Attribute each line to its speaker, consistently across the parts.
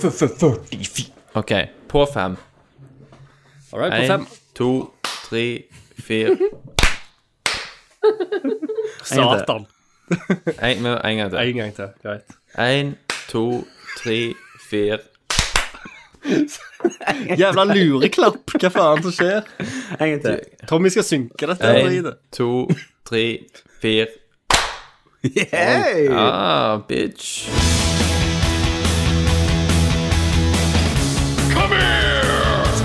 Speaker 1: 44.
Speaker 2: OK, på fem.
Speaker 3: All right, på
Speaker 2: Én,
Speaker 3: fem.
Speaker 2: to, tre, fire
Speaker 3: Satan.
Speaker 2: En med- en gang til.
Speaker 3: En gang til. Greit.
Speaker 2: Én, to, tre, fire
Speaker 3: Jævla lureklapp. Hva faen som skjer?
Speaker 1: En gang til.
Speaker 3: Tommy skal synke dette.
Speaker 2: Én,
Speaker 3: dritet.
Speaker 2: to, tre, fire
Speaker 1: Hey!
Speaker 2: Ah, bitch.
Speaker 4: Come here! I'm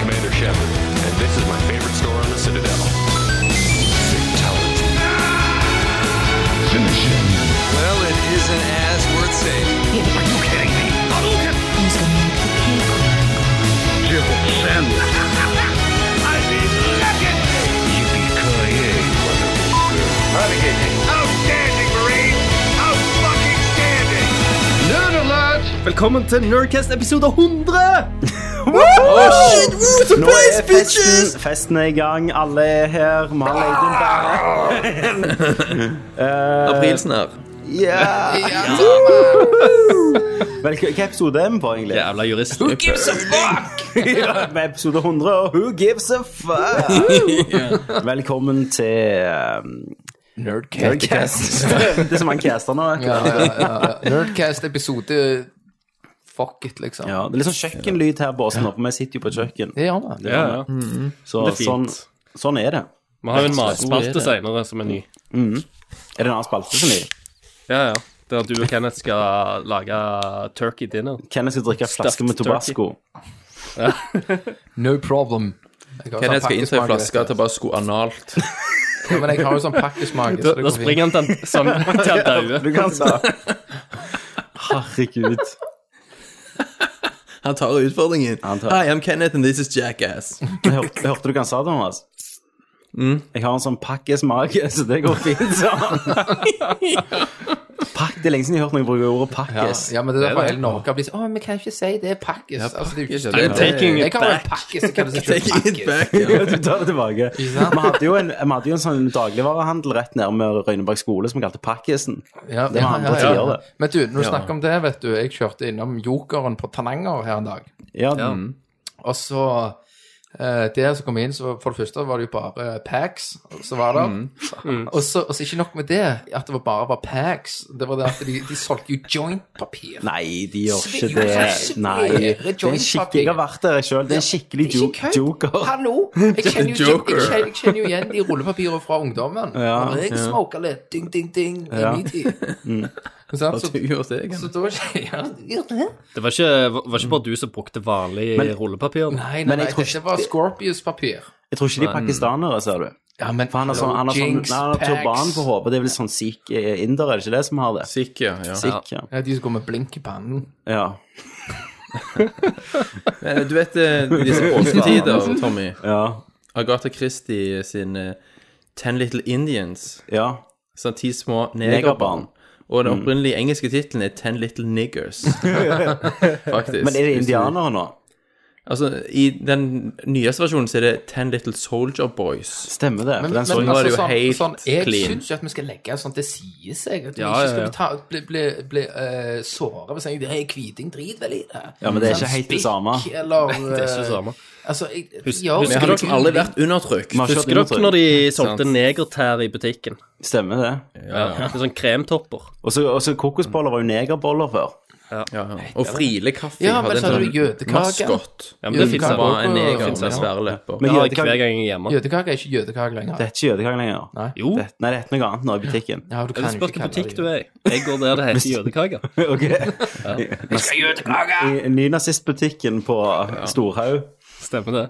Speaker 4: Commander Shepard, and this is my favorite store on the Citadel. Fatality.
Speaker 5: Well, it isn't as worth saying.
Speaker 4: Are you kidding me? Hadouken! I mean, legendary! Yippee-ki-yay, motherfucker. Outstanding, Marine! Out-fucking-standing!
Speaker 3: Velkommen til Nerdcast episode 100!
Speaker 1: Nå er festen, festen er i gang. Alle er her. Vi har leid inn bærer.
Speaker 2: Aprilsen her.
Speaker 1: Vel, hva- hva episode er vi på, egentlig?
Speaker 3: Jævla jurist.
Speaker 1: Med episode 100 og Who gives a fuck? Velkommen til um, Nerdcast. det er så mange caster nå. vet du.
Speaker 6: Ja, ja, ja, ja. Nerdcast episode Fuck it, liksom.
Speaker 1: Ja, det er litt sånn kjøkkenlyd her, Båsen, for vi sitter jo på et kjøkken.
Speaker 6: Det gjør vi.
Speaker 3: Ja, ja.
Speaker 1: Så
Speaker 3: Det er
Speaker 1: sånn,
Speaker 3: fint.
Speaker 1: sånn er det.
Speaker 3: Vi har jo en
Speaker 2: Så er
Speaker 3: matspalte
Speaker 2: det.
Speaker 3: senere som er ny.
Speaker 1: Er det en annen spalte som er?
Speaker 3: Ja, ja. Der du og Kenneth skal lage turkey dinner.
Speaker 1: Kenneth skal drikke en flaske
Speaker 3: Stuffed
Speaker 1: med tobasco.
Speaker 6: No problem. Jeg har jo
Speaker 2: Kenneth
Speaker 6: sånn
Speaker 2: skal innta ei
Speaker 6: pakkesmake,
Speaker 2: flaske
Speaker 6: vet du.
Speaker 2: tabasco analt.
Speaker 6: Ja, Men jeg har jo sånn pakkesmak.
Speaker 3: Da, da springer han til han sånn til han dauer.
Speaker 1: Du kan ta Herregud.
Speaker 2: Han tar utfordringen.
Speaker 1: Han tar-
Speaker 2: Hi, I'm Kenneth, and this is Jackass.
Speaker 1: Jeg hørte, jeg hørte du hva han sa, Thomas.
Speaker 6: Mm.
Speaker 1: Jeg har en sånn pakkesmak, så det går fint, sa han. Pakk, Det er lenge siden jeg har hørt noen bruke ordet
Speaker 6: Ja,
Speaker 1: pakkes.
Speaker 6: ja, men det er derfor hele Norge har blitt sånn Å, vi kan ikke si det er pakkis. Altså, det er jo ikke
Speaker 2: Det er
Speaker 3: taking it
Speaker 6: Jeg har jo en pakkis, så kan du si det er
Speaker 2: Take it
Speaker 6: pakkis.
Speaker 2: back. ja.
Speaker 1: Ja, du tar det tilbake. Vi
Speaker 6: sant?
Speaker 1: hadde jo en, vi hadde jo en sånn dagligvarehandel rett nærme Røyneberg skole som vi kalte Pakkisen.
Speaker 6: Ja,
Speaker 1: Det var
Speaker 6: ja,
Speaker 1: andre
Speaker 6: ja, ja.
Speaker 1: tider, det.
Speaker 6: Men du, når du snakker om det, vet du Jeg kjørte innom Jokeren på Tananger her en dag.
Speaker 1: Ja,
Speaker 6: Og så eh, Der som kom jeg inn, så for det første var det jo bare Pax som var der.
Speaker 1: Mm.
Speaker 6: Og, så, og så ikke nok med det, at det var bare var Pax. Det var det at de, de solgte jo jointpapir.
Speaker 1: Nei, de gjør ikke det.
Speaker 6: Svære, svære
Speaker 1: Nei. Det er en skikkelig,
Speaker 6: jointpapir.
Speaker 1: jeg har vært der selv. Det er en skikkelig
Speaker 6: Ikke
Speaker 1: jo
Speaker 6: kødd.
Speaker 1: joker.
Speaker 6: Hallo! Jeg kjenner, jo, jeg,
Speaker 2: Joker.
Speaker 6: kjenner, jeg kjenner jo igjen de rullepapirene fra ungdommen.
Speaker 1: Ja,
Speaker 6: Når jeg
Speaker 1: ja.
Speaker 6: smoker litt, ding, ding, ding, i
Speaker 1: Ja. Mm.
Speaker 6: min tid. Sant?
Speaker 2: Du
Speaker 6: Så,
Speaker 2: gjorde det, Kenneth.
Speaker 6: så da ja.
Speaker 3: Det var ikke, var ikke bare du som brukte vanlig rullepapir.
Speaker 6: Nei, nei,
Speaker 1: Men jeg
Speaker 6: nei
Speaker 1: tror
Speaker 6: dette
Speaker 1: ikke-
Speaker 6: var Scorpius-papir.
Speaker 1: Jeg tror ikke de er pakistanere, ser du.
Speaker 6: Ja, men
Speaker 1: For han har sånn, han har sånn,
Speaker 6: Jinx,
Speaker 1: nei, han har turban
Speaker 6: Pax.
Speaker 1: på hodet. Det er vel sånn sikh eh, inder, er det ikke det som har det?
Speaker 2: Sikk, ja. ja.
Speaker 1: Sikh, ja.
Speaker 6: Ja, de som går med blink i pannen.
Speaker 1: ja.
Speaker 2: Eh, Du vet eh, disse påsketider, Tommy.
Speaker 1: Ja.
Speaker 2: Agatha Christie sin eh, Ten Little Indians.
Speaker 1: ja.
Speaker 2: Sånn ti små negerbarn.
Speaker 1: Negerbarn.
Speaker 2: Og den opprinnelige engelske tittelen er Ten Little Niggers. Faktisk.
Speaker 1: Men er det
Speaker 2: Hvis du-
Speaker 1: indianere nå?
Speaker 2: Altså, I den nyeste versjonen så er det Ten Little Soldier Boys.
Speaker 1: Stemmer det? For den så
Speaker 2: men-
Speaker 1: jeg.
Speaker 2: var det jo helt
Speaker 6: sånn, jeg
Speaker 2: clean.
Speaker 6: syns jo at vi skal legge en sånn Det sier seg at vi
Speaker 3: Ja,
Speaker 6: ikke
Speaker 3: ja,
Speaker 6: skal
Speaker 3: ja.
Speaker 6: bli, ta, bli, bli, bli eh, såret hvis jeg det er hviting drit vel i det.
Speaker 1: Ja, men det er
Speaker 6: Sånn
Speaker 1: ikke helt det
Speaker 6: spikk
Speaker 1: samme.
Speaker 6: Eller,
Speaker 3: Det er ikke det samme.
Speaker 6: eh, Altså, jeg,
Speaker 3: Husk-
Speaker 6: ja,
Speaker 3: husker
Speaker 2: Vi har liksom aldri vært undertrykt.
Speaker 1: Vi har ikke
Speaker 3: Husker
Speaker 1: hatt
Speaker 3: dere når
Speaker 1: innvandring.
Speaker 3: de solgte negertær i butikken?
Speaker 1: Stemmer det.
Speaker 3: Ja. Med sånn kremtopper.
Speaker 1: Og så- Og så kokosboller var jo negerboller før.
Speaker 2: Ja, ja. Og Friele Kaffe
Speaker 6: Ja, men
Speaker 2: hadde
Speaker 6: så hadde
Speaker 2: en
Speaker 6: du
Speaker 2: sånn
Speaker 6: jødekake.
Speaker 2: maskot.
Speaker 3: Ja, men det finnes
Speaker 2: Som
Speaker 3: det.
Speaker 2: var en
Speaker 6: Ja,
Speaker 2: neger
Speaker 6: ja.
Speaker 2: med svære lepper.
Speaker 1: Men
Speaker 3: Jeg har
Speaker 1: jødekake-
Speaker 3: ikke hver gang jeg er hjemme.
Speaker 6: Jødekake er ikke jødekake lenger.
Speaker 1: det er ikke jødekake lenger.
Speaker 6: Nei.
Speaker 3: Jo,
Speaker 1: Det, nei, det er noe annet nå i butikken.
Speaker 6: Ja, du
Speaker 3: det
Speaker 6: kan jo
Speaker 3: spørs
Speaker 6: ikke
Speaker 3: hvilken
Speaker 6: kalle
Speaker 3: butikk
Speaker 6: det
Speaker 3: du er i. Jeg går der det heter jødekaker.
Speaker 1: Ok. I- i Nynazistbutikken på Storhaug.
Speaker 3: Stemmer det.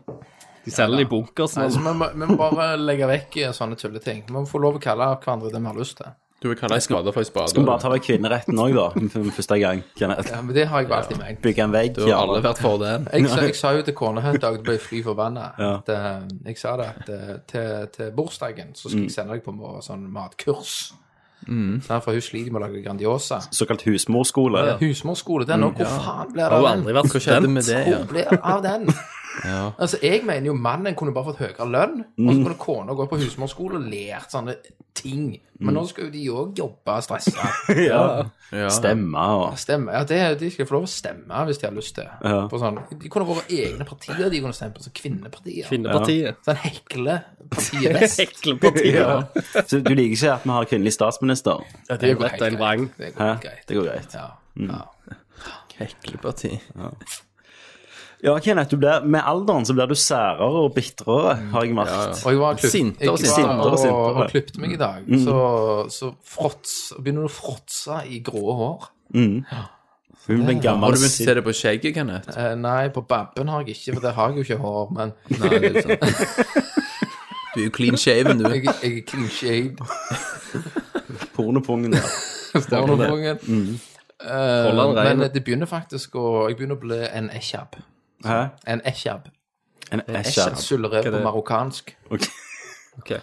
Speaker 3: De selger det i bunkers.
Speaker 6: Altså,
Speaker 3: nå.
Speaker 6: vi, må, vi må bare legge vekk eh, sånne tulleting. Vi må få lov å kalle hverandre det vi har lyst til.
Speaker 2: Du vil kalle en spade for en spade.
Speaker 1: Skal vi bare ta vekk kvinneretten òg, da? For første gang. Kenneth.
Speaker 6: Ja, men det har jeg bare alltid ment.
Speaker 1: Bygge en vegg.
Speaker 2: Du har alle vært for den.
Speaker 6: Jeg, sa- jeg sa jo til kona her en dag du ble fly forbanna
Speaker 1: Ja.
Speaker 6: at eh, Jeg sa det at eh, til, til bursdagen så skal jeg sende deg på må- sånn matkurs. Sant, For hun sliter med å lage Grandiosa.
Speaker 1: Såkalt husmorskole.
Speaker 6: Husmorskole, den òg. Hvor faen blir det
Speaker 3: Har
Speaker 6: av
Speaker 3: du
Speaker 6: den?
Speaker 3: aldri vært
Speaker 2: Hva skjedde
Speaker 3: student?
Speaker 2: med det?
Speaker 6: Hvor
Speaker 2: Ja?
Speaker 6: blir det av den? Altså, Jeg mener jo mannen kunne bare fått høyere lønn, og så kunne kona gå på husmorskole og lært sånne ting. Men nå skal jo de òg jobbe og stresse.
Speaker 1: Ja.
Speaker 2: Ja.
Speaker 1: Stemme og
Speaker 6: Stemme. Ja, det, de skal få lov å stemme hvis de har lyst til.
Speaker 1: Ja.
Speaker 6: På sånn, de kunne vært egne partier de kunne stemt på, sånn kvinnepartier.
Speaker 3: Kvinnepartiet.
Speaker 6: Sånn heklepartiet vest.
Speaker 3: Heklepartiet.
Speaker 1: ja. Så du liker ikke at vi har kvinnelig statsminister?
Speaker 6: Ja,
Speaker 3: det går helt greit.
Speaker 6: Det
Speaker 1: Hæ?
Speaker 6: går greit.
Speaker 1: Det går greit.
Speaker 6: Ja. Ja.
Speaker 2: Hekleparti.
Speaker 1: Ja, Kenneth, du blir, med alderen så blir du særere og bitrere,
Speaker 2: Mm.
Speaker 1: har jeg merket.
Speaker 6: Og jeg var
Speaker 2: Sintere,
Speaker 6: jeg var
Speaker 2: sintere,
Speaker 6: og,
Speaker 1: sintere.
Speaker 6: og klippte meg i dag, så, så fråts, begynner du å fråtse i grå hår.
Speaker 1: Hun blir
Speaker 2: Har
Speaker 1: gammel
Speaker 2: du begynt å se
Speaker 1: sin-
Speaker 2: det på skjegget, Kenneth?
Speaker 6: Eh, nei, på babben har jeg ikke, for der har jeg jo ikke hår, men
Speaker 2: Nei, det er jo sant. Du er jo clean shaven, du.
Speaker 6: jeg, jeg er clean shaved.
Speaker 1: pornopungen. der.
Speaker 6: barnevognen. Eh,
Speaker 3: Holder han rein.
Speaker 6: men det begynner faktisk å Jeg begynner å bli en eshab.
Speaker 1: Hæ?
Speaker 6: En eshab.
Speaker 1: En
Speaker 6: Eshab
Speaker 1: æsj.
Speaker 6: Sullerev
Speaker 3: det?
Speaker 6: på marokkansk.
Speaker 1: Ok.
Speaker 3: Ok.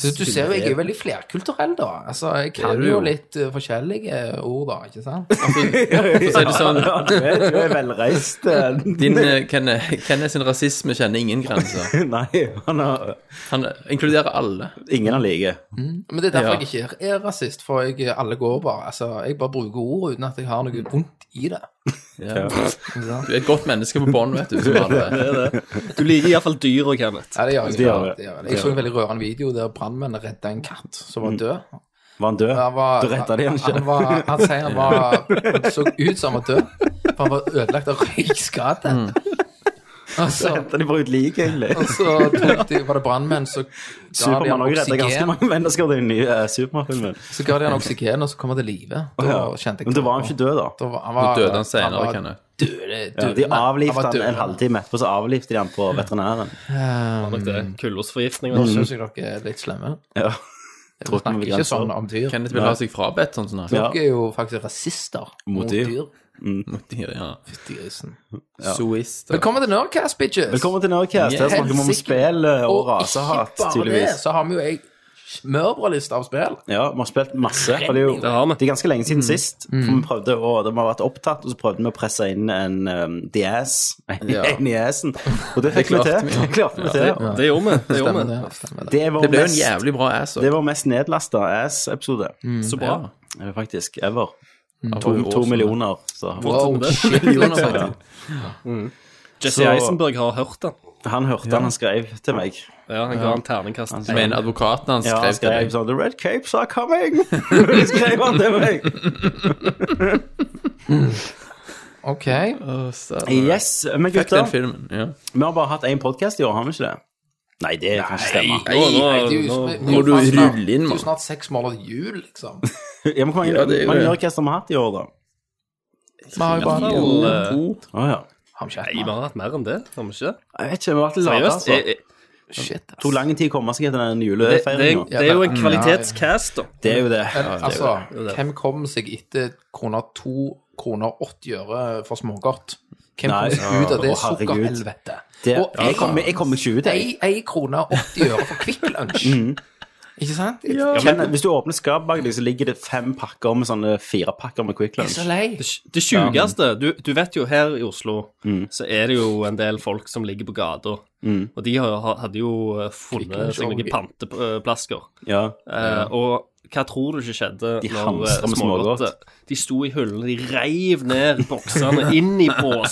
Speaker 6: Så du ser jo, jeg er veldig flerkulturell, da. Altså, jeg kan
Speaker 2: er du
Speaker 6: jo
Speaker 2: jo.
Speaker 6: litt eh, forskjellige ord, da, ikke sant? Altså,
Speaker 2: Så er det sånn,
Speaker 1: Ja, du er, du er velreist. eh.
Speaker 2: din, eh, Kenneth, Kenneth sin rasisme kjenner ingen grenser.
Speaker 1: Nei, han har
Speaker 2: Han inkluderer alle.
Speaker 1: Ingen han liker.
Speaker 6: Men det er derfor
Speaker 2: Ja.
Speaker 6: jeg ikke er rasist, for jeg, alle går bare Altså, jeg bare bruker ord uten at jeg har noe vondt i det.
Speaker 2: Ja. Du er et godt menneske på bånd, vet du. Som alle.
Speaker 3: Du liker iallfall dyra, Kenneth.
Speaker 6: Ja, det gjør jeg.
Speaker 1: Det gjør det.
Speaker 6: Det gjør jeg. jeg så en veldig rørende video der brannmennene redda en katt som var død.
Speaker 1: Var han død?
Speaker 6: Han var,
Speaker 1: du retta det han
Speaker 6: Han,
Speaker 1: ikke?
Speaker 6: var, han sier han var Han så ut som han var død, for han var ødelagt av Altså, røykskade.
Speaker 1: Mm.
Speaker 6: Og så,
Speaker 1: Retta de bare ut liket, egentlig?
Speaker 6: og så tok de, var det brannmenn som ga de
Speaker 1: Supermann
Speaker 6: han
Speaker 1: òg redda ganske
Speaker 6: oksygen,
Speaker 1: mange mennesker i den nye eh, Supermann-filmen.
Speaker 6: så ga de han oksygen, og så kom han til live. Da kjente jeg
Speaker 1: Men da var han ikke død, da.
Speaker 6: Da var, han
Speaker 2: Nå
Speaker 6: var,
Speaker 2: døde han senere,
Speaker 6: var
Speaker 2: Kenneth.
Speaker 6: Døde,
Speaker 1: Ja,
Speaker 6: døde,
Speaker 1: de avlivte
Speaker 6: var
Speaker 1: han en
Speaker 6: døde.
Speaker 1: halvtime etterpå, så avlivte de han på veterinæren.
Speaker 3: Nok det. Kullosforgiftning.
Speaker 6: Nå
Speaker 3: vet du.
Speaker 6: syns jeg dere er litt slemme.
Speaker 1: Ja.
Speaker 6: Dere
Speaker 1: vi
Speaker 6: snakker
Speaker 1: grenser.
Speaker 6: ikke sånn om dyr.
Speaker 2: Kenneth vil ha seg frabedt, sånn som han
Speaker 1: Ja.
Speaker 6: Dere er jo faktisk rasister
Speaker 1: Mot dyr.
Speaker 2: mot dyr. Ja.
Speaker 6: Fytti grisen.
Speaker 2: Soister.
Speaker 6: Velkommen til Nerdcast, bitches!
Speaker 1: Velkommen til Nerdcast. Her
Speaker 2: Yes.
Speaker 1: snakker vi om spill eh, og rasehat,
Speaker 6: ikke bare det, altså.
Speaker 1: tydeligvis.
Speaker 6: så har vi jo ei smørbrødliste av spill.
Speaker 1: Ja, vi har spilt masse. For det, er jo,
Speaker 3: Det har vi.
Speaker 1: det er ganske lenge siden sist. For vi prøvde å, det har vært opptatt, og så prøvde vi å presse inn en um, DS
Speaker 2: Ja.
Speaker 1: en i assen. Og det fikk vi
Speaker 2: klarte
Speaker 1: til.
Speaker 2: vi, ja.
Speaker 1: Det klarte vi til.
Speaker 3: Det gjorde vi. Det gjorde vi.
Speaker 6: Stemmer det.
Speaker 1: Det var
Speaker 2: Det ble jo en
Speaker 1: mest-
Speaker 2: jævlig bra ass.
Speaker 1: Det var mest nedlasta ass-episode.
Speaker 2: Så bra.
Speaker 1: Eh, Faktisk. Ever. To, to millioner. Så.
Speaker 6: Wow, shit.
Speaker 2: millioner. Mm.
Speaker 3: Jesse
Speaker 1: Så-
Speaker 3: Eisenberg har hørt den.
Speaker 1: Han hørte han, han skrev til meg.
Speaker 3: Ja, Han ga en terningkast.
Speaker 2: Du mener advokaten hans
Speaker 1: Ja, han
Speaker 2: skrev til
Speaker 1: skrev
Speaker 2: deg?
Speaker 1: sånn The red capes are coming! skrev han til meg.
Speaker 6: Ok.
Speaker 2: Å, satan.
Speaker 1: Yes,
Speaker 2: Fuck
Speaker 1: men
Speaker 2: den
Speaker 1: gutter,
Speaker 2: filmen. Ja.
Speaker 1: vi har bare hatt én podkast i år, har vi ikke det? Nei, det kan ikke stemme.
Speaker 3: Nå, nå,
Speaker 6: Det er jo-
Speaker 3: nå,
Speaker 6: det er jo
Speaker 2: må du
Speaker 6: snart-
Speaker 2: rulle inn,
Speaker 6: Det er
Speaker 2: mann.
Speaker 6: jo snart seks måneder jul, liksom.
Speaker 1: Ja, men hvor mange
Speaker 2: Ja, det er jo det.
Speaker 1: manjørkester har vi hatt i år, da?
Speaker 6: Vi har jo bare
Speaker 2: To.
Speaker 1: Å ja.
Speaker 6: Har vi ikke
Speaker 3: eh, Nei, vi
Speaker 6: hatt noe?
Speaker 3: har hatt mer enn det, har vi ikke? det?
Speaker 1: Jeg vet ikke, vi har vært litt late,
Speaker 3: Seriøst?
Speaker 1: altså.
Speaker 3: Det,
Speaker 6: Shit, ass.
Speaker 1: Tok lang tid å komme seg etter den
Speaker 3: det, det,
Speaker 1: julefeiringa.
Speaker 3: det er jo en kvalitetscast, da.
Speaker 1: Det er jo det.
Speaker 6: Men, altså,
Speaker 3: jo det.
Speaker 6: hvem kom seg etter kroner to kroner åtti øre for smågodt? Hvem
Speaker 1: Nei,
Speaker 6: kom seg ut av det
Speaker 1: å, herregud.
Speaker 6: sukkerhelvete?
Speaker 1: det
Speaker 6: Og
Speaker 1: jeg kommer jeg kommer ikke ut, jeg.
Speaker 6: ei, ei krone og 80 øre for Kvikk Lunsj. Ikke sant? Jeg
Speaker 1: Kjenn- hvis du åpner skapet bak deg, så ligger det fem pakker med sånne fire pakker med Quick
Speaker 6: er så
Speaker 1: Lunch.
Speaker 6: lei.
Speaker 3: Det, det sjukeste du, du vet jo, her i Oslo
Speaker 1: Mm.
Speaker 3: så er det jo en del folk som ligger på gata. Og de har, har- hadde jo eh, funnet seg noen panteplasker.
Speaker 1: Ja.
Speaker 3: Eh, og hva tror du ikke skjedde
Speaker 1: De
Speaker 3: når
Speaker 1: hamstra
Speaker 3: eh,
Speaker 1: med smågodt.
Speaker 3: smågodtet De sto i hyllene, de reiv ned boksene, inn i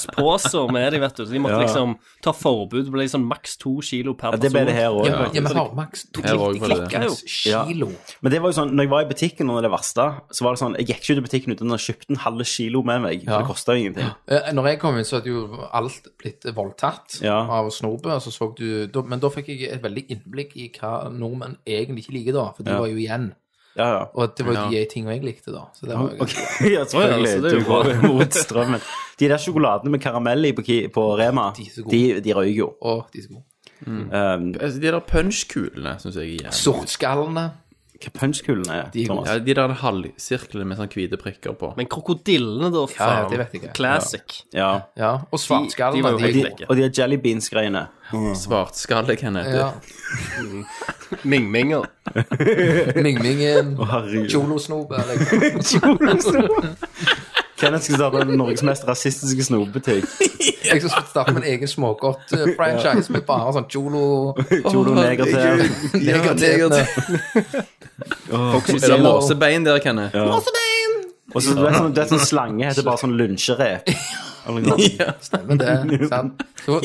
Speaker 3: båspåser med de, vet du. Så de måtte
Speaker 1: Ja.
Speaker 3: liksom ta forbud. Det ble liksom maks to kilo per
Speaker 1: Ja, det ble det her òg.
Speaker 6: Ja, men har maks to
Speaker 2: Jeg var også for det.
Speaker 6: klokkens
Speaker 1: Ja.
Speaker 6: kilo.
Speaker 1: Men det var jo sånn, når jeg var i butikken under det verste, så var det sånn, jeg gikk ikke ut i butikken uten å kjøpe en halv kilo med meg, for det kostet jo ingenting.
Speaker 6: Eh, Når jeg kom inn, så hadde jo alt blitt voldtatt
Speaker 1: Ja.
Speaker 6: av snorbø. Så så du, da, men da fikk jeg et veldig innblikk i hva nordmenn egentlig ikke liker, da. For de var jo igjen.
Speaker 1: Ja, ja.
Speaker 6: Og det var jo de tingene jeg likte, da. Så det var jo
Speaker 1: ja, selvfølgelig.
Speaker 3: Å, ja, så det er jo
Speaker 1: du går jo mot strømmen. De der sjokoladene med karamell i på, Ki- på Rema,
Speaker 6: De er så gode.
Speaker 1: de, de røyker jo.
Speaker 6: Og de sko.
Speaker 1: Um,
Speaker 2: Altså, de der punchkulene syns jeg er jævlig
Speaker 6: Sortskallene.
Speaker 1: hva punchkulene er,
Speaker 6: er gode.
Speaker 1: Thomas?
Speaker 2: ja, De der halvsirklene med sånne hvite prikker på.
Speaker 3: Men krokodillene, da,
Speaker 6: Ja, ja,
Speaker 3: faen.
Speaker 6: det vet jeg ikke.
Speaker 3: Classic.
Speaker 1: Ja.
Speaker 6: Ja. Og
Speaker 3: De- de var
Speaker 6: svartskallene.
Speaker 3: jo
Speaker 1: De,
Speaker 3: helt
Speaker 1: og de der jelly beans-greiene.
Speaker 2: Svartskalle, Kenneth.
Speaker 6: ja.
Speaker 3: Mingminger.
Speaker 6: Mingmingen.
Speaker 1: herregud.
Speaker 6: Kjolosnobe. Liksom.
Speaker 1: Kenneth skal starte Norges mest rasistiske snopebutikk.
Speaker 6: Jeg skal starte min egen smågodt-franchise med bare sånn cholo
Speaker 1: Cholo negerter.
Speaker 6: negertetene.
Speaker 2: Folk som ser låsebein der, Kenneth. Ja.
Speaker 1: Og så du vet sånn, det er sånn slange heter bare sånn lunsjerep. Eller noe sånt.
Speaker 6: Men det, sant? Så,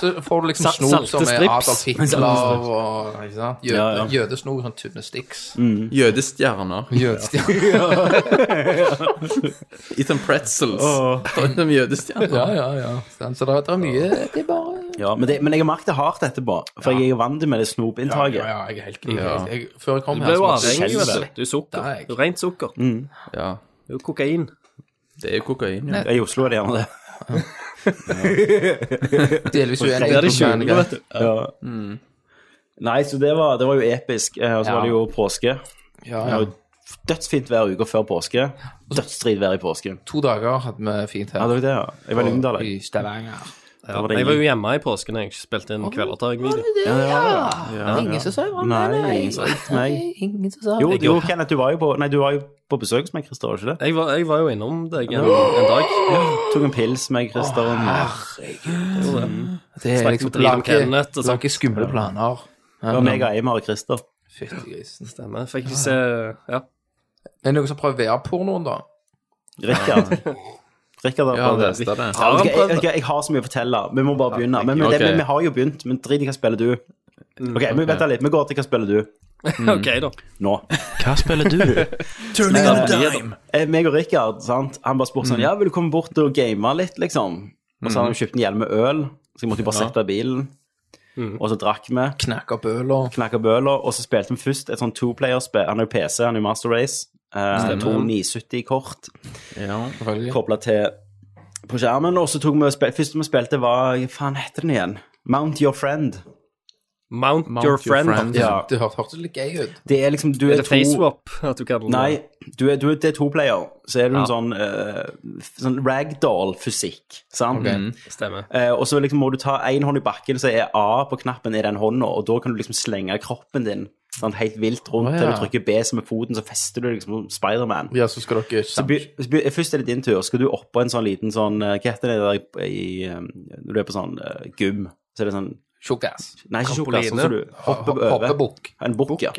Speaker 6: så får du liksom
Speaker 3: Sa-
Speaker 6: snop som
Speaker 3: salte
Speaker 6: er
Speaker 3: strips.
Speaker 6: Adolf Hitler og ikke sant? Jøde,
Speaker 1: Ja, ja.
Speaker 6: jødesnop, sånn tynne sticks.
Speaker 2: Jødestjerner.
Speaker 6: Jødestjerner.
Speaker 2: Ethan Pretzels. Drømt om jødestjerner.
Speaker 6: Ja, ja, ja. Sant? Så det, det er mye Det er bare
Speaker 1: Ja, men, det, men jeg har merket det hardt etterpå, for jeg er jo vant med det snopinntaket.
Speaker 6: Ja, ja, jeg er helt jeg, jeg, Før jeg kom
Speaker 3: Du
Speaker 6: her,
Speaker 3: ble jo
Speaker 6: så måtte jeg
Speaker 3: avhengig av
Speaker 6: skjelve.
Speaker 3: det. Du er sukker.
Speaker 6: Nei.
Speaker 3: Du er rent sukker.
Speaker 1: Mm.
Speaker 3: Det
Speaker 2: Ja,
Speaker 3: er jo kokain.
Speaker 2: det er jo kokain. Ja.
Speaker 1: I Oslo er det gjerne det.
Speaker 6: Delvis uenig.
Speaker 3: Det er de
Speaker 6: men-
Speaker 3: skjulende, vet du.
Speaker 1: Ja. Nei, så det var, det var jo episk. Eh, Og så
Speaker 6: Ja.
Speaker 1: var det jo påske.
Speaker 6: Ja,
Speaker 1: Det
Speaker 6: ja.
Speaker 1: var jo dødsfint hver uke før påske. Dødsstrid vær i påsken.
Speaker 6: To dager hadde vi
Speaker 1: Ja, det
Speaker 6: fint her.
Speaker 1: var jo det, ja. Jeg var i Lyngdal. jeg.
Speaker 6: I Stavanger.
Speaker 1: Da var det
Speaker 3: Jeg var
Speaker 1: ingen-
Speaker 3: jo hjemme i påsken jeg spilte inn Kvelertak-video.
Speaker 1: Ja, det var det.
Speaker 6: Ingen som sa ifra.
Speaker 1: Nei, ingen som sa ifra. Nei.
Speaker 6: Ingen som sa
Speaker 1: Jo,
Speaker 6: ifra.
Speaker 1: jo, Kenneth, du var jo på, nei, du var jo på besøk hos meg, Christer, var du ikke det?
Speaker 3: Jeg var, jeg var jo innom deg en, en dag.
Speaker 1: Tok en pils med Christer. og-
Speaker 6: Det er
Speaker 3: Snakket
Speaker 6: liksom
Speaker 3: med Trine om Kenneth og sånn.
Speaker 6: lage skumle planer.
Speaker 1: Det var meg og Eimar og Christer.
Speaker 6: Fytti grisen.
Speaker 3: Stemmer. Fikk ikke se Ja.
Speaker 6: Er det noen som prøver VR-pornoen, da?
Speaker 1: Rikard. Rikard har
Speaker 2: Ja, det
Speaker 1: prøvd det.
Speaker 2: er det.
Speaker 1: Ja, vet du hva, jeg, vet du hva, jeg har så mye å fortelle. Vi må bare begynne. Men, men, det, Mm.
Speaker 2: Ok.
Speaker 1: men vi har jo begynt. Men drit i hva spiller du. Ok, men vent da litt. Vi går til hva spiller du
Speaker 3: OK, da.
Speaker 1: nå.
Speaker 2: Hva spiller du? Turning on dime.
Speaker 1: Eh, Meg og Rikard, sant? han bare spurte sånn Ja, vil du komme bort og game litt, liksom? Og så hadde han kjøpt en hjelm med øl, så jeg måtte jo bare sette bilen. Og så drakk vi,
Speaker 6: Knakker bøler.
Speaker 1: knakka bøler, og så spilte vi først et sånn two-player-spill. Han er jo PC, han er jo Master Race. Eh, to 970-kort
Speaker 2: Ja.
Speaker 6: Selvfølgelig.
Speaker 1: kobla til på skjermen. Og så tok vi og spil Første vi spilte, var Hva faen heter den igjen? Mount Your Friend.
Speaker 3: Mount,
Speaker 2: Mount
Speaker 3: your friend.
Speaker 1: Ja.
Speaker 6: Du hørte hørtes litt gay ut.
Speaker 1: Det er liksom Du
Speaker 3: Er
Speaker 1: er,
Speaker 3: det
Speaker 1: to
Speaker 3: FaceWap at du kaller det?
Speaker 1: Nei, du er, du er, det er to player. Så er du en sånn, eh, f- sånn ragdoll-fysikk, sant?
Speaker 6: Mm.
Speaker 3: Stemmer.
Speaker 1: Eh, og så liksom må du ta én hånd i bakken, så er A på knappen i den hånda, og da kan du liksom slenge kroppen din sånn helt vilt rundt,
Speaker 6: Å, ja.
Speaker 1: til du trykker B som er foten, så fester du liksom som Spiderman.
Speaker 6: Ja, så skal dere
Speaker 1: Så
Speaker 6: sammen.
Speaker 1: by- så by- Først er det din tur. Skal du oppå en sånn liten sånn eh, Hva heter det der i eh, Når du er på sånn eh, gym, så er det sånn
Speaker 6: Tjukkass.
Speaker 1: Nei, ikke sjokolade,
Speaker 3: Trampoline.
Speaker 1: sånn som du hopper
Speaker 6: Ho-
Speaker 1: over.
Speaker 6: hoppebukk.
Speaker 1: En bukk, ja.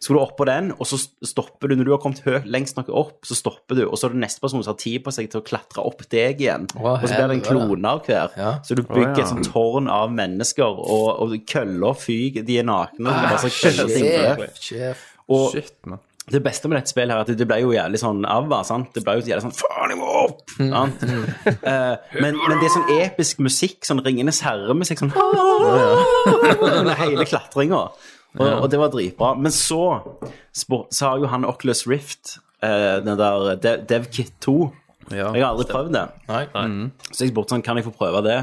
Speaker 1: Så går du oppå den, og så stopper du. Når du har kommet høyt lengst nok opp, så stopper du, og så er det neste person som har tid på seg til å klatre opp deg igjen.
Speaker 6: Å,
Speaker 1: og så blir det en
Speaker 6: helvete.
Speaker 1: klone av hver.
Speaker 6: Ja.
Speaker 1: Så du bygger
Speaker 2: Å, ja.
Speaker 1: et sånt tårn av mennesker, og, og køller fyker. De er nakne. det er
Speaker 6: Ah,
Speaker 1: bare sånn køller ting på det.
Speaker 6: Sjef, sjef.
Speaker 1: Og
Speaker 2: Shit, man.
Speaker 1: det beste med dette spillet her er at det- det ble jo jævlig sånn avva, sant? Det ble jo jævlig sånn Faen, jeg må opp!
Speaker 6: Mm.
Speaker 1: Sant? Eh, men, men det er sånn episk musikk, sånn Ringenes herre-musikk, sånn Under hele klatringa. Og, og det var dritbra. Men så, spor- så har jo han Oculus Rift, eh, den der Dev- DevKit 2.
Speaker 2: Ja.
Speaker 1: Jeg har aldri prøvd det.
Speaker 6: Nei. Mm.
Speaker 1: Så jeg spurte sånn, kan jeg få prøve det?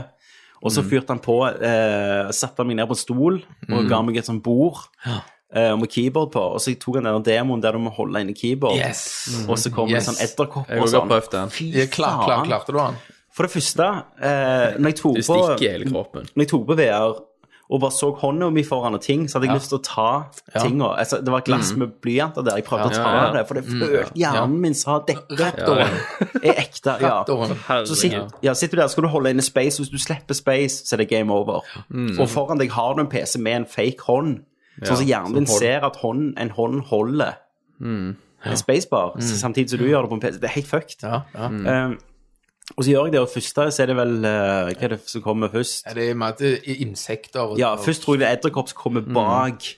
Speaker 1: Og så fyrte han på, eh, satte han meg ned på en stol og ga meg et sånt bord eh, med keyboard på. Og så tok han den demoen der du må holde inne keyboard.
Speaker 6: Yes.
Speaker 1: Og så kom det
Speaker 6: Yes.
Speaker 1: sånn edderkopp
Speaker 2: Jeg har
Speaker 1: og
Speaker 2: også
Speaker 1: sånn.
Speaker 2: prøvd den.
Speaker 6: Ja, klar, klar, klarte du han?
Speaker 1: For det første, eh, når jeg tok
Speaker 2: Det
Speaker 1: på,
Speaker 2: stikker i hele kroppen.
Speaker 1: når jeg tok på VR og bare så hånda mi foran og ting, så hadde jeg lyst til å ta tinga. Altså, det var et glass med blyanter der. Jeg prøvde å ta
Speaker 2: Mm. ja, ja.
Speaker 1: det, for det følte hjernen min sa dette er ekte. Ja.
Speaker 6: Doktoren.
Speaker 1: Så sitter, ja, sitter du der, skal du holde inne space, og hvis du slipper space, så er det game over.
Speaker 2: Mm.
Speaker 1: Og foran deg har du en PC med en fake hånd, sånn at hjernen din ser at hånd, en hånd holder
Speaker 2: Mm.
Speaker 1: en spacebar, samtidig som du gjør det på en PC. Det er helt fucked.
Speaker 6: Ja, ja.
Speaker 2: Mm.
Speaker 1: Um, og så gjør jeg det, og først da, så er det vel eh, Hva er det som kommer først?
Speaker 6: Er det med at det er insekter og
Speaker 1: Ja, først tror jeg det er edderkopp som kommer
Speaker 2: Mm.
Speaker 1: bak.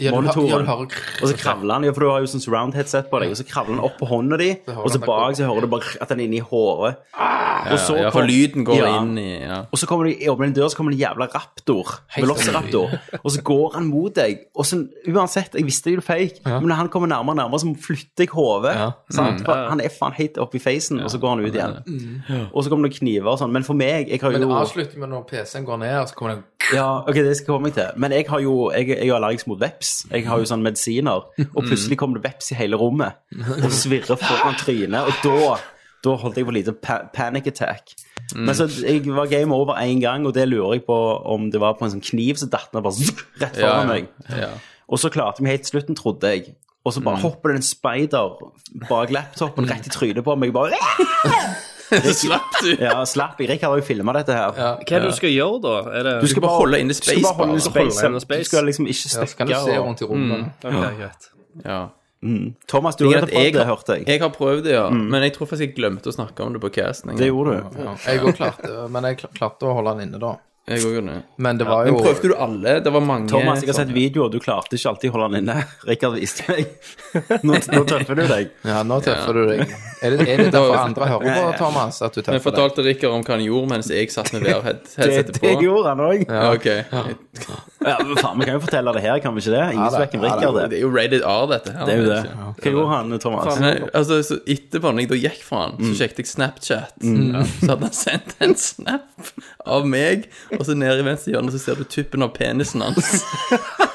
Speaker 6: ja, du, har-
Speaker 1: monitoren.
Speaker 6: ja, du hører
Speaker 1: Og så kravler han, ja, for du har jo sånn surround headset på deg, og så kravler han opp på hånda di,
Speaker 6: hører
Speaker 1: og så
Speaker 6: han
Speaker 1: bak så hører du bare at han er inne i håret. Og så
Speaker 2: Ah! Ja, for
Speaker 1: kom-
Speaker 2: lyden går
Speaker 1: Ja.
Speaker 2: inn i ja.
Speaker 1: Og så kommer de, åpner en dør, så kommer det en jævla raptor. Velociraptor. Og så går han mot deg. Og så, uansett, jeg visste jo det var fake, men når han kommer nærmere og nærmere, så flytter jeg hodet.
Speaker 6: Ja.
Speaker 3: Eh,
Speaker 1: sant?
Speaker 3: Mm.
Speaker 2: Mm.
Speaker 1: For Han er faen helt oppi facen, og så går han ut igjen. Og så kommer det kniver og sånn. Men for meg jeg har
Speaker 6: Men
Speaker 1: jo,
Speaker 2: altså,
Speaker 6: det avslutter med når PC-en går ned, og så kommer den
Speaker 1: ja, Ok, det skal jeg komme meg til. Men jeg, har jo, jeg, jeg er allergisk mot veps. Jeg har jo sånn medisiner. Og plutselig kommer det veps i hele rommet og svirrer foran trynet. Og da, da holdt jeg på lite pa panic attack. Men så jeg var game over én gang, og det lurer jeg på om det var på en sånn kniv som datt ned bare zzz, rett
Speaker 2: Ja,
Speaker 1: foran
Speaker 2: ja.
Speaker 1: meg.
Speaker 2: ja. Mm.
Speaker 1: Og så klarte vi helt til slutten, trodde jeg. og så bare hopper det en speider bak laptopen rett i trynet på meg. Jeg Bare,
Speaker 2: Så slapp du.
Speaker 1: ja, slapp jeg. Rikard har jo filma dette her.
Speaker 3: Hva er det du skal gjøre, da? Er det...
Speaker 2: Du skal bare holde inne
Speaker 1: Du skal bare holde
Speaker 2: spacebar.
Speaker 1: space,
Speaker 3: inne space.
Speaker 1: Du skal liksom ikke
Speaker 6: Ja, så kan du
Speaker 1: stikke.
Speaker 6: se
Speaker 1: og-
Speaker 6: rundt i rommet.
Speaker 3: Ok, greit.
Speaker 2: Ja.
Speaker 1: Thomas, du har
Speaker 2: Jeg,
Speaker 1: nettopp prøvd det, hørte jeg. Mm.
Speaker 2: jeg har prøvd det, ja. Men jeg tror faktisk jeg glemte å snakke om det på casten.
Speaker 1: Det gjorde du.
Speaker 6: Ja. Jeg òg klarte Men jeg kl- klarte å holde den inne, da.
Speaker 2: Jeg gjorde det.
Speaker 6: Men det var
Speaker 2: Men
Speaker 6: jo
Speaker 2: prøvde du alle? Det var mange.
Speaker 1: Thomas, jeg har sett
Speaker 2: sånne.
Speaker 1: videoer. Du klarte ikke alltid å holde den inne. Rikard viste meg. Nå, nå tøffer du deg.
Speaker 6: Ja, nå tøffer du deg. Er det, er det derfor andre hører på, Thomas, at du
Speaker 2: Men jeg
Speaker 6: tøffer deg?
Speaker 2: fortalte Rikard om hva han gjorde mens jeg satt med
Speaker 1: Det,
Speaker 2: VR-headsetet på.
Speaker 1: det gjorde han òg.
Speaker 2: Ja, ok.
Speaker 1: Ja, men faen, vi kan jo fortelle det her, kan vi ikke det? Ingen
Speaker 6: Ja, da.
Speaker 1: svekker
Speaker 6: Ja, da.
Speaker 1: Rikard
Speaker 2: Det
Speaker 1: det.
Speaker 2: er jo rated R, dette her.
Speaker 1: Det er jo det.
Speaker 2: ikke?
Speaker 1: Hva gjorde han, Thomas?
Speaker 2: Nei, altså, så etterpå, når jeg da gikk fra han,
Speaker 1: Mm.
Speaker 2: så sjekket jeg Snapchat. Ja. Så hadde han sendt en snap av meg, og så nede i venstre hjørne så ser du tuppen av penisen hans.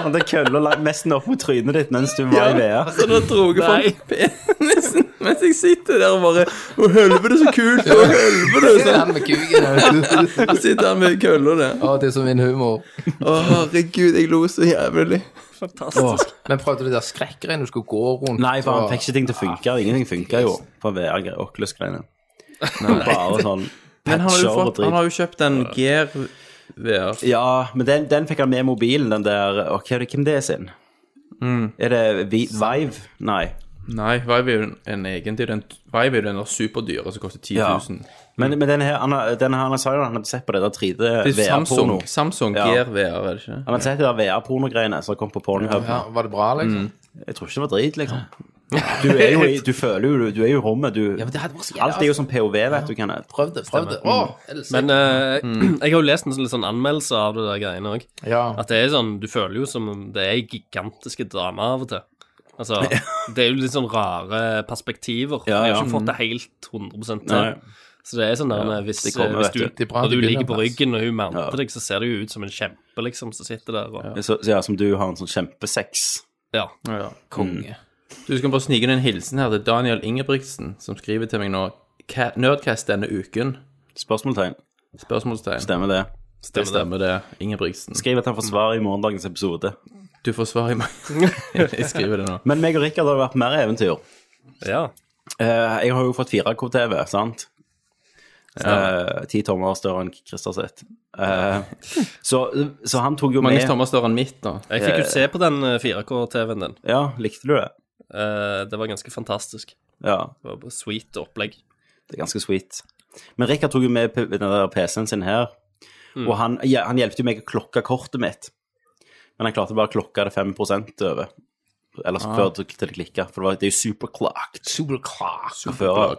Speaker 1: Han hadde kølla la- nesten opp mot trynet ditt mens du var i VR.
Speaker 2: Så da dro jeg fram penisen mens jeg sitter der og bare Å, helvete, så kult! Å, helvete!
Speaker 6: Det er
Speaker 2: Så
Speaker 6: han med kuken.
Speaker 2: jeg sitter her med kølla der.
Speaker 6: Å, det er som min humor.
Speaker 2: Å, herregud, jeg lo så jævlig.
Speaker 3: Fantastisk.
Speaker 6: Men prøvde du de der skrekkgreiene du skulle gå rundt
Speaker 1: Nei, for han
Speaker 6: og-
Speaker 1: fikk ikke ting til å funke. Ingenting funka jo på VR-greier. Oculus-greiene. Bare sånn
Speaker 2: Men han har jo,
Speaker 1: patcher og
Speaker 2: fått, han
Speaker 1: drit.
Speaker 2: har jo kjøpt en Gear VR.
Speaker 1: Ja, men den, den fikk han med i mobilen, den der Ok, det- hvem det er sin?
Speaker 6: Mm.
Speaker 1: Er det Vi Vive? Nei.
Speaker 2: Nei, Vive er jo en egen til den Vive er jo den der superdyre som koster 10
Speaker 1: Ja.
Speaker 2: 000.
Speaker 1: Men, men den her, han, har- den her, han sa jo at han hadde sett på det der 3D
Speaker 2: Det er Samsung,
Speaker 1: VR-porno.
Speaker 2: Samsung
Speaker 1: Ja.
Speaker 2: Gear VR, er det ikke?
Speaker 1: Han hadde sett det der VR-porno-greiene som kom på Pornhub.
Speaker 6: Ja, var det bra, liksom?
Speaker 1: Jeg tror ikke det var drit, liksom. Du er jo i, du føler jo, du, du er jo i rommet, du. Alt er jo som POV, vet du, Kenneth.
Speaker 6: Prøv det, prøv
Speaker 1: mm.
Speaker 6: det. Å,
Speaker 3: Men eh, jeg har jo lest en sånn, litt sånn anmeldelse av det der greiene òg.
Speaker 6: ja.
Speaker 3: At det er sånn, du føler jo som om det er gigantiske drama av og til. Altså, det er jo litt sånn rare perspektiver.
Speaker 1: Ja,
Speaker 3: Jeg
Speaker 1: ja. Mm.
Speaker 3: har ikke fått det helt 100 til.
Speaker 1: Nei.
Speaker 3: Så det er sånn der, hvis,
Speaker 1: det kommer,
Speaker 3: hvis
Speaker 1: vet
Speaker 3: du,
Speaker 1: du.
Speaker 6: Det er bra
Speaker 3: når
Speaker 6: at
Speaker 3: du
Speaker 6: det
Speaker 3: ligger
Speaker 6: begynner
Speaker 3: på
Speaker 6: plass.
Speaker 3: ryggen og hun mounter
Speaker 1: Ja.
Speaker 3: deg, så ser du jo ut som en kjempe, liksom, som sitter der og
Speaker 1: Så, så ja, som du har en sånn kjempesex.
Speaker 3: Ja.
Speaker 2: Ja. Konge. Mm. Du skal bare snike inn en hilsen her til Daniel Ingebrigtsen, som skriver til meg nå "Ca- Nerdcast denne uken?
Speaker 1: Spørsmålstegn.
Speaker 2: Spørsmålstegn.
Speaker 1: Stemmer det.
Speaker 2: det stemmer det, Ingebrigtsen.
Speaker 1: Skriv at han får svar i morgendagens episode.
Speaker 2: Du får svar i meg. jeg skriver det nå.
Speaker 1: Men meg og Rikard har vært mer eventyr.
Speaker 3: ja.
Speaker 1: Eh, jeg har jo fått 4K-TV, sant? Eh, Ti tommer større enn Christer sitt. Eh, så, så han tok jo
Speaker 2: Magnus
Speaker 1: med
Speaker 2: Thomas står han midt nå.
Speaker 3: Jeg fikk jo se på den eh, 4K-TV-en din.
Speaker 1: Ja, likte du det?
Speaker 3: Eh, det var ganske fantastisk.
Speaker 1: Ja.
Speaker 3: Det var bare sweet opplegg.
Speaker 1: Det er ganske sweet. Men Rikard tok jo med p- den der PC-en sin her, og han, ja, han hjelpte jo meg å klokke kortet mitt. Men han klarte bare å klokke det 5 over. Ellers før til til det klikka, for det, var, det er jo superclocked. fra før av.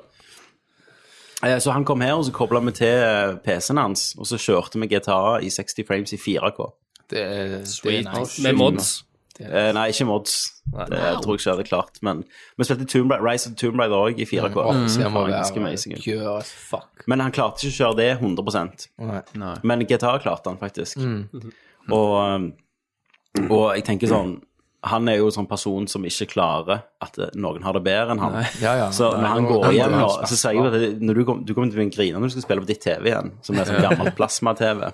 Speaker 1: Eh, Så han kom her, og så kobla vi til eh, PC-en hans, og så kjørte vi GTA i 60 frames i 4K.
Speaker 6: Det er, det er
Speaker 3: Sweet.
Speaker 6: nice.
Speaker 3: Med mods.
Speaker 1: Eh, nei, ikke mods. Det tror jeg ikke jeg hadde klart, men vi spilte Tomb Raider, Rise of the Tomb Raider òg i 4K.
Speaker 6: Det
Speaker 1: Det
Speaker 6: må
Speaker 1: var ganske amazing.
Speaker 6: være Gjør as fuck.
Speaker 1: Men han klarte ikke å kjøre det 100
Speaker 6: Nei.
Speaker 1: Men GTA klarte han faktisk.
Speaker 6: Mm.
Speaker 1: Og, um, og jeg tenker sånn Han er jo en sånn person som ikke klarer at eh, noen har det bedre enn han.
Speaker 6: Ja, ja.
Speaker 1: Så når han
Speaker 6: Nei,
Speaker 1: går
Speaker 6: han-
Speaker 1: hjem
Speaker 6: han-
Speaker 1: nå, så sier jeg jo at det- når du, kom, du kommer til å bli en griner når du skal spille på ditt TV igjen, som er sånn gammel plasma-TV.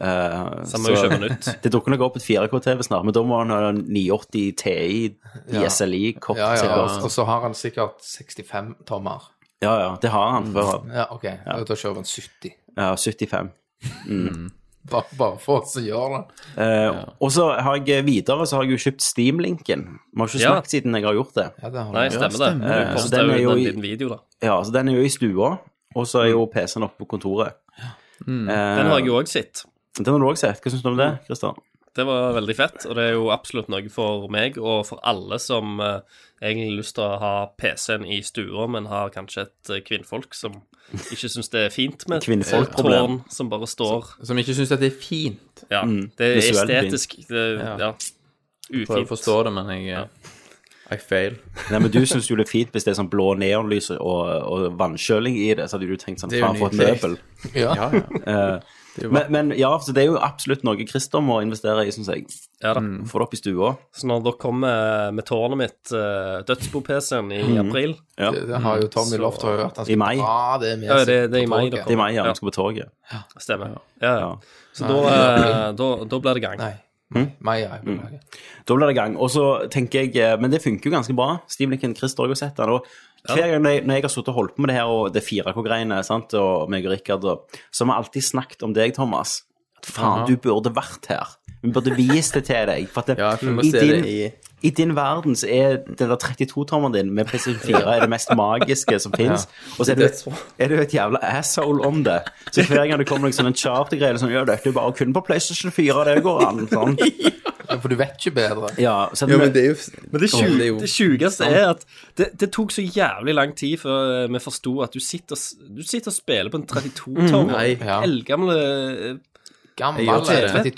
Speaker 1: Eh,
Speaker 3: Så må jo
Speaker 1: så-
Speaker 3: kjøpe nytt.
Speaker 1: det dukker nok opp et 4K-TV snart, men da må han ha en 980 TI, ISLI-kort.
Speaker 6: Ja, ja.
Speaker 1: sikkert.
Speaker 6: Og så har han sikkert 65 tommer.
Speaker 1: ja, ja, det har han før. han.
Speaker 6: Ja, OK. Da kjører han 70.
Speaker 1: Ja, 75.
Speaker 6: Bare, bare for oss som gjør det.
Speaker 1: Eh, Og så har jeg videre så har jeg jo kjøpt Steam-linken. Vi har ikke
Speaker 3: Ja.
Speaker 1: snakket siden jeg har gjort det.
Speaker 6: Ja, det har
Speaker 3: Nei,
Speaker 6: han.
Speaker 3: stemmer det. Du
Speaker 1: Så
Speaker 3: postet
Speaker 1: den er
Speaker 3: jo
Speaker 1: jo
Speaker 3: ut en
Speaker 1: i-
Speaker 3: liten video, da.
Speaker 1: Ja, så den er jo i stua, og så er jo PC-en oppe på kontoret. Eh,
Speaker 3: Den har jeg jo òg sett.
Speaker 1: den har du også sett. Hva syns du om det, Christian?
Speaker 3: Det var veldig fett, og det er jo absolutt noe for meg og for alle som eh, egentlig har lyst til å ha PC-en i stua, men har kanskje et eh, kvinnfolk som ikke syns det er fint med et eh,
Speaker 1: Kvinnfolk-problem.
Speaker 3: tårn som bare står.
Speaker 2: Som ikke syns det er fint.
Speaker 3: Ja, det er
Speaker 1: visuelt
Speaker 3: estetisk det, ja.
Speaker 2: Prøver å
Speaker 3: ufint.
Speaker 2: forstå det, men jeg eh, I fail.
Speaker 1: Nei, men Du syns jo det er fint hvis det er sånn blå neonlys og, og vannkjøling i det, så hadde du tenkt sånn
Speaker 2: Det er jo
Speaker 1: faen, for et
Speaker 2: nydelig.
Speaker 1: møbel. Eh,
Speaker 6: Ja.
Speaker 1: Men, men ja, så det er jo absolutt noe Christer må investere i, syns jeg.
Speaker 3: Ja, da.
Speaker 2: Mm.
Speaker 1: Få det opp i stua.
Speaker 3: Så når dere kommer med tårnet mitt, eh, dødsbo-PC-en, i april
Speaker 1: Ja.
Speaker 6: Det, det har jo Tommy Lofter hørt. Han skal
Speaker 1: I mai.
Speaker 6: dra det med
Speaker 3: Ja,
Speaker 6: seg
Speaker 3: det- det er i
Speaker 6: på
Speaker 3: mai,
Speaker 6: toget.
Speaker 1: Det er meg, ja.
Speaker 3: Ja.
Speaker 1: Vi skal på toget.
Speaker 3: Stemmer. Ja, ja.
Speaker 1: Ja.
Speaker 3: Så da, eh, da, da blir det gang.
Speaker 6: Nei. Maya, jeg beklager.
Speaker 1: Da blir det gang. Og så tenker jeg, eh, Men det funker jo ganske bra. Steve Lincoln Christ har jeg jo sett den. Og hver gang når jeg, når jeg har sittet og holdt på med det her, og det 4K-greiene, sant, og meg og Rikard, og- så har vi alltid snakket om deg, Thomas. At faen, du burde vært her. Vi burde vist det til deg. For at det,
Speaker 2: Ja, for vi må
Speaker 1: i,
Speaker 2: se
Speaker 1: din,
Speaker 2: det i-
Speaker 1: i din verden så er den der 32-tommeren din med PlayStation 4 er det mest magiske som finnes. Og så er du,
Speaker 2: Det tror
Speaker 1: er du et jævla asshole om det. Så hver gang det kommer noen sånne charter-greier, sånn, ja, dette er bare kun på PlayStation 4, det går an. Sånn.
Speaker 6: Ja, For du vet ikke bedre.
Speaker 1: Ja, så
Speaker 2: Ja,
Speaker 1: vi-
Speaker 2: men det er jo
Speaker 3: Men det, sju,
Speaker 2: det er jo-
Speaker 3: det sjukeste er at det, det tok så jævlig lang tid før eh, vi forsto at du sitter, og s- du sitter og spiller på en 32-tommer.
Speaker 2: Mm. Nei.
Speaker 6: Ja.
Speaker 3: Eldgamle eh,
Speaker 6: Gammel,
Speaker 2: Jeg gjør ikke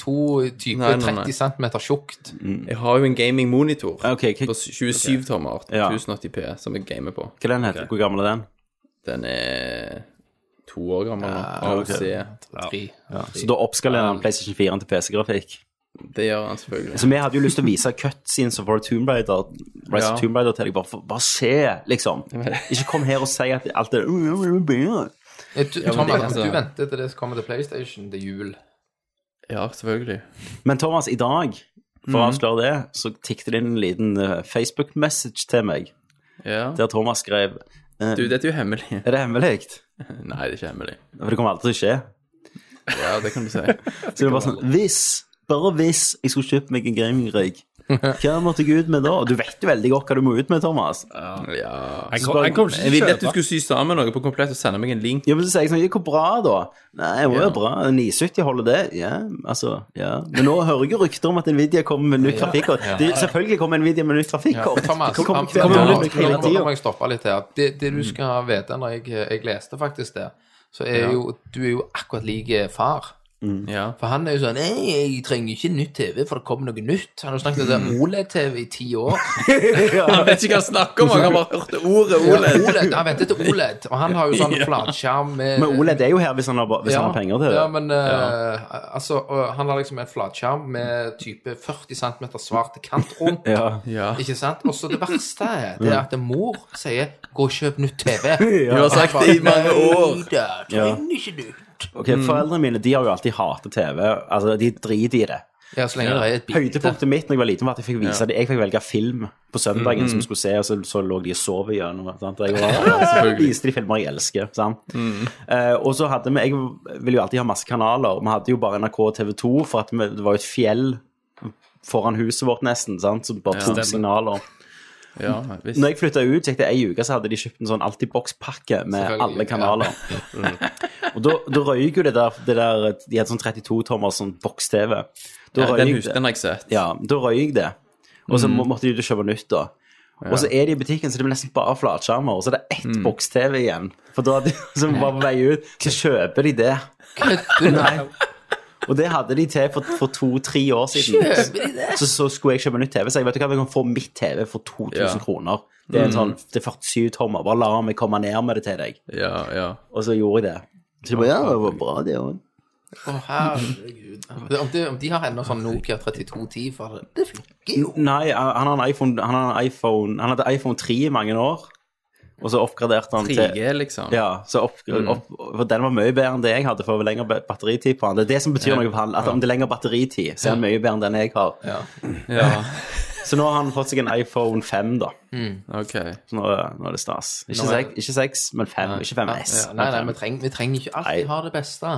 Speaker 6: 32, type
Speaker 2: Nei, nei, nei.
Speaker 6: 30 cm tjukt.
Speaker 2: Jeg har jo en gaming monitor
Speaker 1: Ok, hva,
Speaker 2: på 27 tommer,
Speaker 1: Ja.
Speaker 2: 1080p, som jeg gamer på.
Speaker 1: hva den heter Hvor gammel er den?
Speaker 2: Den er to år gammel nå. AOC.
Speaker 6: Tre.
Speaker 1: Så da oppskalerer
Speaker 2: Um,
Speaker 1: han PlayStation 4 til PC-grafikk.
Speaker 2: Det gjør han selvfølgelig.
Speaker 1: Så vi hadde jo lyst til å vise cutscenes of our Tomb Raider, Rise
Speaker 2: Ja.
Speaker 1: of Tomb Raider til deg. Bare, for, bare se, liksom. Ikke kom her og si at alt er Ja,
Speaker 6: Ja, Du, Tom,
Speaker 2: det-
Speaker 6: altså,
Speaker 2: altså-
Speaker 6: du venter til det kommer til PlayStation, det er jul.
Speaker 2: Ja, selvfølgelig.
Speaker 1: Men Thomas, i dag,
Speaker 2: Mhm.
Speaker 1: for å avsløre det, så tikket det inn en liten eh, Facebook-message til meg,
Speaker 2: Ja.
Speaker 1: der Thomas skrev eh,
Speaker 2: Du, dette er jo hemmelig.
Speaker 1: Er det hemmelig?
Speaker 2: Nei, det er ikke hemmelig.
Speaker 1: For det kommer aldri til å skje.
Speaker 2: Ja, det kan du si.
Speaker 1: Så det var sånn Hvis, bare hvis jeg skulle kjøpt meg en gamingrigg, hva måtte jeg ut med da? Og Du vet jo veldig godt hva du må ut med, Thomas.
Speaker 2: Ja.
Speaker 3: Han kom- han kommer
Speaker 2: Jeg ville
Speaker 3: ikke
Speaker 2: at du
Speaker 3: til å kjøpe.
Speaker 2: skulle sy sammen noe på komplett og sende meg en link.
Speaker 1: Ja, men så sier jeg sånn, ja, hvor bra da? Nei, det var jo bra, 970 holder det, ja, altså, ja. Men nå hører jeg jo rykter om at Nvidia kommer med nytt trafikkort. Det, selvfølgelig kommer Nvidia med nytt trafikkort.
Speaker 6: Thomas,
Speaker 1: Det kommer-
Speaker 6: han-
Speaker 1: det
Speaker 6: nå-
Speaker 1: kommer
Speaker 6: nå-
Speaker 1: nytt hele
Speaker 6: nå- nå må
Speaker 1: tiden.
Speaker 6: jeg stoppe litt her. Det, det
Speaker 2: Mm.
Speaker 6: du skal vite når jeg, jeg leste faktisk det, så er jo du er jo akkurat lik far.
Speaker 2: Ja.
Speaker 6: For han er jo sånn Nei, jeg trenger ikke nytt TV, for det kommer noe nytt. Han har jo snakket
Speaker 2: Mm.
Speaker 6: om det OLED-TV i ti år.
Speaker 2: Han vet ikke hva han snakker om, han har bare hørt ordet OLED.
Speaker 6: OLED, Han venter til OLED, og han har jo sånn flatskjerm med
Speaker 1: Men OLED er jo her hvis han har, hvis han har penger til det.
Speaker 6: Ja, men eh, altså, og han har liksom en flatskjerm med type 40 cm svart kant rundt.
Speaker 1: Ja.
Speaker 2: Ja.
Speaker 6: Ikke sant? Og så det verste er det er at mor sier 'gå og kjøp nytt TV'.
Speaker 1: Ja.
Speaker 2: Du har sagt det i mange år.
Speaker 6: Nei da, trenger ikke nytt.
Speaker 1: Ok, foreldrene mine, de har jo alltid hatet TV, altså de driter i det.
Speaker 6: Ja, så lenge det er et bilde.
Speaker 1: Høydepunktet mitt når jeg var liten var at jeg fikk vise det, jeg fikk velge film på søndagen
Speaker 2: Mm-hmm.
Speaker 1: som jeg skulle se, og så, så lå de og sov igjennom, sant? Og jeg var,
Speaker 2: selvfølgelig. Mm-hmm.
Speaker 1: viste de filmer jeg elsker, sant? Eh, og så hadde vi, jeg ville jo alltid ha masse kanaler, og vi hadde jo bare NRK og TV 2, for at vi, det var jo et fjell foran huset vårt nesten, sant? Som bare tok
Speaker 3: Stemmer.
Speaker 1: signaler.
Speaker 2: Ja, visst.
Speaker 1: Når jeg flytta ut, så gikk det ei uke, så hadde de kjøpt en sånn Altibox-pakke med
Speaker 6: Selvfølgelig,
Speaker 1: alle kanaler.
Speaker 2: Mm.
Speaker 1: Og da, da røyk jo det der, det der De hadde sånn 32-tommers sånn boks-TV. Da
Speaker 2: Ja,
Speaker 1: røyk
Speaker 2: den,
Speaker 1: det.
Speaker 2: hus, den har jeg sett.
Speaker 1: Ja, da røyk det. Og så må- måtte de ut og kjøpe nytt, da. Og så er de i butikken, så det blir nesten bare flatskjermer. Og så er det ett boks-TV igjen. For da hadde- så var på vei ut, så kjøper de det. Nei. Og det hadde de til for, for to-tre år siden. Så, så skulle jeg kjøpe nytt TV, så jeg vet du hva, jeg kan få mitt TV for 2000
Speaker 2: Ja.
Speaker 1: kroner. Det er en sånn det er 47 tommer, bare la meg komme ned med det til deg.
Speaker 2: Ja, ja.
Speaker 1: Og så gjorde jeg det. Så jeg bare, ja, det var bra det også.
Speaker 6: Å, herregud. Om de, om de har ennå sånn Nokia 3210 for det Det funker jo.
Speaker 1: Nei, han har en iPhone, han har en iPhone, han hadde iPhone 3 i mange år, og så oppgraderte han til...
Speaker 2: 3G, liksom.
Speaker 1: Ja, så opp,
Speaker 6: Mm.
Speaker 1: opp, for den var mye bedre enn det jeg hadde, for det var lengre ba- batteritid på han. Det er det som betyr noe for han, at om det er lengre batteritid, så er han mye bedre enn den jeg har.
Speaker 2: Ja,
Speaker 1: Så nå har han fått seg en iPhone 5 da.
Speaker 2: ok.
Speaker 1: Så nå, er- nå er det stas. Ikke, seks, ikke 6, men 5, ikke 5S.
Speaker 6: Ja, nei, nei, vi trenger, vi trenger ikke alltid ha det beste.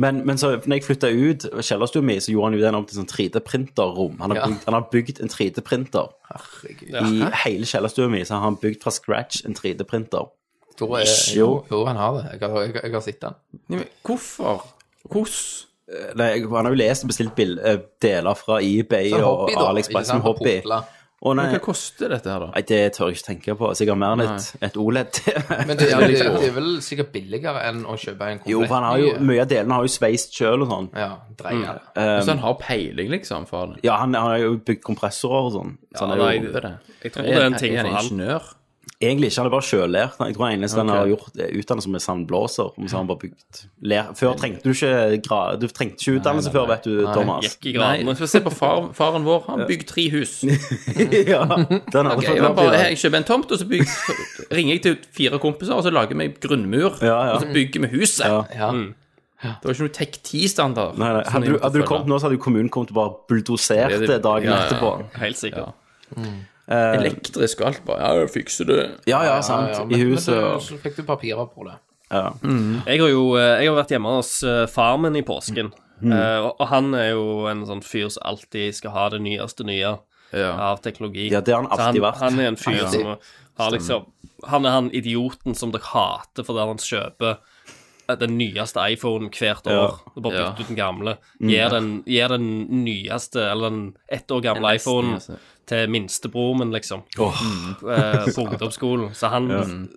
Speaker 1: Men, men så, når jeg flytta ut kjellerstua mi, så gjorde han jo den om til sånn 3D-printerrom. Han, har
Speaker 6: Ja.
Speaker 1: bygd- han har bygd en 3D-printer
Speaker 6: Herregud.
Speaker 1: i hele kjellerstua mi. Så har han bygd fra scratch en 3D-printer.
Speaker 6: Da er, jo,
Speaker 1: Jo.
Speaker 6: jo, han har det. Jeg har, jeg, jeg har sett den.
Speaker 2: Nei, men Hvorfor? Hvordan?
Speaker 1: Eh, Nei, jeg- han har jo lest og bestilt bil, eh, deler fra eBay
Speaker 6: Så en
Speaker 1: og
Speaker 6: hobby, da, ikke
Speaker 1: AliExpress som
Speaker 6: sant, å
Speaker 1: hobby.
Speaker 6: potle.
Speaker 1: Å
Speaker 2: Men
Speaker 1: nei,
Speaker 2: Hva koster dette her, da?
Speaker 1: nei, det tør jeg ikke tenke på. Sikkert mer enn et, et E OLED-TV.
Speaker 6: Men det, er- det, det er vel sikkert billigere enn å kjøpe en komplett
Speaker 1: Jo, for han har jo,
Speaker 6: ny- eh,
Speaker 1: mye av delene har jo sveist sjøl og sånn.
Speaker 6: Ja, dreier det.
Speaker 1: Um,
Speaker 2: så han har peiling, liksom, for det?
Speaker 1: Ja, han, han har jo bygd kompressorer og sånn. Så han er jo
Speaker 3: nei,
Speaker 2: Det er det.
Speaker 3: Jeg tror det er en ting
Speaker 2: han
Speaker 3: for han.
Speaker 2: ingeniør.
Speaker 1: Egentlig ikke, han er bare sjøllært. Jeg tror eneste han
Speaker 2: Ok.
Speaker 1: har gjort, er utdannet som en sandblåser. men Så har han bare bygd lær. Før trengte du ikke, gra- du trengte ikke utdannelse før, vet du, Thomas.
Speaker 3: Gikk i
Speaker 2: Nei,
Speaker 3: gradene.
Speaker 2: for se på far, faren vår. Han bygde tre hus.
Speaker 1: ja, den hadde
Speaker 2: Jeg,
Speaker 1: fått
Speaker 2: var
Speaker 1: opp i
Speaker 2: bare,
Speaker 1: det.
Speaker 2: jeg kjøper en tomt, og så bygger, ringer jeg til fire kompiser, og så lager vi grunnmur.
Speaker 1: Ja, ja.
Speaker 3: Mm.
Speaker 2: Og så bygger vi huset.
Speaker 1: Ja.
Speaker 6: Ja.
Speaker 2: Det var ikke noe Tech-10-standard.
Speaker 1: Nei, nei. Hadde, du, hadde du kommet nå, så hadde jo kommunen kommet og bare bulldosert det dagen
Speaker 2: Sånn Ja, ja, ja.
Speaker 1: etterpå.
Speaker 3: Helt sikkert.
Speaker 2: Elektrisk og alt, bare. Ja, jeg fikser det.
Speaker 1: Ja, ja, sant.
Speaker 6: Ja,
Speaker 1: I
Speaker 6: men, men
Speaker 1: huset
Speaker 6: så,
Speaker 1: og
Speaker 6: så fikk du papirer på det.
Speaker 1: ja.
Speaker 3: Jeg har jo eh, jeg har vært hjemme hos eh, far min i påsken.
Speaker 1: Mm.
Speaker 3: Eh, og- og han er jo en sånn fyr som alltid skal ha det nyeste nye
Speaker 2: Ja.
Speaker 3: av teknologi.
Speaker 1: Ja, det har han
Speaker 3: Så
Speaker 1: alltid vært.
Speaker 3: Han er en fyr
Speaker 6: Ja.
Speaker 3: som har liksom Han er han idioten som dere hater fordi han kjøper eh, den nyeste iPhonen hvert
Speaker 1: Ja. Mm.
Speaker 3: år. Og bare
Speaker 2: Ja.
Speaker 3: bytter ut den gamle. Gir den, gir den nyeste, eller den ett år gamle iPhonen
Speaker 2: altså.
Speaker 3: til minstebror min, liksom. Eh, på ungdomsskolen. Så han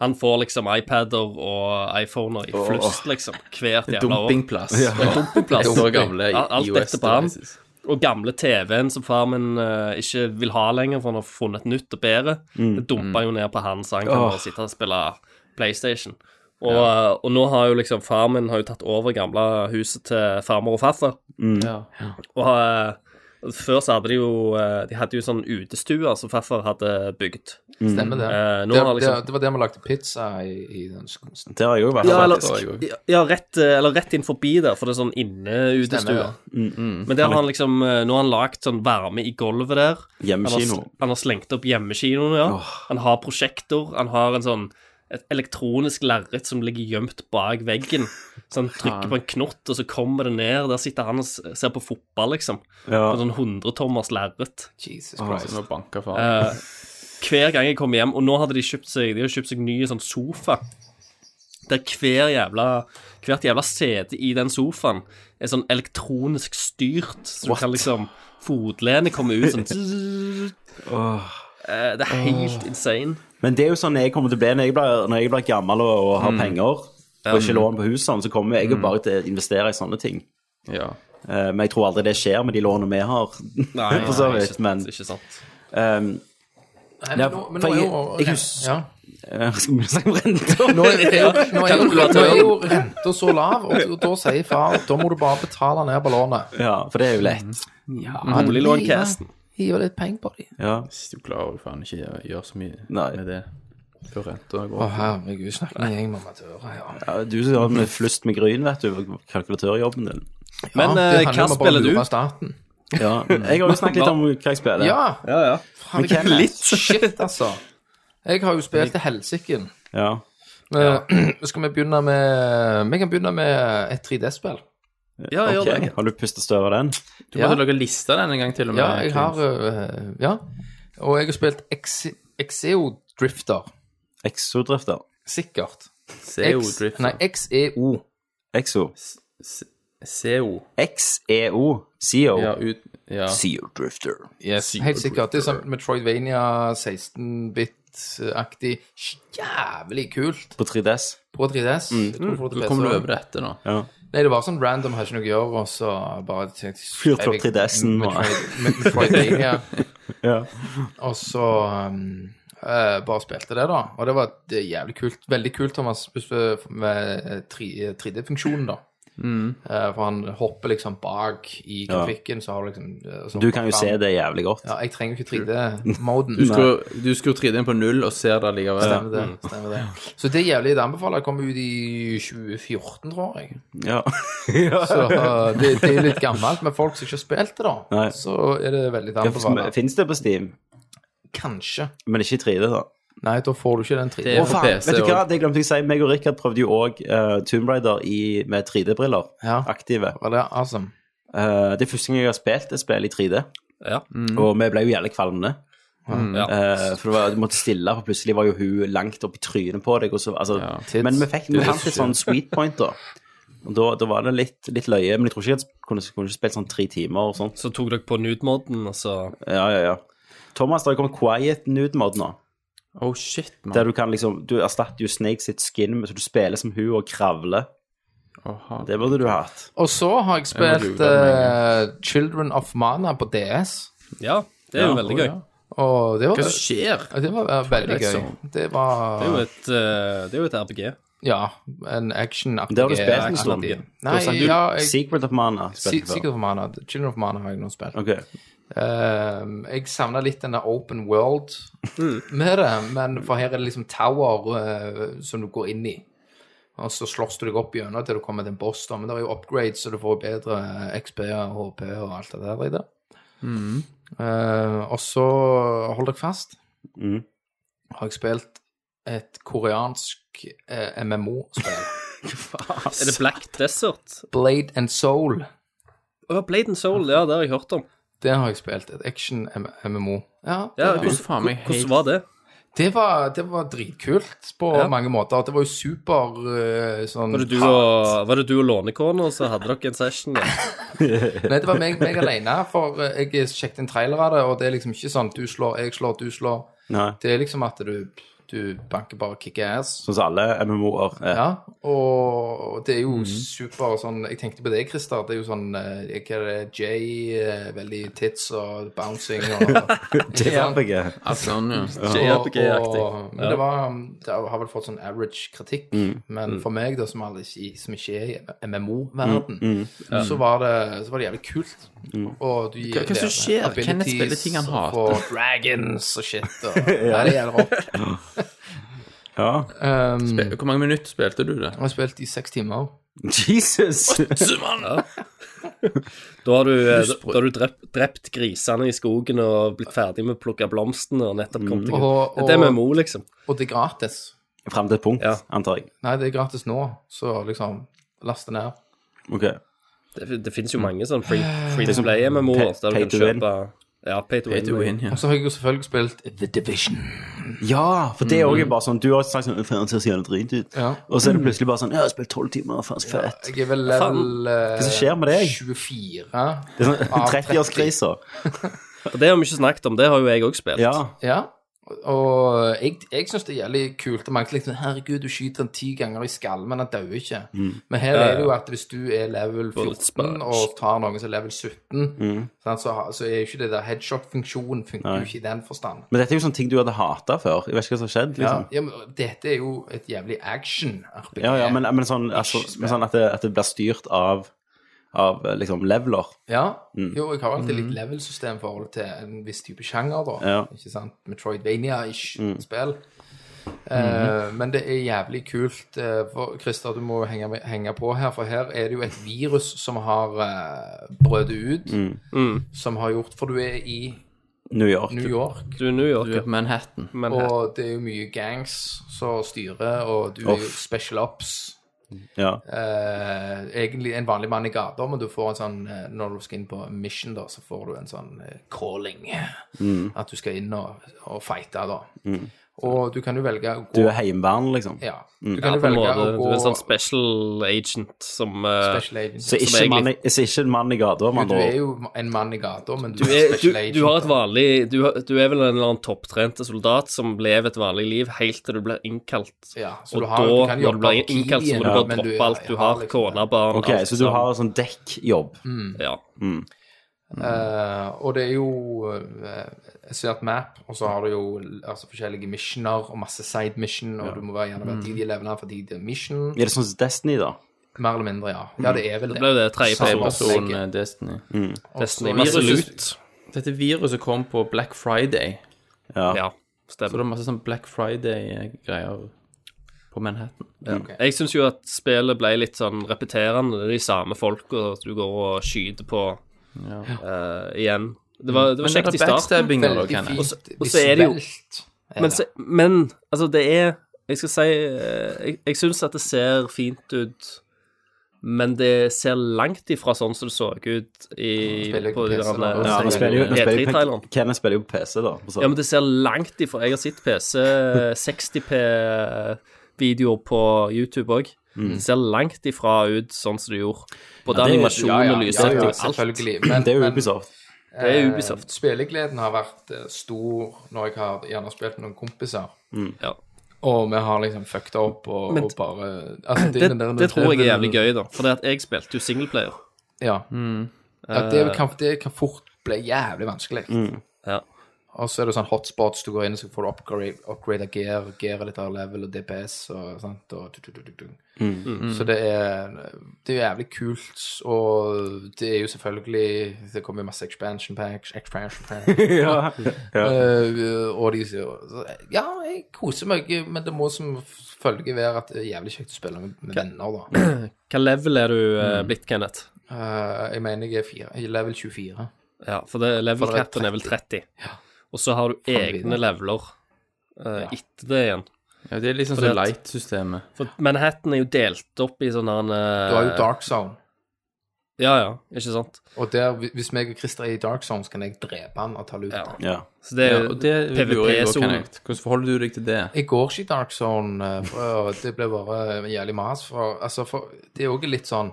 Speaker 3: Han får liksom iPader og iPhoner i flust, liksom, hvert jævla år.
Speaker 2: Dumpingplass. Dumpingplass.
Speaker 3: Dumping.
Speaker 2: Etter gamle
Speaker 3: Alt- alt
Speaker 2: iOS
Speaker 3: dette på ham.
Speaker 2: devices.
Speaker 3: Og gamle TV-en som far min eh, ikke vil ha lenger, for han har funnet et nytt og bedre. Det dumpa jo ned på han, så han kan bare sitte og spille PlayStation. Og, eh, og nå har jo liksom far min har jo tatt over gamle huset til farmor og farfar.
Speaker 1: Mm.
Speaker 2: Ja.
Speaker 3: Og eh, før så hadde de jo eh, De hadde jo sånn utestue som farfar hadde bygd.
Speaker 6: Stemmer
Speaker 1: Mm.
Speaker 6: det.
Speaker 3: Eh, nå
Speaker 6: det,
Speaker 3: har liksom-
Speaker 6: det. Det var der vi lagde pizza i, i den skolen.
Speaker 1: Det har jeg jo vært.
Speaker 3: Ja, eller,
Speaker 2: det tror jeg
Speaker 3: ja rett, eh, eller rett inn forbi der, for det er sånn inne-utestue.
Speaker 6: Stemmer,
Speaker 1: Mm,
Speaker 3: Men der har han liksom eh, Nå har han lagt sånn varme i gulvet der.
Speaker 1: Hjemmekino.
Speaker 3: Han har, han har slengt opp hjemmekinoen, ja. Han har prosjektor. Han har en sånn et elektronisk lerret som ligger gjemt bak veggen. Så han trykker på en knott, og så kommer det ned. Der sitter han og s- ser på fotball, liksom.
Speaker 1: Ja.
Speaker 3: På sånn 100-tommers lerret.
Speaker 6: Jesus
Speaker 2: Så
Speaker 6: Christ.
Speaker 2: nå banker far.
Speaker 3: Eh, hver gang jeg kommer hjem, og nå hadde de kjøpt seg De har kjøpt seg ny sånn sofa. Der hver jævla, hvert jævla sete i den sofaen er sånn elektronisk styrt. Så du kan liksom Fotlenet kommer ut sånn Eh, Det er helt insane.
Speaker 1: Men det er jo sånn jeg kommer til å bli når jeg blir, når jeg blir gammel og, og har penger, og ikke lån på huset, sånn, så kommer jeg jo bare til å investere i sånne ting.
Speaker 2: Ja.
Speaker 1: Eh, Men jeg tror aldri det skjer med de lånene vi har. for så vidt,
Speaker 3: ikke,
Speaker 1: men
Speaker 3: ikke sant.
Speaker 1: ehm,
Speaker 6: Nei,
Speaker 1: Ja,
Speaker 6: men nå- men
Speaker 1: for
Speaker 6: nå er
Speaker 1: jeg-
Speaker 6: jo-
Speaker 1: jeg husker-
Speaker 6: ja.
Speaker 1: eh, Skal vi snakke om renter?
Speaker 6: Nå er, er, jo- nå er, jo-
Speaker 3: Kalkulatøren.
Speaker 6: nå er jo renta så lav, og da- da sier far da må du bare betale ned på lånet.
Speaker 1: Ja, for det er jo lett.
Speaker 3: Boliglåncasten.
Speaker 6: Hiv litt penger på dem.
Speaker 1: Ja.
Speaker 2: Hvis du klarer jo faen ikke å gjøre så mye
Speaker 1: Nei.
Speaker 2: med det før renta
Speaker 6: Å,
Speaker 2: går opp.
Speaker 6: herregud, snakk med en gjeng med amatører, ja.
Speaker 1: Ja, Du som har med flust med gryn, vet du, kalkulatørjobben din.
Speaker 3: Men
Speaker 6: Ja,
Speaker 3: eh,
Speaker 6: det handler
Speaker 3: hva
Speaker 6: om å bare
Speaker 3: spiller du?
Speaker 6: lure staten.
Speaker 1: Ja. Jeg har jo snakket litt om hva jeg spiller.
Speaker 6: Ja,
Speaker 3: ja.
Speaker 6: faen,
Speaker 1: Men
Speaker 6: jeg-
Speaker 1: litt.
Speaker 6: Shit, altså. Jeg har jo spilt til helsiken.
Speaker 1: Ja.
Speaker 6: Men, Skal vi begynne med Vi kan begynne med et 3D-spill.
Speaker 3: Ja, gjør
Speaker 1: Ok,
Speaker 3: det.
Speaker 1: Har du pustet støv av den?
Speaker 2: Du
Speaker 6: Ja.
Speaker 2: måtte lage liste denne gang til og med.
Speaker 6: Ja, jeg har øh, Ja. Og jeg har spilt Exe- Exeo Drifter.
Speaker 1: Exodrifter.
Speaker 6: Sikkert.
Speaker 2: CO
Speaker 6: X-
Speaker 2: Drift.
Speaker 6: Nei, XEO.
Speaker 1: Exo.
Speaker 2: CO.
Speaker 1: XEO. CO.
Speaker 2: Ja, ut Ja.
Speaker 1: CO Drifter.
Speaker 6: Yes, helt sikkert. Det er sånn Metroidvania 16-bit-aktig. Jævlig kult
Speaker 1: På 3DS.
Speaker 6: på 3DS. Jeg tror du får det
Speaker 2: Så
Speaker 6: til
Speaker 2: kommer du
Speaker 6: PC.
Speaker 2: over dette nå.
Speaker 6: altså. Nei, det var sånn random, har ikke noe å gjøre, og så bare tenkte
Speaker 1: Fyrt opp 3DS-en og-
Speaker 6: og
Speaker 1: Ja.
Speaker 6: Og så um, eh, bare spilte det, da. Og det var det er jævlig kult. Veldig kult, Thomas, med, med eh, 3D-funksjonen, da. Eh, for han hopper liksom bak i grafikken, så har du liksom eh, så
Speaker 1: Du kan jo
Speaker 6: fram.
Speaker 1: se det jævlig godt.
Speaker 6: Ja, jeg trenger jo ikke 3D-moden.
Speaker 2: Du skrur- Du skrur 3D-en på null og ser det likevel.
Speaker 6: Stemmer det. stemmer det. Så det er jævlig det anbefaler. Jeg kom ut i 2014, tror jeg.
Speaker 1: Ja.
Speaker 6: Så eh, det, det er litt gammelt, men folk som ikke har spilt det, da,
Speaker 1: Nei.
Speaker 6: så er det veldig det
Speaker 1: ja.
Speaker 6: anbefaler.
Speaker 1: Fins det på Steam?
Speaker 6: Kanskje.
Speaker 1: Men ikke i 3D, da.
Speaker 6: Nei, da får du ikke den 3D.
Speaker 2: Det er
Speaker 6: Å,
Speaker 2: på
Speaker 6: faen.
Speaker 2: PC
Speaker 1: Vet du hva,
Speaker 2: og
Speaker 1: det glemte jeg å si. Meg og Rikard prøvde jo òg Tomb Raider i, med 3D-briller.
Speaker 6: Ja.
Speaker 1: Aktive.
Speaker 6: Var det awesome?
Speaker 1: Eh, det er første gang jeg har spilt et spill i 3D,
Speaker 3: Ja.
Speaker 1: og vi ble jo jævlig kvalme.
Speaker 3: Ja.
Speaker 1: Eh, for det var, du måtte stille, for plutselig var jo hun langt opp i trynet på deg. Og så, altså,
Speaker 6: Tids.
Speaker 1: Men vi fikk vi fant et sånn sweet point, da. Og da, da var det litt, litt løye. Men jeg tror ikke jeg kunne, kunne ikke spilt sånn tre timer og sånt.
Speaker 3: Så tok dere på nude-moden, og så
Speaker 1: Ja, ja, ja. Thomas, det har kommet quiet nude mode nå.
Speaker 2: Oh shit,
Speaker 1: Der
Speaker 2: mann.
Speaker 1: du kan liksom Du erstatter jo Snake sitt skin, men så du spiller som hun og kravler.
Speaker 2: Åha.
Speaker 1: Det burde du ha hatt.
Speaker 6: Og så har jeg
Speaker 2: Jeg må
Speaker 6: spilt
Speaker 2: lure
Speaker 6: eh, Children of Mana på DS,
Speaker 3: Ja, det er jo veldig gøy.
Speaker 2: ja.
Speaker 6: og det var,
Speaker 2: Hva skjer?
Speaker 6: det var eh, veldig
Speaker 2: Twilight
Speaker 6: gøy.
Speaker 2: Zone.
Speaker 6: Det var
Speaker 3: Det er jo et, eh, det er jo et RPG.
Speaker 6: Ja, en action-aktig
Speaker 1: Det har du spilt en
Speaker 6: action-
Speaker 1: stund.
Speaker 6: Nei, ja, jeg,
Speaker 1: Secret of Mana.
Speaker 6: si-
Speaker 1: spilte du før.
Speaker 6: Secret of Mana. Children of Mana har jeg nå spilt.
Speaker 1: Ok.
Speaker 6: Ehm, jeg savna litt den der open world med det, men for her er det liksom tower eh, som du går inn i. Og så slåss du deg opp gjennom til du kommer til en boss, da. Men det er jo upgrades, så du får bedre eh, XP og HP og alt det der i det. Eh, og så hold dere fast.
Speaker 1: Mhm.
Speaker 6: Har jeg spilt et koreansk eh, MMO-spill.
Speaker 3: Er det Black Desert?
Speaker 6: Blade and Soul.
Speaker 3: Å, Blade and Soul, ja, det har jeg hørt om.
Speaker 6: Det har jeg spilt. Et action-MMO. Ja, det,
Speaker 3: Ja,
Speaker 6: var-
Speaker 2: Du, faen meg, helt-
Speaker 3: Hvordan var det?
Speaker 6: det, var, det var dritkult på
Speaker 3: Ja.
Speaker 6: mange måter. Det var jo super eh, sånn
Speaker 3: Var det du og, var det du og lånekona, og så hadde dere en session? da?
Speaker 6: Nei, det var meg, meg alene, for eh, jeg sjekket en trailer av det, og det er liksom ikke sånn du slår, jeg slår, du slår.
Speaker 1: Nei.
Speaker 6: Det er liksom at du, du banker bare kicker ass.
Speaker 1: Sånn som alle MMO-er. Eh,
Speaker 6: Ja, og det er
Speaker 3: Mhm.
Speaker 6: jo super sånn Jeg tenkte på det, Christer. Det er jo sånn eh, Hva er det? Jay, eh, veldig tits og bouncing og
Speaker 1: det er RPG.
Speaker 2: Ja, sånn, ja.
Speaker 3: JRPG-aktig.
Speaker 6: Og- Men det, var, um, det har vel fått sånn average kritikk, men for meg, da, som, aldri, ikke- som ikke er i MMO-verden, så, var det, så var det jævlig kult. Og du gir
Speaker 2: Hva- hva som skjer? Kenneth spiller ting han hater.
Speaker 6: Og får dragons og shit. Og, Nei, det gjelder opp.
Speaker 1: Ja.
Speaker 6: Um,
Speaker 2: Hvor mange minutter spilte du det?
Speaker 6: jeg har spilt i seks timer.
Speaker 1: Jesus!
Speaker 3: Da har du, eh, da har du drept, drept grisene i skogen og blitt ferdig med å plukke blomstene og nettopp kommet deg
Speaker 6: Mm. Og-
Speaker 3: ut. Det er
Speaker 6: og-
Speaker 3: med Mo, liksom.
Speaker 6: Og det er gratis.
Speaker 1: Fram til et punkt,
Speaker 3: Ja.
Speaker 1: antar jeg.
Speaker 6: Nei, det er gratis nå, så liksom Last det ned.
Speaker 1: Ok.
Speaker 3: Det, det finnes jo mange sånne free,
Speaker 6: Eh.
Speaker 3: free
Speaker 6: Liksom
Speaker 3: to play-MMO-er der du
Speaker 1: Pay
Speaker 3: kan
Speaker 1: to win.
Speaker 3: kjøpe Ja, pay to win.
Speaker 2: Pay to win, ja.
Speaker 6: Og så har jeg jo selvfølgelig spilt The Division.
Speaker 1: Ja, for det er også bare sånn Du har sagt sånn Det ser så jævlig drit ut.
Speaker 6: Mhm. Ja.
Speaker 1: Og så er det plutselig bare sånn Ja, jeg har spilt tolv timer, faen så fett.
Speaker 6: Jeg er vel level eh,
Speaker 1: Hva som skjer med deg?
Speaker 6: 24.
Speaker 1: Det er sånn
Speaker 6: Av
Speaker 1: 30-årskrisa.
Speaker 3: Og Det har vi ikke snakket om, det har jo jeg òg spilt.
Speaker 1: Ja.
Speaker 6: Ja. Og jeg, jeg syns det er jævlig kult. Og mange liksom, herregud, du skyter den ti ganger i skallen, men han dauer ikke.
Speaker 1: Mm.
Speaker 6: Men her er det jo at hvis du er level
Speaker 3: Bullet
Speaker 6: 14
Speaker 3: sponge.
Speaker 6: og tar noen som er level 17,
Speaker 1: Mm.
Speaker 6: sant, så, har- så er jo ikke det der headshot-funksjonen funker jo ikke i den forstand.
Speaker 1: Men dette er jo sånn ting du hadde hata før. Jeg vet ikke hva som har skjedd,
Speaker 6: Ja,
Speaker 1: liksom.
Speaker 6: ja, men dette er jo et jævlig action-RPG.
Speaker 1: Ja, ja, men, men sånn, altså, men sånn at, det, at det blir styrt av, av eh, liksom leveler.
Speaker 6: Ja, jo, jeg har alltid litt level-system i forhold til en viss type sjanger, da.
Speaker 1: Ja.
Speaker 6: Ikke sant? Metroidvania-ish spill. Eh, men det er jævlig kult. eh, for, Christer, du må jo henge, med- henge på her, for her er det jo et virus som har uh, brødet ut. Som har gjort For du er i
Speaker 1: New York.
Speaker 6: New York,
Speaker 3: Du er New
Speaker 2: Du er
Speaker 3: York,
Speaker 2: på Manhattan.
Speaker 3: men
Speaker 6: og det er jo mye gangs som styrer, og du er jo special ops.
Speaker 1: Ja.
Speaker 6: eh, egentlig en vanlig mann i gata, men du får en sånn eh, Når du skal inn på mission, da, så får du en sånn eh, calling.
Speaker 1: Mm.
Speaker 6: At du skal inn og, og fighte, da. Og du kan jo velge å
Speaker 1: Du
Speaker 6: gå
Speaker 1: er heimevern, liksom.
Speaker 6: Ja. Du
Speaker 3: ja,
Speaker 6: kan jo
Speaker 3: på en
Speaker 6: velge
Speaker 3: måte.
Speaker 6: å
Speaker 3: Du
Speaker 6: gå
Speaker 3: er en sånn special agent som eh,
Speaker 6: special agent.
Speaker 1: Så ikke,
Speaker 3: egentlig-
Speaker 1: mann i, så ikke en mann i gata, med
Speaker 6: du
Speaker 1: andre
Speaker 6: er
Speaker 1: ord.
Speaker 6: jo en mann i gata, men du,
Speaker 3: du,
Speaker 6: er
Speaker 3: er, Eh, du,
Speaker 6: special agent.
Speaker 3: du har et
Speaker 6: da.
Speaker 3: vanlig du, har- du er vel en eller annen topptrente soldat som lever et vanlig liv helt til du blir innkalt.
Speaker 6: Ja, så
Speaker 3: og
Speaker 6: du har-
Speaker 3: da,
Speaker 6: du kan
Speaker 3: når du
Speaker 6: jobbe
Speaker 3: blir
Speaker 6: på tidlig
Speaker 3: innkalt, så må du
Speaker 6: igjen,
Speaker 3: bare
Speaker 6: men du
Speaker 3: droppe
Speaker 6: er-
Speaker 3: alt. Du
Speaker 6: jeg har
Speaker 3: har
Speaker 6: liksom-
Speaker 3: kone, barn
Speaker 1: Ok,
Speaker 3: alt
Speaker 1: så du
Speaker 3: sånn.
Speaker 1: har sånn dekkjobb.
Speaker 6: Mm.
Speaker 3: Ja.
Speaker 6: Eh, og det er jo eh, Jeg ser et map, og så har du jo altså, forskjellige missioner og masse side mission, og du må være gjerne
Speaker 3: Mm.
Speaker 6: være tidlig i levende for tidlig i mission.
Speaker 1: Er det sånn som Destiny, da?
Speaker 6: Mer eller mindre, ja. Ja, det er vel det.
Speaker 3: Det ble det tredje
Speaker 6: Samme
Speaker 3: person.
Speaker 6: person.
Speaker 2: Person eh, Destiny.
Speaker 3: Destiny.
Speaker 6: Og så-
Speaker 3: Masse
Speaker 2: Viruset-
Speaker 3: lut.
Speaker 2: Dette viruset kom på Black Friday.
Speaker 3: Ja,
Speaker 2: Så
Speaker 3: stemmer.
Speaker 2: det er masse sånn Black Friday-greier på Manhattan.
Speaker 3: Jeg syns jo at spillet ble litt sånn repeterende. Det er de samme folka du går og skyter på eh, igjen. Det var, det var
Speaker 2: Men det
Speaker 3: kjekt
Speaker 2: er
Speaker 3: i starten.
Speaker 2: backstabbing nå, da,
Speaker 6: Veldig
Speaker 2: Kenneth.
Speaker 6: fint.
Speaker 3: Og så- og så er det jo-
Speaker 6: visuelt eh, er
Speaker 3: Men,
Speaker 6: det.
Speaker 3: se- men altså, det er Jeg skal si eh, Jeg, jeg syns at det ser fint ut, men det ser langt ifra sånn som det så ut i,
Speaker 6: spiller jo
Speaker 3: på
Speaker 6: på
Speaker 3: de
Speaker 6: PC,
Speaker 3: der,
Speaker 6: da.
Speaker 1: Ja,
Speaker 6: Ja,
Speaker 1: nå spiller jo, nå spiller jo,
Speaker 3: E3-traileren.
Speaker 1: på- Kenneth spiller jo på PC, da. på sånn.
Speaker 3: Ja, men det ser langt ifra. Jeg har sett PC 60P-videoer på YouTube òg. Det ser langt ifra ut sånn som det gjorde. Både
Speaker 1: Ja, det er-
Speaker 3: animasjon
Speaker 1: ja,
Speaker 3: og
Speaker 6: ja,
Speaker 3: lyssetting
Speaker 6: ja,
Speaker 3: og alt.
Speaker 6: selvfølgelig. Men,
Speaker 1: det er jo
Speaker 6: men,
Speaker 1: Ubisoft.
Speaker 3: Det er
Speaker 6: eh,
Speaker 3: Ubisoft.
Speaker 6: Spillegleden har vært eh, stor når jeg har gjerne spilt med noen kompiser.
Speaker 3: Ja.
Speaker 6: Og vi har liksom fucka opp og, og bare altså,
Speaker 3: Det,
Speaker 6: den der
Speaker 3: det tror jeg er
Speaker 6: nødvendigheten-
Speaker 3: jævlig gøy, da. For det at jeg spilte jo singleplayer.
Speaker 1: Mm. Eh,
Speaker 6: Ja. ja det, kan, det kan fort bli jævlig vanskelig.
Speaker 3: Ja.
Speaker 6: Og så er det sånn hotspots du går inn, og så får du upgrade, upgrade gear, gear er litt av level og DPS og sånt. Og du, du, du, du, du.
Speaker 1: Mm.
Speaker 6: Så det er, det er jævlig kult, og det er jo selvfølgelig Det kommer jo masse expansion packs, expansion packs
Speaker 1: ja. ja.
Speaker 6: Eh, og de sier så, Ja, jeg koser meg, men det må som følge være at det er jævlig kjekt å spille med, med venner, da.
Speaker 3: Hva level er du eh, blitt, Kenneth?
Speaker 6: Eh, jeg mener jeg er fire, jeg er level 24.
Speaker 3: Ja, for det, level
Speaker 6: For det er
Speaker 3: 13 er vel 30. Og så har du egne
Speaker 6: videre. leveler.
Speaker 3: eh, etter det igjen.
Speaker 2: Ja, det er liksom
Speaker 3: Fordi
Speaker 2: sånn
Speaker 3: at-
Speaker 2: light-systemet.
Speaker 3: For Manhattan er jo delt opp i sånne her, eh,
Speaker 6: Du har jo dark zone.
Speaker 3: Ja, ja, ikke sant?
Speaker 6: Og der, hvi- hvis meg og Christer er i dark zone, så kan jeg drepe han og ta lut.
Speaker 3: Ja.
Speaker 1: ja.
Speaker 3: Så det er
Speaker 2: Ja,
Speaker 3: jo
Speaker 2: og det lurer jeg på,
Speaker 3: PVP-sonen.
Speaker 2: Kenneth. Hvordan forholder du deg til det?
Speaker 6: Jeg går ikke i dark zone, eh, for og det ble bare jævlig mas. For, altså, for det er jo også litt sånn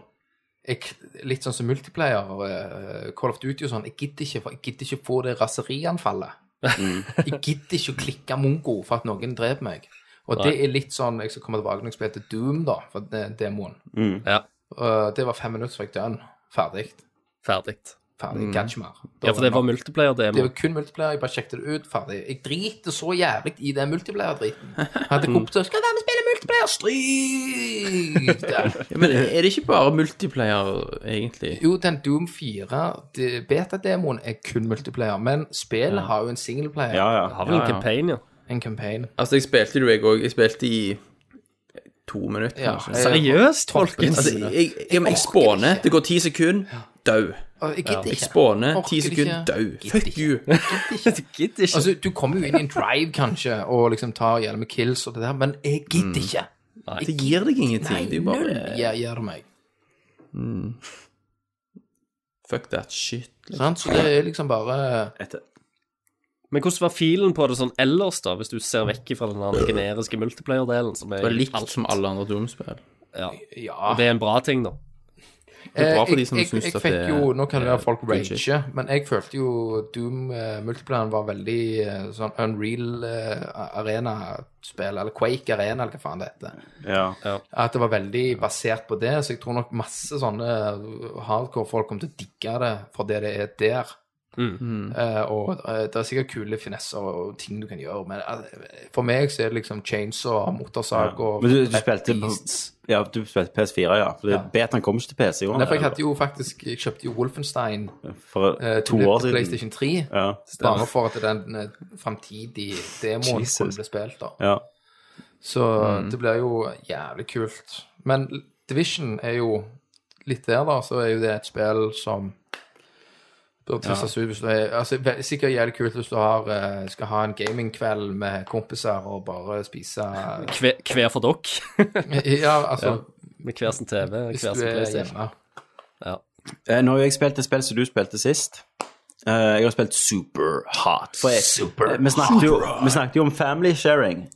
Speaker 6: jeg, Litt sånn som multiplayer, eh, Call of Duty og sånn. Jeg gidder ikke, for jeg gidder ikke få det raserianfallet.
Speaker 3: Mm.
Speaker 6: jeg gidder ikke å klikke mongo for at noen dreper meg. Og det er litt sånn Jeg skal komme tilbake når jeg spiller til Doom, da, for det- demoen.
Speaker 3: Ja,
Speaker 6: Eh, det var fem minutter, så var jeg dønn. Ferdig.
Speaker 3: ferdig.
Speaker 6: Ferdig. Gadd ikke mer. Da
Speaker 3: Mm. Ja, for det
Speaker 6: nok.
Speaker 3: var multiplayer-demo.
Speaker 6: Det var kun multiplayer, jeg bare sjekket det ut, ferdig. Jeg driter så jævlig i den multiplayer-driten. Hadde kompiser Skal være med og spille multiplayer? Stryk! der.
Speaker 2: Ja, men er det ikke bare multiplayer, egentlig?
Speaker 6: Jo, den Doom 4 det- beta-demoen er kun multiplayer, men spillet har jo en singleplayer,
Speaker 1: ja, ja.
Speaker 3: har vel en campaign, ja.
Speaker 6: en campaign.
Speaker 2: Altså, jeg spilte jo, jeg òg. Jeg spilte i to minutter.
Speaker 6: Ja,
Speaker 2: kanskje.
Speaker 6: jeg-
Speaker 3: Seriøst, folkens?
Speaker 2: Altså, jeg, jeg, jeg, jeg spåner. Det går ti sekunder, dau.
Speaker 6: Og Jeg gidder ikke.
Speaker 2: Spåner,
Speaker 6: Orker
Speaker 2: ti
Speaker 6: ikke.
Speaker 2: sekunder, dau.
Speaker 6: Gidder
Speaker 2: Fuck
Speaker 6: ikke.
Speaker 2: you.
Speaker 3: Gidder ikke.
Speaker 6: Altså, du kommer jo inn i en drive, kanskje, og liksom tar gjennom kills og det der, men jeg gidder ikke.
Speaker 2: Det gir deg ingenting. Det er jo bare
Speaker 6: Ja, gjør det meg.
Speaker 2: Fuck that shit.
Speaker 6: Sant? Så det er liksom bare
Speaker 1: Et-
Speaker 3: Men hvordan var filen på det sånn ellers, da, hvis du ser vekk fra den der generiske multiplayer-delen, som er
Speaker 2: Det var likt
Speaker 3: alt?
Speaker 2: som alle andre Doom-spill.
Speaker 3: Ja.
Speaker 6: Ja.
Speaker 3: Det er en bra ting, da.
Speaker 2: Det er bra for
Speaker 6: Eh,
Speaker 2: de som
Speaker 6: jeg,
Speaker 2: syns
Speaker 6: jeg,
Speaker 2: at
Speaker 6: jeg fikk
Speaker 2: det er-
Speaker 6: jo, Nå kan det være folk
Speaker 2: er good
Speaker 6: rage, men jeg følte jo Doom eh, Multiplayeren var veldig eh, sånn Unreal eh, Arena-spill, eller Quake Arena, eller hva faen det heter.
Speaker 1: ja.
Speaker 6: At det var veldig basert på det, så jeg tror nok masse sånne eh, hardcore folk kommer til å digge det for det det er der.
Speaker 2: Mm.
Speaker 6: Eh, og eh, det er sikkert kule finesser og ting du kan gjøre, men eh, for meg så er det liksom chainsaw, motorsag og
Speaker 1: Men du, du
Speaker 6: Fat
Speaker 1: spilte på-
Speaker 6: Beasts.
Speaker 1: Ja, du spilte PS4, ja. For det- Betaen kom ikke til PC i år.
Speaker 6: Nei, for jeg hadde jo faktisk Jeg kjøpte jo Wolfenstein
Speaker 1: For
Speaker 6: eh,
Speaker 1: to
Speaker 6: til
Speaker 1: år siden.
Speaker 6: PlayStation 3.
Speaker 1: Ja.
Speaker 6: Bare for at den eh, fremtidige demoen
Speaker 1: Jesus. Mm.
Speaker 6: kunne bli spilt, da.
Speaker 1: ja.
Speaker 6: Så det blir jo jævlig kult. Men Division er jo litt der, da, så er jo det et spill som bør testes ut hvis du er altså, ve- Sikkert jævlig kult hvis du har, eh, skal ha en gamingkveld med kompiser og bare spise
Speaker 3: Hver, hver for dere,
Speaker 6: Ja, altså
Speaker 3: med hver sin TV,
Speaker 6: Hvis
Speaker 3: hver
Speaker 6: du
Speaker 3: sin
Speaker 6: er
Speaker 3: PlayStation.
Speaker 6: hjemme.
Speaker 1: Eh, Nå har jeg spilt et spill som du spilte sist. Eh, jeg har spilt Super Hot. For jeg, eh, vi, snakket jo, vi snakket jo om family sharing.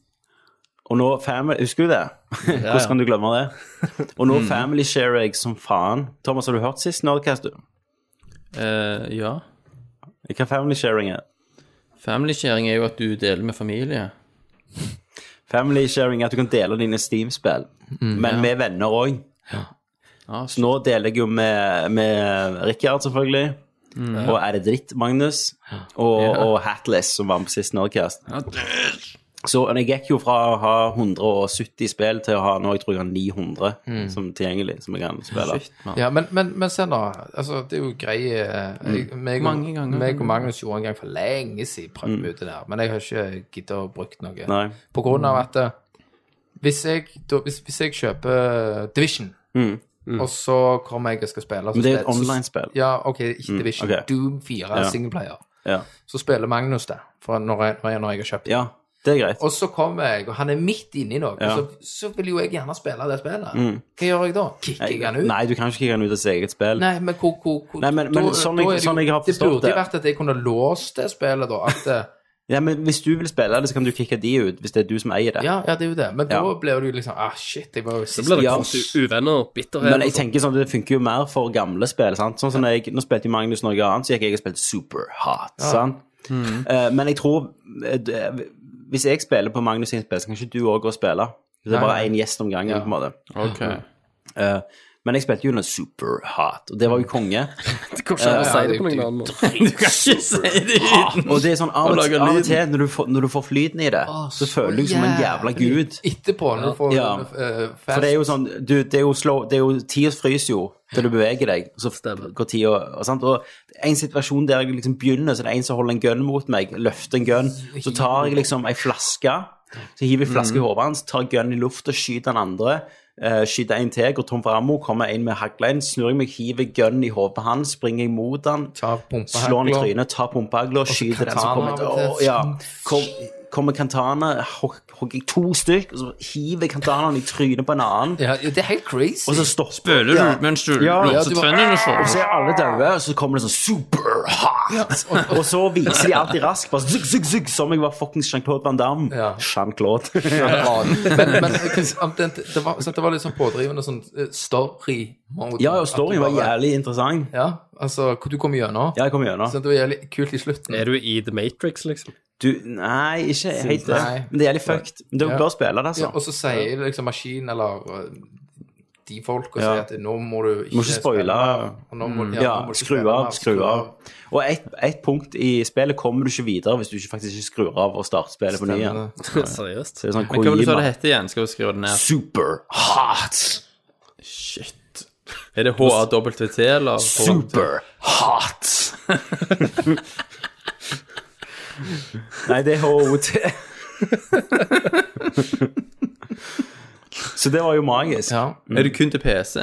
Speaker 1: Og nå family, Husker du det? Hvordan kan du glemme det? Og nå family sharer jeg som faen. Thomas, har du hørt sist Nerdcast? du?
Speaker 2: Eh, ja.
Speaker 1: Hva family sharing er?
Speaker 2: Family sharing er jo at du deler med familie.
Speaker 1: Family sharing er at du kan dele dine Steam-spill,
Speaker 6: Mm.
Speaker 1: men med venner òg.
Speaker 2: Ah,
Speaker 1: Så nå deler jeg jo med, med Rikard, selvfølgelig.
Speaker 6: Mm.
Speaker 1: Og er det dritt, Magnus? Og, og Hatless, som var med på sist Nerdcast. Så jeg gikk jo fra å ha 170 spill til å ha nå jeg tror jeg har 900
Speaker 6: Mm.
Speaker 1: som tilgjengelig. som jeg kan spille.
Speaker 2: Shit, mann.
Speaker 6: Ja, men, men, men se nå, altså, det er jo greie
Speaker 1: Mm.
Speaker 6: jeg, meg, og,
Speaker 2: Mange ganger.
Speaker 6: meg og Magnus gjorde en gang for lenge siden prøvde vi ut det der, men jeg har ikke giddet å bruke noe.
Speaker 1: Mm. Nei. Mm.
Speaker 6: På grunn av at eh, hvis jeg, da, hvis, hvis jeg kjøper Division, og så kommer jeg og skal spille så
Speaker 1: Mm. Men det er et
Speaker 6: spiller- så-
Speaker 1: online-spill. Mm,
Speaker 6: Ja, OK, ikke Division.
Speaker 1: ok.
Speaker 6: Doom 4
Speaker 1: Ja.
Speaker 6: singleplayer.
Speaker 1: Ja.
Speaker 6: Så spiller Magnus det, for når jeg, når jeg, når jeg har kjøpt det.
Speaker 1: ja, det er greit.
Speaker 6: Og så kommer jeg, og han er midt inni noe,
Speaker 1: Ja. Mm.
Speaker 6: så, så vil jo jeg gjerne spille det spillet. Hva gjør jeg da? Kicker jeg han ut?
Speaker 1: Nei, du kan ikke kikke den ut av sitt eget spill.
Speaker 6: Nei, men hvor, hvor, hvor
Speaker 1: Nei, men- men sånn jeg-
Speaker 6: er det jo-
Speaker 1: sånn jeg har
Speaker 6: Det
Speaker 1: forstått
Speaker 6: burde
Speaker 1: det.
Speaker 6: jo vært at jeg kunne låst det spillet, da. At, eh,
Speaker 1: Ja, men Hvis du vil spille det, så kan du kikke de ut, hvis det er du som eier det.
Speaker 6: ja, ja, det er jo det. Men da
Speaker 1: Ja.
Speaker 6: ble du liksom Ah, shit, jeg var jo
Speaker 3: Så
Speaker 6: sist.
Speaker 3: blir det
Speaker 1: Ja.
Speaker 3: fort uvenner, bitterhet
Speaker 1: Men
Speaker 3: og
Speaker 1: jeg
Speaker 3: sånn.
Speaker 1: tenker sånn, det funker jo mer for gamle spill. sant? Sånn som når jeg, Nå spilte jo Magnus noe annet, så gikk jeg og spilte Super Hot. sant? Eh, men jeg tror eh, det- Hvis jeg spiller på Magnus sin spill, så kan ikke du òg gå og spille. Det er bare
Speaker 6: Nei.
Speaker 1: én gjest om gangen. på en måte.
Speaker 2: Ok.
Speaker 1: Eh, Men jeg spilte jo noe superhot, og det var jo konge.
Speaker 3: Det går ikke an å Eh, si det på noen annen måte.
Speaker 2: Du kan ikke si det uten
Speaker 1: Og det er sånn av og,
Speaker 2: Og lager
Speaker 1: av og
Speaker 2: lyden.
Speaker 1: til, når du, får, når du får flyten i det, så føler du deg som en jævla gud.
Speaker 6: Etterpå, når du får
Speaker 1: Ja.
Speaker 6: eh, fast-
Speaker 1: For det er jo sånn du, Det er jo, slow, det er jo Tida fryser jo til du beveger deg, og så går tida og, sant? og en situasjon der jeg liksom begynner, så er det en som holder en gun mot meg, løfter en gun, så tar jeg liksom ei flaske, så hiver
Speaker 6: Mm.
Speaker 1: jeg flaske i hodet hans, tar gun i lufta, skyter den andre, eh, skyter en til, går tom for ammo, kommer en med haglein, snur jeg meg, hiver gun i hodet hans, springer jeg mot han,
Speaker 6: Tar pumpehagler.
Speaker 1: slår han i trynet, tar pumpehagla, skyter den som
Speaker 6: katana
Speaker 1: kommer
Speaker 6: av og til.
Speaker 1: Åh, ja. Kom, kommer kantana, hog- hogger jeg to stykk, og så hiver jeg kantanaen i trynet på en annen.
Speaker 6: ja, ja, det er helt crazy.
Speaker 1: Og så stopper
Speaker 2: Føler
Speaker 1: Ja.
Speaker 2: du mens du
Speaker 1: Ja, ja,
Speaker 2: låser
Speaker 6: du bare-
Speaker 2: tennene
Speaker 1: Og så
Speaker 2: sånn?
Speaker 1: er alle døde, og så kommer det sånn super hot. og, og så viser de alltid raskt, bare zugg, zugg, zugg, som om jeg var fuckings Jean-Claude Van Damme.
Speaker 6: Ja.
Speaker 1: Jean-Claude.
Speaker 6: men, men om det, det, var, sant, det var litt sånn pådrivende sånn eh, story-mode.
Speaker 1: ja, og
Speaker 6: At
Speaker 1: storyen
Speaker 6: du
Speaker 1: var
Speaker 6: bare-
Speaker 1: jævlig interessant.
Speaker 6: Ja, altså, hvor du kom gjennom.
Speaker 1: Ja, jeg kom gjennom.
Speaker 6: Så det var jævlig kult i slutten.
Speaker 3: Er du i The Matrix, liksom?
Speaker 1: Du, nei, ikke helt det.
Speaker 6: Nei.
Speaker 1: Men det er jævlig fucked. Men du
Speaker 6: Ja.
Speaker 1: bør spille det,
Speaker 6: Ja, og
Speaker 1: altså.
Speaker 6: så sier det liksom maskin eller eh, de folk og
Speaker 1: Ja.
Speaker 6: sier at nå må du ikke,
Speaker 1: Må ikke spoile. Mm.
Speaker 6: spille mer, og nå må-
Speaker 1: Ja,
Speaker 6: nå må du ikke
Speaker 1: skru
Speaker 6: spille
Speaker 1: av,
Speaker 6: mer,
Speaker 1: skru av. Og et, et punkt i spillet kommer du ikke videre hvis du ikke faktisk ikke skrur av og starter spillet på ny igjen.
Speaker 6: Stemmer det.
Speaker 3: Seriøst?
Speaker 1: Så det er
Speaker 2: Men
Speaker 1: sånn
Speaker 2: hva var det du sa det
Speaker 1: Kojima.
Speaker 2: hette igjen? Skal vi skrive det ned?
Speaker 1: Super hot!
Speaker 2: Shit. Er det HAWT, eller?
Speaker 1: Super hot! Nei, det er HOT. Så det var jo magisk.
Speaker 6: Ja.
Speaker 2: Er det kun til PC?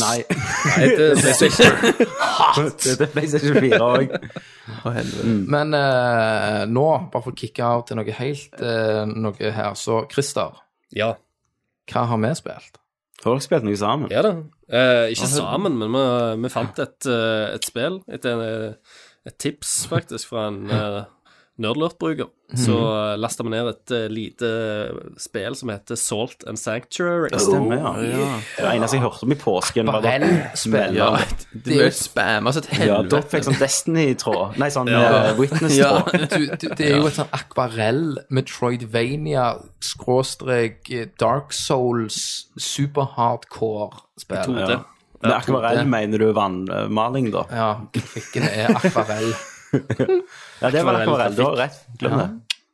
Speaker 1: Nei,
Speaker 3: Nei,
Speaker 1: det er PlayStation 4 òg.
Speaker 2: Å, helvete.
Speaker 6: Men eh, nå, bare for å kicke av til noe helt eh, noe her, så Christer,
Speaker 3: ja.
Speaker 6: hva har vi spilt?
Speaker 1: Har dere spilt noe sammen?
Speaker 3: Ja da. Eh, ikke
Speaker 1: Altså-
Speaker 3: sammen, men vi, vi fant et, eh, et spill etter en, et tips, faktisk, fra en uh, Nerdlurt-bruker.
Speaker 1: Mhm.
Speaker 3: Så uh, lasta vi ned et eh, lite spill som heter Salt and Sanctuary.
Speaker 1: Stemmer, ja. Det var eneste jeg hørte om i påsken, var
Speaker 6: Bare
Speaker 1: det
Speaker 6: spill.
Speaker 2: Ja,
Speaker 1: Ja.
Speaker 2: du ble spamma som et
Speaker 1: Ja, Dot fikk
Speaker 2: helvete.
Speaker 1: sånn Destiny-tråd. Nei, sånn
Speaker 2: Ja.
Speaker 1: eh, Witness-tråd.
Speaker 6: Du, du, det er jo et sånn akvarell Metroidvania skråstrek eh, Dark Souls super hardcore spill.
Speaker 1: Ja. Men akvarell mener du vannmaling, da?
Speaker 6: Ja, grafikken er akvarell.
Speaker 1: Ja, det
Speaker 3: Akvarell,
Speaker 1: var akvarell. Du har rett. Glem det.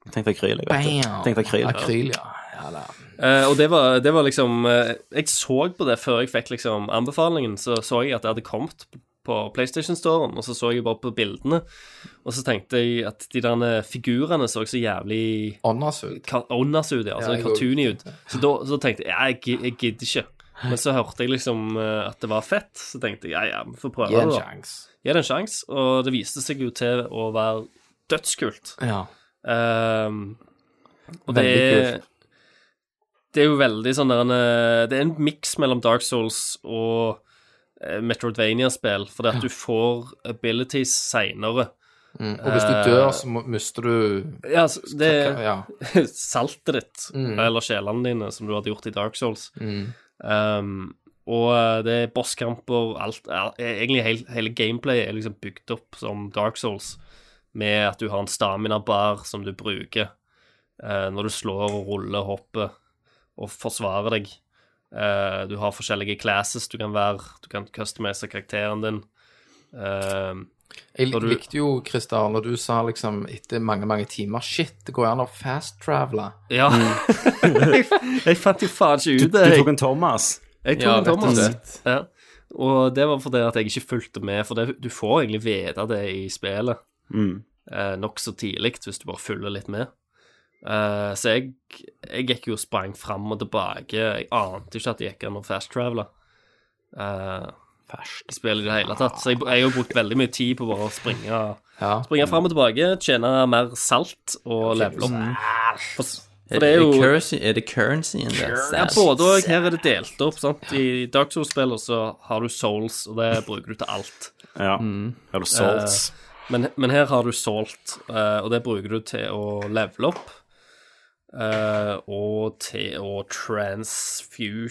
Speaker 1: Jeg tenkte akryl. jeg, vet du. Jeg Tenkte akryl.
Speaker 6: Akryl, ja. ja da.
Speaker 3: Eh, og det var, det var liksom eh, Jeg så på det før jeg fikk liksom anbefalingen. Så så jeg at det hadde kommet på PlayStation-storen, og så så jeg bare på bildene. Og så tenkte jeg at de der figurene så så jævlig
Speaker 6: Åndasugd.
Speaker 3: Ka- Åndas ut, ja. Altså
Speaker 6: Ja, jeg
Speaker 3: cartoony ut. Så da så tenkte jeg ja, jeg, gi- jeg gidder ikke. Men så hørte jeg liksom eh, at det var fett, så tenkte jeg ja, ja, vi får prøve
Speaker 6: Gi en
Speaker 3: det. da.
Speaker 6: sjanse.
Speaker 3: Gi det en sjanse. Og det viste seg jo til å være dødskult.
Speaker 6: Ja.
Speaker 3: Ehm, og det
Speaker 6: Veldig
Speaker 3: er Det er jo veldig sånn der en eh, Det er en miks mellom Dark Souls og eh, Metroidvania-spill, fordi at du får abilities seinere.
Speaker 6: Mm. Og hvis du dør, så må, mister du
Speaker 3: Ja, altså, Eh, det
Speaker 6: ja.
Speaker 3: saltet ditt,
Speaker 1: Mm.
Speaker 3: eller sjelene dine, som du hadde gjort i Dark Souls. Um, og eh, det er bosskamper, alt er, er Egentlig hele, hele gameplayet er liksom bygd opp som Dark Souls, med at du har en stamina-bar som du bruker eh, når du slår og ruller, hopper og forsvarer deg. Eh, du har forskjellige classes du kan være, du kan customize karakteren din. Um,
Speaker 6: Jeg
Speaker 3: Når du-
Speaker 6: likte jo, Christer, når du sa liksom etter mange, mange timer Shit, det går an å fast-travele.
Speaker 3: ja jeg, jeg fant jo faen ikke
Speaker 1: Mm. Du,
Speaker 3: ut
Speaker 1: du
Speaker 3: det. jeg.
Speaker 1: tok en Thomas.
Speaker 3: Jeg tok
Speaker 2: Ja,
Speaker 3: en
Speaker 2: rett og
Speaker 3: Thomas.
Speaker 2: slett.
Speaker 3: Ja. Og det var fordi at jeg ikke fulgte med, for det, du får egentlig vite det i spillet
Speaker 1: Mm.
Speaker 3: eh, nokså tidlig hvis du bare følger litt med. Eh, så jeg, jeg gikk jo og sprang fram og tilbake. Jeg ante ikke at det gikk an å fast-travele. Eh, i spillet i det hele tatt. Så jeg, jeg har jo brukt veldig mye tid på bare å springe,
Speaker 6: Ja.
Speaker 3: springe fram og tilbake, tjene mer salt og level opp. For,
Speaker 2: Er
Speaker 3: for det er jo
Speaker 2: currency- Er det currencyen der?
Speaker 3: ja, både og. Her er det delt opp. sant? I Dark Souls-spillene så har du souls, og det bruker du til alt.
Speaker 1: Ja. Eller Salts.
Speaker 3: Men, men her har du salt, eh, og det bruker du til å levele opp. eh, og til å transfusjone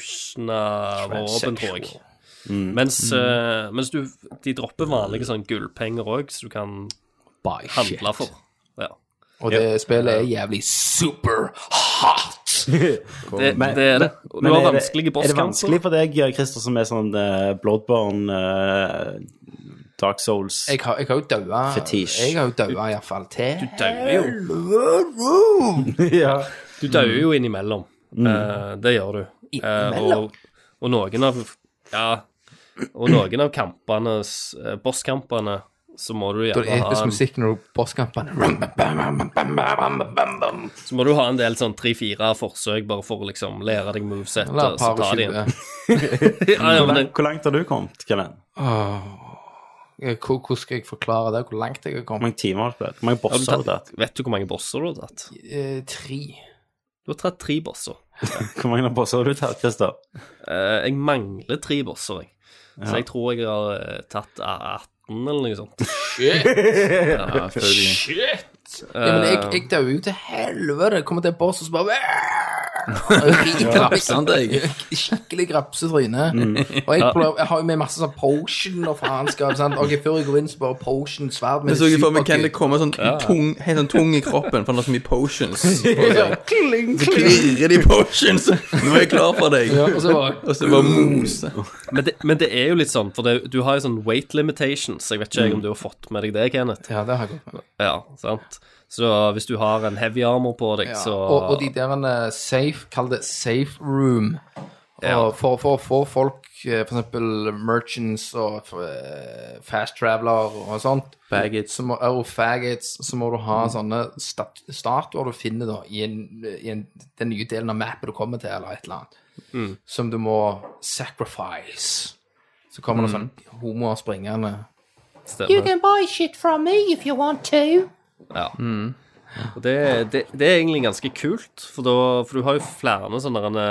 Speaker 3: våpen, tror jeg.
Speaker 1: Mm.
Speaker 3: Mens, eh, mens du De dropper vanlige sånn gullpenger òg, så du kan handle for. Ja.
Speaker 6: Og det spillet er jævlig super hot.
Speaker 3: Det,
Speaker 1: Men-
Speaker 3: det er det. Du
Speaker 1: Men
Speaker 3: har
Speaker 1: er det-
Speaker 3: vanskelige
Speaker 1: Er det
Speaker 3: bosskamper.
Speaker 1: vanskelig for deg, Christer, som er sånn eh, Bloodborne, eh, Dark Souls
Speaker 6: Jeg har, jeg har jo daua
Speaker 1: Fetisj.
Speaker 6: Jeg har jo daua iallfall til
Speaker 3: Du dauer jo.
Speaker 1: ja.
Speaker 3: Du dauer
Speaker 6: Mm.
Speaker 3: jo innimellom. Eh, det gjør du. Eh, og, og noen av Ja. Og noen av kampene, s- eh, bosskampene, så må du
Speaker 6: Da er det
Speaker 3: gjerne ha
Speaker 6: episk
Speaker 3: en,
Speaker 6: musikk når du bosskampene
Speaker 3: så må du ha en del sånn tre-fire forsøk bare for å liksom lære deg movesettet,
Speaker 6: Eller
Speaker 3: og så
Speaker 6: par og
Speaker 3: ta de
Speaker 6: tjue.
Speaker 3: igjen. Ja, ja,
Speaker 1: Hvor
Speaker 3: men
Speaker 1: langt-
Speaker 3: det,
Speaker 1: Hvor langt har du kommet, Kellen?
Speaker 6: Eh, hvor- Hvordan skal jeg forklare det, hvor langt jeg har
Speaker 1: Hvor
Speaker 6: kommet?
Speaker 1: mange timer har du spilt? Hvor
Speaker 3: har
Speaker 1: mange
Speaker 3: du
Speaker 1: bosser har du tatt?
Speaker 3: tatt, vet du hvor mange bosser du har tatt?
Speaker 6: Eh, tre.
Speaker 3: Du har tatt tre bosser.
Speaker 1: Hvor mange bosser har du tatt, Christer?
Speaker 3: Eh, jeg mangler tre bosser, jeg. Så jeg tror jeg har eh, tatt eh, 18 eller noe sånt.
Speaker 2: Ja, selvfølgelig. Eh.
Speaker 6: Ja, men jeg, jeg dauer jo til helvete. Kommer til en boss og så bare
Speaker 2: Grapser han deg?
Speaker 6: Skikkelig grapsetryne.
Speaker 2: Mm.
Speaker 6: Og jeg, prøver, jeg har jo med masse sånn potion og faenskap. sant? Ok, Før jeg går inn, så bare potion, sverd
Speaker 2: Jeg
Speaker 6: med
Speaker 2: så ikke for meg Ken det
Speaker 6: superkutt.
Speaker 2: komme sånn tung, helt sånn tung i kroppen, for han har så mye potions. Så
Speaker 6: Ja, kling, kling.
Speaker 2: klirrer de potions. Nå er jeg klar for deg.
Speaker 6: Ja, og så bare
Speaker 2: Og så bare mose.
Speaker 3: Men det, men det er jo litt sånn, for det, du har jo sånn weight limitations. Jeg vet ikke
Speaker 6: Mm.
Speaker 3: jeg om du har fått med deg det, Kenneth.
Speaker 6: Ja, det har jeg gått med.
Speaker 3: Ja, sant? Så hvis du har en heavy armor på deg,
Speaker 6: Ja.
Speaker 3: så
Speaker 6: Og, og de der en eh, safe, kall det safe room. Og for for å få folk, eh, for eksempel merchants og eh, fast traveler og sånt,
Speaker 2: Baggage.
Speaker 6: så må, og faggots, så må du ha sånne stat statuer du finner da, i, en, i en, den nye delen av mappet du kommer til, eller et eller annet, som du må sacrifice. Så kommer det sånn sånne homoer springende.
Speaker 7: You
Speaker 3: stemmer.
Speaker 7: can buy shit from me if you want to.
Speaker 3: Ja.
Speaker 6: Mm.
Speaker 3: Og det, det, det er egentlig ganske kult, for, da, for du har jo flere sånne derne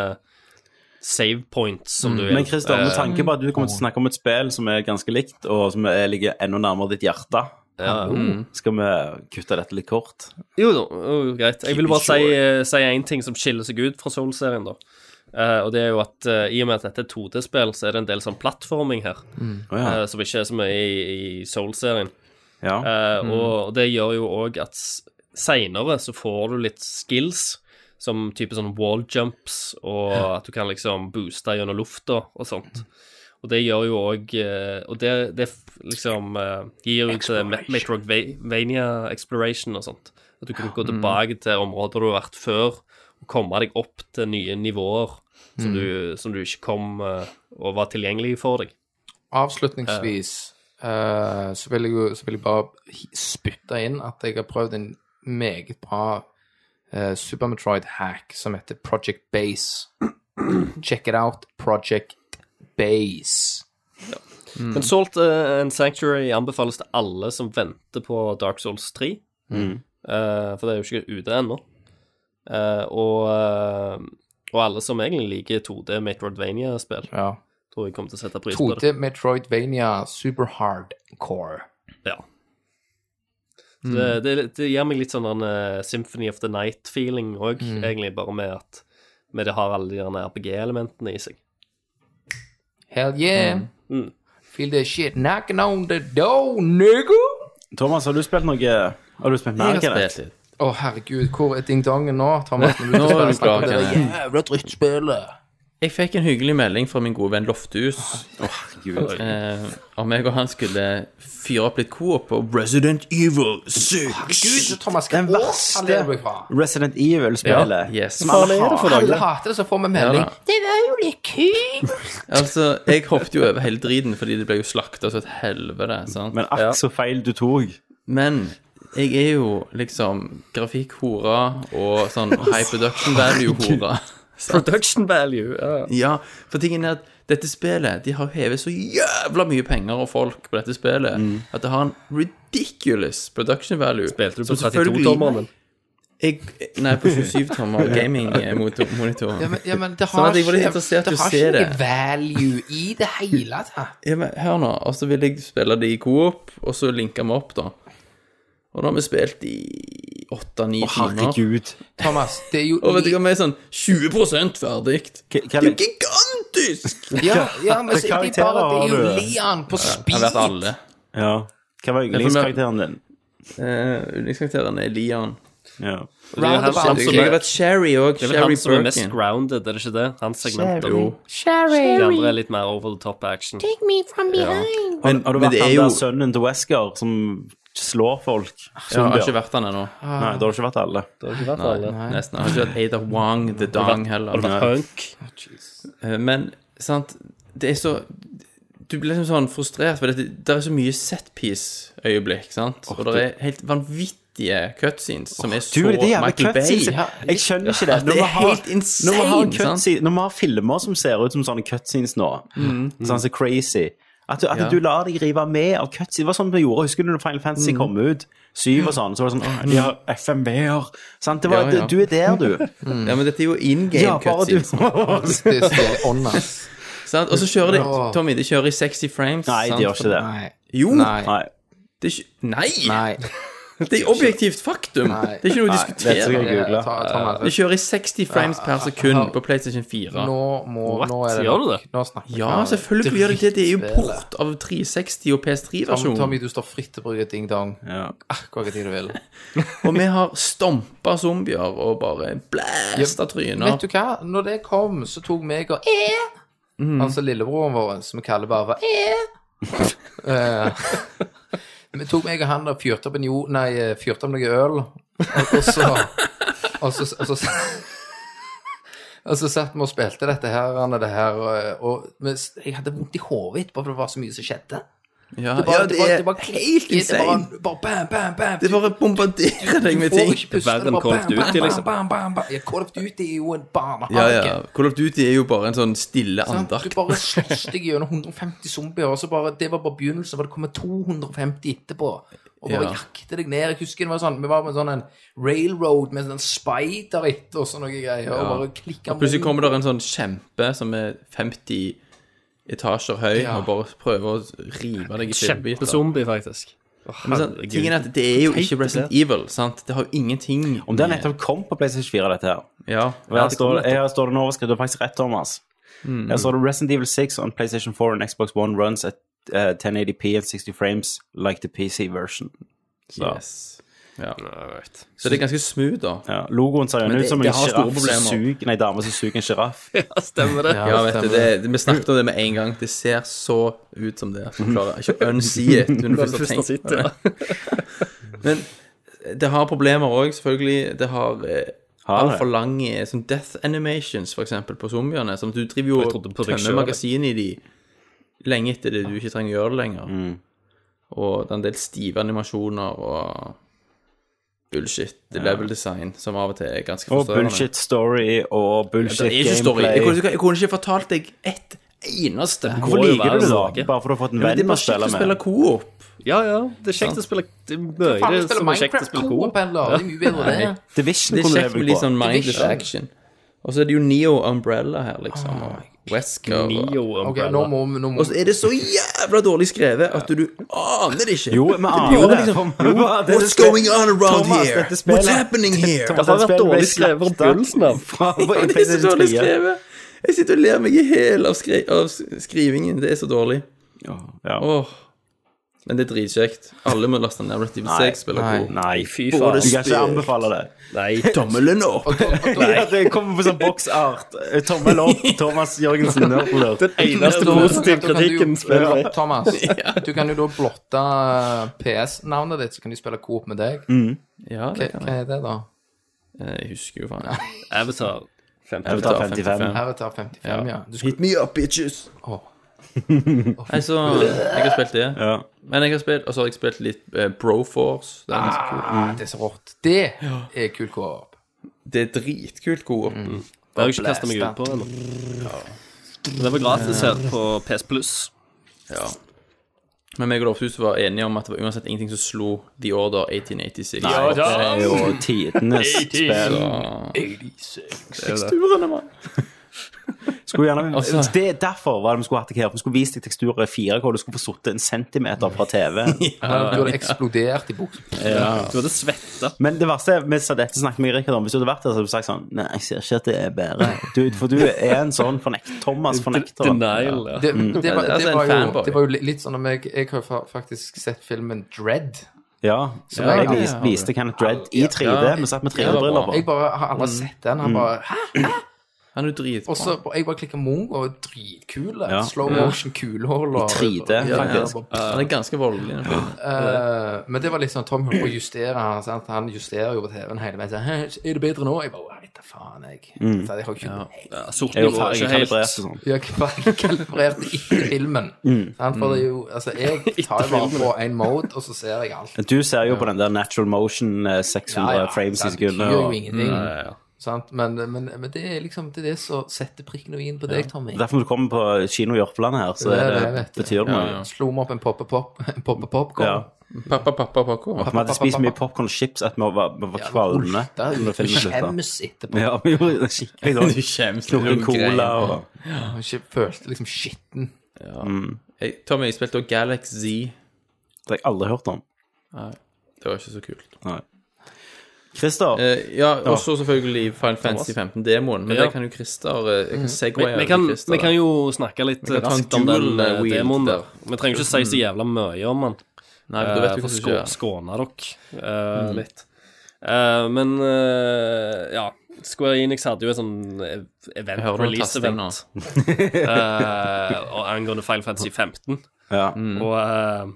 Speaker 3: save points
Speaker 6: Mm.
Speaker 3: som du vil.
Speaker 1: Men Christer, med tanke på at du kommer
Speaker 2: Eh,
Speaker 1: til å snakke om et spill som er ganske likt, og som er- ligger enda nærmere ditt hjerte,
Speaker 2: Mm.
Speaker 1: skal vi kutte dette litt kort?
Speaker 3: Jo, da, jo, greit. Jeg vil
Speaker 1: it
Speaker 3: bare si,
Speaker 1: short.
Speaker 3: eh, si en ting som skiller seg ut fra Soul-serien, da. Eh, og det er jo at eh, i og med at dette er 2D-spill, så er det en del sånn plattforming her.
Speaker 1: Å ja.
Speaker 3: eh, som ikke er så mye i, i Soul-serien.
Speaker 1: ja.
Speaker 3: Eh, Og det gjør jo òg at s- seinere så får du litt skills, som type sånn wall jumps, og at du kan liksom booste gjennom lufta og sånt. Og det gjør jo òg eh, Og det, det f- liksom eh, gir jo til Ma- Metroidvania Exploration og sånt. At du kan gå tilbake til områder du har vært før, og komme deg opp til nye nivåer som, du, som du ikke kom eh, og var tilgjengelig for deg.
Speaker 6: Avslutningsvis eh, så, vil jeg jo, så vil jeg bare hi- spytte inn at jeg har prøvd en meget bra eh, Super Metroid-hack som heter Project Base. Check it out, Project Base.
Speaker 3: Men Salt eh, and Sanctuary anbefales til alle som venter på Dark Souls 3. Eh, for det er jo ikke ute ennå. Eh, og, eh, og alle som egentlig liker 2D Metroidvania-spill,
Speaker 6: Ja.
Speaker 3: tror jeg kommer til å sette pris på det.
Speaker 6: 2D Metroidvania Super Hardcore.
Speaker 3: Ja. Så det, det, det gir meg litt sånn en eh, Symphony of the Night-feeling òg, egentlig, bare med at med det har alle de der RPG-elementene i seg.
Speaker 6: Hell yeah. Feel the shit knocking on the door, nigga.
Speaker 1: Thomas, har du spilt noe Har du spilt mer, Kenneth?
Speaker 6: Å, herregud, hvor er ding-dongen nå, Thomas? Nå
Speaker 2: Nå er du klar,
Speaker 6: det der
Speaker 2: Kenneth.
Speaker 6: jævla drittspillet.
Speaker 2: Jeg fikk en hyggelig melding fra min gode venn Lofthus
Speaker 1: Gud.
Speaker 2: eh, om jeg og han skulle fyre opp litt coop på Resident Evil 6.
Speaker 6: Gud, Thomas,
Speaker 1: Den
Speaker 6: hvor faller det meg
Speaker 1: verste
Speaker 6: fra?
Speaker 1: Resident Evil-spillet.
Speaker 2: Ja, yes.
Speaker 1: Som alle
Speaker 2: Faen, er det for
Speaker 1: hater.
Speaker 6: Alle hater det, så får vi melding.
Speaker 2: Ja,
Speaker 7: Det var jo litt kult.
Speaker 2: Altså, jeg hoppet jo over hele driten fordi det ble jo slakta som et helvete. sant?
Speaker 1: Men akk så feil du tok.
Speaker 2: Men jeg er jo liksom grafikkhora og sånn high production value-hora.
Speaker 3: Production value. ja.
Speaker 2: Ja, for tingen er at dette spillet De har hevet så jævla mye penger og folk på dette spillet at det har en ridiculous production value.
Speaker 3: Mm. Spilte du
Speaker 2: som
Speaker 3: på
Speaker 2: selvfølgelig-
Speaker 3: 32-tommeren din?
Speaker 2: Jeg- Nei, på 27-tommer eh, gaming-monitor.
Speaker 6: Ja, men, ja, men det
Speaker 2: Sånn
Speaker 6: har
Speaker 2: at jeg var litt
Speaker 6: ikke-
Speaker 2: interessert i å
Speaker 6: det har
Speaker 2: se
Speaker 6: ikke
Speaker 2: det.
Speaker 6: noe value i det hele tatt.
Speaker 2: Ja, men hør nå, og så vil jeg spille det i coop, og så linke vi opp, da. Og da har vi spilt i åtte-ni timer.
Speaker 1: Herregud.
Speaker 6: Thomas, det er jo
Speaker 2: Og vet du hva, vi er sånn 20 ferdig.
Speaker 1: K-
Speaker 2: Det er jo
Speaker 1: Kenneth,
Speaker 2: gigantisk!
Speaker 6: ja, ja, men så er det
Speaker 1: Karakterer
Speaker 6: bare det er jo
Speaker 1: har du.
Speaker 6: Leon på
Speaker 2: Jeg har vært
Speaker 6: speed.
Speaker 2: alle.
Speaker 1: ja. Hva var yndlingskarakteren din?
Speaker 2: Eh, Yndlingskarakteren er Lian.
Speaker 1: Ja.
Speaker 3: Det er jo han som
Speaker 6: Roundabout.
Speaker 3: er-
Speaker 2: Det kunne vært Sherry òg.
Speaker 3: det er vel han
Speaker 2: Sherry
Speaker 3: som er mest
Speaker 2: Birkin.
Speaker 3: grounded, er det ikke det? Hans segment.
Speaker 2: Jo.
Speaker 7: Sherry,
Speaker 3: De andre er litt mer over the top action.
Speaker 7: take me from behind.
Speaker 1: Men, har du
Speaker 2: men
Speaker 1: vært
Speaker 2: det
Speaker 1: han
Speaker 2: er jo-
Speaker 1: der sønnen til Wesker som slår folk?
Speaker 2: Ja, jeg har
Speaker 1: Zombier?
Speaker 2: ikke vært han ennå.
Speaker 1: Nei, da har du ikke vært alle.
Speaker 3: Har
Speaker 2: Nesten. Jeg har ikke vært Ada Wong, The Dong
Speaker 3: du
Speaker 2: heller.
Speaker 3: vært punk?
Speaker 2: Eh, Men sant, det er så Du blir liksom sånn frustrert, for det, det er så mye setpiece-øyeblikk, sant? Og det er helt vanvittige cutscenes som er så
Speaker 1: Du, det er jævla
Speaker 2: Michael Bay.
Speaker 1: cutscenes. Jeg skjønner ikke det.
Speaker 2: Ja, det
Speaker 1: Når vi
Speaker 2: er
Speaker 1: har-
Speaker 2: helt insane,
Speaker 1: Når vi har,
Speaker 2: sant? Mm.
Speaker 1: cutscene, når vi har filmer som ser ut som sånne cutscenes nå, sånn så crazy at du, at
Speaker 2: Ja.
Speaker 1: du lar deg rive med av cutscenes. Det var sånn vi gjorde. Husker du når Final
Speaker 2: Mm.
Speaker 1: Fantasy kom ut? Syv og sånn. Så var det sånn «Åh, De har FMV-er. Sant? Det var,
Speaker 2: Ja, ja.
Speaker 1: Du er der, du.
Speaker 2: Ja, men dette er jo in
Speaker 1: Ja,
Speaker 2: game
Speaker 1: bare du.
Speaker 2: cutscenes.
Speaker 6: Det er stille ånd, ass.
Speaker 2: sant? Og så kjører de
Speaker 6: Åh.
Speaker 2: Tommy, de kjører i 60 frames.
Speaker 1: Nei, de
Speaker 2: sant?
Speaker 1: gjør ikke det.
Speaker 6: Nei.
Speaker 2: Jo!
Speaker 6: Nei.
Speaker 1: Nei.
Speaker 2: Det er ikke, nei,
Speaker 6: Nei.
Speaker 2: Det er objektivt faktum!
Speaker 6: Nei.
Speaker 2: Det er ikke noe å
Speaker 1: Vet du
Speaker 2: diskutere.
Speaker 1: hva jeg googlet?
Speaker 6: Eh, Ta- ta meg
Speaker 2: De
Speaker 6: rett.
Speaker 2: kjører i 60 frames per sekund på PlayStation 4.
Speaker 6: Nå må
Speaker 3: What?
Speaker 6: nå er det
Speaker 3: Gjør du
Speaker 6: nok.
Speaker 3: det?
Speaker 6: Nå snakker vi.
Speaker 2: Ja, selvfølgelig gjør de det. Det er jo port av 360 og
Speaker 6: Tom-
Speaker 2: PS3-versjonen.
Speaker 6: Tommy, du står fritt til å bruke ding-dong
Speaker 1: Ja.
Speaker 6: akkurat tid du vil.
Speaker 2: Og vi har stompa zombier og bare blæsta tryner.
Speaker 6: Vet du hva? Når det kom, så tok meg og eh,
Speaker 2: Mhm.
Speaker 6: Altså lillebroren vår, som vi kaller bare for eh, eh, Vi tok meg og han og fyrte opp en jo Nei, eh, fyrte opp noe øl, og, og så Og så, og så og så satt vi og spilte dette her, Anne, det her, og, eh, og men s- jeg hadde vondt i hodet etterpå, for det var så mye som skjedde.
Speaker 2: Ja,
Speaker 6: Det var,
Speaker 2: ja, det
Speaker 6: var-
Speaker 2: er
Speaker 6: det var
Speaker 2: helt
Speaker 6: det var-
Speaker 2: insane.
Speaker 6: Bare bam, bam, bam.
Speaker 2: Det bare bombarderer deg med
Speaker 6: Får
Speaker 2: ting.
Speaker 6: ikke puste,
Speaker 3: Verre enn
Speaker 6: bare
Speaker 3: Call of Duty,
Speaker 6: bam, bam, bam,
Speaker 3: liksom.
Speaker 6: Bam, bam, bam. Ja, Call of Duty er jo en barnehage.
Speaker 2: Ja, ja. Call of Duty er jo bare en sånn stille
Speaker 6: Sant? Du
Speaker 2: andakt.
Speaker 6: bare slåss deg gjennom 150 zombier, og så bare, det var bare begynnelsen, for det kommer 250 etterpå. Og bare
Speaker 2: Ja.
Speaker 6: jakte deg ned. Jeg husker det var sånn, vi var på en sånn en railroad med sånn en spider etter og sånne greier, og bare klikket
Speaker 2: Og plutselig kommer det en sånn kjempe som er 50 etasjer høy
Speaker 6: Ja.
Speaker 2: og bare prøver å rive deg i fillebiter.
Speaker 3: Kjempezombie, faktisk. Å,
Speaker 2: Men sånn,
Speaker 3: herregud.
Speaker 2: tingen er at det er jo ikke Resident Evil, sant? Det har jo ingenting
Speaker 1: Om det nettopp kom på PlayStation 4, dette her
Speaker 2: Ja.
Speaker 1: Her
Speaker 2: ja det
Speaker 1: står,
Speaker 2: kommer Mm.
Speaker 1: det- her står det en overskrift. Du har faktisk rett, Thomas. Her står det Resident Evil 6 on PlayStation 4 and Xbox One runs at eh, 1080p and 60 frames like the PC version. Så,
Speaker 2: nettopp. Yes. Ja. Så det er ganske smooth, da.
Speaker 1: ja. Logoen ser jo
Speaker 2: det-
Speaker 1: ut som
Speaker 2: det
Speaker 1: en
Speaker 2: har store
Speaker 1: sjiraff som
Speaker 2: problemer.
Speaker 1: suger Nei, dame som suger en sjiraff.
Speaker 3: Ja, stemmer det.
Speaker 2: Ja, vet du, det, det- vi snakket om det med en gang. Det ser så ut som det. at Du klarer ikke å unsee it. Når du først har
Speaker 3: Først har
Speaker 2: tenkt
Speaker 3: sitt,
Speaker 2: på det. Men det har problemer òg, selvfølgelig. Det har eh,
Speaker 1: Har det?
Speaker 2: altfor lange sånn death animations, for eksempel, på zombiene. Sånn at du driver jo
Speaker 3: Jeg
Speaker 2: og
Speaker 3: trodde på deg
Speaker 2: tømmer
Speaker 3: selv.
Speaker 2: magasinet i de lenge etter det du ikke trenger å gjøre det lenger. Og det er en del stive animasjoner og bullshit level design, som av og til er ganske
Speaker 1: Og
Speaker 2: frustrerende.
Speaker 1: bullshit story og bullshit
Speaker 2: Det er ikke story.
Speaker 1: gameplay.
Speaker 2: Jeg kunne, jeg kunne ikke fortalt deg ett eneste.
Speaker 1: Hvorfor
Speaker 3: går jo
Speaker 1: liker du
Speaker 3: verre
Speaker 1: det,
Speaker 3: enn
Speaker 1: da?
Speaker 3: Norge.
Speaker 1: Bare for du har fått en
Speaker 2: Men det er
Speaker 1: venn å
Speaker 2: bare kjekt
Speaker 1: spille
Speaker 2: å spille
Speaker 1: med?
Speaker 2: coop.
Speaker 3: Ja, ja. Det er kjekt å spille Det er mye som er
Speaker 6: Faen, spiller
Speaker 3: kjekt å
Speaker 6: Minecraft
Speaker 3: spille
Speaker 6: Coop,
Speaker 3: coop.
Speaker 6: eller? Det er mye bedre det.
Speaker 1: Division
Speaker 2: Det er
Speaker 1: kunne
Speaker 2: kjekt
Speaker 1: levd
Speaker 2: med
Speaker 1: på.
Speaker 2: litt sånn mindless
Speaker 6: Division.
Speaker 2: action. Og så er det jo Neo Umbrella her, liksom. Og Wesker. Og
Speaker 3: Neo
Speaker 6: Ok,
Speaker 3: Umbrella.
Speaker 6: nå må vi, nå må
Speaker 2: Og så er det så jævla dårlig skrevet at du aner det ikke.
Speaker 1: Jo, vi aner
Speaker 2: blir jo
Speaker 1: det.
Speaker 2: liksom,
Speaker 1: Jo, dette
Speaker 2: What's
Speaker 1: spillet-
Speaker 2: going on around
Speaker 1: Thomas,
Speaker 2: here?
Speaker 1: dette spillet-
Speaker 2: What's happening here?
Speaker 1: Thomas,
Speaker 3: Det har
Speaker 1: dette
Speaker 3: vært
Speaker 1: spillet ble
Speaker 3: dårlig skrevet fra
Speaker 1: slaktet
Speaker 3: begynnelsen av.
Speaker 1: fra- fra
Speaker 2: Ja, Det er så
Speaker 1: PlayStation
Speaker 2: dårlig
Speaker 1: 3.
Speaker 2: skrevet. Jeg sitter og ler meg i hjel av, skri av s- skrivingen. Det er så dårlig.
Speaker 1: Ja.
Speaker 2: Åh. Men det er dritkjekt. Alle må laste ned Resident
Speaker 1: Nei,
Speaker 2: Evil 6. Spiller
Speaker 6: nei.
Speaker 2: coop.
Speaker 1: Nei,
Speaker 3: Fy faen.
Speaker 1: Du kan ikke anbefale det.
Speaker 3: Nei.
Speaker 2: Tommelen opp!
Speaker 1: Ja, det kommer på sånn boksart. Tommel opp, Thomas Jørgensen. Nerdler.
Speaker 3: Den eneste
Speaker 6: Da-
Speaker 3: positive
Speaker 6: da kan du jo-
Speaker 3: kritikken spiller jeg.
Speaker 6: Thomas, du kan jo da blotte PS-navnet ditt, så kan de spille Coop med deg.
Speaker 2: Ja, det kan jeg.
Speaker 6: Hva er det, da?
Speaker 2: Jeg husker jo faen. ikke.
Speaker 3: Avatar. 50.
Speaker 1: Avatar 55.
Speaker 6: Her er det 55, ja. Du skulle
Speaker 2: Hit me up, bitches!
Speaker 6: Åh.
Speaker 2: Nei, så Jeg har spilt det.
Speaker 1: Ja.
Speaker 2: Men jeg har spilt, og så har jeg spilt litt eh, Broforce. Det er, ganske kult.
Speaker 6: Ah, det er så rått. Det er kul coop.
Speaker 2: det er dritkult god opp.
Speaker 3: Det har jeg ikke kastet meg ut på ennå. Men Det var gratis her på PS Plus.
Speaker 2: Ja. Men meg og Lofthus var enige om at det var uansett ingenting som slo The Order 1886.
Speaker 1: Nei, det er jo tidenes spill.
Speaker 2: Teksturene, mann!
Speaker 1: Skulle gjerne,
Speaker 2: Altså-
Speaker 1: det er derfor var det vi skulle hatt deg her. for Vi skulle vist deg teksturer i 4K, og du skulle få sittet en centimeter fra TV.
Speaker 6: Du hadde eksplodert i buksa.
Speaker 3: Du hadde svetta.
Speaker 1: Men det verste er, med dette snakket med Rikard om, hvis du hadde vært der, så hadde du sagt sånn Nei, jeg ser ikke at det er bedre. Du, for du er en sånn fornekt, Thomas fornekter.
Speaker 3: Denial. ja.
Speaker 1: Mm.
Speaker 6: Det, det, var,
Speaker 2: Altså,
Speaker 6: det,
Speaker 2: en
Speaker 6: var jo,
Speaker 2: fanboy.
Speaker 6: det var jo li- litt sånn om jeg Jeg har fa- faktisk sett filmen Dread.
Speaker 1: Ja,
Speaker 6: Så
Speaker 1: jeg
Speaker 6: jeg-
Speaker 1: vis, viste Kenneth Dredd i 3D.
Speaker 2: Ja.
Speaker 1: Vi satt med
Speaker 2: Ja, det
Speaker 1: 3D-briller
Speaker 2: var bra.
Speaker 1: på.
Speaker 6: Jeg bare har
Speaker 1: Mm.
Speaker 6: aldri sett den. Han bare, hæ?
Speaker 2: Han er jo dritbra.
Speaker 6: Og så jeg bare klikker Mungo, og dritkule.
Speaker 1: Ja.
Speaker 6: Slow motion kulehull og
Speaker 1: 3D, faktisk.
Speaker 6: bare-
Speaker 2: han er ganske voldelig. den filmen.
Speaker 6: Eh, men det var litt sånn Tom holdt på å justere han. Sant? Han justerer jo på TV-en hele veien. sånn, «Hæ, Er det bedre nå? Jeg bare Nei, da faen, jeg.
Speaker 1: Mm.
Speaker 6: Så jeg har ikke
Speaker 3: Ja, sort
Speaker 1: Jeg er jo
Speaker 3: nivå er
Speaker 1: ferdig
Speaker 3: ikke helt
Speaker 1: kalibrert og sånn.
Speaker 6: Jeg har ikke kalibrert etter filmen.
Speaker 1: Mm.
Speaker 6: Sant? For det er jo Altså, jeg tar jo bare på en mode, og så ser jeg alt.
Speaker 1: Du ser jo på den der natural motion eh, 600 frames i
Speaker 6: sant? Det
Speaker 1: sekundet.
Speaker 6: gjør jo
Speaker 1: og-
Speaker 6: ingenting.
Speaker 3: Ja, ja, ja.
Speaker 6: Sant? Men, men, men det er liksom det er det som setter prikken og i-en på deg, Tommy.
Speaker 1: Derfor når du kommer på kino i Jørpeland her, så
Speaker 6: Det
Speaker 1: er
Speaker 6: er det,
Speaker 1: det,
Speaker 6: vet du.
Speaker 1: betyr det noe. Ja,
Speaker 6: Slo meg opp en poppe-popkorn. Poppe popcorn.
Speaker 2: Pappa, pappa, pappa.
Speaker 1: Vi hadde spist mye popcorn og chips at vi var, vi var kvalme.
Speaker 6: Da
Speaker 1: når filmen slutta.
Speaker 6: skjemmes etterpå.
Speaker 1: Ja, vi gjorde skikkelig
Speaker 2: Du
Speaker 1: dårlig.
Speaker 2: kjemper.
Speaker 1: Snorte cola og
Speaker 6: Jeg ikke følte liksom skitten.
Speaker 2: Jeg- Tommy, jeg spilte også Galaxy.
Speaker 1: Det har jeg aldri hørt om.
Speaker 2: Det var ikke så kult.
Speaker 1: Christer,
Speaker 2: Eh, ja, og så selvfølgelig Final Fantasy 15-demoen. Men
Speaker 3: Ja.
Speaker 2: det kan jo Christer eh, Jeg kan segwaye
Speaker 3: Vi kan,
Speaker 2: til Christer.
Speaker 3: vi kan jo snakke litt
Speaker 2: kan ta en
Speaker 3: raskt om den
Speaker 2: dual, eh,
Speaker 3: eh,
Speaker 2: wheel
Speaker 3: demoen.
Speaker 2: der.
Speaker 3: der. Vi trenger ikke si så jævla mye om den.
Speaker 2: Nei, men da vet
Speaker 3: eh,
Speaker 2: du
Speaker 3: for
Speaker 2: hva som skjer.
Speaker 3: å skåne dere
Speaker 2: Mm.
Speaker 3: eh, litt. Eh, men eh, ja, Square Enix hadde jo et sånn eh, event,
Speaker 2: hører noen tasting
Speaker 3: release-event eh, og angående Final Fantasy 15.
Speaker 1: ja.
Speaker 2: mm.
Speaker 3: Og, eh,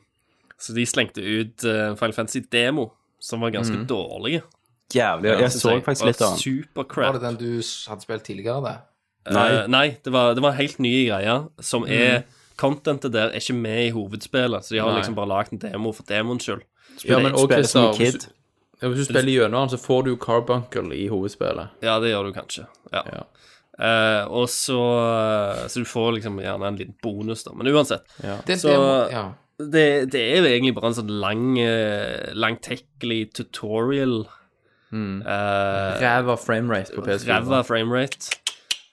Speaker 3: så de slengte ut eh, Final Fantasy Demo, som var
Speaker 2: Mm.
Speaker 3: ganske dårlige.
Speaker 1: jævlig. Jeg så faktisk litt av den.
Speaker 6: Var
Speaker 3: Supercrap.
Speaker 6: det den du s- hadde spilt tidligere, det?
Speaker 1: Nei.
Speaker 3: Eh, nei, det var, det var en helt nye greier som er Contentet der er ikke med i hovedspillet, så de har
Speaker 2: Nei.
Speaker 3: liksom bare lagd en demo for demoens skyld.
Speaker 2: Ja, men også
Speaker 1: Spiller som
Speaker 2: Christer hvis,
Speaker 1: en kid.
Speaker 2: du- ja, hvis du spiller gjennom den, så får du jo Carbuncle i hovedspillet.
Speaker 3: Ja, det gjør du kanskje. Ja.
Speaker 2: Ja.
Speaker 3: Eh, og så Så du får liksom gjerne en liten bonus, da. Men uansett.
Speaker 6: det
Speaker 3: Så-
Speaker 6: det må- ja.
Speaker 3: Det, det er jo egentlig bare en sånn lang, eh, langtekkelig tutorial. Mm.
Speaker 2: Ræva framerate på PS4.
Speaker 3: Ræva framerate.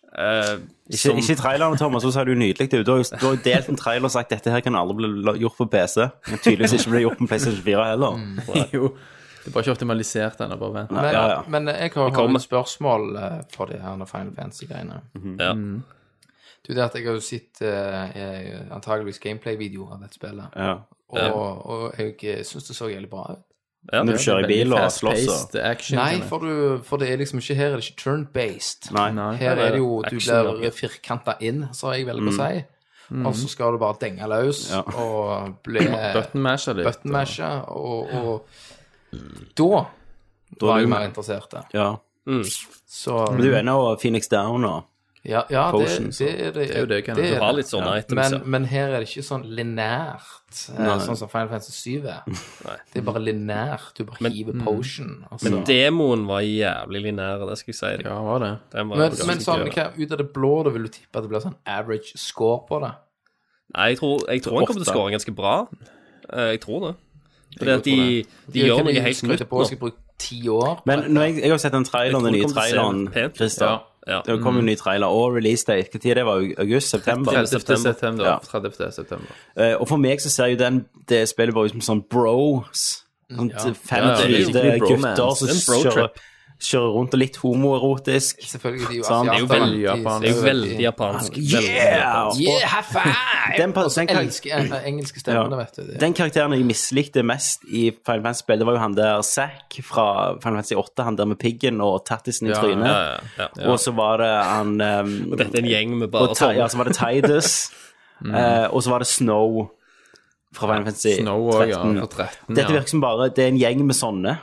Speaker 3: Uh,
Speaker 1: Ikke, ikke i traileren, Thomas, så sa du nydelig det. Du har jo du har jo delt en trailer og sagt dette her kan aldri bli la- gjort på PC. Men tydeligvis ikke ble gjort på PlayStation 4 heller.
Speaker 3: Mm.
Speaker 2: jo. Det er bare ikke optimalisert ennå, bare vent.
Speaker 6: Men,
Speaker 1: ja, ja.
Speaker 6: men jeg har, har
Speaker 3: kommer.
Speaker 6: et spørsmål eh, for de her Final Fantasy-greiene.
Speaker 3: ja.
Speaker 6: Du, det at jeg har jo sett eh, eh, antageligvis gameplay-videoer av dette spillet,
Speaker 1: Ja.
Speaker 6: og, og jeg syns det så jævlig bra ut.
Speaker 3: Ja.
Speaker 1: Når du kjører i bil og slåss og
Speaker 2: Fast-paced action.
Speaker 6: Nei,
Speaker 2: kan jeg-
Speaker 6: for, du, for det er liksom ikke her er det ikke turn-based.
Speaker 1: Nei.
Speaker 2: Nei.
Speaker 6: Her er det jo du
Speaker 2: Action,
Speaker 6: blir firkanta inn, som jeg velger å si. Og så skal du bare denge løs
Speaker 1: Ja.
Speaker 6: og bli
Speaker 2: Button masher litt.
Speaker 6: buttonmasha, og, og da
Speaker 1: er
Speaker 6: var
Speaker 1: du-
Speaker 6: jeg mer interessert. da.
Speaker 1: Ja.
Speaker 6: Så
Speaker 1: Men du er nå Phoenix Down og
Speaker 6: Ja, ja
Speaker 1: Potions,
Speaker 6: det, det er det.
Speaker 2: Det er jo det, kan
Speaker 6: det
Speaker 2: du
Speaker 6: er
Speaker 3: Du har
Speaker 6: det.
Speaker 3: litt sånn sånne items,
Speaker 6: men,
Speaker 3: ja.
Speaker 6: men her er det ikke sånn lineært, eh, sånn som Final Fantasy 7 er. Det er bare lineært. Du bare hiver potion. Altså.
Speaker 3: Men demoen var jævlig linær, det skal jeg si. deg.
Speaker 2: Ja, var det.
Speaker 3: Den var
Speaker 6: Men,
Speaker 3: ganske
Speaker 6: men sånn,
Speaker 3: kul.
Speaker 6: hva, ut av det blå, da vil du tippe at det blir sånn average score på det?
Speaker 3: Nei, jeg tror, jeg tror han kommer til å
Speaker 1: Åtte.
Speaker 3: skåre ganske bra. Eh, Jeg tror det. Fordi at de, de
Speaker 6: Det
Speaker 3: gjør
Speaker 6: kan
Speaker 3: noe
Speaker 6: jeg
Speaker 3: helt
Speaker 6: skryte
Speaker 3: nytt
Speaker 6: på,
Speaker 3: nå.
Speaker 6: Skal jeg bruke ti år?
Speaker 1: Men når jeg, jeg har sett den traileren, den
Speaker 3: Jeg
Speaker 1: nye
Speaker 3: tror det kommer til å
Speaker 1: traileren,
Speaker 3: se pent ut.
Speaker 1: Christer.
Speaker 3: Ja.
Speaker 1: Det kom jo en ny trailer og release date. Hva tid det var? August? September?
Speaker 2: 30. september.
Speaker 1: Ja.
Speaker 2: 30. september.
Speaker 1: Eh, og for meg så ser jo den det spillet bare ut som sånn bros. Sånn fem
Speaker 2: Ja, ja, det er
Speaker 1: hvite
Speaker 2: skikkelig
Speaker 1: gutter
Speaker 2: bromance.
Speaker 1: som
Speaker 3: Det er en bro
Speaker 1: kjører, kjører rundt og litt homoerotisk.
Speaker 6: Selvfølgelig, de er jo
Speaker 1: Sant.
Speaker 6: asiater.
Speaker 1: Det er jo
Speaker 2: veldig
Speaker 6: de-
Speaker 2: japansk.
Speaker 3: Det er jo
Speaker 6: de-
Speaker 3: veldig japansk.
Speaker 1: Yeah!
Speaker 6: Yeah, high five!
Speaker 1: Den, pa- den, kar-
Speaker 6: Elsker eh, engelske stemmene, vet du. Det.
Speaker 1: den karakteren jeg mislikte mest i Final Fantasy-spill, det var jo han der Zack fra Final Fantasy 8, han der med piggen og tattisen i trynet.
Speaker 3: Ja, ja, ja, ja.
Speaker 1: Og så var det han ehm,
Speaker 3: Dette er en gjeng med
Speaker 1: og
Speaker 3: bare
Speaker 1: Ti-
Speaker 3: sånn.
Speaker 1: ja, så var det Tidus.
Speaker 2: Mm.
Speaker 1: eh, og så var det Snow fra Final Fantasy
Speaker 2: Snow òg, ja.
Speaker 1: 13.
Speaker 2: På 13.
Speaker 1: Dette
Speaker 2: ja.
Speaker 1: virker som bare Det er en gjeng med sånne.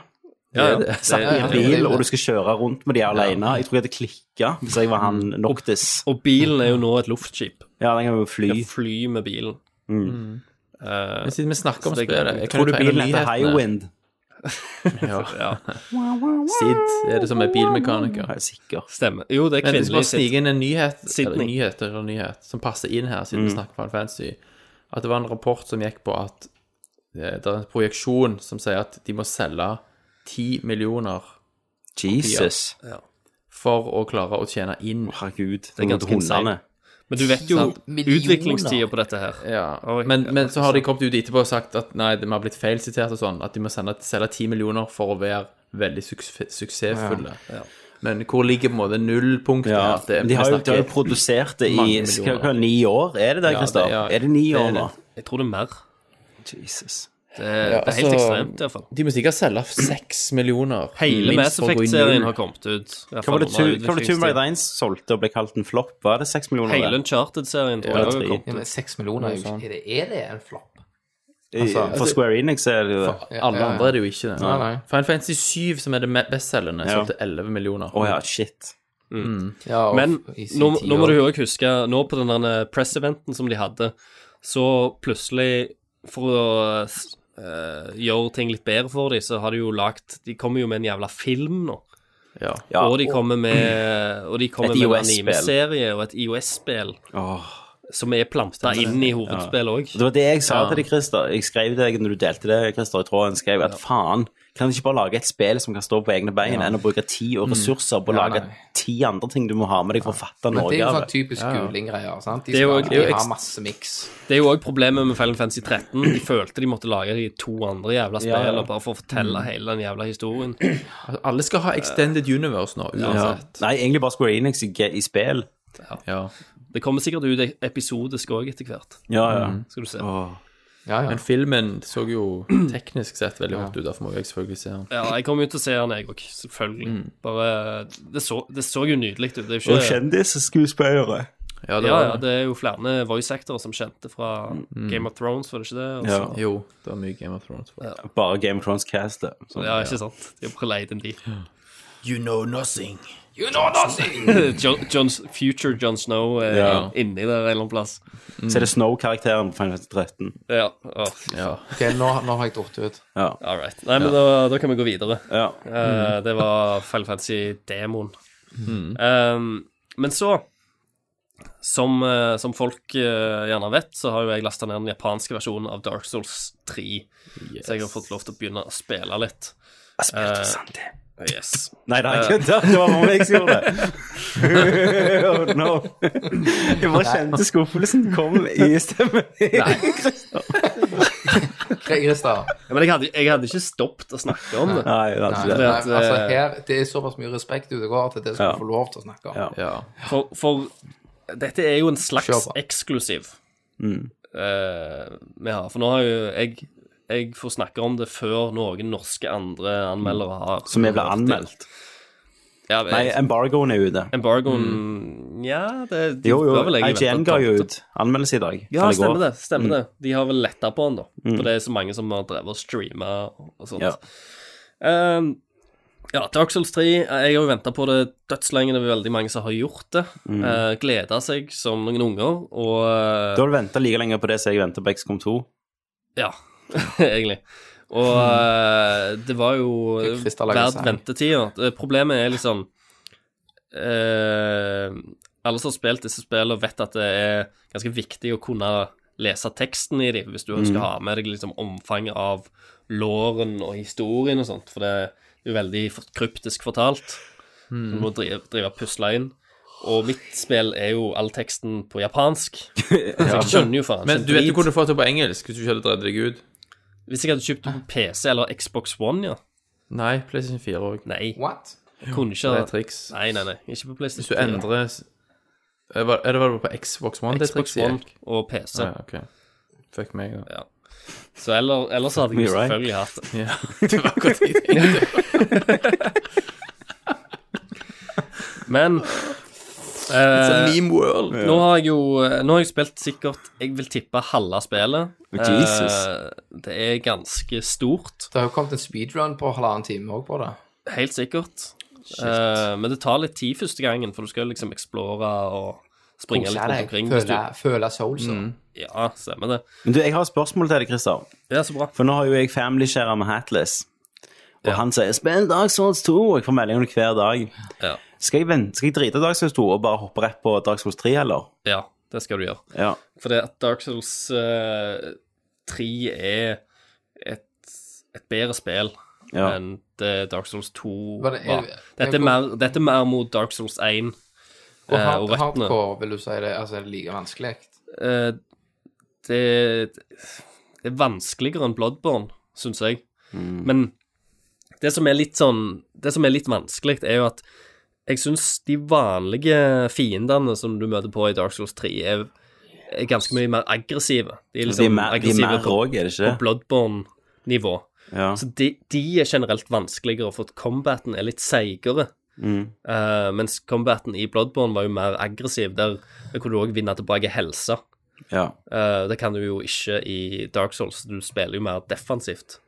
Speaker 3: Ja, ja.
Speaker 2: det-
Speaker 3: Det
Speaker 1: I en
Speaker 3: er-
Speaker 1: bil, og du skal kjøre rundt med de alene. Jeg tror jeg hadde klikka hvis jeg var han
Speaker 2: Mm.
Speaker 1: Noctis.
Speaker 3: Og bilen er jo nå et luftskip.
Speaker 1: Ja, den kan jo fly.
Speaker 3: Jeg fly med bilen.
Speaker 2: Men siden vi snakker om
Speaker 3: Så det-
Speaker 2: spillet jeg kan
Speaker 1: Tror
Speaker 2: jo
Speaker 1: du
Speaker 2: ta en av
Speaker 1: bilen heter
Speaker 2: nyhetene.
Speaker 1: Highwind?
Speaker 3: Ja,
Speaker 2: Sid er det som er bilmekaniker.
Speaker 1: Jeg er sikker.
Speaker 3: stemmer. Jo, det er
Speaker 2: Men hvis
Speaker 3: kvinnelig
Speaker 2: vi bare
Speaker 3: sitt.
Speaker 2: sniker inn en nyhet, eller
Speaker 3: Sydney.
Speaker 2: nyhet eller nyhet som passer inn her,
Speaker 1: Mm.
Speaker 2: siden vi snakker Final Fantasy, at det var en rapport som gikk på at eh, det er en projeksjon som sier at de må selge 10 millioner
Speaker 1: Jesus.
Speaker 2: for å klare å tjene inn.
Speaker 1: Herregud.
Speaker 3: er ganske
Speaker 1: hundene.
Speaker 3: Men du vet jo
Speaker 6: Sant. Millioner.
Speaker 3: utviklingstida på dette her.
Speaker 2: Ja,
Speaker 3: Oi,
Speaker 2: men,
Speaker 3: ja,
Speaker 2: men så har de kommet ut etterpå og sagt at nei, vi har blitt feilsitert og sånn, at de må sende, selge 10 millioner for å være veldig suks- suksessfulle. Men hvor ligger på en måte nullpunktet?
Speaker 1: Ja,
Speaker 2: her? Det er-
Speaker 1: de har jo,
Speaker 2: vi
Speaker 1: de har jo
Speaker 2: snakker-
Speaker 1: produsert det i
Speaker 2: mange
Speaker 1: skal,
Speaker 2: millioner.
Speaker 1: hva, ni år, er det det,
Speaker 2: Ja,
Speaker 1: Christer?
Speaker 2: det- ja.
Speaker 1: Er det ni
Speaker 2: Det er
Speaker 1: år
Speaker 2: det.
Speaker 1: nå?
Speaker 3: Jeg tror det er mer.
Speaker 1: Jesus.
Speaker 3: Det, det er helt
Speaker 2: altså,
Speaker 3: ekstremt, iallfall.
Speaker 2: De må sikkert selge seks millioner.
Speaker 3: Hele Mass
Speaker 2: minst for å gå i
Speaker 3: Effect-serien
Speaker 2: null.
Speaker 3: har kommet ut. i hvert
Speaker 1: Hva var det,
Speaker 3: fall
Speaker 1: tu,
Speaker 3: under
Speaker 1: hva var det Tomb
Speaker 3: utviklingstiden.
Speaker 1: Raider 1 solgte og ble kalt en flopp? Var det 6 millioner?
Speaker 3: Hele Uncharted-serien tror
Speaker 1: Ja,
Speaker 3: jeg også
Speaker 1: tre.
Speaker 3: har kommet
Speaker 6: Ja, men seks millioner er jo ikke er det, er det en flopp?
Speaker 1: I- For Square Enix er det jo det.
Speaker 6: Ja,
Speaker 2: Alle
Speaker 6: ja.
Speaker 2: andre er det jo ikke det.
Speaker 6: Nei, nei.
Speaker 2: Final Fantasy 7, som er det me- bestselgende,
Speaker 1: Ja.
Speaker 2: solgte 11 millioner.
Speaker 1: Å ja, shit.
Speaker 6: Ja, og
Speaker 3: Men
Speaker 6: i sin
Speaker 3: nå,
Speaker 6: tid
Speaker 3: nå må du
Speaker 6: også.
Speaker 3: jo også huske, nå på den der press-eventen som de hadde, så plutselig, for å eh, gjøre ting litt bedre for dem, så har de jo lagt De kommer jo med en jævla film nå.
Speaker 2: Ja.
Speaker 1: Ja.
Speaker 3: og de kommer med, og de kommer
Speaker 1: Et
Speaker 3: med en
Speaker 1: iOS-spill.
Speaker 3: anime-serie og et IOS-spill
Speaker 1: Åh.
Speaker 3: som er planta inn i hovedspillet òg.
Speaker 1: Det var det jeg sa
Speaker 3: Ja.
Speaker 1: til deg, Christer. Jeg skrev det når du delte det, Christer, i tråden. skrev at faen, kan de ikke bare lage et spill som kan stå på egne bein, enn å bruke tid
Speaker 3: Mm.
Speaker 1: og ressurser på å
Speaker 6: Ja,
Speaker 1: lage
Speaker 6: nei.
Speaker 1: ti andre ting du må ha med deg for å fatte
Speaker 6: Men det er
Speaker 1: Norge
Speaker 6: jo
Speaker 1: av
Speaker 6: sånn
Speaker 1: det?
Speaker 6: typisk guling-greier. sant? De,
Speaker 3: Det er jo-
Speaker 6: skal,
Speaker 3: det er jo
Speaker 6: de har
Speaker 3: ekst-
Speaker 6: masse miks.
Speaker 3: Det er jo òg problemet med Final Fantasy 13. De følte de måtte lage de to andre jævla spillene
Speaker 1: ja.
Speaker 3: bare for å fortelle hele den jævla historien.
Speaker 2: Altså, alle skal ha Extended Universe nå,
Speaker 1: Ja.
Speaker 2: uansett.
Speaker 1: Nei, egentlig bare Square Enix i, i spill.
Speaker 2: Ja.
Speaker 3: Det kommer sikkert ut e- episodisk òg etter hvert,
Speaker 1: Ja, ja.
Speaker 3: skal du se.
Speaker 1: Åh.
Speaker 6: Ja, ja.
Speaker 2: Men filmen så jo teknisk sett veldig hot ut, derfor må jeg selvfølgelig se den.
Speaker 3: Ja, jeg kommer jo til å se den, jeg òg. Selvfølgelig. Bare Det så, det så jo nydelig ut. Det er jo
Speaker 1: Mm. Og
Speaker 3: ikke
Speaker 1: kjendisskuespillere.
Speaker 2: Ja, det
Speaker 3: ja,
Speaker 2: var
Speaker 3: ja,
Speaker 2: det.
Speaker 3: det er jo flere voice actors som kjente fra Game of Thrones, var det ikke det? Og
Speaker 1: Mm. Ja.
Speaker 3: så-
Speaker 2: Jo, det var mye Game of Thrones. for.
Speaker 1: Bare Game of Thrones-castet. Sånn.
Speaker 3: ja, ikke sant? De har bare leid inn de.
Speaker 2: You know nothing.
Speaker 3: John, John's, future John Snow er
Speaker 1: Ja.
Speaker 3: inni der en eller annen plass.
Speaker 1: Så er det Snow-karakteren på Final Fantasy 13.
Speaker 3: Ja, åh,
Speaker 2: Ja.
Speaker 6: Ok, nå, nå har jeg dratt ut.
Speaker 1: Ja.
Speaker 3: all right. Nei, men da, da kan vi gå videre.
Speaker 1: ja.
Speaker 3: Eh, det var Final Fantasy-demoen. Um, men så som, eh, som folk eh, gjerne vet, så har jo jeg lasta ned den japanske versjonen av Dark Souls 3. Så jeg har fått lov til å begynne å spille litt.
Speaker 1: Jeg spilte
Speaker 3: Eh.
Speaker 1: Sandy.
Speaker 3: Yes.
Speaker 1: Nei, nei, kødda. Det var bare meg som gjorde det. oh, no. Jeg bare kjente skuffelsen kom i stemmen.
Speaker 6: Christer.
Speaker 3: Ja, men jeg hadde, jeg hadde ikke stoppet å snakke om det.
Speaker 1: Nei, det er
Speaker 6: Nei,
Speaker 1: ikke
Speaker 6: nei,
Speaker 1: det.
Speaker 3: at,
Speaker 6: altså,
Speaker 3: eh,
Speaker 6: her, det er såpass mye respekt ute og går til det skal
Speaker 1: Ja.
Speaker 6: du få lov til å snakke om.
Speaker 1: Ja.
Speaker 2: Ja.
Speaker 3: For, for dette er jo en
Speaker 6: Kjør
Speaker 3: slags
Speaker 6: på.
Speaker 3: eksklusiv
Speaker 1: Mm.
Speaker 3: eh, vi har. For nå har jo jeg Jeg får snakke om det før noen norske andre anmeldere har
Speaker 1: Mm. Som jeg ble anmeldt.
Speaker 3: Ja,
Speaker 1: Nei,
Speaker 3: jeg,
Speaker 1: embargoen er ute.
Speaker 3: Embargoen Ja, det de
Speaker 1: Jo, jo.
Speaker 3: bør vel egentlig
Speaker 1: IGN
Speaker 3: vente
Speaker 1: ga
Speaker 3: på
Speaker 1: jo
Speaker 3: det.
Speaker 1: ut anmeldelse i dag.
Speaker 3: Ja, stemmer det. Mm. stemmer det. De har vel letta på den, da. For det er så mange som har drevet og streama og sånt.
Speaker 1: Ja.
Speaker 3: Ehm, ja, Dark Souls 3 Jeg har jo venta på det dødslenge. Det er veldig mange som har gjort det. Mm. Gleda seg som noen unger, og eh,
Speaker 1: Da har du venta like lenge på det som jeg venta på XCOM 2.
Speaker 3: Ja, egentlig. Og eh, det var jo
Speaker 6: Fikk frist av å lage
Speaker 3: verdt
Speaker 6: sang.
Speaker 3: ventetida. Det- Problemet er liksom eh, Alle som har spilt disse spillene, vet at det er ganske viktig å kunne lese teksten i dem, hvis du skal ha med deg liksom omfanget av låren og historien og sånt, for det er jo veldig for- kryptisk fortalt.
Speaker 2: Mm.
Speaker 3: Du må drive, drive og pusle inn. Og mitt spill er jo all teksten på japansk. Så jeg skjønner jo faen ikke
Speaker 2: Men
Speaker 3: en
Speaker 2: du vet
Speaker 3: drit.
Speaker 2: jo hvor du får det på engelsk, hvis du ikke hadde drevet deg ut.
Speaker 3: Hvis jeg hadde kjøpt det på PC eller Xbox One, ja.
Speaker 2: Nei, PlayStation 4 òg.
Speaker 3: Nei,
Speaker 6: What?
Speaker 3: jeg kunne ikke
Speaker 2: Det er
Speaker 3: ha
Speaker 2: et triks.
Speaker 3: Nei, nei, nei, ikke på PlayStation.
Speaker 2: Hvis du endrer Er det- er det bare på Xbox One det
Speaker 3: Xbox
Speaker 2: trikset
Speaker 3: One
Speaker 2: gikk?
Speaker 3: og PC.
Speaker 2: Ja, ok. Fuck meg, da.
Speaker 3: Så eller, ellers hadde jeg jo
Speaker 1: Me right.
Speaker 3: selvfølgelig hatt det.
Speaker 2: Ja, det var akkurat det jeg tenkte.
Speaker 3: Men eh,
Speaker 2: Meme World.
Speaker 3: nå har jeg jo eh, Nå har jeg spilt sikkert Jeg vil tippe halve spillet. Eh,
Speaker 1: Jesus.
Speaker 3: det er ganske stort,
Speaker 6: Det har jo kommet en speedrun på halvannen time òg på det.
Speaker 3: helt sikkert. Eh, men det tar litt tid første gangen, for du skal liksom explore og springe litt rundt omkring. hvis du-
Speaker 6: Føle, føle soulsa.
Speaker 3: Mm. Ja, stemmer det.
Speaker 1: Men du, jeg har et spørsmål til deg, Christer.
Speaker 3: Det er så bra.
Speaker 1: For nå har jo jeg family-share med Hatless. Og han sier 'Spill Dark Souls 2', og jeg får melding om det hver dag.
Speaker 3: Ja.
Speaker 1: Skal jeg, vente, skal jeg drite i Dark Souls 2 og bare hoppe rett på Dark Souls 3, eller?
Speaker 3: ja, det skal du gjøre.
Speaker 1: Ja.
Speaker 3: For det at Dark Souls eh, 3 er et, et bedre spill
Speaker 1: ja.
Speaker 3: enn det Dark Souls 2 var.
Speaker 6: Var det- er-
Speaker 3: Dette, er
Speaker 6: er-
Speaker 3: mer, dette er mer mot Dark Souls 1
Speaker 6: Og
Speaker 3: eh,
Speaker 6: hard,
Speaker 3: og røttene.
Speaker 6: hardcore, vil du si det? Altså, er det like vanskelig?
Speaker 3: Eh, det, det er vanskeligere enn Bloodborne, syns jeg.
Speaker 1: Mm.
Speaker 3: Men det som er litt sånn Det som er litt vanskelig, er jo at jeg syns de vanlige fiendene som du møter på i Dark Souls 3, er, er ganske mye mer aggressive. De er
Speaker 1: De er
Speaker 3: liksom
Speaker 1: mer, de er
Speaker 3: aggressive
Speaker 1: mer
Speaker 3: på
Speaker 1: òg, er det ikke
Speaker 3: på
Speaker 1: det?
Speaker 3: Bloodborne nivå.
Speaker 1: Ja.
Speaker 3: Så de, de er generelt vanskeligere, for at combaten er litt seigere.
Speaker 1: Mm.
Speaker 3: Eh, mens combaten i Bloodborne var jo mer aggressiv. Der kunne du òg vinne tilbake helse.
Speaker 1: ja.
Speaker 3: Eh, det kan du jo ikke i Dark Souls, du spiller jo mer defensivt.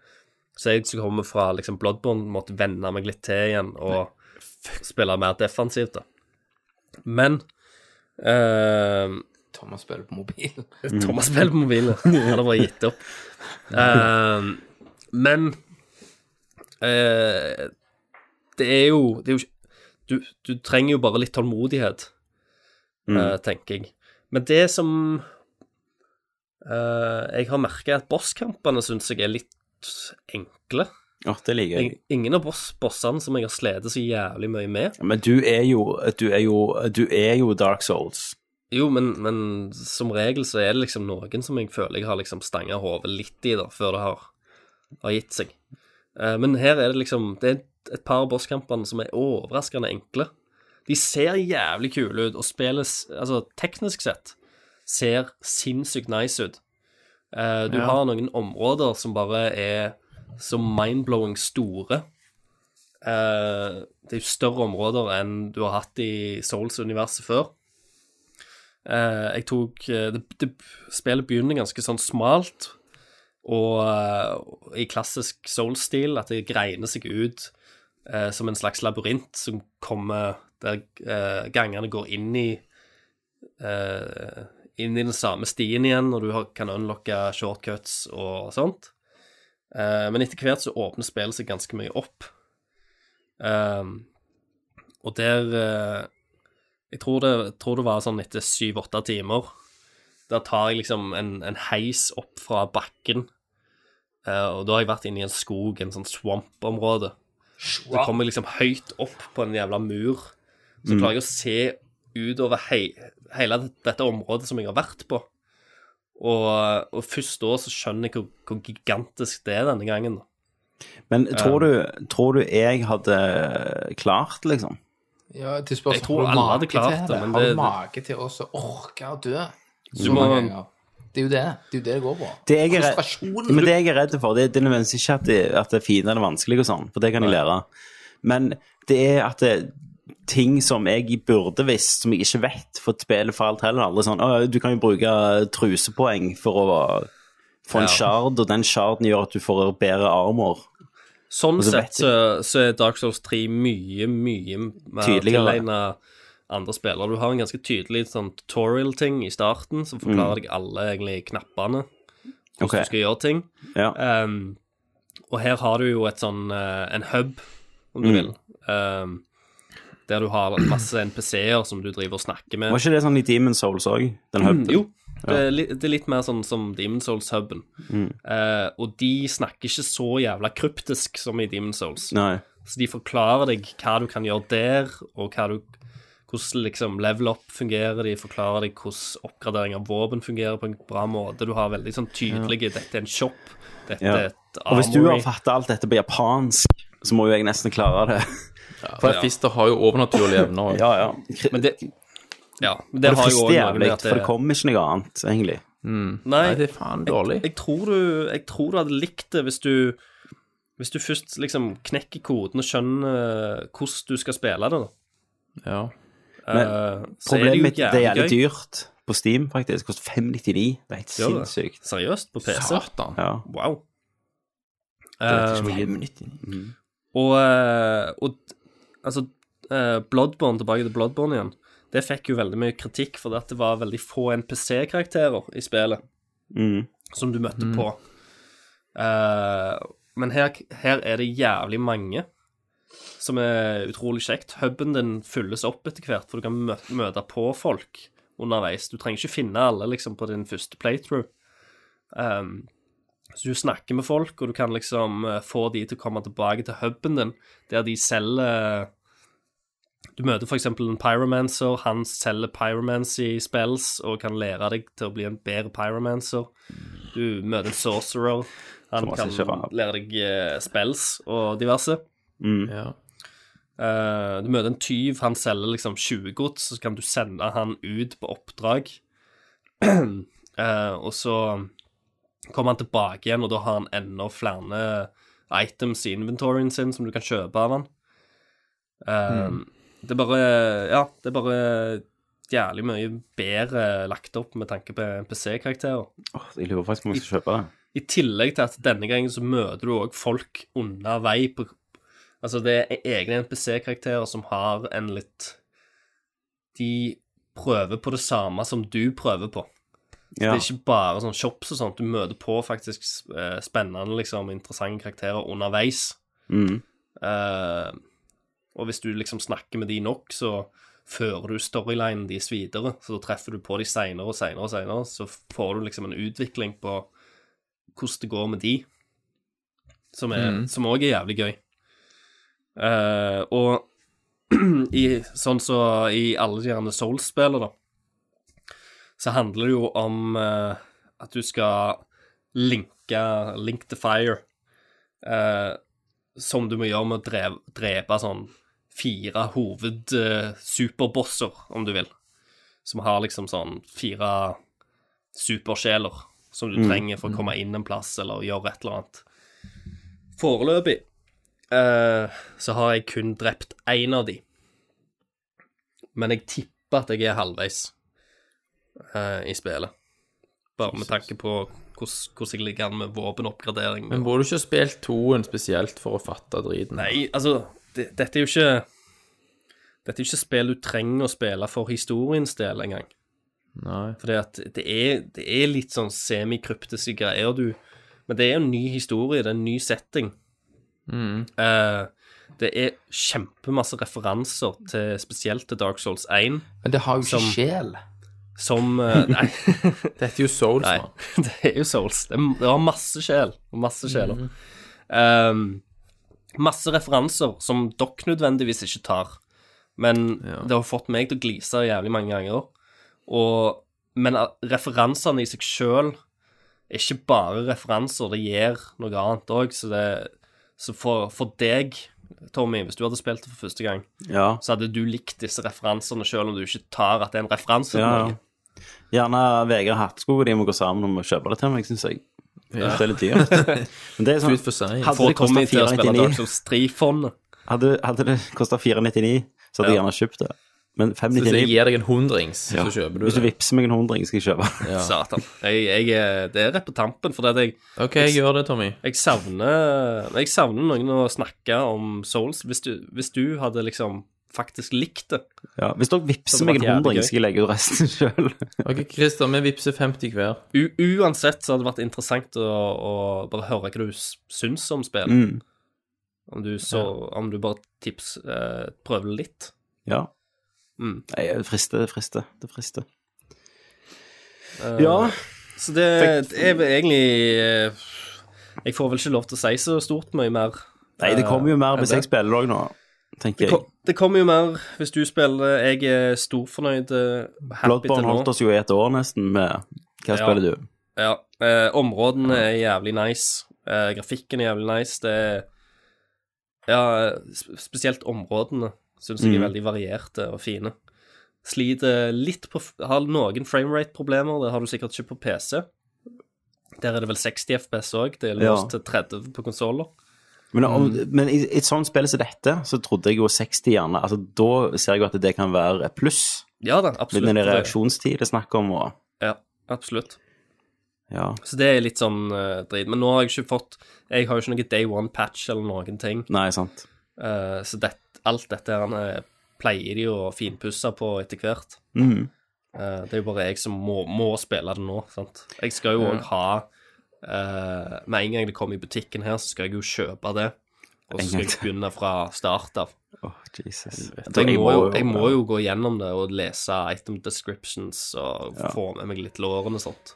Speaker 3: Så jeg som kommer fra liksom Bloodborne, måtte venne meg litt til igjen og spille mer defensivt, da. Men eh,
Speaker 6: Thomas spiller på mobil.
Speaker 3: Thomas spiller på mobilen. Han har bare gitt opp. Eh, men eh, det er jo, det er jo ikke, du, du trenger jo bare litt tålmodighet,
Speaker 1: Mm.
Speaker 3: eh, tenker jeg. Men det som eh, jeg har merka, at bosskampene syns jeg er litt enkle.
Speaker 1: Å, det liker jeg.
Speaker 3: Ing- Ingen av boss, bossene som jeg har slitt så jævlig mye med.
Speaker 1: Men du er jo Du er jo, du er jo Dark Souls.
Speaker 3: Jo, men, men som regel så er det liksom noen som jeg føler jeg har liksom stanga hodet litt i, da, før det har, har gitt seg. Eh, men her er det liksom Det er et par av bosskampene som er overraskende enkle. De ser jævlig kule ut, og spilles Altså, teknisk sett ser sinnssykt nice ut. Eh, du har noen områder som bare er så mindblowing store. Eh, det er jo større områder enn du har hatt i Souls-universet før. Eh, jeg tok eh, det, det, Spillet begynner ganske sånn smalt, og eh, i klassisk Soul-stil, at det greiner seg ut eh, som en slags labyrint som kommer der eh, gangene går inn i eh, Inn i den samme stien igjen, og du har, kan unlocke shortcuts og sånt. Eh, men etter hvert så åpner spillet seg ganske mye opp. Ehm, og der eh, jeg tror det, tror det var sånn etter syv-åtte timer. Der tar jeg liksom en, en heis opp fra bakken. Eh, og da har jeg vært inne i en skog, en sånn swamp-område. Så kommer jeg liksom høyt opp på en jævla mur. Så klarer jeg å se utover hei, hele dette området som jeg har vært på. Og, og først da så skjønner jeg hvor, hvor gigantisk det er denne gangen. da.
Speaker 1: Men
Speaker 3: Eh.
Speaker 1: tror du, tror du jeg hadde klart, liksom?
Speaker 6: Ja, til spørsmål,
Speaker 3: Jeg tror alle hadde klart det, men
Speaker 6: Har
Speaker 3: det-
Speaker 6: du mage til også å orke å dø?
Speaker 3: Du
Speaker 6: Så
Speaker 3: må-
Speaker 6: mange ganger. Det er jo det det er jo det, det går på.
Speaker 1: Det jeg er,
Speaker 6: Frustrasjon.
Speaker 1: men det jeg er redd for, det, det er nødvendigvis ikke at det, at det er fint eller vanskelig og sånn, for det kan jeg lære. Men det er at det, ting som jeg burde visst, som jeg ikke vet, for spillet for alt heller aldri sånn «Å, Du kan jo bruke trusepoeng for å få en shard, og den sharden gjør at du får bedre armor.
Speaker 3: Sånn
Speaker 1: Og så
Speaker 3: sett
Speaker 1: vet
Speaker 3: så, så er Dark Souls 3 mye, mye mer
Speaker 1: Tydeligere.
Speaker 3: tilegnet andre spillere. Du har en ganske tydelig sånn tutorial-ting i starten som forklarer deg alle egentlig knappene, hvordan
Speaker 1: Mm. Ok,
Speaker 3: du skal gjøre ting.
Speaker 1: ja.
Speaker 3: Ehm, og her har du jo et sånn eh, en hub, om
Speaker 1: Mm.
Speaker 3: du vil, ehm, der du har masse NPC-er som du driver og snakker med.
Speaker 1: Var ikke det sånn i Demon Souls òg? Den hubben?
Speaker 3: Mm, Jo, det er, li det er litt mer sånn som Demon Souls-huben.
Speaker 1: Mm.
Speaker 3: Eh, og de snakker ikke så jævla kryptisk som i Demon Souls.
Speaker 1: Nei.
Speaker 3: Så de forklarer deg hva du kan gjøre der, og hva du, hvordan liksom level up fungerer. De forklarer deg hvordan oppgradering av våpen fungerer på en bra måte. Du har veldig sånn tydelige Dette er en shop, dette
Speaker 1: Ja.
Speaker 3: er et
Speaker 1: Og hvis du har
Speaker 3: armory.
Speaker 1: fatta alt dette på japansk, så må jo jeg nesten klare det.
Speaker 2: For Fister har jo overnaturlige evner.
Speaker 1: Ja, ja.
Speaker 3: Men det, ja, men
Speaker 1: det
Speaker 3: det har jo
Speaker 1: frister
Speaker 3: også noe
Speaker 1: jævlig,
Speaker 3: med at
Speaker 1: for det kommer ikke noe annet, egentlig.
Speaker 3: Nei,
Speaker 2: Nei, det er faen dårlig.
Speaker 3: jeg tror, du, jeg tror du hadde likt det hvis du Hvis du først liksom knekker koden og skjønner eh, hvordan du skal spille det, da.
Speaker 2: Ja.
Speaker 1: Men
Speaker 3: Eh, så er det
Speaker 1: Problemet
Speaker 3: jo
Speaker 1: mitt det er
Speaker 3: jævlig
Speaker 1: jævlig
Speaker 3: gøy.
Speaker 1: dyrt på Steam, faktisk. Koster 599. Det er helt
Speaker 3: Gjør det? Eh,
Speaker 1: sinnssykt.
Speaker 3: Seriøst, på PC?
Speaker 2: Satan.
Speaker 1: Ja.
Speaker 3: Wow.
Speaker 2: Det er
Speaker 3: Eh,
Speaker 2: ikke mye.
Speaker 1: Mm.
Speaker 3: og, eh, og altså eh, Bloodborne, tilbake til Bloodborne igjen, det fikk jo veldig mye kritikk for at det var veldig få NPC-karakterer i spillet
Speaker 1: Mm.
Speaker 3: som du møtte på. Eh, men her, her er det jævlig mange, som er utrolig kjekt. Huben din fylles opp etter hvert, for du kan mø møte på folk underveis. Du trenger ikke finne alle liksom på din første playthrough. Um, så du snakker med folk, og du kan liksom eh, få de til å komme tilbake til huben din, der de selger eh, Du møter f.eks. en pyromancer. Han selger pyromancy spells og kan lære deg til å bli en bedre pyromancer. Du møter en sorcerer. Han
Speaker 1: Thomas
Speaker 3: kan
Speaker 1: er ikke rar.
Speaker 3: lære deg eh, spells og diverse.
Speaker 1: Mm.
Speaker 3: Mm.
Speaker 2: Ja.
Speaker 3: Eh, du møter en tyv, han selger liksom 20 gods, så kan du sende han ut på oppdrag. Eh, og så kommer han tilbake igjen, og da har han enda flere items i inventoryen sin som du kan kjøpe av han. Eh, Det er bare Ja, det er bare jævlig mye bedre lagt opp med tanke på NPC-karakterer.
Speaker 1: Åh, jeg lurer faktisk på om jeg skal kjøpe det.
Speaker 3: I tillegg til at denne gangen så møter du òg folk undervei på Altså, det er egne NPC-karakterer som har en litt De prøver på det samme som du prøver på.
Speaker 1: Ja.
Speaker 3: Det er ikke bare sånn shops og sånt. Du møter på faktisk eh, spennende, liksom, interessante karakterer underveis.
Speaker 1: Mm.
Speaker 3: Eh, og hvis du liksom snakker med de nok, så fører du storylinen deres videre. Så da treffer du på de seinere og seinere og seinere, så får du liksom en utvikling på hvordan det går med de, som er- som òg er jævlig gøy. Eh, og i, sånn så i alle de gjerne Souls-spillene, da, så handler det jo om eh, at du skal linke Link the Fire. Eh, som du må gjøre med å drev, drepe sånn fire hoved-superbosser, om du vil. Som har liksom sånn fire supersjeler som du trenger for å komme inn en plass eller gjøre et eller annet. Foreløpig eh, så har jeg kun drept én av de. Men jeg tipper at jeg er halvveis eh, i spillet. Bare med tanke på hvordan hvordan jeg ligger an med våpenoppgradering. og-
Speaker 2: Men burde du ikke ha spilt toen spesielt for å fatte driten?
Speaker 3: Nei, altså, det, dette er jo ikke Dette er jo ikke spill du trenger å spille for historiens del engang.
Speaker 2: Nei.
Speaker 3: Fordi at det er, det er litt sånn semikryptiske greier du Men det er jo en ny historie, det er en ny setting. Eh, det er kjempemasse referanser til spesielt til Dark Souls 1
Speaker 6: Men det har jo ikke
Speaker 3: Som-
Speaker 6: sjel.
Speaker 3: som eh, Nei.
Speaker 2: Dette er jo Souls,
Speaker 3: Nei,
Speaker 2: mann.
Speaker 3: det er jo Souls. Det, er- det har masse sjel. og Masse sjeler.
Speaker 1: Mhm.
Speaker 3: Ehm, masse referanser som dere nødvendigvis ikke tar. Men det har fått meg til å glise jævlig mange ganger. Og, men at referansene i seg sjøl er ikke bare referanser, det gjør noe annet òg. Så, det- så for, for deg, Tommy, hvis du hadde spilt det for første gang,
Speaker 1: ja.
Speaker 3: så hadde du likt disse referansene sjøl om du ikke tar at det er en referanse. til
Speaker 1: Ja, ja.
Speaker 3: noe.
Speaker 1: Gjerne Vegard Hatskog og de må gå sammen om å kjøpe det til meg, syns jeg. Det er litt dyrt. Men det er sånn,
Speaker 2: Ut for sent.
Speaker 1: hadde
Speaker 3: Få
Speaker 1: det kosta
Speaker 3: Tommy til å spille Dark
Speaker 1: 499,
Speaker 3: Souls 3-fondet.
Speaker 1: hadde, hadde det kostet 499, så hadde jeg gjerne kjøpt det. Men
Speaker 2: Hvis jeg
Speaker 1: 599
Speaker 2: gir deg en hundrings,
Speaker 1: ja.
Speaker 2: så kjøper
Speaker 1: Hvis
Speaker 2: du
Speaker 1: du
Speaker 2: det.
Speaker 1: vippser meg en hundring, skal jeg kjøpe.
Speaker 3: Satan. Jeg, jeg, er- det er rett på tampen, for jeg,
Speaker 2: OK, jeg gjør det, Tommy.
Speaker 3: jeg, savner, jeg savner noen å snakke om Souls. Hvis du, hvis du hadde liksom faktisk likt det
Speaker 1: Ja. Hvis dere
Speaker 3: Så det
Speaker 1: vippser meg
Speaker 3: var
Speaker 1: en
Speaker 3: jævlig
Speaker 1: hundring,
Speaker 3: gøy.
Speaker 1: skal jeg legge ut resten sjøl.
Speaker 2: OK, Christer, vi vippser 50 hver.
Speaker 3: U Uansett så hadde det vært interessant å, å bare høre hva du s- syns om spillet.
Speaker 1: Mm.
Speaker 3: Om, du så, om du bare tips eh, prøver litt.
Speaker 1: Ja.
Speaker 3: Mm.
Speaker 1: Nei, Det frister, det frister. Det frister.
Speaker 3: Eh,
Speaker 1: Ja.
Speaker 3: Så det, det er vel egentlig eh, Jeg får vel ikke lov til å si så stort mye mer.
Speaker 1: Nei, det kommer jo mer hvis
Speaker 3: det-
Speaker 1: jeg spiller òg nå, tenker
Speaker 3: Det,
Speaker 1: jeg.
Speaker 3: kom, det kommer jo mer hvis du spiller. Jeg er storfornøyd. eh, Happy
Speaker 1: Bloodborne
Speaker 3: til nå.
Speaker 1: holdt oss jo i et år nesten med Hva spiller du?
Speaker 3: Ja. Eh, områdene er jævlig nice. Eh, grafikken er jævlig nice. Det er Ja, eh, sp- spesielt områdene syns jeg er
Speaker 1: Mm.
Speaker 3: veldig varierte og fine. Sliter litt på f- Har noen framerate-problemer. Det har du sikkert ikke på PC. Der er det vel 60 FPS òg. Det er låst
Speaker 1: Ja.
Speaker 3: til 30 på konsoller.
Speaker 1: Men, om, men i, i et sånt spill som dette, så trodde jeg jo 60 gjerne altså, Da ser jeg jo at det kan være et pluss.
Speaker 3: Ja da,
Speaker 1: Litt den
Speaker 3: absolutt.
Speaker 1: reaksjonstid det er snakk om, og
Speaker 3: Ja, absolutt.
Speaker 1: ja.
Speaker 3: Så det er litt sånn eh, drit. Men nå har jeg ikke fått Jeg har jo ikke noe day one patch eller noen ting.
Speaker 1: Nei, sant.
Speaker 3: Eh, så det, alt dette her eh, pleier de å finpusse på etter hvert.
Speaker 1: Mhm.
Speaker 3: Eh, det er jo bare jeg som må, må spille det nå, sant. Jeg skal jo òg ha eh, Med en gang det kommer i butikken her, så skal jeg jo kjøpe det. Og så
Speaker 1: En
Speaker 3: skal
Speaker 1: gang
Speaker 3: jeg
Speaker 1: til.
Speaker 3: begynne fra start av.
Speaker 1: Åh, Jesus.
Speaker 3: Så jeg, må jo, jeg må jo gå gjennom det og lese item descriptions og få med meg litt lårene og sånt.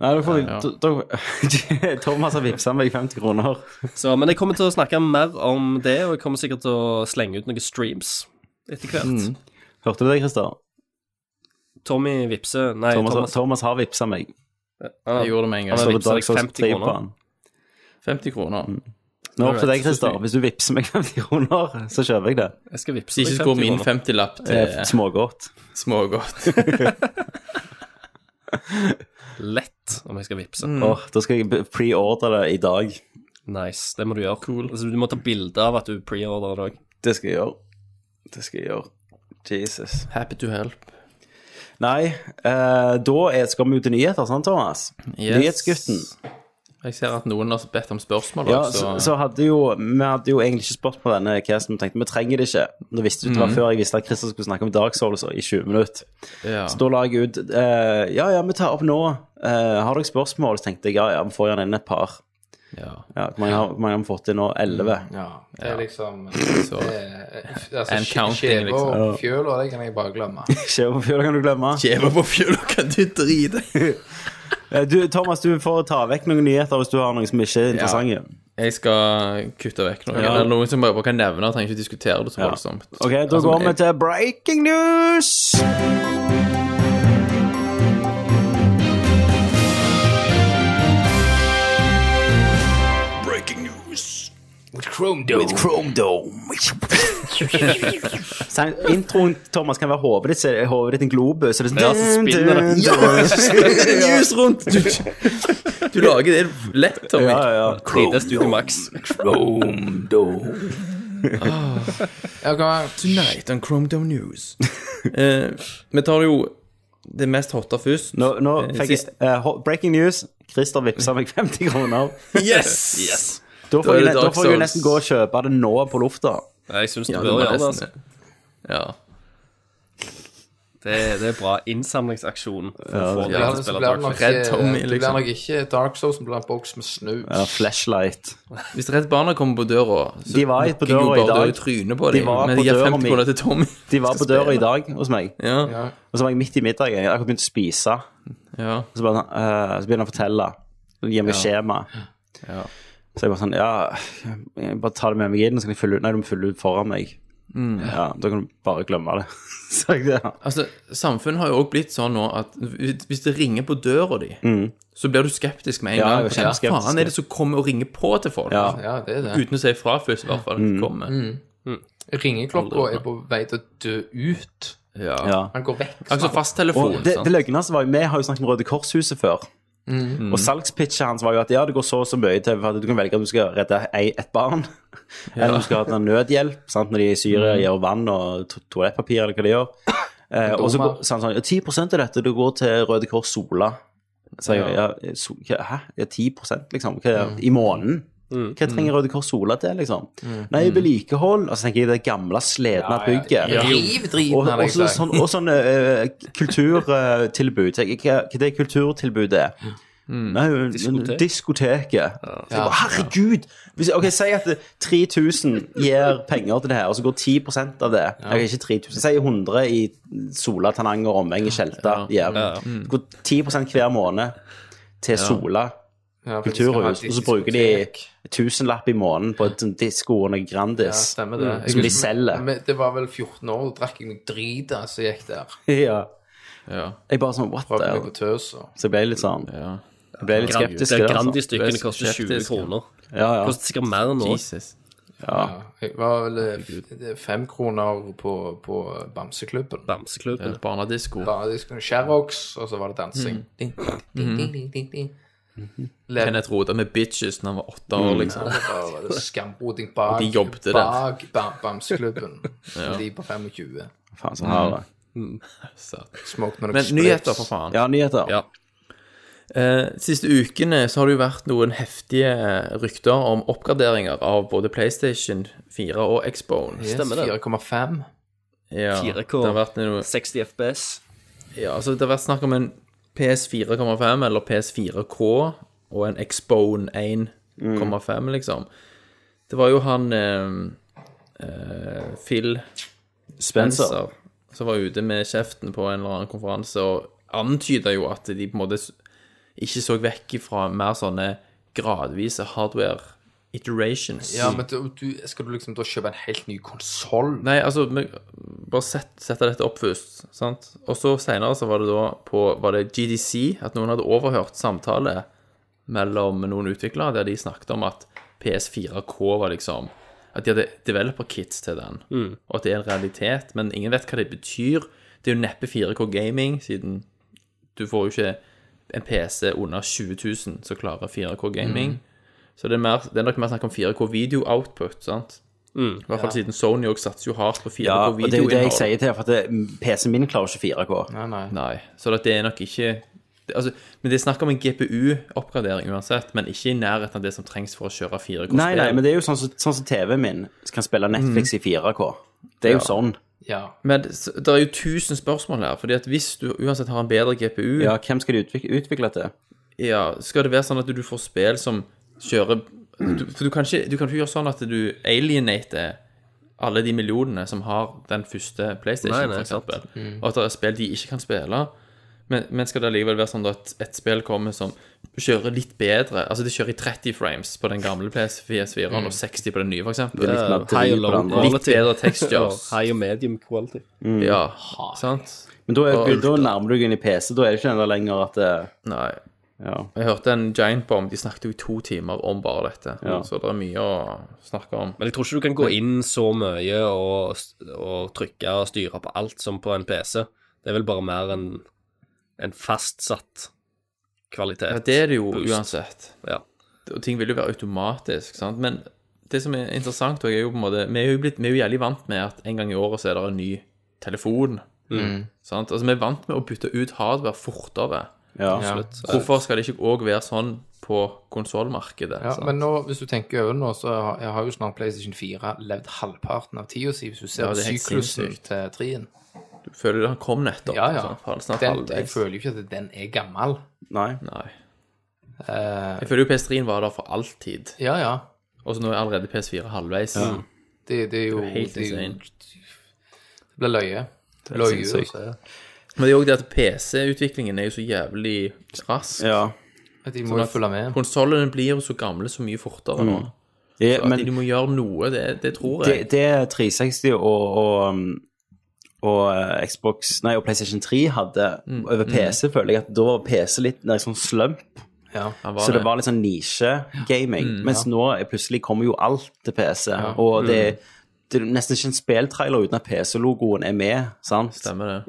Speaker 1: Nei, da får vi da- da- Thomas har vippsa meg 50 kroner.
Speaker 3: Så, men jeg kommer til å snakke mer om det, og jeg kommer sikkert til å slenge ut noen streams etter hvert.
Speaker 1: Hørte du det, Christer?
Speaker 3: Tommy Vipse Nei,
Speaker 1: Thomas,
Speaker 3: Thomas.
Speaker 1: Thomas har vippsa meg.
Speaker 3: han,
Speaker 2: Jeg gjorde det med en
Speaker 3: Han
Speaker 2: gang.
Speaker 1: Så
Speaker 3: har
Speaker 1: det
Speaker 3: vippset
Speaker 1: Dark
Speaker 3: deg
Speaker 1: Souls
Speaker 3: 50
Speaker 1: 3 på
Speaker 3: kroner.
Speaker 1: han.
Speaker 2: 50 kroner.
Speaker 1: Mm. Nå er det opp til
Speaker 3: Alright,
Speaker 1: deg, Christer.
Speaker 3: så
Speaker 1: Hvis du vippser meg 50 kroner, så kjøper jeg det.
Speaker 3: Jeg skal vippse
Speaker 2: Så ikke går min
Speaker 1: Eh,
Speaker 2: eh,
Speaker 3: kroner.
Speaker 2: 50-lapp
Speaker 1: Det er
Speaker 2: til
Speaker 1: smågodt.
Speaker 2: smågodt.
Speaker 3: Lett, om jeg skal vippse.
Speaker 1: Åh, da skal jeg be- pre-order det i dag.
Speaker 3: Nice, det må du gjøre. Altså, du må ta bilde av at du preorderer det òg.
Speaker 1: Det skal jeg gjøre. Det skal jeg gjøre. Jesus.
Speaker 2: Happy to help.
Speaker 1: Nei, eh, da er, skal vi jo til nyheter, sant, Thomas?
Speaker 2: Yes.
Speaker 1: Nyhetsgutten.
Speaker 2: Jeg ser at noen har bedt om spørsmål.
Speaker 1: Ja,
Speaker 2: også.
Speaker 1: så, så hadde jo, Vi hadde jo egentlig ikke spurt på denne casten, men tenkte vi trenger det ikke. Da visste du det var før jeg visste at Christer skulle snakke om Dark Souls i 20 minutter.
Speaker 2: ja.
Speaker 1: Så da la jeg ut eh, Ja, ja, vi tar opp nå. Eh, har dere spørsmål? Så tenkte jeg ja, ja, vi får gjerne inn et par.
Speaker 2: ja.
Speaker 1: Ja, Hvor mange har hvor mange har vi fått inn nå? 11?
Speaker 2: Mm,
Speaker 6: Ja, det er liksom
Speaker 2: Så
Speaker 6: eh, altså,
Speaker 2: And counting,
Speaker 6: skjeve
Speaker 2: liksom.
Speaker 6: og fjøl, og det kan jeg bare glemme.
Speaker 1: Skjevefjøla kan du glemme.
Speaker 2: Kjeva på fjøla, kan du drite?
Speaker 1: Eh, Du, Thomas, du får ta vekk noen nyheter hvis du har noen som ikke er interessante.
Speaker 2: Jeg skal kutte vekk noe.
Speaker 1: Ja.
Speaker 2: Det er noe som jeg bare kan nevne. Jeg trenger ikke diskutere det så
Speaker 1: Ja.
Speaker 2: voldsomt.
Speaker 1: Ok, Da
Speaker 2: Altså,
Speaker 1: går vi
Speaker 2: jeg-
Speaker 1: til breaking news!
Speaker 4: Breaking news.
Speaker 1: With Chrome Dome. Så Introen Thomas, kan være hodet ditt, så er hodet ditt en globus. Så det
Speaker 3: Ja,
Speaker 1: er
Speaker 3: så
Speaker 1: sånn,
Speaker 3: spinner det.
Speaker 2: News rundt! Du, du lager det lett, Tommy.
Speaker 1: Ja, ja, ja.
Speaker 3: 3D Studio Max.
Speaker 6: Ja, kan
Speaker 2: Tonight on Chrome Dome News. Eh, vi tar jo det mest hotte først.
Speaker 1: Nå, nå
Speaker 2: Eh,
Speaker 1: fikk jeg
Speaker 2: sist-
Speaker 1: eh, ho- Breaking news. Christer vippsa meg 50 kroner.
Speaker 2: Yes!
Speaker 1: Da
Speaker 2: Da
Speaker 1: får,
Speaker 2: er
Speaker 1: jeg,
Speaker 2: det
Speaker 1: ne- da
Speaker 2: Dark
Speaker 1: får jeg jo
Speaker 2: Souls.
Speaker 1: nesten gå og kjøpe det nå på lufta.
Speaker 3: Jeg syns du
Speaker 2: Ja, det
Speaker 3: bør
Speaker 2: var
Speaker 3: gjøre det.
Speaker 2: nesten
Speaker 3: Altså.
Speaker 2: det. Ja.
Speaker 3: Det, det er bra innsamlingsaksjon. For å få
Speaker 6: Ja,
Speaker 3: deg til å
Speaker 6: så
Speaker 3: spille
Speaker 6: blir det
Speaker 3: Dark
Speaker 6: nok,
Speaker 3: Souls.
Speaker 2: Red
Speaker 6: eh,
Speaker 2: Tommy,
Speaker 6: det blir
Speaker 2: liksom.
Speaker 6: nok ikke Dark Souls, men det blir en boks med snus.
Speaker 1: Ja, flashlight.
Speaker 2: Hvis Redd Barna kommer på døra, så
Speaker 1: De var på
Speaker 2: gikk jo
Speaker 1: døra i
Speaker 2: bare
Speaker 1: dag.
Speaker 2: døra i trynet på
Speaker 1: De
Speaker 2: dem.
Speaker 1: var
Speaker 2: Men
Speaker 1: på
Speaker 2: de gir
Speaker 1: døra
Speaker 2: 50
Speaker 1: mi.
Speaker 2: kroner til Tommy.
Speaker 1: De var på
Speaker 2: Skal
Speaker 1: døra i
Speaker 2: spille.
Speaker 1: dag hos meg,
Speaker 2: Ja,
Speaker 6: Ja.
Speaker 1: og så var jeg midt i middag. Jeg hadde akkurat begynt å spise.
Speaker 2: ja.
Speaker 1: Og så, bare, sånn, eh, så begynner han å fortelle. Og gir meg skjema.
Speaker 2: Ja.
Speaker 1: Så jeg bare sånn Ja, jeg bare ta det med meg inn, og så kan jeg fylle ut. Nei, du må fylle ut foran meg. Ja, Da kan du bare glemme det. så jeg, ja.
Speaker 2: Altså, samfunnet har jo også blitt sånn nå at hvis hvis det ringer på døra di, så blir du skeptisk med en
Speaker 1: Mm. Ja,
Speaker 2: gang.
Speaker 1: jeg er
Speaker 2: for Hva
Speaker 1: kjempeskeptisk.
Speaker 2: faen er det som kommer og ringer på til folk?
Speaker 1: Ja. Mm.
Speaker 6: Ja, det er det.
Speaker 2: Uten å si fra først, i hvert fall. at det kommer.
Speaker 6: Ringeklokka er på vei til å dø ut.
Speaker 2: Ja.
Speaker 1: ja.
Speaker 6: Han går vekk.
Speaker 2: Altså
Speaker 1: Og
Speaker 2: fasttelefon.
Speaker 1: det,
Speaker 2: sant?
Speaker 1: det løgneste var jo, vi har jo snakket om Røde Kors-huset før. Og salgspitchet hans var jo at ja, det går så og så mye til for at du kan velge at du skal redde ei, et barn. Eller du skal ha en nødhjelp sant, når de i Syria gir vann og to toalettpapir eller hva de gjør. Eh, og så
Speaker 6: Kondomer.
Speaker 1: går så han sånn, ja, 10 av dette det går til Røde Kors Sola. Så jeg, ja, so, hva- hæ? Ja, 10 liksom? Hva, I måneden? Hva trenger Røde Kors Sola til, liksom? Nei, vedlikehold. Og så tenker jeg det gamle, sledne bygget.
Speaker 6: Riv
Speaker 1: Og
Speaker 6: driten av deg,
Speaker 1: også
Speaker 6: sier jeg.
Speaker 1: sånn, og sånn eh, kulturtilbud. Tenk, Hva, hva det kulturtilbudet er? Mm.
Speaker 6: Mm.
Speaker 1: Nei, men-
Speaker 3: Diskotek.
Speaker 1: diskoteket. Så jeg bare, herregud! Hvis, ok, Si at det- 3000 gir penger til det her, og så går 10 av det Ok, ikke 3000, Si 100 i Sola, Tananger, Omveng, Skjelta, Jæren.
Speaker 6: Mm.
Speaker 1: Så går 10 hver måned til Sola
Speaker 6: Ja, for de skal ha
Speaker 1: kulturhus, og så bruker de
Speaker 6: diskotek.
Speaker 1: 1000-lapp i måneden på et disko under
Speaker 6: Ja,
Speaker 1: Grandis.
Speaker 6: stemmer det. Jeg
Speaker 1: Som de
Speaker 6: husker-
Speaker 1: selger.
Speaker 6: Men Det var vel 14 år, da drakk jeg meg drit av som gikk der.
Speaker 1: Ja.
Speaker 2: Ja.
Speaker 1: Jeg bare sånn, what
Speaker 6: Prøvde
Speaker 1: the
Speaker 6: meg på tøs og
Speaker 1: Så jeg ble litt sånn
Speaker 2: Ja.
Speaker 1: Jeg ble litt
Speaker 3: Grand-
Speaker 1: skeptisk.
Speaker 3: Det
Speaker 1: til det, altså.
Speaker 2: Det er
Speaker 3: Grandi-stykkene
Speaker 2: så
Speaker 3: koster 20
Speaker 2: skeptisk, ja.
Speaker 3: kroner.
Speaker 1: Ja, ja.
Speaker 3: Koster sikkert mer nå.
Speaker 2: Jesus.
Speaker 6: ja. Jeg var vel eh, f- det er fem kroner på, på Bamseklubben.
Speaker 3: Bamseklubben.
Speaker 2: Barnedisko.
Speaker 6: Bare de skulle Sherrox, og så var det dansing. Ding, ding, ding, ding, ding, ding. Lev-
Speaker 2: Kenneth rota med bitches når han var åtte
Speaker 1: Mm.
Speaker 2: år, liksom.
Speaker 6: Det var bare Skambroding bak,
Speaker 2: Og de jobbet der.
Speaker 6: bak ba Bamseklubben. De på 25.
Speaker 1: Faen, så har det.
Speaker 2: Så.
Speaker 6: Smoked med noen
Speaker 2: Men nyheter, for faen.
Speaker 1: Ja, nyheter.
Speaker 3: Ja.
Speaker 2: Eh, siste ukene så har det jo vært noen heftige eh, rykter om oppgraderinger av både PlayStation 4 og Xbones.
Speaker 3: Stemmer det.
Speaker 6: 4,5.
Speaker 2: Ja,
Speaker 3: 4K.
Speaker 2: Det har vært noe
Speaker 3: 60 FPS.
Speaker 2: Ja, altså det har vært snakk om en PS4,5 eller PS4K og en Xbone 1,5, liksom. Det var jo han eh, eh, Phil
Speaker 1: Spencer.
Speaker 2: Spencer som var ute med kjeften på en eller annen konferanse og antyda jo at de på en måte s- ikke så vekk ifra mer sånne gradvise hardware iterations.
Speaker 6: Ja, men du, du, skal du liksom da kjøpe en helt ny konsoll?
Speaker 2: Nei, altså, men bare sett, sette dette opp først, sant? Og så senere så var det da på, var det GDC, at noen hadde overhørt samtale mellom noen utviklere, der de snakket om at PS4K var liksom, at de hadde developer kits til den, og at det er en realitet, men ingen vet hva det betyr. Det er jo neppe 4K gaming, siden du får jo ikke en PC under 20 000 som klarer 4K-gaming. Så det er, mer, det er nok mer snakk om 4K-video-output, sant? I hvert fall siden Sony også satser jo hardt på
Speaker 1: Ja, og det er jo det jeg
Speaker 2: 4K-videoinnhold.
Speaker 1: sier til deg, for at det- PC-en min klarer ikke 4K.
Speaker 6: Nei, nei.
Speaker 2: Nei, så at det er nok ikke det- altså, Men det er snakk om en GPU-oppgradering uansett, men ikke i nærheten av det som trengs for å kjøre 4K-spill.
Speaker 1: Nei, nei, men det er jo sånn som sånn som TV-en min kan spille Netflix i 4K. Det er jo sånn.
Speaker 6: Ja.
Speaker 2: Men det så- det er jo tusen spørsmål her, fordi at hvis du uansett har en bedre GPU,
Speaker 1: Ja, hvem skal de utvikle, utvikle til?
Speaker 2: Ja, skal det være sånn at du får spill som kjører du, For du kan, ikke, du kan ikke gjøre sånn at du alienater alle de millionene som har den første
Speaker 3: Nei,
Speaker 2: PlayStation,
Speaker 3: nei,
Speaker 2: for eksempel. Og at det er spill de ikke kan spille. Men, men skal det allikevel være sånn da at et spill kommer som kjører litt bedre Altså det kjører i 30 frames på den gamle PS4-en og 60 på den nye, for eksempel.
Speaker 1: Litt mer
Speaker 3: high
Speaker 1: drit
Speaker 3: og
Speaker 1: på det
Speaker 3: low
Speaker 1: andre.
Speaker 2: Litt
Speaker 3: quality.
Speaker 2: bedre textures.
Speaker 3: High og medium quality.
Speaker 2: Ja, sant?
Speaker 1: Men da, er,
Speaker 2: Og-
Speaker 1: da nærmer du deg inn i PC, da er det ikke den der lenger at eh, det,
Speaker 2: Nei.
Speaker 1: ja.
Speaker 2: Jeg hørte en Giant Bomb, de snakket jo i to timer om bare dette.
Speaker 1: Ja.
Speaker 2: Så det er mye å snakke om.
Speaker 3: Men jeg tror ikke du kan gå inn så mye og, og trykke og styre på alt som på en PC. Det er vel bare mer en, en fastsatt kvalitet.
Speaker 2: Ja, det er det jo
Speaker 3: boost.
Speaker 2: uansett.
Speaker 3: Ja.
Speaker 2: Og ting vil jo være automatisk, sant. Men det som er interessant, og er jo på en måte Vi er jo, blitt, vi er jo jævlig vant med at en gang i året så er det en ny telefon.
Speaker 3: Mm.
Speaker 2: Sant? Altså, vi er vant med å bytte ut hardware fortere.
Speaker 1: Ja.
Speaker 6: Absolutt.
Speaker 2: Hvorfor skal det ikke òg være sånn på konsollmarkedet?
Speaker 6: Ja, men nå, hvis du tenker over det nå, så har jeg har jo snart PlayStation 4 levd halvparten av tida si, hvis du ser
Speaker 2: Ja, det er helt
Speaker 6: syklusen
Speaker 2: sinnssykt.
Speaker 6: til 3-en.
Speaker 2: Du føler det han kom nettopp?
Speaker 6: Ja, ja.
Speaker 2: sant? For han er snart
Speaker 6: Den, jeg
Speaker 2: halvveis.
Speaker 6: føler jo ikke at den er gammel.
Speaker 1: Nei.
Speaker 2: Nei.
Speaker 6: Eh,
Speaker 2: Jeg føler jo PS3-en var der for alltid.
Speaker 6: ja, ja.
Speaker 2: Og så nå er allerede PS4 halvveis.
Speaker 6: Det, det er jo
Speaker 2: Det er helt
Speaker 6: det er jo-
Speaker 2: insane.
Speaker 6: Det blir løye. Løye. altså.
Speaker 2: Men det er òg det at PC-utviklingen er jo så jævlig rask.
Speaker 1: Ja.
Speaker 6: At De må jo følge med.
Speaker 2: Konsollene blir jo så gamle så mye fortere nå.
Speaker 1: Ja,
Speaker 2: At
Speaker 1: Mm, men
Speaker 2: de må gjøre noe, det, det tror jeg.
Speaker 1: det, det er 360 og, og, um, og eh, Xbox, nei, og PlayStation 3 hadde
Speaker 2: Mm.
Speaker 1: over PC, føler jeg at da var PC litt nede i sånn slump.
Speaker 2: Han
Speaker 1: Så det var litt sånn nisje-gaming.
Speaker 2: Mm,
Speaker 1: mens nå er plutselig kommer jo alt til PC. Og det, det er nesten ikke en spilltrailer uten at PC-logoen er med, sant?
Speaker 2: Stemmer det.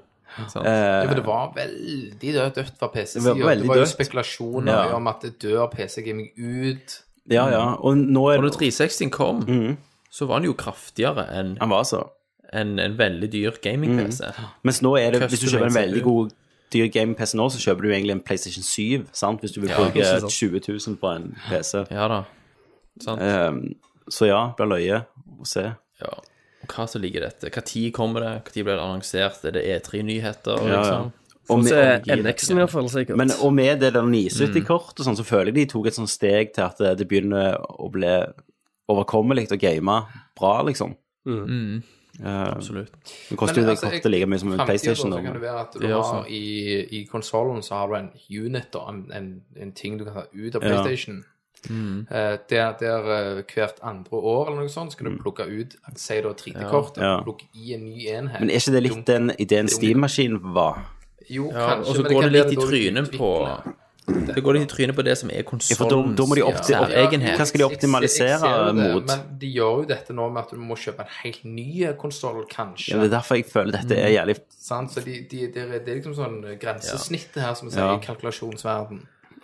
Speaker 2: Sant.
Speaker 6: Ja, for det var veldig dødt dødt fra PC-sida.
Speaker 1: Det var
Speaker 6: Det,
Speaker 1: veldig
Speaker 6: var jo
Speaker 1: dødt.
Speaker 6: spekulasjoner
Speaker 1: Ja.
Speaker 6: om at det dør PC-gaming ut.
Speaker 1: Ja, ja. Og nå er
Speaker 2: Og når 360 kom,
Speaker 1: Mm.
Speaker 2: så var den jo kraftigere enn
Speaker 1: Han var så.
Speaker 2: enn en veldig dyr
Speaker 1: Mm.
Speaker 2: gaming-PC.
Speaker 1: Mens nå er det,
Speaker 2: Custom
Speaker 1: hvis du kjøper en
Speaker 2: CPU.
Speaker 1: veldig god dyr gaming-PC nå, så kjøper du egentlig en PlayStation 7, sant? Hvis du vil bruke 20 000 på en PC.
Speaker 2: Ja da. Sant?
Speaker 1: Ehm, så ja, blir løye å se.
Speaker 2: Ja. Og hva så ligger i dette? Hva tid kommer det? Hva tid blir det annonsert? Er det E3-nyheter?
Speaker 1: ja.
Speaker 2: Liksom?
Speaker 1: Og
Speaker 2: Få
Speaker 1: med-
Speaker 2: se energien.
Speaker 3: NX-en iallfall, sikkert.
Speaker 1: Men, og med det der 970-kort og sånn, så føler jeg de tok et sånt steg til at det begynner å bli overkommelig å game bra, liksom.
Speaker 2: Mm.
Speaker 3: Mm.
Speaker 1: Eh,
Speaker 2: Absolutt.
Speaker 1: Det koster jo det
Speaker 6: altså, jeg-
Speaker 1: kortet like mye som en
Speaker 6: fremtiden
Speaker 1: PlayStation.
Speaker 6: da, så kan det
Speaker 1: Da.
Speaker 6: være at du
Speaker 2: Det gjør
Speaker 6: har
Speaker 2: sånn.
Speaker 6: i, i konsollen så har du en unit, da, en, en, en ting du kan ta ut av PlayStation.
Speaker 2: Mm.
Speaker 6: Eh, der der eh, hvert andre år eller noe sånt skal du plukke ut si da 3D-kort
Speaker 1: Mm. Ja.
Speaker 6: og plukke i en ny enhet.
Speaker 1: Men er ikke det litt den ideen Steam-maskinen var?
Speaker 6: Jo,
Speaker 2: Ja,
Speaker 6: kanskje,
Speaker 2: og så
Speaker 6: men
Speaker 2: går det
Speaker 6: kan
Speaker 2: litt i
Speaker 6: være da du
Speaker 2: trynet på
Speaker 6: utvikler.
Speaker 2: Det går litt i trynet på det som er
Speaker 1: Ja, for da,
Speaker 2: konsollens
Speaker 1: da må de opp til, opp,
Speaker 2: særegenhet.
Speaker 6: Ja,
Speaker 1: Hva skal de
Speaker 6: jeg- jeg- jeg
Speaker 1: optimalisere
Speaker 6: ser det,
Speaker 1: mot?
Speaker 6: Men de gjør jo dette nå med at du må kjøpe en helt ny konsoll, kanskje.
Speaker 1: Ja, det er derfor jeg føler dette
Speaker 2: Mm.
Speaker 1: er jævlig
Speaker 6: sant? Så de, de, det, er, det er liksom sånn grensesnittet her, som vi sier,
Speaker 1: Ja.
Speaker 6: i kalkulasjonsverden.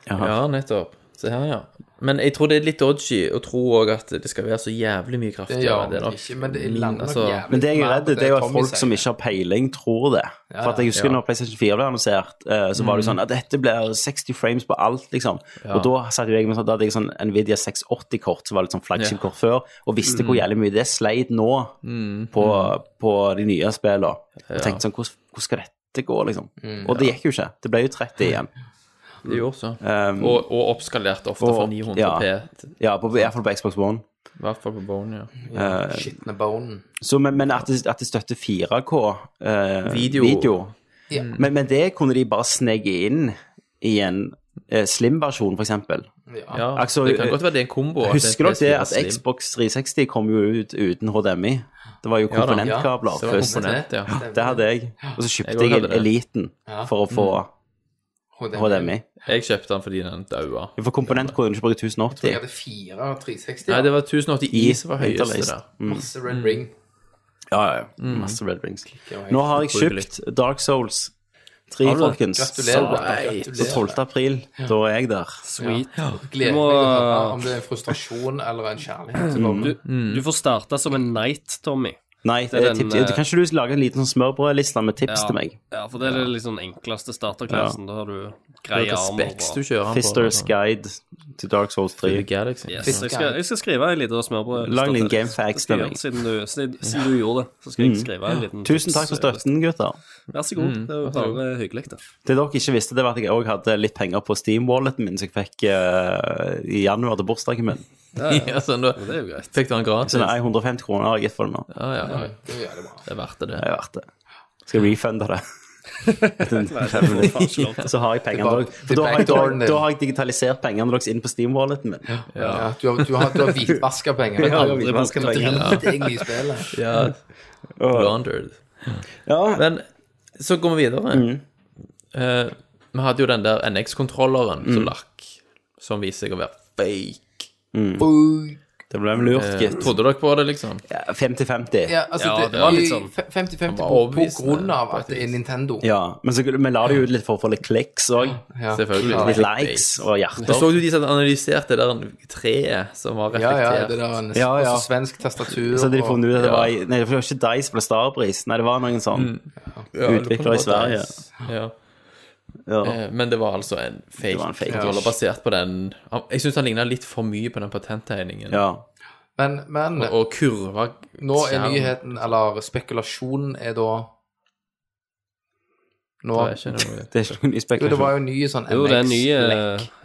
Speaker 2: Ja, nettopp. Se her, ja. Men jeg tror det er litt dodgy å tro også at det skal være så jævlig mye
Speaker 6: Det
Speaker 2: kraftigere. Det er
Speaker 6: gjør det
Speaker 2: nok-
Speaker 6: ikke, men det lander nok
Speaker 2: altså,
Speaker 6: jævlig
Speaker 1: Men det jeg er redd, det er jo at folk som
Speaker 6: ikke
Speaker 1: ikke har peiling, tror det. For at jeg husker
Speaker 2: ja.
Speaker 1: når PlayStation 4 ble annonsert, eh, så var det jo sånn at dette blir 60 frames på alt, liksom. Og da satt jo jeg med sånn, da hadde jeg sånn Nvidia 680-kort, som var litt sånn flaggskipkort før, og visste hvor jævlig mye det sleit nå på, på de nye spillene. Og tenkte sånn, hvordan hvordan skal dette gå, liksom? Og det gikk jo ikke. Det ble jo 30 igjen.
Speaker 2: Det gjorde så.
Speaker 1: Um,
Speaker 2: og, og oppskalert ofte
Speaker 1: og-
Speaker 2: fra 900
Speaker 1: ja.
Speaker 2: P,
Speaker 1: Ja, på, i hvert fall på Xbox One.
Speaker 2: i hvert fall på Bone. ja.
Speaker 6: Skitne bonen.
Speaker 1: Så, men, men at det, at det støtter 4K eh,
Speaker 2: Video.
Speaker 1: video,
Speaker 6: Ja.
Speaker 1: men, men det kunne de bare snegge inn i en eh, slim-versjon, for eksempel.
Speaker 6: Ja.
Speaker 2: Ja,
Speaker 1: Altså,
Speaker 2: det kan
Speaker 1: eh,
Speaker 2: godt være det er en kombo. at
Speaker 1: Husker
Speaker 2: det
Speaker 1: dere det
Speaker 2: er
Speaker 1: at
Speaker 2: PS4 Slim.
Speaker 1: Xbox 360 kom jo ut uten HDMI? Det var jo
Speaker 2: da.
Speaker 1: komponentkabler
Speaker 2: Det var
Speaker 1: først.
Speaker 2: komponent, ja.
Speaker 1: Det hadde jeg. Og så
Speaker 2: Jeg
Speaker 1: kjøpte
Speaker 2: også
Speaker 1: jeg,
Speaker 2: hadde det. Mm.
Speaker 1: Eliten
Speaker 6: Ja.
Speaker 1: for å få HDMI.
Speaker 2: Jeg kjøpte den fordi den daua.
Speaker 1: For komponent kunne du ikke bruke
Speaker 6: Jeg
Speaker 1: 1080.
Speaker 6: hadde fire 360,
Speaker 2: Nei, det var 1080 i
Speaker 1: I
Speaker 2: som var høyeste
Speaker 1: Interlaced.
Speaker 2: der.
Speaker 6: masse Red Ring.
Speaker 2: Mm.
Speaker 1: Ja, ja. Masse Red Rings.
Speaker 6: Det var helt
Speaker 1: Nå har jeg
Speaker 2: ubrukelig.
Speaker 1: kjøpt Dark Souls Tre,
Speaker 6: Har du det?
Speaker 1: folkens.
Speaker 6: Gratulerer.
Speaker 2: Right.
Speaker 1: Så 12. april, da er jeg der.
Speaker 3: Sweet.
Speaker 6: Gleder
Speaker 3: Du må-
Speaker 6: meg til å høre om det er en frustrasjon eller en kjærlighet.
Speaker 2: Mm.
Speaker 6: som kommer.
Speaker 3: Du, du får starte som en knight, Tommy.
Speaker 1: Nei, det
Speaker 3: er
Speaker 1: er
Speaker 3: den,
Speaker 1: tips.
Speaker 3: eh,
Speaker 1: Kan ikke du lage en liten sånn smørbrødliste med tips til meg?
Speaker 3: Ja, for det er den liksom enkleste starterklassen. Da har du greie
Speaker 2: Hvilke
Speaker 3: armer.
Speaker 2: specs du
Speaker 3: Og...
Speaker 2: kjører den på.
Speaker 1: Fisters Guide til Dark Souls 3.
Speaker 2: Galaxy.
Speaker 3: Yes, jeg, skal, jeg skal skrive en liten smørbrød.
Speaker 1: Lag en liten
Speaker 3: Det
Speaker 1: gamefax
Speaker 3: skal jeg
Speaker 1: til meg.
Speaker 3: gjøre, Siden, du- siden, siden du gjorde det, så skal jeg
Speaker 2: Mm.
Speaker 3: skrive en liten
Speaker 1: Tusen takk for
Speaker 3: tips-
Speaker 1: støtten, gutter.
Speaker 3: Mm, Vær så god. Det er jo bare hyggelig, det.
Speaker 1: Det dere ikke visste, det var at jeg òg hadde litt penger på Steam-walleten min som jeg fikk eh, i januar til bursdagen min.
Speaker 2: Ja, sånn da
Speaker 3: Det er jo greit.
Speaker 2: fikk du den gratis.
Speaker 1: Så
Speaker 2: Ja,
Speaker 1: nei, 150 kroner har jeg gitt for det nå. Det
Speaker 2: ja, ja.
Speaker 6: Det er jævlig bra.
Speaker 2: Det er verdt det.
Speaker 1: er verdt det. Skal refunde det.
Speaker 3: Jeg får ikke lov til.
Speaker 1: Så har jeg pengene
Speaker 6: Tilbake-
Speaker 1: deres. For Da har jeg, da,
Speaker 6: tilbake til
Speaker 1: da har jeg digitalisert pengene deres inn på Steam-walleten min.
Speaker 6: Ja. du har, du har, du har hvitvaska penger.
Speaker 1: Jeg har
Speaker 6: Du
Speaker 1: aldri vasket
Speaker 6: har
Speaker 1: penger.
Speaker 6: drit egentlig i spillet.
Speaker 2: Ja, laundered.
Speaker 1: Ja,
Speaker 2: Men så går vi videre.
Speaker 1: Mm.
Speaker 2: Eh, vi hadde jo den der NX-kontrolleren som
Speaker 1: Mm.
Speaker 2: lakk, som viser seg å være fake. Mm.
Speaker 1: Det ble vel lurt,
Speaker 2: Eh,
Speaker 1: gitt.
Speaker 2: Trodde dere på det, liksom?
Speaker 1: Ja, 50-50.
Speaker 6: Ja, altså,
Speaker 3: Ja,
Speaker 6: det,
Speaker 3: det var litt
Speaker 6: i
Speaker 3: sånn-
Speaker 6: fe- 50-50
Speaker 2: var eh,
Speaker 6: på, på
Speaker 2: overbevisende,
Speaker 6: grunn av
Speaker 2: på et
Speaker 6: at det er
Speaker 2: vis.
Speaker 6: Nintendo.
Speaker 1: Ja, men så, vi la det jo ut litt for å få litt kliks òg.
Speaker 6: Ja.
Speaker 2: Selvfølgelig.
Speaker 6: Ja,
Speaker 1: Litt likes og
Speaker 2: Og
Speaker 1: hjerter.
Speaker 2: så du de som analyserte det der treet som var
Speaker 6: ja, ja,
Speaker 2: reflektert?
Speaker 6: det der er en
Speaker 1: Ja, ja.
Speaker 6: også svensk tastatur.
Speaker 1: Så hadde de
Speaker 6: og-
Speaker 1: funnet ut at det var i- Nei, det var ikke Dice, for det var Starbreeze. Nei, det var noen sånn utvikler i Sverige.
Speaker 2: Ja.
Speaker 1: Ja.
Speaker 2: Eh, Men det var altså en fake,
Speaker 1: var en fake.
Speaker 2: kontroller basert på den Jeg syns han ligna litt for mye på den patenttegningen.
Speaker 1: ja.
Speaker 6: Men, men
Speaker 2: Og kurva
Speaker 6: nå er
Speaker 2: skjerm.
Speaker 6: nyheten, eller spekulasjonen, er da Nå
Speaker 2: Det er ikke noe-
Speaker 1: Det er ikke noen ny
Speaker 6: Jo, det
Speaker 1: spekulasjon.
Speaker 6: var jo ny sånn NX.
Speaker 3: Jo, det er nye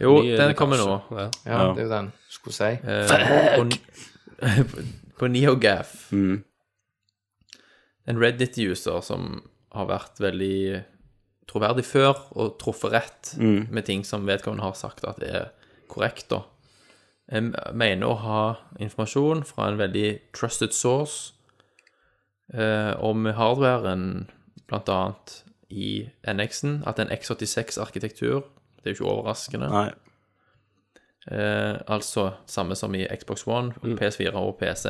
Speaker 2: Jo,
Speaker 3: nye
Speaker 2: den kommer nå.
Speaker 3: lekkasjer. Ja.
Speaker 6: Ja,
Speaker 1: Ja.
Speaker 6: det er jo den, skulle jeg si.
Speaker 2: Eh, på, på NeoGaf.
Speaker 1: Mm.
Speaker 2: En Reddit-user som har vært veldig troverdig før og truffet rett med ting som vedkommende har sagt at er korrekt, da. Jeg mener å ha informasjon fra en veldig trusted source eh, om hardwaren, blant annet i NX-en, at en X86-arkitektur Det er jo ikke overraskende.
Speaker 1: Nei.
Speaker 2: Eh, altså samme som i Xbox One,
Speaker 3: Mm.
Speaker 2: PS4 og PC.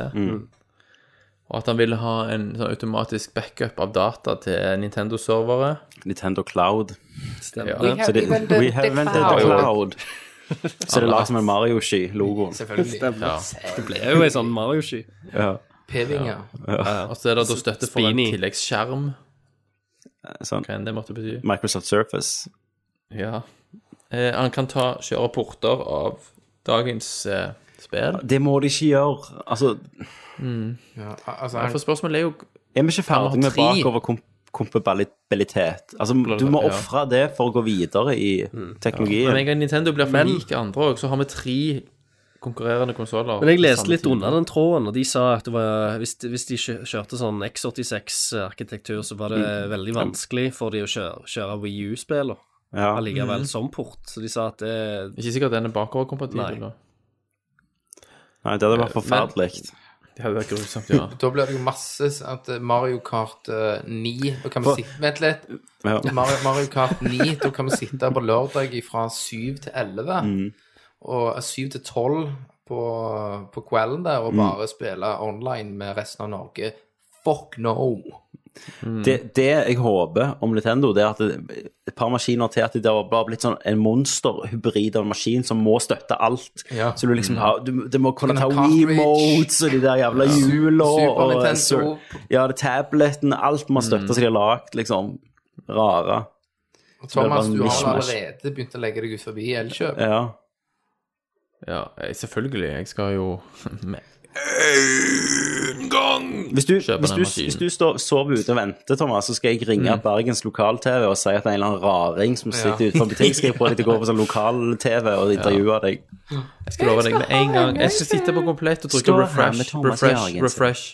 Speaker 2: Og at han ville ha en sånn automatisk backup av data til Nintendo-servere.
Speaker 1: Nintendo Cloud.
Speaker 2: Ja.
Speaker 6: We have
Speaker 1: Så det,
Speaker 6: invented
Speaker 1: we have
Speaker 6: the
Speaker 1: invented the cloud. Så det er laget som en Mario-sky, logoen.
Speaker 6: Selvfølgelig.
Speaker 2: Ja.
Speaker 3: Det er jo ei sånn Mario-sky.
Speaker 1: Ja.
Speaker 6: P-vinger.
Speaker 2: Og så er det da støtte for en
Speaker 3: Spini.
Speaker 2: tilleggsskjerm,
Speaker 1: Sånn.
Speaker 2: hva enn det måtte bety.
Speaker 3: Mm.
Speaker 1: Microsoft Surface.
Speaker 2: Ja. Eh, han kan ta, kjøre porter av dagens eh, spill.
Speaker 1: Det må de ikke gjøre. Altså,
Speaker 6: Ja, altså,
Speaker 2: For spørsmålet er jo
Speaker 1: er vi ikke ferdig med
Speaker 2: tre.
Speaker 1: bakoverkompabilitet? Altså, du må
Speaker 2: Ja.
Speaker 1: ofre det for å gå videre i
Speaker 2: Med
Speaker 1: teknologien.
Speaker 2: en gang Nintendo blir for lik andre òg, så har vi tre konkurrerende konsoller.
Speaker 3: Men jeg leste litt unna den tråden, og de sa at det var, hvis, de- hvis de kjø- kjørte sånn X86-arkitektur, så var det veldig vanskelig for de å kjøre, kjøre Wii U-spiller
Speaker 1: Ja.
Speaker 3: allikevel som port. Så de sa at det
Speaker 2: Ikke sikkert den er bakoverkompatibel. da.
Speaker 1: Nei, det hadde vært forferdelig.
Speaker 2: Det hadde vært grusomt, ja.
Speaker 6: Da blir det jo masse at eh, Mario Kart eh, 9 Da kan vi
Speaker 1: For-
Speaker 6: sitte Vent litt.
Speaker 1: Ja.
Speaker 6: Mario, Mario Kart 9, da kan vi sitte på lørdag fra 7 til 11.
Speaker 1: Mm.
Speaker 6: Og eh, 7 til 12 på, på kvelden der,
Speaker 1: Mm.
Speaker 6: og bare spille online med resten av Norge. Fuck no! Mm.
Speaker 1: Det, det jeg håper om Nintendo, det er at det, et par maskiner til at det har bare blitt sånn en monsterhybrid av en maskin som må støtte alt.
Speaker 6: Ja.
Speaker 1: Så du liksom har du, Det må kunne
Speaker 6: Kan
Speaker 1: ta
Speaker 6: ha cartridge.
Speaker 1: Wiimotes og de der jævla hjula
Speaker 6: Super
Speaker 1: og
Speaker 6: Nintendo. Mm.
Speaker 1: sur- Ja, det tableten, alt må støtte som de har lagd, liksom. Rare.
Speaker 6: Og Thomas,
Speaker 1: Det er
Speaker 6: du
Speaker 1: bare
Speaker 6: har vel
Speaker 1: mishmash.
Speaker 6: allerede begynt å legge deg ut forbi Elkjøp.
Speaker 1: Ja.
Speaker 2: Ja, jeg- selvfølgelig. Jeg skal jo med.
Speaker 1: Hvis du,
Speaker 2: Kjøp
Speaker 1: hvis
Speaker 2: den maskinen.
Speaker 1: du,
Speaker 2: Mm.
Speaker 1: hvis du står, sover ute og venter, Thomas, så skal jeg ringe Bergens lokal-TV og si at det er en eller annen raring som sitter utenfor en butikk, skal jeg få deg til å gå på sånn lokal-TV og intervjue deg.
Speaker 2: Jeg skal love deg med en gang. Jeg skal sitte på komplett og trykke
Speaker 1: Stå her med
Speaker 2: refresh,
Speaker 1: Thomas
Speaker 2: refresh,
Speaker 1: Jørgensen.
Speaker 2: refresh,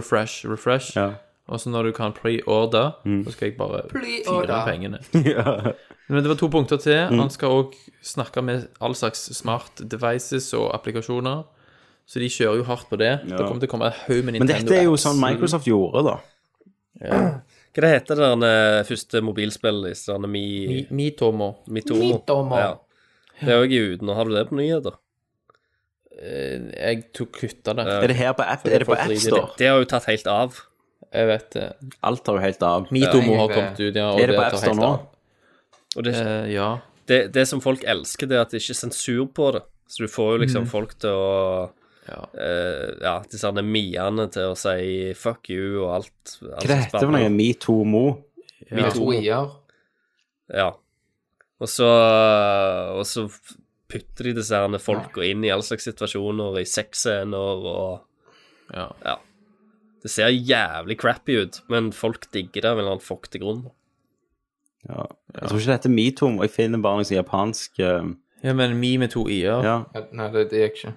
Speaker 2: refresh, refresh.
Speaker 1: Ja. Mm.
Speaker 2: Og så når du kan pre-order, så skal jeg bare fyre
Speaker 6: Pre-order.
Speaker 2: inn pengene. Men det var to punkter til.
Speaker 1: Mm.
Speaker 2: Han skal òg snakke med all slags smart devices og applikasjoner. Så de kjører jo hardt på det. Det kommer til å komme en haug med
Speaker 1: Men
Speaker 2: Nintendo
Speaker 1: dette er jo
Speaker 2: apps.
Speaker 1: sånn Microsoft gjorde, da.
Speaker 3: Hva det heter det der eh, første mobilspillet i sånn Mi...
Speaker 2: Mi- Mitomo.
Speaker 3: Mitomo?
Speaker 6: Mitomo.
Speaker 3: Ja. Det er òg i uten. Har du det på nyheter?
Speaker 2: Eh, Jeg tok kutta det.
Speaker 1: Er det her på app, er det på
Speaker 2: folk driter i
Speaker 1: AppStore?
Speaker 3: Det har jo tatt helt av.
Speaker 2: Jeg vet det.
Speaker 1: Alt tar jo helt av.
Speaker 2: Mitomo har
Speaker 6: jeg-
Speaker 2: kommet ut, ja. og
Speaker 1: Er det på
Speaker 2: tar
Speaker 1: AppStore
Speaker 2: helt
Speaker 1: nå?
Speaker 2: av.
Speaker 3: Og det,
Speaker 2: Eh, ja.
Speaker 3: det, det som folk elsker, det er at det ikke er sensur på det. Så du får jo liksom
Speaker 1: Mm.
Speaker 3: folk til å
Speaker 2: Ja.
Speaker 3: eh, Ja, disse herne miene til å si 'fuck you' og alt. alt
Speaker 2: Altså,
Speaker 1: Hva det heter for noe? Metoo Mo?
Speaker 6: Med to i-er.
Speaker 3: Ja. Og så, og så putter de disse herne folka inn i all slags situasjoner, i sexscener og
Speaker 2: ja.
Speaker 3: Ja. Det ser jævlig crappy ut, men folk digger det av en eller annen fuktig grunn.
Speaker 1: Ja. Jeg tror ikke det heter Metoo Mo. Jeg finner bare noe sånn japansk eh,
Speaker 2: ja, men me med to i-er.
Speaker 1: Ja,
Speaker 6: Nei, det, det gikk ikke.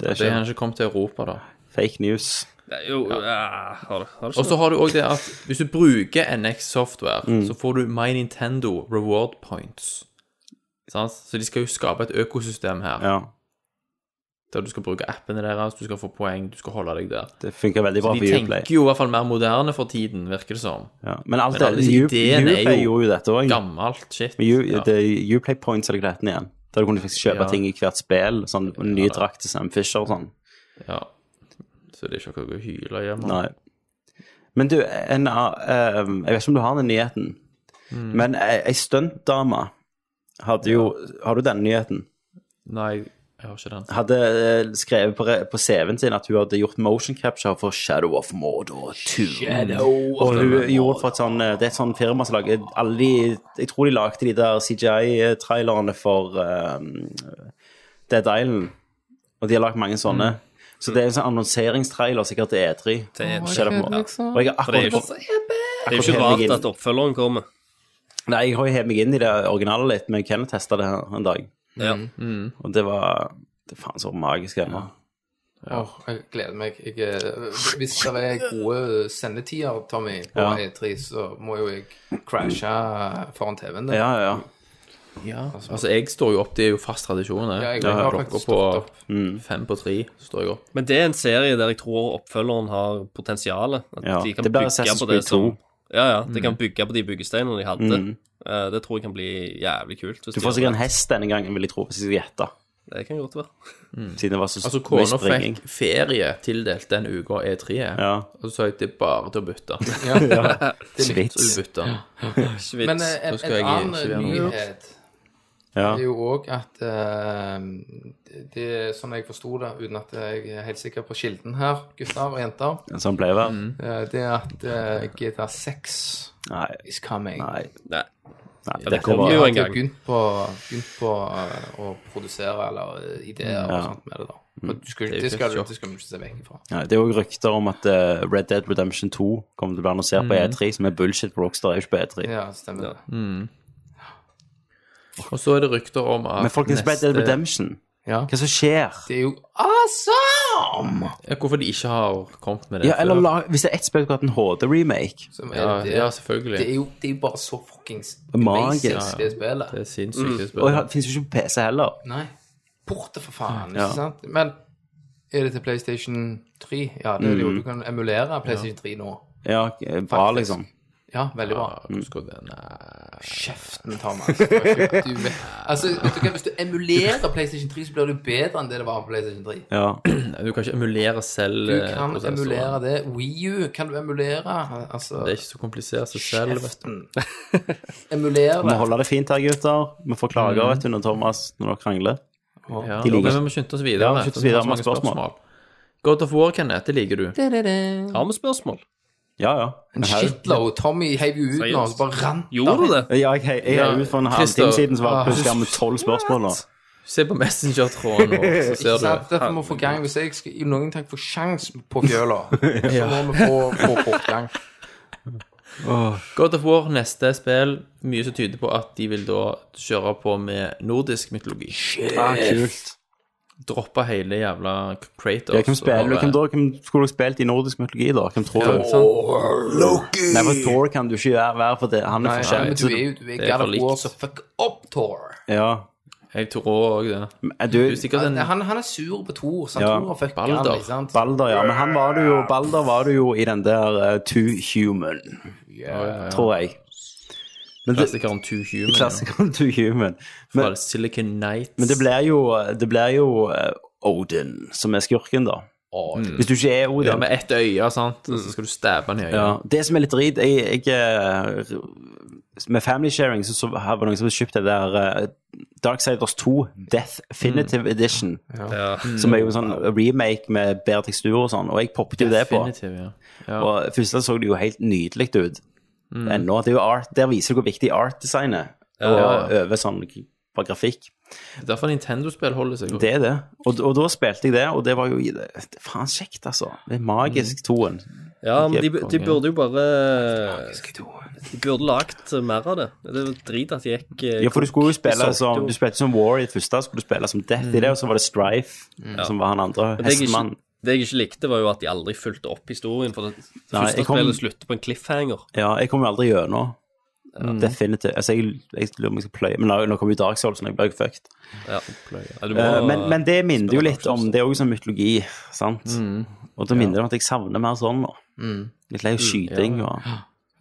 Speaker 1: det er
Speaker 2: Det har
Speaker 1: ikke
Speaker 2: ikke kommet til Europa, da.
Speaker 1: fake news.
Speaker 3: Det er jo ja, Har det har det ikke
Speaker 2: Og så
Speaker 3: noe?
Speaker 2: har du òg det at hvis du bruker NX Software,
Speaker 1: Mm.
Speaker 2: så får du My Nintendo Reward Points. Sant? Så de skal jo skape et økosystem her,
Speaker 1: Ja,
Speaker 2: der du skal bruke appene deres, du skal få poeng, du skal holde deg der.
Speaker 1: det funker veldig bra
Speaker 2: De
Speaker 1: for Uplay.
Speaker 2: tenker jo i hvert fall mer moderne for tiden, virker det som.
Speaker 1: Ja. Men alt
Speaker 2: Men alle
Speaker 1: det
Speaker 2: disse
Speaker 1: U-
Speaker 2: ideene er
Speaker 1: Uplay
Speaker 2: jo
Speaker 1: gjorde jo dette òg.
Speaker 2: Gammelt shit. Ja.
Speaker 1: Det er Uplay Points eller hva det heter igjen. Der du kunne faktisk kjøpe
Speaker 2: Ja.
Speaker 1: ting i hvert spill. Sånn en ny drakt til Sam Fisher og sånn.
Speaker 2: ja. Så det er ikke noe å hyle hjemme.
Speaker 1: Nei. Men du, en, av- eh, jeg vet ikke om du har den nyheten,
Speaker 2: Mm.
Speaker 1: men ei ei stuntdame hadde jo Har du denne nyheten?
Speaker 2: Nei, jeg har ikke den.
Speaker 1: Hadde eh, skrevet på, re- på CV-en sin at hun hadde gjort motion capture for Shadow of Mordor 2. og hun gjorde for et sånn eh, Det er et sånn firma som lager alle de Jeg tror de lagde de der CGI-trailerne for eh, Dead Island, og de har lagd mange sånne.
Speaker 3: Mm.
Speaker 1: Så det er en sånn annonseringstrailer sikkert til E3.
Speaker 3: er
Speaker 1: Shadow of Mordor. Og jeg har
Speaker 3: For det er
Speaker 1: akkurat
Speaker 3: jo ikke, det er jo ikke
Speaker 1: Akkurat
Speaker 3: rart at oppfølgeren kommer.
Speaker 1: Nei, jeg har jo hevet meg inn i det originale litt, men Kenneth testa det her en dag.
Speaker 3: Ja.
Speaker 1: Og det var det er faen så magisk ennå.
Speaker 6: Åh, jeg gleder meg. Jeg, eh, hvis det er gode sendetider, Tommy, på
Speaker 1: Ja.
Speaker 6: E3, så må jo jeg crashe foran TV-en. der.
Speaker 1: Ja, ja, ja.
Speaker 2: Altså, jeg står jo opp, det er jo fast tradisjon.
Speaker 6: Ja, jeg
Speaker 2: Jeg
Speaker 6: har
Speaker 2: Klokka
Speaker 6: faktisk
Speaker 2: på
Speaker 6: stått opp.
Speaker 1: Mm.
Speaker 2: fem på tre så står jeg opp.
Speaker 3: Men det er en serie der jeg tror oppfølgeren har potensial. At
Speaker 1: Ja,
Speaker 3: de kan
Speaker 1: det blir
Speaker 3: bygge
Speaker 1: Assassin's
Speaker 3: på
Speaker 1: Creed
Speaker 3: det
Speaker 1: 2.
Speaker 3: som Ja, ja. De
Speaker 6: Mm.
Speaker 3: kan bygge på de byggesteinene de hadde. Eh, det tror jeg kan bli jævlig kult. Hvis
Speaker 1: Du får sikkert en hest denne gangen, vil jeg tro, hvis jeg skal gjette.
Speaker 3: Det kan godt være.
Speaker 1: Siden det var så
Speaker 2: Altså,
Speaker 1: mye
Speaker 2: kona
Speaker 1: springing.
Speaker 2: fikk ferie tildelt den uka E3 er,
Speaker 1: Ja.
Speaker 2: og så sa jeg det er bare til å bytte. Så
Speaker 1: Svits.
Speaker 2: du bytter.
Speaker 3: Ikke vits.
Speaker 6: Men eh, en,
Speaker 2: Da skal jeg ikke
Speaker 6: en
Speaker 2: være
Speaker 6: annen
Speaker 2: med.
Speaker 6: nyhet
Speaker 1: Ja.
Speaker 6: er jo òg at eh, det er sånn jeg forsto det, uten at jeg er helt sikker på kilden her, gutter og jenter,
Speaker 1: Sånn pleier det å være.
Speaker 6: eh, det er at eh, GTA6
Speaker 1: Nei,
Speaker 6: is coming.
Speaker 1: nei,
Speaker 3: Nei.
Speaker 1: nei.
Speaker 3: Ja, det
Speaker 1: Dette
Speaker 3: kommer
Speaker 1: var
Speaker 3: jo en
Speaker 6: De har
Speaker 3: gang.
Speaker 6: begynt på, begynt på eh, å produsere eller eh, ideer og sånt med det, da. Men du skal,
Speaker 2: er jo
Speaker 6: det, skal,
Speaker 2: tøft,
Speaker 6: du-
Speaker 2: jo.
Speaker 6: det skal du ikke se vekk ifra.
Speaker 1: Nei, Det er òg rykter om at eh, Red Dead Redemption 2 kommer til å bli annonsert på E3, som er bullshit. for Rockstar er jo ikke på E3.
Speaker 6: Ja, stemmer det.
Speaker 2: Og så er det rykter om at
Speaker 1: Men folkens, Red Dead Redemption,
Speaker 6: Ja.
Speaker 1: hva som skjer?
Speaker 6: Det er jo awesome!
Speaker 2: Ja, Hvorfor de ikke har kommet med det
Speaker 1: Ja, eller
Speaker 2: før.
Speaker 1: la, Hvis det er ett spill som har hatt en HD-remake
Speaker 6: Som
Speaker 2: Ja,
Speaker 6: er det,
Speaker 2: ja,
Speaker 6: det, er
Speaker 2: selvfølgelig.
Speaker 6: jo, det er jo bare så fuckings
Speaker 1: Magisk.
Speaker 6: basic, det spillet.
Speaker 2: Det er sinnssykt. det
Speaker 1: Mm. Og
Speaker 2: spillet.
Speaker 1: det fins jo ikke på PC heller.
Speaker 6: Nei. Borte, for faen.
Speaker 1: Ja.
Speaker 6: Ikke sant? Men er det til PlayStation 3? Ja, det er
Speaker 2: Mm.
Speaker 6: det jo. Du kan emulere PlayStation 3 nå.
Speaker 1: Ja, bra,
Speaker 6: Faktisk.
Speaker 1: liksom.
Speaker 6: Ja, veldig bra.
Speaker 2: Ja,
Speaker 1: Mm.
Speaker 2: hvordan skal det- Nei.
Speaker 6: Kjeften, Thomas. Du har ikke- du vet- altså, vet du hva, hvis du emulerer PlayStation 3, så blir du bedre enn det det var på PlayStation 3.
Speaker 1: Ja.
Speaker 2: Nei, Du kan ikke emulere selv
Speaker 6: Du
Speaker 2: eh,
Speaker 6: kan
Speaker 2: prosessoren.
Speaker 6: emulere det. WiiU kan du emulere. Altså,
Speaker 2: Det er ikke så komplisert seg selv. vet du.
Speaker 6: kjeften. Emulere
Speaker 1: Vi
Speaker 6: det.
Speaker 1: holder det fint her, gutter. Vi får klager vet du, når Thomas når dere krangler.
Speaker 2: Ja,
Speaker 1: De liker-
Speaker 2: men vi må skynde oss videre.
Speaker 1: Ja, vi må skynde oss videre,
Speaker 2: for vi har
Speaker 1: masse
Speaker 2: så mange
Speaker 1: spørsmål.
Speaker 2: God of War, Kenneth, det liker du.
Speaker 3: Har vi spørsmål?
Speaker 1: Ja, ja.
Speaker 6: En shitload. Tommy heiv jo ut nå,
Speaker 3: Seriøst?
Speaker 6: så bare rant
Speaker 3: Gjorde du det?
Speaker 1: Ja, jeg, jeg, jeg er
Speaker 2: Ja,
Speaker 1: ute for en
Speaker 2: Christer.
Speaker 1: halvtime siden, så var det
Speaker 6: Ah.
Speaker 1: plutselig med tolv spørsmål nå.
Speaker 2: Se på Messenger-tråden vår, så ser
Speaker 6: Ikke sant?
Speaker 2: du.
Speaker 6: Derfor må vi få gang Hvis jeg skal i noen tenk få sjans på fjøla, så må vi få, få fortgang.
Speaker 2: God of War, neste spill. Mye som tyder på at de vil da kjøre på med nordisk mytologi.
Speaker 1: Ah, kult.
Speaker 2: Droppe hele jævla Kratos.
Speaker 1: Ja, hvem, spiller,
Speaker 2: og-
Speaker 1: hvem, da, hvem skulle dere spilt i nordisk mytologi, da? Hvem tror du? Nei, for Thor kan du ikke være, være for det. Han er
Speaker 6: Nei,
Speaker 1: forskjellig.
Speaker 6: men du er jo du er
Speaker 2: Det er
Speaker 6: God
Speaker 2: for
Speaker 6: of
Speaker 2: likt.
Speaker 6: War, så fuck up, Thor.
Speaker 1: Ja.
Speaker 2: Jeg tror òg det.
Speaker 1: Men Du,
Speaker 2: Du er sikkert en
Speaker 6: Han, han er sur på Thor, så han
Speaker 1: Ja.
Speaker 6: tror han fucker han,
Speaker 2: Balder.
Speaker 6: ikke sant?
Speaker 1: Balder, ja. Men han var du jo, Balder var du jo i den der eh, Too Human, tror jeg. Men det,
Speaker 2: klassikeren Two Human. ja.
Speaker 1: klassikeren Too Human. Men,
Speaker 2: Fra Silicon Nights.
Speaker 1: Men det blir jo, det blir jo eh, Odin eh, som er skurken, da. Hvis du ikke er
Speaker 2: Ja,
Speaker 1: Odin.
Speaker 2: med ett øye, sant? Og så skal du stabbe den i øyet.
Speaker 1: Mm. Ja, det som er litt drit jeg, jeg, eh, Med family sharing så, så har vi noen som har kjøpt det der eh, Darksiders 2 Definitive Edition.
Speaker 3: Ja.
Speaker 1: Som er jo en sånn remake med bedre tekstur og sånn, og jeg poppet jo det på.
Speaker 2: Definitivt, ja. ja.
Speaker 1: Og først så det jo helt nydelig ut. Ennå. Det er jo art, der viser du hvor viktig art-design er, og over sånn på grafikk.
Speaker 2: Det er derfor Nintendo-spill holder seg.
Speaker 1: Det er det. Og, og da spilte jeg det, og det var jo det er faen kjekt, altså. Det er magisk, toen.
Speaker 3: ja, men de, de burde jo bare
Speaker 1: toen.
Speaker 3: De burde lagt mer av det. Det er jo drit at de gikk eh,
Speaker 1: Ja, for du skulle jo
Speaker 3: de solgte
Speaker 1: spille
Speaker 3: jo-
Speaker 1: som Du spilte som War i det første, så skulle du spille som Death i det, og så var det Strife, som var han andre
Speaker 3: Men det jeg,
Speaker 1: hestemannen.
Speaker 3: ikke, det jeg ikke likte, var jo at de aldri fulgte opp historien. For det
Speaker 1: Nei,
Speaker 3: første
Speaker 1: jeg kom-
Speaker 3: spillet slutter på en cliffhanger.
Speaker 1: Ja, jeg kom jo aldri gjennom. Definitivt. Altså, jeg, jeg lurer om jeg skal pløye Men nå, nå kom jo Dark Souls, og jeg ble jo fucked.
Speaker 3: Ja. Ja, du må,
Speaker 1: Eh, men, men det minner jo
Speaker 3: spille
Speaker 1: litt om Det er jo sånn mytologi, sant? Og da minner det om at jeg savner mer sånn nå. Litt lei av skyting og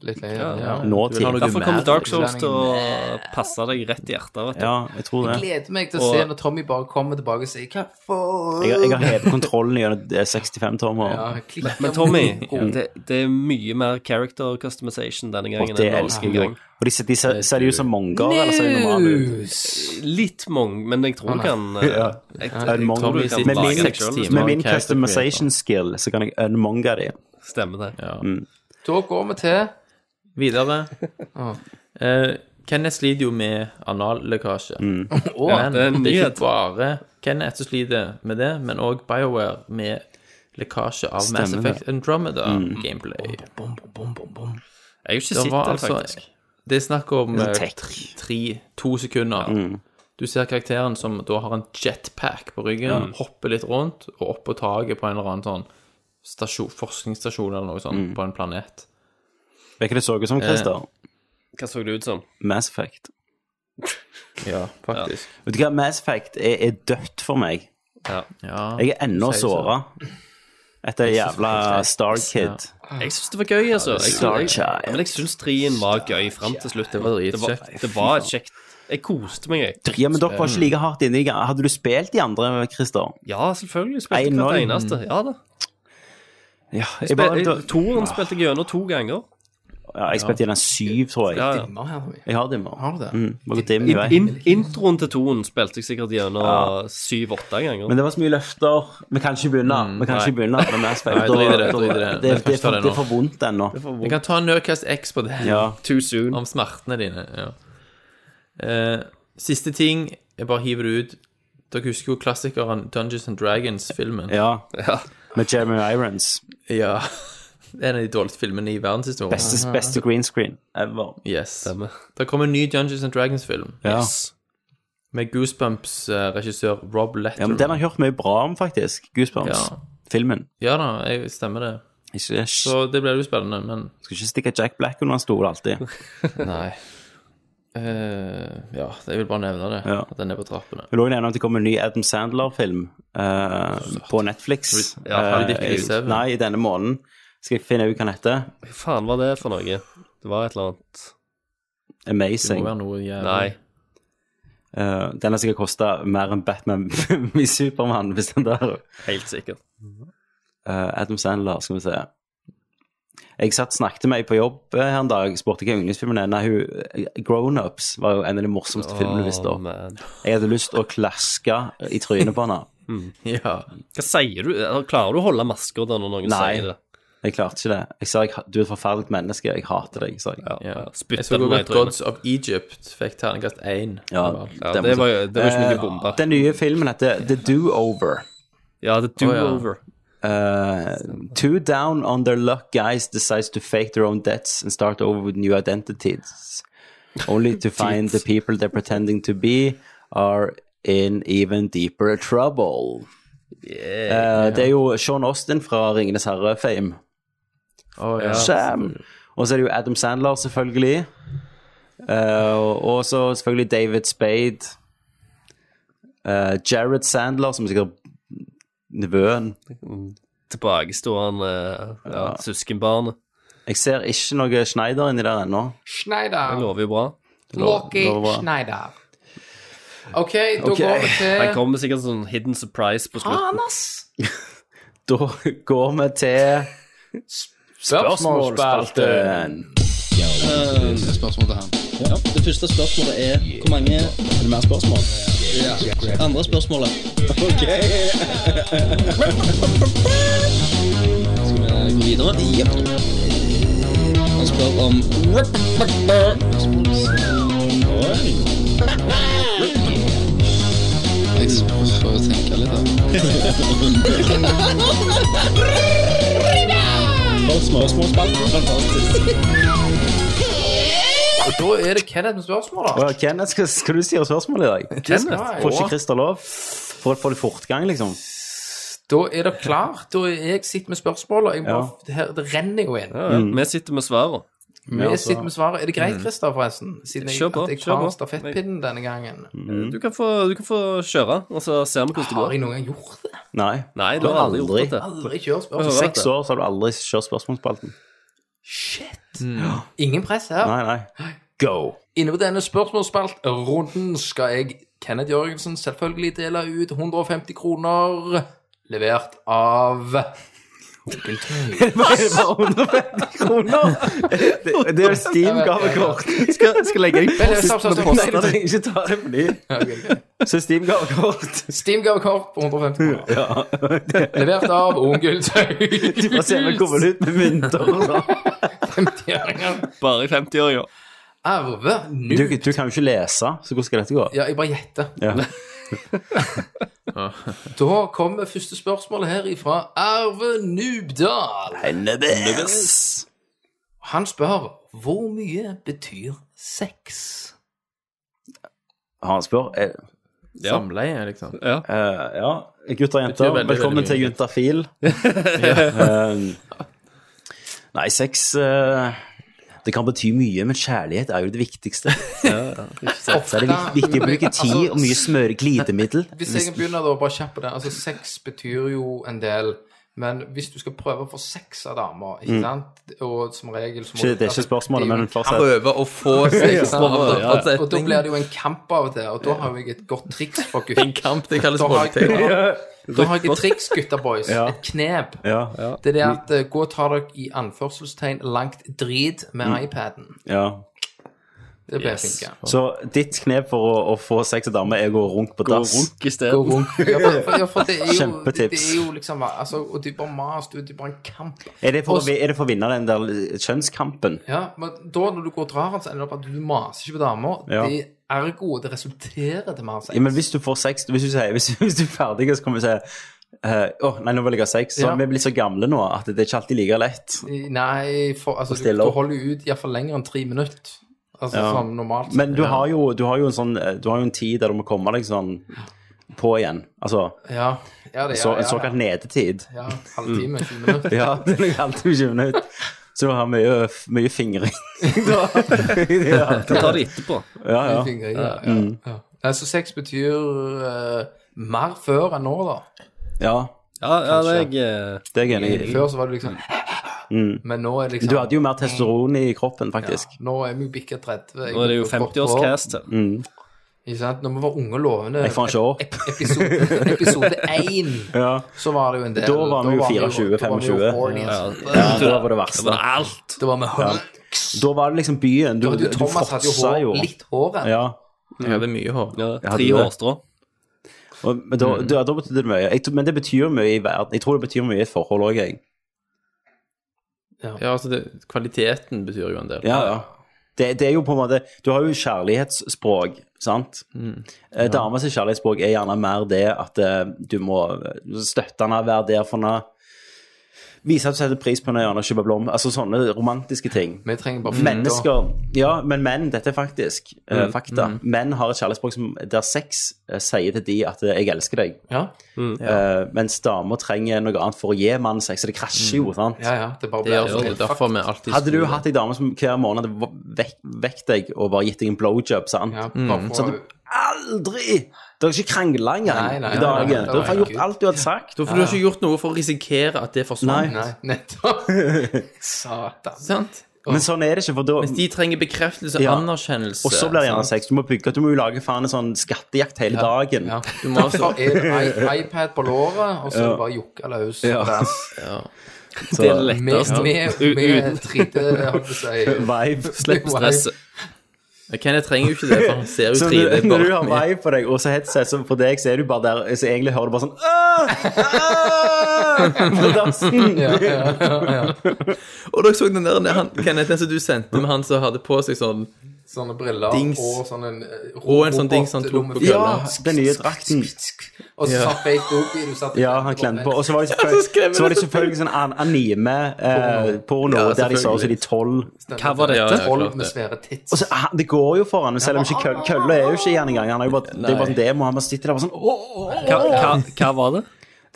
Speaker 6: Litt lenger. Ja,
Speaker 3: ja.
Speaker 1: nåtid.
Speaker 2: Du vil ha noe-
Speaker 1: Ja,
Speaker 3: Derfor kommer Dark Souls
Speaker 6: Ikke
Speaker 3: til å passe deg rett i hjertet. Vet du.
Speaker 1: jeg tror det.
Speaker 6: Gleder meg til å se når Tommy bare kommer tilbake og sier hva for
Speaker 1: Jeg, jeg har hevet kontrollen gjennom eh, 65-tommer.
Speaker 6: Ja, klikker
Speaker 3: Men Tommy,
Speaker 6: mot-
Speaker 3: det, det er mye mer character customization denne gangen.
Speaker 1: Og det
Speaker 3: enn noen
Speaker 1: elsker jeg
Speaker 3: gang.
Speaker 1: jo. Og de, ser- de ser ser de ut som monger, eller ser de normale ut?
Speaker 6: News!
Speaker 3: Litt mange, men jeg tror du kan eh,
Speaker 1: Ja.
Speaker 3: jeg,
Speaker 1: En
Speaker 3: jeg
Speaker 1: monger.
Speaker 3: tror du
Speaker 2: vi
Speaker 3: kan
Speaker 2: sitter
Speaker 1: Med
Speaker 3: lage
Speaker 1: min,
Speaker 3: deg
Speaker 2: seks
Speaker 3: selv.
Speaker 2: timer.
Speaker 1: med min
Speaker 2: Character
Speaker 1: customization skill så kan jeg unmonge de.
Speaker 3: Stemmer det.
Speaker 2: Ja.
Speaker 6: Da går vi til
Speaker 2: Videre. Eh, Kenneth sliter jo med anallekkasje. men det
Speaker 3: det er
Speaker 2: er,
Speaker 3: en nyhet.
Speaker 2: ikke bare Kenneth som sliter med det, men òg BioWare med lekkasje av Mass
Speaker 1: Stemmer det.
Speaker 2: Effect Andromeda gameplay.
Speaker 3: Jeg har jo ikke
Speaker 2: Det
Speaker 3: sett
Speaker 2: var
Speaker 3: det,
Speaker 2: altså
Speaker 3: faktisk.
Speaker 2: Det er snakk om
Speaker 1: Det er
Speaker 2: eh,
Speaker 1: tech.
Speaker 2: tre- tre, to sekunder. Du ser karakteren som da har en jetpack på ryggen, hopper litt rundt og opp på taket på en eller annen sånn stasjon, forskningsstasjon eller noe sånt på en planet.
Speaker 1: Vet du hva det så ut som, Christer?
Speaker 3: Hva så det ut som?
Speaker 1: Mass Effect.
Speaker 2: Ja, faktisk.
Speaker 1: Vet du hva, Mass Effect er, er dødt for meg.
Speaker 2: Ja.
Speaker 1: Jeg er ennå
Speaker 2: Sier så.
Speaker 1: såra etter jævla
Speaker 2: Ja.
Speaker 1: Starkid.
Speaker 3: Jeg syns det var gøy, altså. Jeg, synes-
Speaker 1: Starchild.
Speaker 3: men jeg syns trien var gøy fram til slutt. Det var, det var,
Speaker 2: dritkjekt.
Speaker 3: det var et kjekt Jeg koste meg, jeg.
Speaker 1: Ja, men dere var ikke like hardt inne i gang. Hadde du spilt de andre, Christer?
Speaker 3: Ja, selvfølgelig. Spilte
Speaker 1: Ein
Speaker 3: hvert
Speaker 1: noll.
Speaker 3: eneste. Ja da.
Speaker 1: Ja, jeg, bare,
Speaker 3: Spil- eh, Toren spilte jeg gjennom to ganger.
Speaker 1: ja, jeg spilte i den syv, tror jeg.
Speaker 3: Ja, ja.
Speaker 6: Dimmer her, Tommy.
Speaker 1: Jeg har dimmer.
Speaker 6: Har du det?
Speaker 1: Mm, bare dim i
Speaker 3: In,
Speaker 1: vei.
Speaker 3: in, introen til toen spilte jeg sikkert gjennom syv-åtte ganger.
Speaker 1: Men det var så mye løfter. Vi kan ikke begynne. Vi kan ikke begynne med Mass
Speaker 2: Nei,
Speaker 1: Effect.
Speaker 2: drit i det,
Speaker 1: Da-
Speaker 2: drit i det.
Speaker 1: da-
Speaker 2: Vi
Speaker 1: Det,
Speaker 2: kan
Speaker 1: det,
Speaker 2: ikke ta
Speaker 1: er-
Speaker 2: det
Speaker 1: det
Speaker 2: nå.
Speaker 1: er for vondt ennå.
Speaker 2: Jeg kan ta Nerdcast X på det.
Speaker 1: Ja.
Speaker 3: Too soon.
Speaker 2: Om smertene dine. Ja. Eh, siste ting, jeg bare hiver det ut. Dere husker jo klassikeren Dungeons and Dragons-filmen?
Speaker 1: ja. Med Jeremy Irons.
Speaker 2: Ja. En av de dårligste filmene i verdenshistorien.
Speaker 1: Beste, beste green screen ever.
Speaker 2: Yes. Det kommer en ny Dungeons and Dragons-film
Speaker 1: Ja.
Speaker 2: med Goosebumps-regissør Rob Letter.
Speaker 1: ja, men Den har jeg hørt mye bra om, faktisk. Goosebumps.
Speaker 2: Ja.
Speaker 1: Filmen.
Speaker 2: Ja da, jeg stemmer det.
Speaker 1: Ikke,
Speaker 2: Så det blir jo spennende, men
Speaker 1: skal ikke stikke Jack Black under en stol alltid.
Speaker 2: Nei. Eh, ja, jeg vil bare nevne det.
Speaker 1: Ja.
Speaker 2: At den er på trappene.
Speaker 1: Vi lå jo gjennom at det kom en ny Adam Sandler-film eh, på Netflix.
Speaker 2: Ja,
Speaker 1: Eh,
Speaker 2: Ridiculous Seven.
Speaker 1: nei, i denne måneden. Skal jeg finne ut hva den heter?
Speaker 3: Hva faen var det for noe? Det var et eller annet
Speaker 2: Det må
Speaker 1: Amazing.
Speaker 2: være noe jævlig
Speaker 3: Nei.
Speaker 1: Eh, den har sikkert kosta mer enn Batman i Supermann, hvis den der
Speaker 3: Helt sikkert.
Speaker 1: Eh, Adam Sandler, skal vi se. Jeg satt snakket med ei på jobb eh, her en dag, spurte hva yndlingsfilmen er. Nei, hun Grownups var jo en av de morsomste filmene du visste
Speaker 3: Å,
Speaker 1: om.
Speaker 3: man.
Speaker 1: Jeg hadde lyst til å klaske i trynet på henne.
Speaker 2: Ja.
Speaker 3: Hva sier du? Eller, Klarer du å holde masker da når noen
Speaker 1: Nei.
Speaker 3: sier det?
Speaker 1: Jeg klarte ikke det. Jeg sa jeg, ha- du er et forferdelig menneske, jeg hater deg. sa jeg.
Speaker 2: ja. Jeg så
Speaker 3: Spytter
Speaker 2: også
Speaker 3: meg i
Speaker 2: at
Speaker 3: trynet.
Speaker 2: Gods of Egypt fikk terningkast én.
Speaker 1: Ja, Eh,
Speaker 2: av alt.
Speaker 3: Ja, det var jo det var ikke mye bomber.
Speaker 1: Den nye filmen heter The Do-Over.
Speaker 3: Ja, The Do-Over.
Speaker 1: Uh, two down on their luck guys decides to fake their own debts and start over with new identities, only to find the people they're pretending to be are in even deeper trouble. Uh, det er jo Sean Austin fra Ringenes herre-fame.
Speaker 2: Å, ja.
Speaker 1: Sam. Og så er det jo Adam Sandler, selvfølgelig. Eh, og- og så selvfølgelig David Spade. Eh, Jared Sandler, som er sikkert nevøen.
Speaker 3: Tilbakestående eh, ja, søskenbarnet.
Speaker 1: Jeg ser ikke noe Schneider inni der ennå.
Speaker 3: Det
Speaker 6: Schneider.
Speaker 3: lover jo bra.
Speaker 6: Lockie
Speaker 1: lover bra.
Speaker 6: Schneider. OK, da går vi
Speaker 3: Han
Speaker 6: til
Speaker 3: kommer sikkert sånn hidden surprise på slutten.
Speaker 6: Anas.
Speaker 1: Da går vi til spørsmålsspalten.
Speaker 8: Det første spørsmålet er hvor mange Er det mer spørsmål? Andre spørsmålet. Ok. Skal vi gå videre? Jepp. Han spør om Oi.
Speaker 6: Og da er det Kenneth med spørsmål, da.
Speaker 1: Og Kenneth, skal, skal du si spørsmål i dag?
Speaker 6: Kenneth.
Speaker 1: Får ikke Christer lov? For å få litt fortgang, liksom.
Speaker 6: Da er det klart. Da er jeg sitter med spørsmål, og jeg må, her, det renner jo inn.
Speaker 3: Ja, Vi sitter med svarene.
Speaker 6: Vi sitter med svaret. Er det greit, Christer, forresten? Siden jeg,
Speaker 3: Kjør på,
Speaker 6: at jeg
Speaker 3: kjør
Speaker 6: tar
Speaker 3: på.
Speaker 6: stafettpinnen denne gangen.
Speaker 3: Du, kan få- du kan få kjøre, og så ser vi hvordan det
Speaker 6: Har
Speaker 3: går.
Speaker 6: jeg noen gang gjort det?
Speaker 1: Nei.
Speaker 3: Nei, du har aldri gjort
Speaker 1: Aldri.
Speaker 3: dette.
Speaker 6: Aldri kjørt spørsmål.
Speaker 1: Seks år så har du aldri kjørt spørsmålsspalten.
Speaker 6: Shit. Ingen press her.
Speaker 1: Nei, nei. Go.
Speaker 6: Inne på denne spørsmålsspaltrunden skal jeg, Kenneth Jørgensen, selvfølgelig dele ut 150 kroner levert av Onkeltøy.
Speaker 1: Bare 150 kroner! Det, det er jo Steam-gavekort. Skal, skal legge deg
Speaker 6: Vent, stopp, stopp,
Speaker 1: Nei,
Speaker 6: stopp.
Speaker 1: du trenger ikke ta det på ny. Så Steam-gavekort
Speaker 6: Steam-gavekort på 150 kroner. Levert av Onkeltøy.
Speaker 1: Du får se meg komme ut med mynter og sånn.
Speaker 3: Bare i 50-åringer.
Speaker 6: Arve
Speaker 1: Du,
Speaker 6: nu.
Speaker 1: du kan jo ikke lese, så hvordan skal dette gå?
Speaker 6: Ja, jeg bare gjetter.
Speaker 1: Ja.
Speaker 6: Da kommer første spørsmål her ifra Arve Nubdal.
Speaker 1: Hennes.
Speaker 6: Han spør hvor mye betyr sex?
Speaker 1: Han spør eh,
Speaker 2: Samleie, liksom.
Speaker 1: eh, Ja, gutter og
Speaker 2: Betyr
Speaker 1: jenter,
Speaker 2: veldig, veldig
Speaker 1: velkommen
Speaker 2: mye.
Speaker 1: til Juntafil. Eh, nei, sex eh, Det kan bety mye, men kjærlighet er jo det viktigste. Så er det vik- viktig å bruke tid og mye smøre glidemiddel.
Speaker 6: Hvis jeg begynner da bare kjapt på det Altså sex betyr jo en del Men hvis du skal prøve å få sex av damer Ikke sant? Og som regel så må
Speaker 1: Mm. Ikke,
Speaker 6: du-
Speaker 1: det er
Speaker 6: altså,
Speaker 1: ikke spørsmålet,
Speaker 6: det er jo
Speaker 1: men
Speaker 6: en
Speaker 1: fortsett.
Speaker 2: Prøve å få seg
Speaker 6: kamp, Og da blir det jo en kamp av og til Og da har jo jeg et godt triks for gutter
Speaker 2: En kamp, det kalles
Speaker 6: Da har jeg,
Speaker 2: voldtekt.
Speaker 6: da har jeg et triks, gutta boys Et knep
Speaker 1: Ja,
Speaker 6: Det er det
Speaker 1: Mm.
Speaker 6: at eh, gå og ta dere i anførselstegn Langt drit med
Speaker 1: Mm.
Speaker 6: iPaden
Speaker 1: ja.
Speaker 6: Det blir
Speaker 2: Yes.
Speaker 6: flinke
Speaker 1: Så ditt knep for å, å få sex og dame er å gå runk på
Speaker 3: Gå
Speaker 1: dass.
Speaker 3: runk i
Speaker 6: Gå
Speaker 3: stedet.
Speaker 6: rundt. Ja, for, for, ja, for det er jo,
Speaker 1: Kjempetips.
Speaker 6: Det er jo liksom altså, Og det er bare mas, det er bare en kamp
Speaker 1: Er det, for, å
Speaker 6: Og-
Speaker 1: vi- er det for å vinne den der kjønnskampen?
Speaker 6: Ja, men da når du går og drar han, så ender det opp at du maser ikke på damer.
Speaker 1: Ja.
Speaker 6: Det er ergo det resulterer til mer sex.
Speaker 1: Ja, men hvis du får sex Hvis du, sier, hvis, hvis du er ferdig, så kommer du til å si eh, Å, nei, nå vil jeg ha sex. Så
Speaker 6: Ja.
Speaker 1: vi er blitt så gamle nå at det er ikke alltid like lett.
Speaker 6: Nei, for, altså, du,
Speaker 1: stille
Speaker 6: du
Speaker 1: opp.
Speaker 6: holder jo ut iallfall lenger enn tre minutter. Altså
Speaker 1: Ja.
Speaker 6: sånn normalt.
Speaker 1: Men du har jo, du har jo en sånn eh, Du har jo en tid der du må komme deg sånn på igjen. Altså
Speaker 6: ja. ja, det er
Speaker 1: så,
Speaker 6: ja,
Speaker 1: en såkalt
Speaker 6: ja.
Speaker 1: nedetid.
Speaker 6: Ja, halvtime, 20 minutter.
Speaker 1: Ja, det er alltid 20 minutter. Så du har mye, mye fingring. ja,
Speaker 3: Du tar det etterpå.
Speaker 1: ja, ja.
Speaker 6: Fingre, ja, ja,
Speaker 1: Mm.
Speaker 6: ja. Nei, Så sex betyr eh, mer før enn nå, da.
Speaker 1: ja,
Speaker 3: Ja, ja det er jeg eh,
Speaker 1: det er jeg enig i.
Speaker 6: Før så var det liksom Men nå er det liksom
Speaker 1: Mm. Du hadde jo mer testosteron i kroppen, faktisk.
Speaker 6: Nå er vi jo bikka 30. jeg
Speaker 3: Nå er det jo
Speaker 6: har gått
Speaker 3: 50-årscast her.
Speaker 6: Ikke sant? Når vi var unge og lovende
Speaker 1: Jeg fant ikke opp.
Speaker 6: ep- Episode, episode 1
Speaker 1: Ja.
Speaker 6: Så var det jo en del
Speaker 1: Da var vi jo 24,
Speaker 6: da var vi jo
Speaker 1: 25.
Speaker 6: horny, altså.
Speaker 1: ja, det var det verste.
Speaker 3: Alt.
Speaker 6: Da var vi horny.
Speaker 1: Da var det liksom byen. Du,
Speaker 6: Og
Speaker 1: du,
Speaker 6: du, Thomas hadde jo
Speaker 1: forsa
Speaker 6: hår,
Speaker 1: jo.
Speaker 6: litt hår ennå.
Speaker 1: Ja.
Speaker 2: Jeg hadde mye hår.
Speaker 3: Ja,
Speaker 1: Jeg hadde
Speaker 3: tre
Speaker 1: det.
Speaker 3: hårstrå.
Speaker 1: Og, men da, da, da betydde det mye. Jeg, tror- men det betyr mye i verden. Jeg tror det betyr mye i et forhold òg, jeg.
Speaker 2: Ja, altså, det, kvaliteten betyr jo en del.
Speaker 1: Ja, ja. Det, det er jo på en måte Du har jo kjærlighetsspråk, sant? Eh, Damer sitt kjærlighetsspråk er gjerne mer det at eh, du må støtte henne, være der for henne. Vise at du setter pris på henne, gjerne kjøpe blom. Altså sånne romantiske ting.
Speaker 6: Vi trenger bare
Speaker 1: Mm. Mennesker Ja, men menn, dette er faktisk eh, fakta. Menn har et kjærlighetsspråk som, der sex eh, sier til de at eh, 'jeg elsker deg',
Speaker 6: Ja.
Speaker 1: Eh, mens damer trenger noe annet for å gi mannen sex. Så det krasjer jo, sant?
Speaker 6: Mm. ja, ja. Det bare
Speaker 2: Det
Speaker 6: ble
Speaker 2: er altså det er derfor vi alltid
Speaker 1: Hadde du hatt ei dame som hver måned hadde ve- vekk, vekk deg og bare gitt deg en blowjob, sant?
Speaker 6: ja, bare
Speaker 1: Mm.
Speaker 6: for,
Speaker 1: Aldri! Dere har ikke krangla engang
Speaker 6: Nei, nei,
Speaker 1: i dagen.
Speaker 6: nei, nei, nei,
Speaker 1: Dere har
Speaker 6: nei,
Speaker 1: gjort alt du hadde sagt.
Speaker 2: Da får du har ikke gjort noe for å risikere at det forsvant.
Speaker 1: Nei.
Speaker 6: Nei, nettopp. Satan.
Speaker 2: Sant?
Speaker 1: Men sånn er det ikke, for da
Speaker 2: Mens de trenger bekreftelse,
Speaker 1: Ja.
Speaker 2: anerkjennelse.
Speaker 1: Og så blir det gjerne
Speaker 2: sant?
Speaker 1: sex. Du må bygge, du må jo lage faen en sånn skattejakt hele dagen.
Speaker 6: Ja.
Speaker 2: Du må også,
Speaker 6: Derfor er det i- iPad på låret, og så er det bare jukke løs.
Speaker 1: Ja. Så,
Speaker 3: Det er sånn det
Speaker 6: Med,
Speaker 3: letteste.
Speaker 6: med, med 3D, holdt jeg på å si.
Speaker 1: vibe.
Speaker 6: Slipp
Speaker 2: stresset. Men Kenneth trenger jo ikke det, for han ser jo
Speaker 1: Så
Speaker 2: trivelig
Speaker 1: når,
Speaker 2: på
Speaker 1: når du har vibe på deg, og så headset, så for deg så er du bare der Så egentlig hører du bare sånn «Åh! Åh!» På dassen.
Speaker 6: Ja, ja, ja, ja.
Speaker 2: Og dere så den der den han, Kenneth, den som du sendte med han som hadde på seg sånn
Speaker 6: Sånne briller
Speaker 2: Dings.
Speaker 6: og sånn en eh,
Speaker 2: Og en sånn dings han tok på
Speaker 6: robotlommefyr.
Speaker 2: kølla.
Speaker 1: Ja, den nye drakten.
Speaker 6: Og så satt fake booby. Du satt
Speaker 1: Ja, han klemte på. Og så var det
Speaker 2: Ja, så skrev vi
Speaker 1: selvfølgelig, så var det
Speaker 2: det.
Speaker 1: selvfølgelig sånn an anime-porno eh, porno,
Speaker 2: Ja,
Speaker 1: der de så ut som de
Speaker 2: selvfølgelig.
Speaker 1: tolv.
Speaker 3: Hva var
Speaker 2: Ja,
Speaker 3: dette?
Speaker 2: ja.
Speaker 6: Troll
Speaker 2: klart
Speaker 6: med
Speaker 2: det.
Speaker 6: svære tits.
Speaker 1: Og så, ah, det går jo for han, selv om ikke kø- kølla er jo ikke i han engang. Han er jo bare, det er jo bare sånn demo. Han bare sitter der bare sånn «Åh!»
Speaker 3: Hva, hva, hva var det?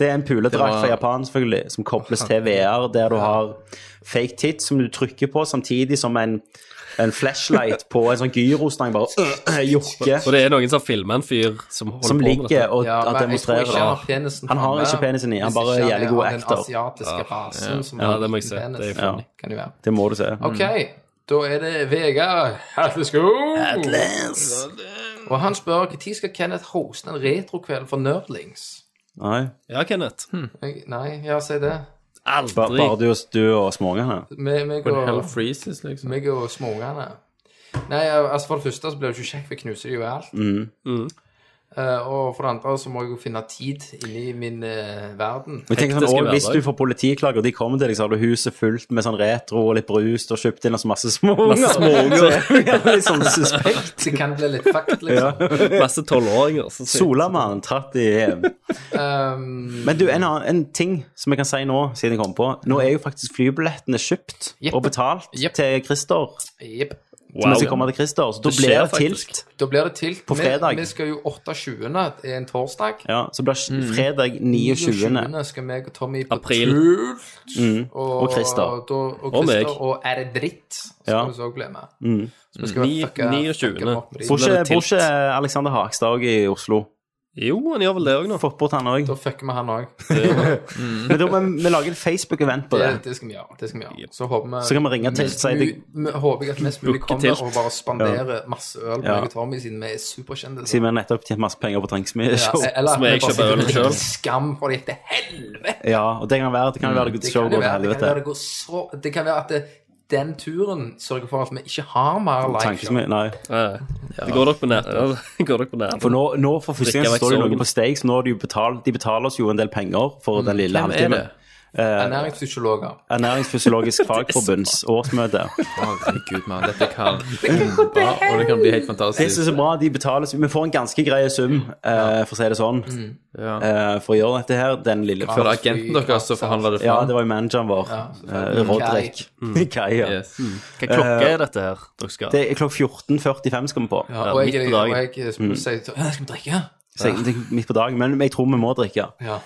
Speaker 1: Det er en puledrakt
Speaker 2: Det
Speaker 1: fra
Speaker 2: var-
Speaker 1: Japan selvfølgelig, som kobles til VR, der du har fake tits som du trykker på, samtidig som en, en flashlight på en sånn gyrostang bare øh, øh,
Speaker 3: Og
Speaker 1: jokker,
Speaker 3: det er noen som filmer en fyr som holder
Speaker 1: som
Speaker 3: på med
Speaker 1: ligger
Speaker 3: dette.
Speaker 1: og
Speaker 6: Ja,
Speaker 1: og
Speaker 6: men jeg tror
Speaker 1: demonstrerer
Speaker 6: ikke han har
Speaker 1: det.
Speaker 6: penisen
Speaker 1: Han har
Speaker 6: framme,
Speaker 1: ikke penisen i, han
Speaker 6: hvis
Speaker 1: bare er
Speaker 6: ikke
Speaker 1: jævlig god
Speaker 6: har
Speaker 1: actor.
Speaker 6: Den asiatiske rasen som
Speaker 3: Ja,
Speaker 6: har
Speaker 3: det må jeg
Speaker 6: liten
Speaker 3: se. Det er
Speaker 6: penis.
Speaker 1: Ja,
Speaker 6: Kan det være.
Speaker 1: det må du se.
Speaker 6: Ok, da er det Vegard Hatlesko. Og han spør når skal Kenneth hoste en retrokveld for nerdlings?
Speaker 1: Nei,
Speaker 3: Ja, Kenneth.
Speaker 6: Jeg- Nei, ja, si det.
Speaker 1: Hm. ba,
Speaker 3: Aldri.
Speaker 1: bare du og, du og småungene.
Speaker 6: Meg meg
Speaker 2: When hell
Speaker 6: og,
Speaker 2: freezes, liksom.
Speaker 6: meg og småungene. Nei, altså for det første så blir det ikke kjekt, for jeg knuser de jo i alt.
Speaker 1: Mm.
Speaker 6: Eh, og for det andre så må jeg jo finne tid inni min eh, verden.
Speaker 1: Men tenk sånn,
Speaker 3: Hektiske
Speaker 1: og hvis
Speaker 3: hverdag.
Speaker 1: du får politiklager, og de kommer til deg, så har du huset fullt med sånn retro og litt brus, og kjøpt inn og så masse småunger. Så er du jævlig sånn suspekt.
Speaker 6: Så kan det bli litt fucked, liksom.
Speaker 3: Masse tolvåringer. som sier-
Speaker 1: Solamannen tratt i hjem.
Speaker 6: Um,
Speaker 1: Men du, en, annen, en ting som jeg kan si nå, siden jeg kom på. Nå er jo faktisk flybillettene kjøpt
Speaker 6: Jepp.
Speaker 1: og betalt
Speaker 6: Jepp.
Speaker 1: til Christer.
Speaker 6: Jepp.
Speaker 1: Wow. Mens jeg kommer til Christer, så da blir
Speaker 3: skjer
Speaker 1: det tilt.
Speaker 6: Da blir det tilt.
Speaker 1: På fredag.
Speaker 6: Vi, vi skal jo 28. det er en torsdag.
Speaker 1: Ja, så blir det fredag 29.
Speaker 6: 29. skal meg og Tommy på
Speaker 3: April.
Speaker 6: tur.
Speaker 1: Mm. Og Christer.
Speaker 6: Og, da- og,
Speaker 3: Og meg.
Speaker 6: Christer. Og er det dritt, skal
Speaker 1: Ja. Mm.
Speaker 6: du så bli med. Så vi skal
Speaker 3: Ni-
Speaker 6: fucke-
Speaker 3: 29..
Speaker 6: fucke opp med de.
Speaker 1: Bor
Speaker 3: blir
Speaker 1: ikke
Speaker 3: det
Speaker 1: bor
Speaker 3: tilt.
Speaker 1: ikke Alexander Hagstad også i Oslo?
Speaker 3: Jo, han gjør vel det òg nå.
Speaker 1: Fått bort han òg.
Speaker 6: Da fucker vi han òg.
Speaker 1: Men da må vi- vi lage et Facebook-event på
Speaker 6: Det,
Speaker 1: det.
Speaker 6: det skal vi gjøre. det skal vi gjøre. Så håper vi
Speaker 1: Så kan vi ringe til,
Speaker 6: mest
Speaker 1: si det-
Speaker 6: mu- vi håper jeg at mest mulig
Speaker 3: Booke
Speaker 6: kommer
Speaker 3: tilt.
Speaker 6: og bare spanderer masse øl på
Speaker 1: Ja.
Speaker 6: meg og Tommy, siden vi er superkjendiser.
Speaker 1: Siden vi har nettopp tjent masse penger på
Speaker 6: Ja,
Speaker 1: Drinksmith-show.
Speaker 6: eller
Speaker 3: Som jeg
Speaker 6: at vi bare
Speaker 3: kjøper
Speaker 6: sitter
Speaker 3: øl
Speaker 6: og drikker
Speaker 3: selv.
Speaker 6: skam for det gikk til helvete.
Speaker 1: Ja, og det kan være det kan være det
Speaker 6: Det
Speaker 1: gode
Speaker 6: kan,
Speaker 1: showet
Speaker 6: jo
Speaker 1: til
Speaker 6: være, det, kan være,
Speaker 1: helvete.
Speaker 6: det, går så, det kan være at det, den turen sørger for at vi ikke har mer
Speaker 1: Tankesmi-
Speaker 6: liveshow.
Speaker 1: Nei.
Speaker 3: Ja. Det går dere på nær- ja, det går dere på nerven.
Speaker 1: For nå, nå for første gang så
Speaker 3: Drikke
Speaker 1: står
Speaker 3: vekk
Speaker 1: det noe
Speaker 3: sorgen.
Speaker 1: på stage, så nå har de jo betalt De betaler oss jo en del penger for den lille
Speaker 2: Hvem er det?
Speaker 1: halvtimen.
Speaker 6: Ernæringsfysiologer.
Speaker 1: Ernæringsfysiologisk fagforbunds årsmøte.
Speaker 2: Herregud, mann. Dette kan bombe, og det kan bli helt
Speaker 1: Det som er
Speaker 2: fantastisk.
Speaker 1: så bra, de betales Vi får en ganske grei sum, eh, for å si det sånn,
Speaker 2: Ja.
Speaker 1: eh, for å gjøre dette her. Den lille
Speaker 2: For det er agenten deres som forhandler det sånn?
Speaker 1: Ja,
Speaker 2: fram.
Speaker 1: det var jo manageren vår. eh, Rodrik. Kai, ja.
Speaker 2: Yes.
Speaker 3: Hva klokke er dette her dere skal?
Speaker 1: Eh, Det er klokka 14.45 skal vi på.
Speaker 6: Ja, og jeg,
Speaker 3: midt på
Speaker 6: og
Speaker 3: dagen.
Speaker 6: jeg,
Speaker 3: Mm.
Speaker 6: skulle si så, «Hæ, Skal vi drikke?
Speaker 1: Så jeg, det er midt på dagen, men jeg tror vi må drikke.
Speaker 6: Ja.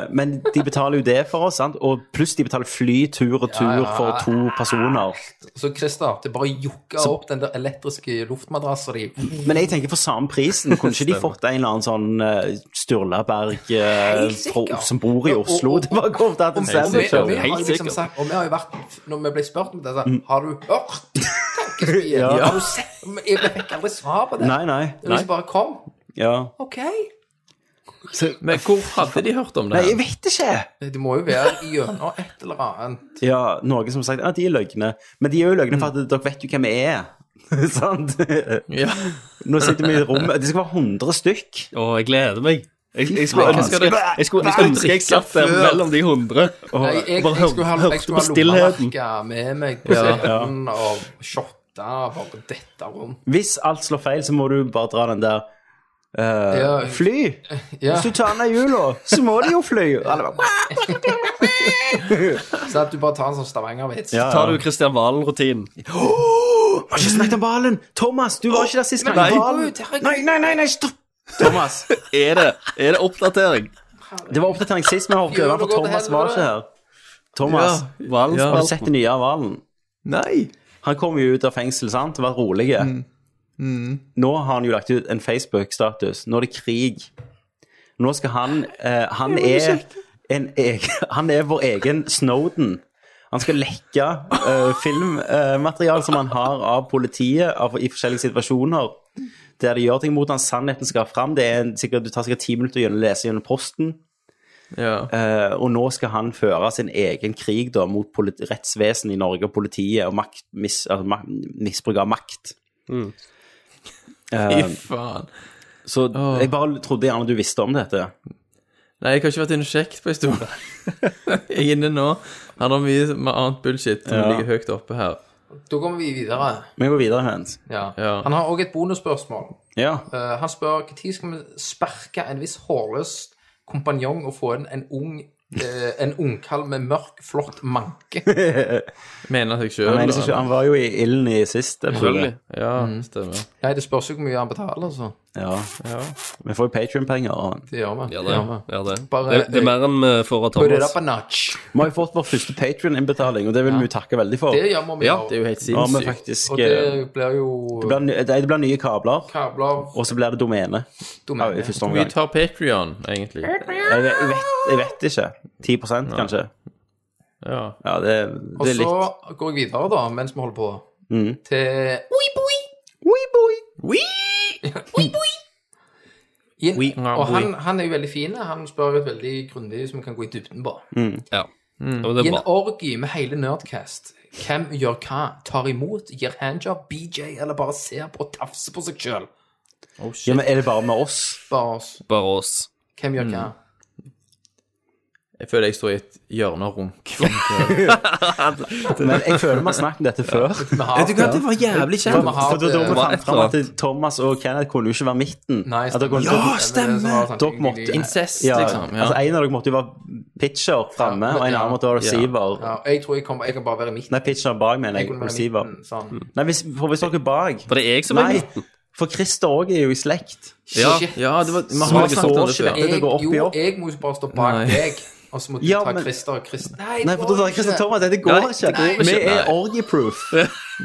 Speaker 1: Eh, men de betaler jo det for oss, sant? og pluss de betaler fly tur og tur
Speaker 6: ja.
Speaker 1: for to personer.
Speaker 6: Så Christer, det bare jukka opp den der elektriske luftmadrassen din.
Speaker 1: Men jeg tenker for samme prisen, kunne ikke de fått en eller annen sånn eh, Sturlaberg eh,
Speaker 6: sikkert.
Speaker 1: fra- som bor i Oslo?
Speaker 6: Og- og-
Speaker 1: Det var kommet til en
Speaker 6: Og vi, og vi
Speaker 1: sandwich.
Speaker 6: har jo
Speaker 3: Helt
Speaker 6: liksom
Speaker 3: sikkert. Mm.
Speaker 6: sagt, og vi har jo vært, når vi ble spurt om dette, har du hørt tankespien?
Speaker 1: Ja.
Speaker 6: Har du sett? Men Jeg fikk aldri svar på det.
Speaker 1: Nei, nei.
Speaker 6: Det var liksom bare kom.
Speaker 1: Ja.
Speaker 6: OK.
Speaker 2: Men hvor hadde de hørt om det?
Speaker 1: Nei,
Speaker 2: her?
Speaker 1: jeg vet ikke!
Speaker 6: Det må jo være gjennom et eller annet.
Speaker 1: Ja, noen som har sagt ja, de er løgne. Men de er jo løgne for at dere vet jo hvem vi er. Sant?
Speaker 2: Ja.
Speaker 1: Nå sitter vi i rommet Det skal være 100 stykk.
Speaker 3: Å, jeg gleder meg. Jeg, jeg skulle
Speaker 2: Hva
Speaker 3: ønske
Speaker 2: skal dere-
Speaker 3: jeg skulle- jeg skulle ønske jeg satt der
Speaker 2: Før.
Speaker 3: mellom de hundre og
Speaker 6: Nei, jeg, jeg,
Speaker 3: bare hør-
Speaker 6: skulle ha, jeg
Speaker 3: hørte
Speaker 6: skulle
Speaker 3: på
Speaker 6: ha
Speaker 3: stillheten.
Speaker 6: lommemerka med meg på scenen og shotta bare dette rundt.
Speaker 1: Hvis alt slår feil, så må du bare dra den der eh,
Speaker 6: Ja.
Speaker 1: Fly!
Speaker 6: Ja,
Speaker 1: Hvis du tar ned hjula, så må de jo fly! Og alle bare,
Speaker 6: så at du bare tar en sånn Stavanger-vits.
Speaker 1: Ja,
Speaker 3: Tar du Kristian Valen-rutinen?
Speaker 1: Åh, Har ikke snakket om ballen! Thomas, du var ikke der sist gang.
Speaker 6: Nei.
Speaker 1: Ballen. Nei, nei, nei, nei, stopp! Thomas.
Speaker 3: Er det, er det oppdatering?
Speaker 1: Det var oppdatering sist vi hoppet over, for Thomas var ikke her. Thomas,
Speaker 3: Valen
Speaker 2: Ja.
Speaker 1: har du sett det nye av Valen?
Speaker 2: Nei!
Speaker 1: Han kom jo ut av fengsel, sant? Vært rolig. Nå har han jo lagt ut en Facebook-status. Nå er det krig. Nå skal han eh, Han er en egen Han er vår egen Snowden. Han skal lekke eh, filmmateriale som han har av politiet av, i forskjellige situasjoner. Der de gjør ting mot han, sannheten skal fram. Det, er en, sikkert, det tar sikkert ti minutter å gjennom- lese gjennom posten.
Speaker 2: Ja.
Speaker 1: Eh, og nå skal han føre sin egen krig da, mot politi- rettsvesenet i Norge og politiet og makt, mis, altså, mak- misbruk av makt. Eh,
Speaker 2: Fy
Speaker 1: um,
Speaker 2: faen.
Speaker 1: Så jeg bare trodde gjerne du visste om dette.
Speaker 2: Nei, jeg har ikke vært inne og sjekket på en stund. jeg er inne nå. Han har mye med annet bullshit som
Speaker 1: Ja.
Speaker 2: ligger høyt oppe her.
Speaker 6: Da går vi videre.
Speaker 1: Vi går videre, Hans.
Speaker 6: Ja.
Speaker 2: Ja.
Speaker 6: Han har òg et bonusspørsmål.
Speaker 1: Ja.
Speaker 6: Eh, han spør når skal vi sparke en viss hårløs kompanjong og få inn en ung eh, en ungkall med mørk, flott manke.
Speaker 2: Mener seg sjøl.
Speaker 1: Han, mener seg ikke- han var jo i ilden i sist episode.
Speaker 3: Selvfølgelig.
Speaker 2: Ja, stemmer.
Speaker 6: Nei, det spørs jo hvor mye han betaler, altså.
Speaker 1: Ja. Vi får jo Patrion-penger. og-
Speaker 6: Det gjør vi.
Speaker 3: Gjør
Speaker 6: Det
Speaker 3: det.
Speaker 6: gjør vi.
Speaker 3: Gjør det.
Speaker 6: Bare-
Speaker 3: det, det er mer enn vi får av
Speaker 6: Put it up
Speaker 3: Thomas.
Speaker 6: a notch.
Speaker 1: Vi har jo fått vår første Patrion-innbetaling, og det vil vi jo takke veldig for.
Speaker 6: Det gjør vi.
Speaker 3: Ja,
Speaker 6: jo.
Speaker 2: Det er jo helt
Speaker 1: Ja, men
Speaker 2: sinnssykt.
Speaker 1: faktisk
Speaker 6: Og
Speaker 1: eh,
Speaker 6: det blir jo
Speaker 1: det blir, ny- det blir nye kabler,
Speaker 6: kabler
Speaker 1: og så blir det domene ja, i
Speaker 6: domene.
Speaker 1: første
Speaker 2: Vi
Speaker 1: omgang.
Speaker 2: tar Patrion, egentlig.
Speaker 1: Jeg vet, jeg vet, jeg vet ikke. 10 kanskje.
Speaker 2: Ja.
Speaker 1: Ja, det,
Speaker 6: Og
Speaker 1: det er
Speaker 6: så
Speaker 1: litt Mm.
Speaker 6: går jeg videre, da, mens vi holder på, til Yin. Og han, han er jo veldig fin. Han spør jo et veldig grundig som vi kan gå i dybden på.
Speaker 3: Ja. Ja, men det
Speaker 6: I
Speaker 3: er
Speaker 6: en
Speaker 3: bra.
Speaker 6: orgie med hele Nerdcast, hvem gjør hva? Tar imot, gir handjob, BJ, eller bare ser på og tafser på seg sjøl?
Speaker 1: ja, men Er det bare med oss?
Speaker 6: Bare oss.
Speaker 3: Bare oss.
Speaker 6: Hvem gjør
Speaker 1: Mm.
Speaker 6: hva?
Speaker 2: Jeg føler jeg står i et hjørne og runker.
Speaker 1: Men jeg føler vi har snakket om dette før.
Speaker 6: Vi har det.
Speaker 2: var jævlig
Speaker 1: For, for da da vi
Speaker 6: Det
Speaker 3: var
Speaker 1: fant
Speaker 3: et
Speaker 1: fram
Speaker 3: eller
Speaker 1: at Thomas og Kenneth kunne jo ikke være midten.
Speaker 6: Nei,
Speaker 1: at dere kunne,
Speaker 6: Ja, sånn
Speaker 1: Dere måtte
Speaker 2: Incest,
Speaker 1: ja,
Speaker 2: liksom. Ja.
Speaker 1: Altså, En av dere måtte jo være pitcher framme,
Speaker 6: Ja,
Speaker 1: og en
Speaker 6: ja.
Speaker 1: annen måtte være receiver.
Speaker 6: Ja, jeg tror jeg, kommer, jeg kan bare være i midten.
Speaker 1: Nei, pitcher bak, mener
Speaker 6: Jeg
Speaker 1: jeg. Mm.
Speaker 6: kunne være i
Speaker 1: Receiver.
Speaker 6: midten, sånn.
Speaker 1: Nei, hvis, for hvis dere er bak
Speaker 3: For det er jeg som er
Speaker 1: Nei,
Speaker 3: midten.
Speaker 1: for Christer òg er jo i slekt.
Speaker 3: Ja.
Speaker 6: Shit.
Speaker 2: Ja, det var, vi
Speaker 1: Så
Speaker 2: har
Speaker 1: vi
Speaker 2: snakket om det
Speaker 1: står ikke
Speaker 2: før.
Speaker 1: det
Speaker 6: Jeg,
Speaker 1: går opp i
Speaker 6: jo,
Speaker 1: opp.
Speaker 6: jeg må jo bare stå bak
Speaker 2: Nei.
Speaker 6: deg, og så må du
Speaker 1: Ja,
Speaker 6: ta
Speaker 1: men-
Speaker 6: Christer og Christer. Nei,
Speaker 1: Nei, for da tar Christer Thomas. Dette går ikke.
Speaker 3: går
Speaker 1: Vi
Speaker 3: ikke.
Speaker 1: er orgieproof.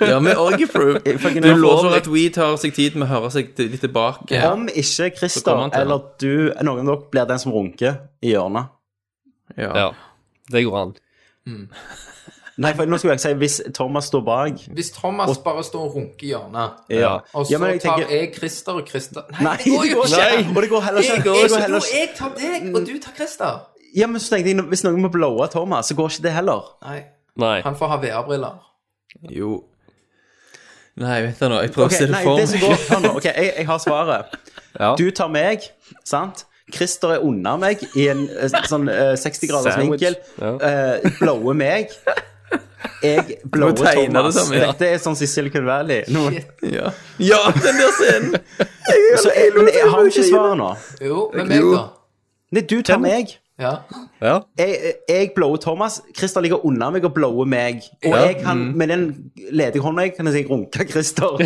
Speaker 2: Ja, med orgieproof.
Speaker 1: Fucking
Speaker 2: Du
Speaker 1: ulovlig.
Speaker 2: lover sånn at we tar seg tid med å høre seg til- litt tilbake.
Speaker 1: Om ikke
Speaker 2: Så kommer
Speaker 1: Christer
Speaker 2: han til
Speaker 1: eller du, noen av dere, blir den som runker i hjørnet.
Speaker 2: Ja.
Speaker 3: Ja. Det går an.
Speaker 1: Nei, for nå skulle jeg si hvis Thomas står bak
Speaker 6: Hvis Thomas bare står og runker i hjørnet,
Speaker 1: Ja.
Speaker 6: og så
Speaker 1: Ja, men jeg
Speaker 6: tar
Speaker 1: tenker-
Speaker 6: jeg Christer og Christer Nei,
Speaker 1: Nei,
Speaker 6: det går jo ikke!
Speaker 1: Nei. Og det går heller ikke.
Speaker 6: Jeg,
Speaker 1: det går
Speaker 6: jeg,
Speaker 1: heller
Speaker 6: jo,
Speaker 1: ikke.
Speaker 6: jeg tar deg, og du tar Christer.
Speaker 1: Ja, men så tenkte jeg, Hvis noen må blowe Thomas, så går ikke det heller.
Speaker 6: Nei,
Speaker 3: Nei.
Speaker 6: han får ha VR-briller.
Speaker 2: Jo. Nei, vent da nå. Jeg prøver
Speaker 1: Ok,
Speaker 2: å se det
Speaker 1: nei,
Speaker 2: for
Speaker 1: det som
Speaker 2: meg.
Speaker 1: går, hør nå, ok, jeg, jeg har svaret.
Speaker 3: Ja.
Speaker 1: Du tar meg, sant? Christer er unna meg i en eh, sånn eh, 60 graders
Speaker 3: Sandwich.
Speaker 1: vinkel.
Speaker 3: Ja.
Speaker 1: eh, blower meg. Jeg blower
Speaker 2: Du må tegne
Speaker 1: Thomas.
Speaker 2: det som, ja.
Speaker 1: Dette er sånn som i Silicon Valley. Nå-
Speaker 2: Ja. ja, den der scenen!
Speaker 1: så jeg, men jeg har jo ikke svaret nå.
Speaker 6: Jo, men meg, da.
Speaker 1: Nei, du tar meg.
Speaker 6: Ja.
Speaker 3: Ja.
Speaker 1: Jeg, jeg blower Thomas. Christer ligger unna meg og blower meg. Og
Speaker 6: Ja.
Speaker 1: jeg
Speaker 2: Mm.
Speaker 1: kan, med den ledige hånda jeg kan jeg si runke Christer.
Speaker 6: Der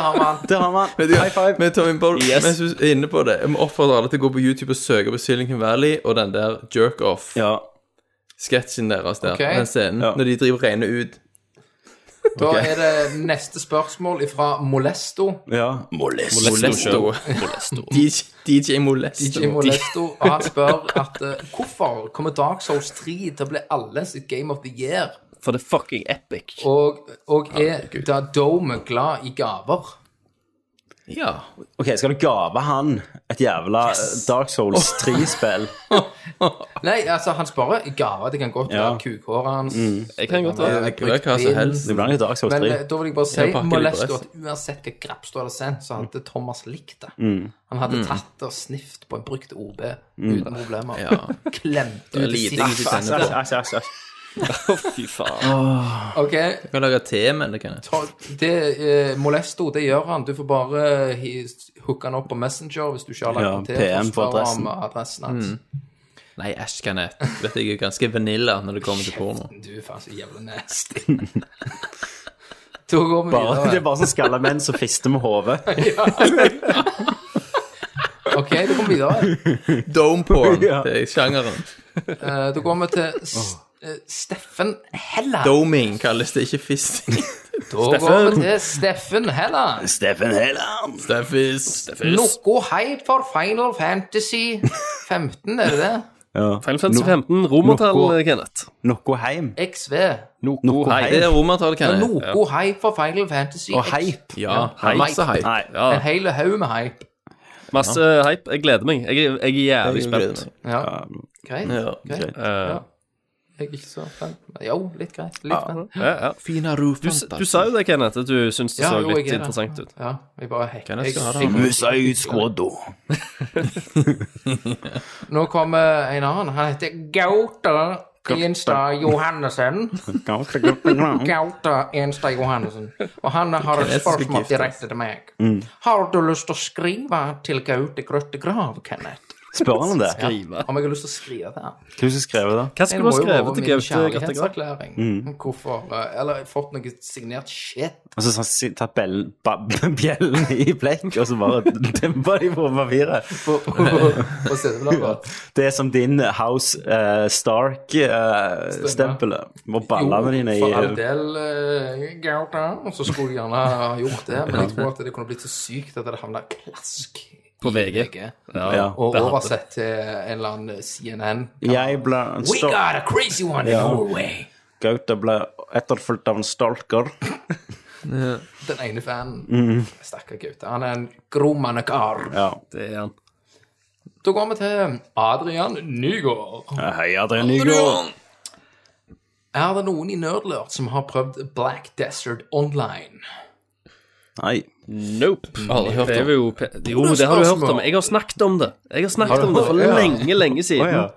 Speaker 6: har man
Speaker 1: Der har man.
Speaker 2: Men du,
Speaker 1: High five.
Speaker 2: Men Tommy, bare,
Speaker 3: Yes.
Speaker 2: mens du er inne på det, jeg må oppfordre alle til å gå på YouTube og søke på Silicon Valley og den der jerk-off-sketsjen
Speaker 1: Ja.
Speaker 2: deres der.
Speaker 6: Ok.
Speaker 2: Den scenen,
Speaker 1: Ja.
Speaker 2: Når de driver og regner ut.
Speaker 6: Da er det neste spørsmål fra Molesto.
Speaker 1: ja.
Speaker 2: Molesto. DJ, DJ Molesto.
Speaker 6: DJ Molesto. Og han spør at eh, hvorfor kommer Dark Souls 3 til å bli alle sitt Game of the Year?
Speaker 3: For det er fucking epic.
Speaker 6: Og, og er da Dome glad i gaver?
Speaker 2: Ja.
Speaker 1: Ok, skal du gave han et jævla eh, Dark Souls 3-spill?
Speaker 6: Nei, altså, han spør i gaver. Det kan godt være
Speaker 1: Ja.
Speaker 6: kukhåret hans.
Speaker 2: Mm.
Speaker 3: Jeg kan godt være
Speaker 2: Det kan være hva som helst.
Speaker 1: Det blir jo Dark Souls
Speaker 6: Men
Speaker 1: 3.
Speaker 6: eh, da vil jeg bare si
Speaker 2: Jeg pakker litt
Speaker 6: Molesto
Speaker 2: på
Speaker 6: at uansett hva graps du hadde sendt, så hadde Thomas likt det.
Speaker 2: Mm.
Speaker 6: Han hadde tatt det og snift på en brukt OB uten problemer.
Speaker 2: Ja.
Speaker 6: Klemt ut
Speaker 2: er
Speaker 6: i
Speaker 2: lite
Speaker 6: siste
Speaker 2: jeg ikke tenner
Speaker 6: fast.
Speaker 1: Æsj, æsj, æsj, æsj.
Speaker 3: Fy faen.
Speaker 6: Ok,
Speaker 2: Jeg kan lage te med det, kan jeg.
Speaker 6: ta, det, eh, Molesto, det gjør han. Du får bare hi- hooke han opp på Messenger hvis du ikke har lagt
Speaker 1: Ja,
Speaker 6: han til.
Speaker 1: PM
Speaker 6: og
Speaker 1: på
Speaker 6: spørre
Speaker 1: adressen.
Speaker 6: om adressen
Speaker 2: Mm.
Speaker 6: hans.
Speaker 2: Nei, æsj, kan jeg. Du Vet jeg er ganske vanilla når det kommer til porno.
Speaker 6: Du er faen så jævla nasty. da går vi
Speaker 1: Bare, det
Speaker 6: videre.
Speaker 1: er bare sånn skalla menn som fister med hodet.
Speaker 6: Ok, da går vi videre.
Speaker 2: Dome porn,
Speaker 1: Ja.
Speaker 2: det er sjangeren.
Speaker 6: Eh, da går vi til S eh, Steffen Helland.
Speaker 2: Doming kalles det, ikke fisting.
Speaker 6: Da går vi til Steffen Helland.
Speaker 1: Steffen Helland!
Speaker 2: Det er fist.
Speaker 6: Noe hype for Final Fantasy 15, er det det?
Speaker 1: Ja.
Speaker 3: Final Fantasy 15, romertall, Kenneth.
Speaker 1: Noe heim.
Speaker 6: XV.
Speaker 1: Noe
Speaker 2: Det er
Speaker 1: heim.
Speaker 2: romertallet,
Speaker 6: Ja,
Speaker 2: kan jeg.
Speaker 6: Noe hype for Final Fantasy
Speaker 1: Og
Speaker 6: X.
Speaker 1: heip.
Speaker 2: Ja, masse hype.
Speaker 1: Nei.
Speaker 3: Ja,
Speaker 6: En hel haug med hype.
Speaker 3: masse eh, hype. Jeg gleder meg. Jeg, er- jeg er jævlig spent.
Speaker 6: Ja, greit.
Speaker 2: Ja,
Speaker 6: greit.
Speaker 2: greit.
Speaker 3: Eh,
Speaker 6: Jeg er ikke så fan. Jo, litt greit. Litt fan.
Speaker 3: ja, ja.
Speaker 2: Fina
Speaker 3: Du, s- du sa jo det, Kenneth, at du syntes det
Speaker 6: Ja,
Speaker 3: så
Speaker 6: jo,
Speaker 3: litt
Speaker 6: jeg er det.
Speaker 3: interessant ut.
Speaker 6: Ja, jeg bare hekk.
Speaker 2: Kan jeg skal ha det?
Speaker 6: jeg-
Speaker 1: Musaid Squaddo.
Speaker 6: Nå kommer en annen. Han heter Gauta Enstad Johannessen. Gauta Enstad Johannessen. Og han har et
Speaker 2: Kinesiske
Speaker 6: spørsmål
Speaker 2: gifter.
Speaker 6: direkte til meg. Har du lyst til å skrive til Gaute Grøtte Grav, Kenneth?
Speaker 1: Spør han om det? Hva
Speaker 3: Rive.
Speaker 6: Om jeg har lyst til å skrive til han?
Speaker 1: er det som skrev det?
Speaker 3: Hva skulle du ha skrevet til Gaute Grattegard?
Speaker 6: kjærlighetserklæring. Hvorfor eh, Eller fått noe signert shit.
Speaker 1: Og så har han si- tatt bellen, ba, bjellen i blekk, og så bare dempa de på papiret.
Speaker 6: på- på- på seddelbladet.
Speaker 1: Det er som din eh, House Stark-stempelet. Må ballene dine
Speaker 6: Jo, For all
Speaker 1: i
Speaker 6: del eh, Gauta, og så skulle jeg gjerne ha gjort det, men jeg tror at det kunne blitt så sykt at det havna klask
Speaker 3: På VG.
Speaker 1: ja.
Speaker 6: og oversett til en eller annen CNN.
Speaker 1: Jeg ble en
Speaker 6: We
Speaker 1: stor-
Speaker 6: got a crazy one in Norway!
Speaker 1: Gaute ble etterfulgt av en stalker.
Speaker 6: Den ene fanen.
Speaker 1: Mm.
Speaker 6: Stakkar Gaute. Han er en grommende kar.
Speaker 1: Ja.
Speaker 3: Det er han.
Speaker 6: Da går vi til Adrian Nygaard.
Speaker 1: Hei, Adrian Nygaard.
Speaker 6: Er det noen i Nerdlert som har prøvd Black Desert Online?
Speaker 1: Nei.
Speaker 3: Nope. Aldri hørt om. Jo, pe- jo, det har du hørt om. Jeg har snakket om det. Jeg har snakket om det for lenge, lenge
Speaker 1: Å ja.
Speaker 3: siden.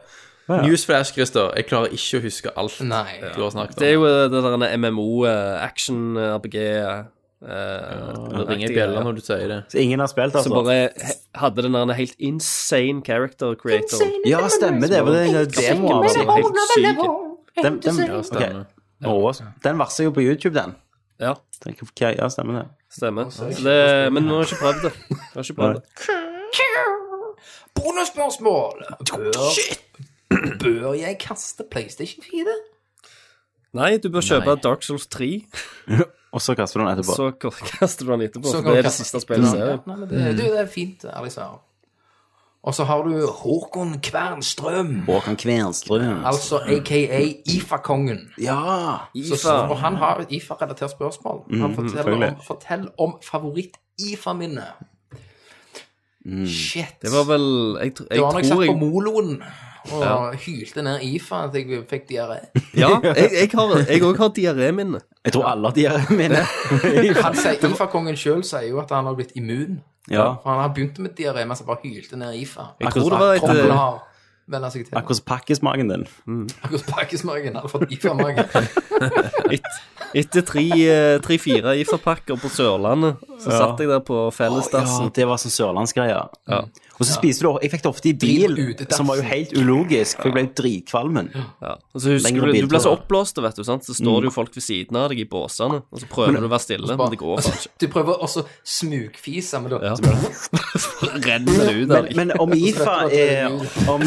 Speaker 2: Newsflash, Christer. Jeg klarer ikke å huske alt
Speaker 6: Nei.
Speaker 2: du har snakket om.
Speaker 3: Det er jo eh, det der MMO, eh, action, eh, RPG eh,
Speaker 2: det ringer i
Speaker 3: riktige
Speaker 2: bjella
Speaker 3: greier.
Speaker 2: når du sier det.
Speaker 1: Så ingen har spilt, altså?
Speaker 3: Som bare he- hadde den der helt insane character creator.
Speaker 1: Ja, stemmer det. For det er en demo av
Speaker 3: Som
Speaker 1: den.
Speaker 3: var helt syk.
Speaker 1: Den, den,
Speaker 2: stemmer.
Speaker 1: ok. Å, den verser jo på YouTube, den.
Speaker 3: Ja,
Speaker 1: Tenk, ok, ja, stemmer det.
Speaker 3: stemmer. Så det, men vi har ikke prøvd det. Vi har ikke prøvd det.
Speaker 6: Bonusspørsmål! Bør, bør jeg kaste PlayStation 4?
Speaker 3: Nei, du bør kjøpe Dark Souls 3,
Speaker 1: Og så kaster du den etterpå.
Speaker 3: så k- kaster du den etterpå.
Speaker 6: Så
Speaker 3: for
Speaker 6: kan
Speaker 3: det er
Speaker 6: du
Speaker 3: det
Speaker 6: kaste-
Speaker 3: siste spillet i serien.
Speaker 6: Nei, men det, du, det er fint, ærlig svar. Og så har du Håkon Kvernstrøm,
Speaker 1: Håkan Kvernstrøm.
Speaker 6: altså aka Ifa-kongen.
Speaker 1: Ja!
Speaker 6: Så- så- Og han har et Ifa-relatert spørsmål.
Speaker 3: Mm,
Speaker 6: Han forteller om,
Speaker 1: selvfølgelig.
Speaker 6: fortell om favoritt-Ifa-minnet.
Speaker 3: Mm.
Speaker 6: Shit.
Speaker 3: Det var vel Jeg, tr-
Speaker 6: det
Speaker 3: jeg
Speaker 6: var når jeg
Speaker 3: tror
Speaker 6: satt
Speaker 3: jeg
Speaker 6: på moloen og hylte ned Ifa at jeg fikk diaré.
Speaker 3: Ja, jeg, jeg har jeg òg har diaréminne.
Speaker 1: Jeg tror alle de er mine.
Speaker 6: Han sier, Ifa-kongen sjøl sier jo at han har blitt immun.
Speaker 1: Ja.
Speaker 6: For han har begynt med diaré mens han bare hylte ned Ifa.
Speaker 1: Jeg
Speaker 3: tror det
Speaker 1: tror
Speaker 3: var et- eh,
Speaker 6: Kroppen har vennet seg til.
Speaker 1: Akkurat som pakkesmaken din.
Speaker 6: Akkurat pakkesmaken hadde fått Ifa-magen.
Speaker 3: Et- Etter tre-fire tre, fire IFA-pakker på Sørlandet, så satt jeg der på
Speaker 1: Ja,
Speaker 3: fellesdassen.
Speaker 1: det var sånn sørlandsgreie. Og så spiste du Jeg fikk det ofte i
Speaker 6: Drit
Speaker 1: bil,
Speaker 6: på utedassen.
Speaker 1: som var jo helt ulogisk, for jeg ble jo dritkvalmen.
Speaker 3: Ja. Og så Altså, husker
Speaker 1: Lengre
Speaker 3: du, du
Speaker 1: biltur,
Speaker 3: blir så
Speaker 1: da.
Speaker 3: oppblåst, vet du, sant? så står det jo folk ved siden av deg i båsene, og så prøver du å være stille, men Altså, det går faen ikke.
Speaker 6: Du Altså, prøver også smugfise, men da
Speaker 3: Ja. Renner det ut av
Speaker 1: Men,
Speaker 3: deg.
Speaker 1: men om IFA er om,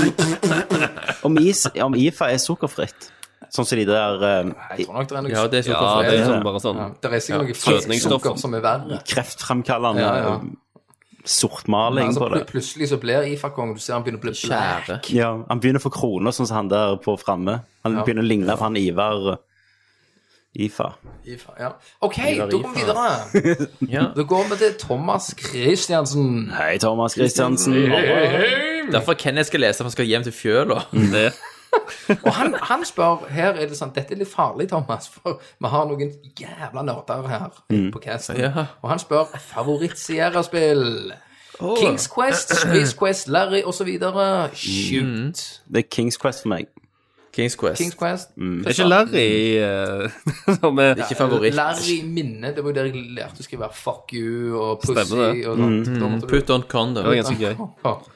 Speaker 1: om, is, om IFA er sukkerfritt, sånn som de der eh,
Speaker 6: Jeg tror nok det er noe
Speaker 2: Ja,
Speaker 3: Ja, det
Speaker 2: det er sukkerfri.
Speaker 3: er
Speaker 1: det.
Speaker 3: sånn, bare sånn
Speaker 6: Ja, det er sikkert noe
Speaker 3: søtningsstoff.
Speaker 6: sukker som er verre.
Speaker 1: kreftfremkallende eh,
Speaker 6: Ja, ja.
Speaker 1: sortmaling
Speaker 6: Altså,
Speaker 1: på det.
Speaker 6: pl plutselig så blir Ifa-kongen Du ser han begynner å bli blær.
Speaker 2: Kjære.
Speaker 1: Ja, han begynner å få kroner, sånn som han der på framme. Han begynner å ligne på han Ivar eh, Ifa.
Speaker 6: Ifa, ja. OK, da går vi videre.
Speaker 2: Ja.
Speaker 6: Da går vi til Thomas Christiansen.
Speaker 1: Hei, Thomas Christiansen.
Speaker 2: Derfor Kenneth skal lese, for han skal hjem til fjøla.
Speaker 3: Mm, det.
Speaker 6: Og han, han spør Her er det sånn Dette er litt farlig, Thomas, for vi har noen jævla nerder her på casten.
Speaker 2: Ja.
Speaker 6: Og han spør favoritt-Sierra-spill. Kings Quest, Space Quest, Larry osv. Shoot.
Speaker 3: Mm.
Speaker 1: Det er Kings Quest for meg.
Speaker 2: Kings
Speaker 6: Kings
Speaker 2: Quest.
Speaker 6: Quest.
Speaker 3: Det er ikke Larry eh, som er
Speaker 2: Ikke favoritt.
Speaker 6: Larry minne, det var jo der jeg lærte å skrive 'fuck you' og 'pussy'
Speaker 3: Stemmer det.
Speaker 6: og sånt. Da måtte du-
Speaker 2: Put on condom.
Speaker 3: Det var ganske gøy.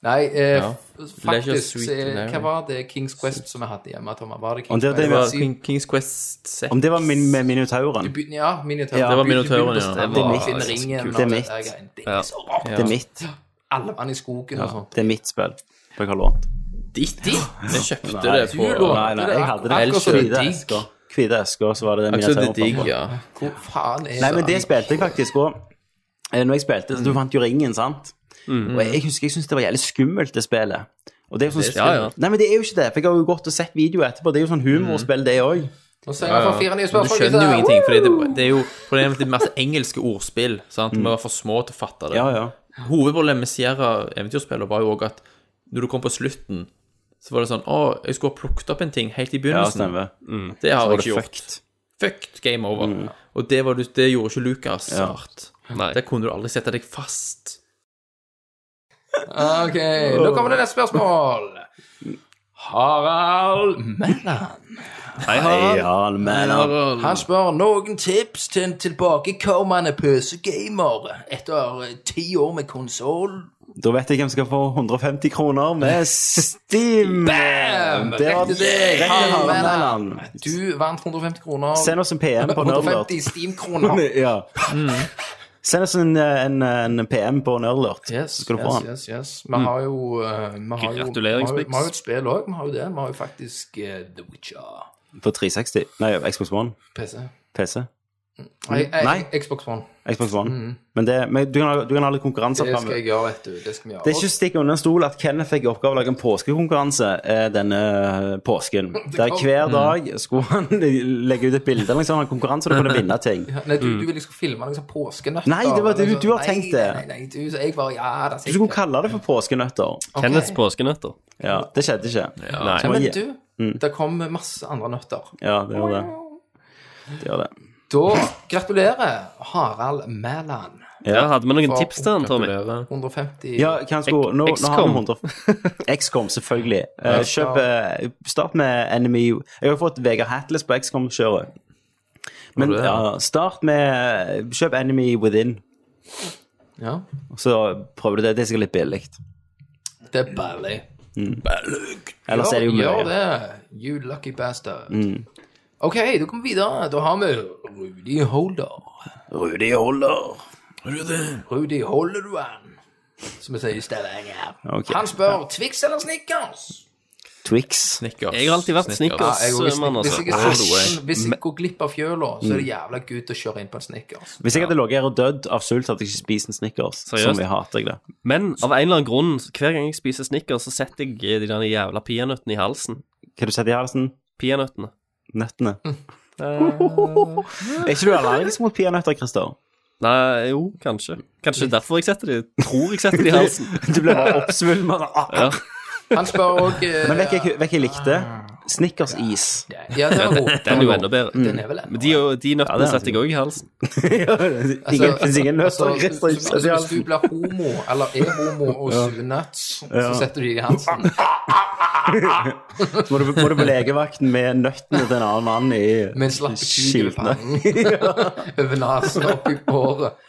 Speaker 6: Nei, eh,
Speaker 2: Ja.
Speaker 6: f-
Speaker 2: Leisure
Speaker 6: faktisk
Speaker 2: Suite
Speaker 6: så er-
Speaker 2: Larry.
Speaker 6: Hva var det Kings Quest som jeg hadde hjemme, Thomas? Var det
Speaker 1: Om
Speaker 6: Kings
Speaker 1: det-
Speaker 2: Det var
Speaker 6: Quest?
Speaker 2: King- Kings Quest 6.
Speaker 1: Om det var min, med Minotauren.
Speaker 6: Du begynner- Ja, Minotaur.
Speaker 1: Ja,
Speaker 6: Du
Speaker 1: det
Speaker 2: var
Speaker 6: begynner-
Speaker 2: Minotauren,
Speaker 6: du begynner
Speaker 2: ja.
Speaker 6: å
Speaker 2: Det
Speaker 6: bestemme
Speaker 1: var-
Speaker 6: deg til ringen
Speaker 1: kult. Det
Speaker 6: og
Speaker 1: er
Speaker 6: alt
Speaker 1: mitt.
Speaker 6: der greiene. Det er så rart.
Speaker 1: Det er mitt.
Speaker 6: Alle vann i skogen og sånn. sånt.
Speaker 1: Det er mitt spill. For jeg har lånt.
Speaker 2: Ditt! Jeg kjøpte
Speaker 1: Nei,
Speaker 2: det
Speaker 6: du
Speaker 2: på
Speaker 6: lå-
Speaker 1: Nei, nei, jeg hadde det.
Speaker 6: Akkurat som
Speaker 2: Elkjøp.
Speaker 1: Hvite
Speaker 6: digg.
Speaker 1: esker. Hvite esker, så var det det
Speaker 2: Akkurat som
Speaker 1: Minotauren
Speaker 2: det digg,
Speaker 1: på.
Speaker 2: ja.
Speaker 6: Hvor faen er
Speaker 1: Nei, men det spilte jeg faktisk Eh, òg. Når jeg spilte, så Du vant jo ringen, sant? Og jeg husker jeg syntes det var jævlig skummelt, det spillet. Og det er jo sånn
Speaker 2: Det- ja, ja.
Speaker 1: Nei, men det er jo ikke det, for jeg har jo gått og sett video etterpå. Det er jo sånn humorspill, det òg.
Speaker 6: Nå ser jeg for fire nye
Speaker 2: Men du
Speaker 6: spørsmål.
Speaker 2: skjønner jo
Speaker 3: sånn
Speaker 6: gutter.
Speaker 2: ingenting, for det, det er jo problemet med masse engelske ordspill. sant? Vi var for små til å fatte det.
Speaker 1: Mm. Ja, ja.
Speaker 2: Hovedproblemet med Sierra-eventyrspillet var jo òg at når du kom på slutten, så var det sånn Å, jeg skulle ha plukket opp en ting helt i
Speaker 1: Ja,
Speaker 2: begynnelsen.
Speaker 1: stemmer.
Speaker 2: det har
Speaker 1: var
Speaker 2: jeg
Speaker 1: det
Speaker 2: ikke gjort.
Speaker 1: fucked. Mm.
Speaker 2: Fucked game over. Og det, var du, det gjorde ikke Lucas
Speaker 1: Ja.
Speaker 2: hardt.
Speaker 3: Nei.
Speaker 2: Der kunne du aldri sette deg fast.
Speaker 6: Ah, Ok, nå kommer det neste spørsmål. Harald Melland.
Speaker 3: Hei, Harald.
Speaker 1: Ja, men
Speaker 6: Han spør noen tips til en tilbakekommende pøsegamer etter eh, ti år med konsoll.
Speaker 1: Da vet jeg hvem som skal få 150 kroner med Steam. Bam! Det var
Speaker 6: Rett til deg,
Speaker 1: Harald.
Speaker 6: Harald Melland. Du vant 150 kroner.
Speaker 1: Send oss en PM på Nerdlert.
Speaker 6: 150 Steam-kroner.
Speaker 1: Ja. Mm. Send oss en, eh, en, en PM på Nerdlert,
Speaker 6: Yes,
Speaker 1: så skal du få
Speaker 6: yes,
Speaker 1: den. Mm.
Speaker 6: yes, yes. Vi har jo eh, vi har jo- Vi har jo-
Speaker 3: Gratuleringsmix.
Speaker 6: vi har jo et spill òg. Vi har jo det. Vi har jo faktisk eh, The Witcher
Speaker 1: På 360. Nei, Xbox One.
Speaker 6: PC.
Speaker 1: PC.
Speaker 6: Nei, eh,
Speaker 1: Nei.
Speaker 6: Xbox One.
Speaker 1: Xbox One. Men, det, men du, kan ha, du kan ha litt konkurranser
Speaker 6: Mm. Det skal
Speaker 1: framover.
Speaker 6: jeg gjøre, vet du. Det skal vi gjøre.
Speaker 1: Det er ikke å stikke under en stol at Kenneth fikk i oppgave å lage en påskekonkurranse eh, denne påsken. Der
Speaker 6: kom-
Speaker 1: hver dag skulle han legge ut et bilde eller liksom, ha en konkurranse og du kunne vinne ting.
Speaker 6: Nei, du, du ville jeg skulle filme liksom påskenøtter.
Speaker 1: Mm. Nei, det var det
Speaker 6: eller
Speaker 1: du har
Speaker 6: sånn.
Speaker 1: tenkt
Speaker 6: nei,
Speaker 1: det.
Speaker 6: Nei, nei, du, så jeg bare, ja, det
Speaker 1: Du skulle kalle det for påskenøtter.
Speaker 3: Kenneths påskenøtter.
Speaker 1: Ja, det skjedde ikke. Ja,
Speaker 3: Nei.
Speaker 1: Så-
Speaker 6: Men du,
Speaker 1: Mm.
Speaker 6: det kom masse andre nøtter.
Speaker 1: det gjør det. Det gjør det.
Speaker 6: Da gratulerer Harald Mæland.
Speaker 3: Ja, hadde vi noen
Speaker 6: Faen.
Speaker 3: tips til han, Tommy?
Speaker 6: 150
Speaker 1: Ja, hva han skulle Nå, nå har vi
Speaker 3: XCOM.
Speaker 1: 100 XCOM, selvfølgelig. Eh, kjøp eh, Start med Enemy Jeg har jo fått Vegard Hatles på XCOM-kjøret.
Speaker 2: Har
Speaker 1: Men
Speaker 2: du det?
Speaker 1: ja, start med eh, Kjøp Enemy Within,
Speaker 6: Ja,
Speaker 1: og så prøver du det. Det er sikkert litt billig.
Speaker 6: Det er ballig.
Speaker 1: Ellers er det jo mye.
Speaker 6: Gjør det, you lucky bastard.
Speaker 1: Mm.
Speaker 6: OK, da kommer vi videre. Da har vi Rudi Holder.
Speaker 1: Rudi holder.
Speaker 6: Rudi holder du an? Som vi sier i Stavanger.
Speaker 1: Ok.
Speaker 6: Han spør Twix eller Snickers?
Speaker 1: Twix.
Speaker 2: Snickers.
Speaker 3: Jeg har alltid vært
Speaker 6: Ja,
Speaker 3: snickers.
Speaker 6: jeg også,
Speaker 3: mann,
Speaker 6: hvis,
Speaker 3: altså.
Speaker 6: jeg, hvis, jeg, hvis jeg går glipp av fjøla, så
Speaker 1: Mm.
Speaker 6: er det jævla good å kjøre inn på en Snickers.
Speaker 1: Hvis jeg hadde ligget her og dødd av sult, hadde jeg ikke spist en Snickers.
Speaker 3: Seriøst?
Speaker 1: Som jeg hater jeg det.
Speaker 3: Men av en eller annen grunn, hver gang jeg spiser snickers, så setter jeg eh, de der jævla peanøttene i halsen.
Speaker 1: Hva du setter du i halsen?
Speaker 3: Peanøttene.
Speaker 1: Nøttene. er ikke du allergisk mot peanøtter, Christer?
Speaker 3: Nei, jo, kanskje. Kanskje derfor jeg setter de Tror jeg setter de i halsen.
Speaker 1: Du ble bare oppsvulmet.
Speaker 3: Ja.
Speaker 6: Han spør òg
Speaker 1: Men vet jeg hva jeg likte? Snickers-is.
Speaker 6: eh, Ja, det er god.
Speaker 3: Den er jo enda bedre.
Speaker 6: Den er vel
Speaker 3: Men de, de nøttene
Speaker 1: Ja, det er-
Speaker 3: setter jeg òg i halsen.
Speaker 1: Ingen finnes ingen nøtter,
Speaker 6: altså,
Speaker 1: Christer.
Speaker 6: hvis- altså, Hvis du blir homo, eller er homo og sunnøtts, så setter du de i halsen.
Speaker 1: Må du, må du på legevakten med nøttene til en annen mann i
Speaker 6: Med en slapp kuk i
Speaker 1: skiltene.
Speaker 6: pannen. Over nesen og oppi håret.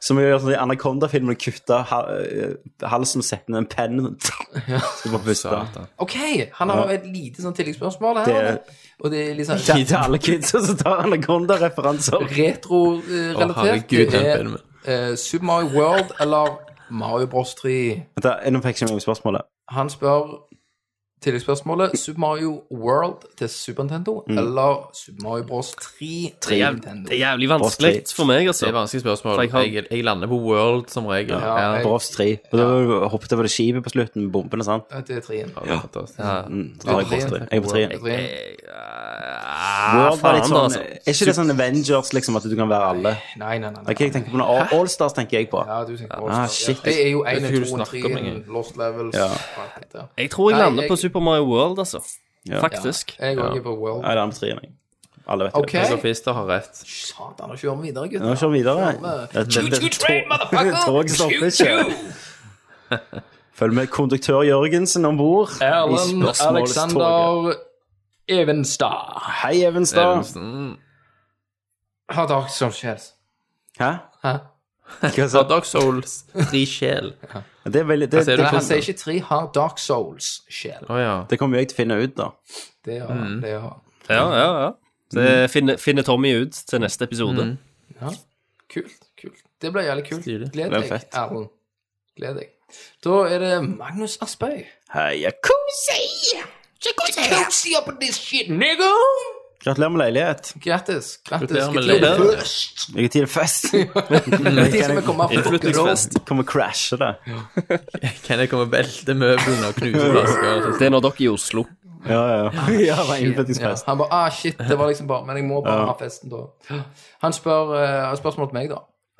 Speaker 1: Så må vi gjøre sånn i Anaconda-filmen og kutte ha- eh, halsen og sette ned en penn. sånn. Så bare puste.
Speaker 6: OK, han har jo et lite sånn tilleggsspørsmål her.
Speaker 1: Det-
Speaker 6: Og det er litt sånn
Speaker 1: Til til alle kidsa som tar Anaconda-referanser.
Speaker 2: Å,
Speaker 6: retro-relatert.
Speaker 2: herregud, den
Speaker 6: Det
Speaker 2: filmen.
Speaker 6: er eh, Super Mario World eller Mario Bros 3.
Speaker 1: Vent da, Nå fikk jeg ikke med meg spørsmålet.
Speaker 6: Han spør tilleggsspørsmålet Super Mario World til Super Nintendo
Speaker 1: Mm.
Speaker 6: eller Super Mario Bros 3
Speaker 3: Det
Speaker 6: til
Speaker 3: er jævlig,
Speaker 6: Nintendo.
Speaker 3: det er jævlig vanskelig
Speaker 1: Postlitt.
Speaker 3: for meg,
Speaker 2: Det
Speaker 3: altså.
Speaker 2: er vanskelige spørsmål.
Speaker 3: For
Speaker 2: Jeg,
Speaker 3: jeg har-
Speaker 2: jeg lander på World som regel.
Speaker 6: Ja, jeg-
Speaker 1: Bros 3. Og da hoppet jeg over det skipet på slutten med bombene, sant? Mm,
Speaker 6: Det er 3-en.
Speaker 2: Ja, det er fantastisk.
Speaker 1: Så tar jeg Bros 3. Jeg er på 3.
Speaker 3: World
Speaker 1: World var litt sånn
Speaker 3: altså.
Speaker 1: Er ikke det sånn Avengers, liksom, at du kan være alle?
Speaker 6: Nei, nei, nei.
Speaker 1: Det er ikke
Speaker 6: nei.
Speaker 1: jeg tenker på nå. All- Allstars tenker jeg på.
Speaker 6: Ja, du tenker
Speaker 1: Ah,
Speaker 6: All-Star.
Speaker 1: shit.
Speaker 6: Det er jo
Speaker 2: Det er
Speaker 6: 1,
Speaker 2: ikke du
Speaker 6: 2,
Speaker 2: snakker om
Speaker 6: 3,
Speaker 2: engang.
Speaker 6: Lost Levels
Speaker 1: Ja.
Speaker 6: Ja.
Speaker 3: Jeg tror jeg
Speaker 6: Nei,
Speaker 3: lander på
Speaker 6: jeg-
Speaker 3: Super Mario World, altså.
Speaker 1: Ja.
Speaker 3: Faktisk.
Speaker 6: Jeg er også på World.
Speaker 1: Nei, det er med treen, jeg. Alle vet jo
Speaker 6: OK.
Speaker 2: Jeg og Christer har rett.
Speaker 6: Satan, nå kjører vi videre,
Speaker 1: det. Nå
Speaker 6: gutter.
Speaker 1: kjører vi videre. Det- det- det-
Speaker 6: Choo-choo train,
Speaker 1: tog-
Speaker 6: motherfucker!
Speaker 1: Tog stopper ikke. Følg med konduktør Jørgensen om bord.
Speaker 6: Erlend Alexander Evenstad.
Speaker 1: Hei, Evenstad.
Speaker 2: Evensen.
Speaker 6: Har dere som skjer?
Speaker 1: Hæ?
Speaker 6: Hæ?
Speaker 1: Hva sa
Speaker 2: Har Dark Souls tre sjel?
Speaker 1: Det, er veldig, det,
Speaker 2: sier du?
Speaker 1: det,
Speaker 6: Nei, han
Speaker 2: Sånn,
Speaker 6: sier ikke 3 har Dark Souls-sjel.
Speaker 2: Å ja.
Speaker 1: det kommer jo jeg til å finne ut, da.
Speaker 6: Det gjør han. Det gjør han.
Speaker 3: Ja, ja, ja. Det finner, finner Tommy ut til neste episode.
Speaker 6: Ja. Kult. kult. Det ble jævlig kult.
Speaker 2: Stilig.
Speaker 6: Gled
Speaker 1: Det er
Speaker 6: deg,
Speaker 1: fett.
Speaker 6: Erlend. Gled deg. Da er det Magnus Aspøy.
Speaker 1: Heia,
Speaker 6: Cozy up in this shit, nigga!
Speaker 1: Gratulerer med leilighet.
Speaker 6: Grattis. Grattis.
Speaker 2: Gratulerer med
Speaker 6: Gratulerer.
Speaker 2: leilighet.
Speaker 1: Lykke til til fest.
Speaker 6: De som er kommet opp på Grå.
Speaker 3: Innflytningsfest.
Speaker 1: Kommer og crasher det.
Speaker 2: Kan jeg komme og velte møblene og knuse flasker?
Speaker 3: Det er når dere er i Oslo.
Speaker 1: Ja, ja, ja. ja det var
Speaker 6: Ja,
Speaker 1: innflyttingsfest.
Speaker 6: han bare ah, shit, det var liksom bare Men jeg må bare
Speaker 1: Ja.
Speaker 6: ha festen da. Han spør eh, spørsmål til meg, da.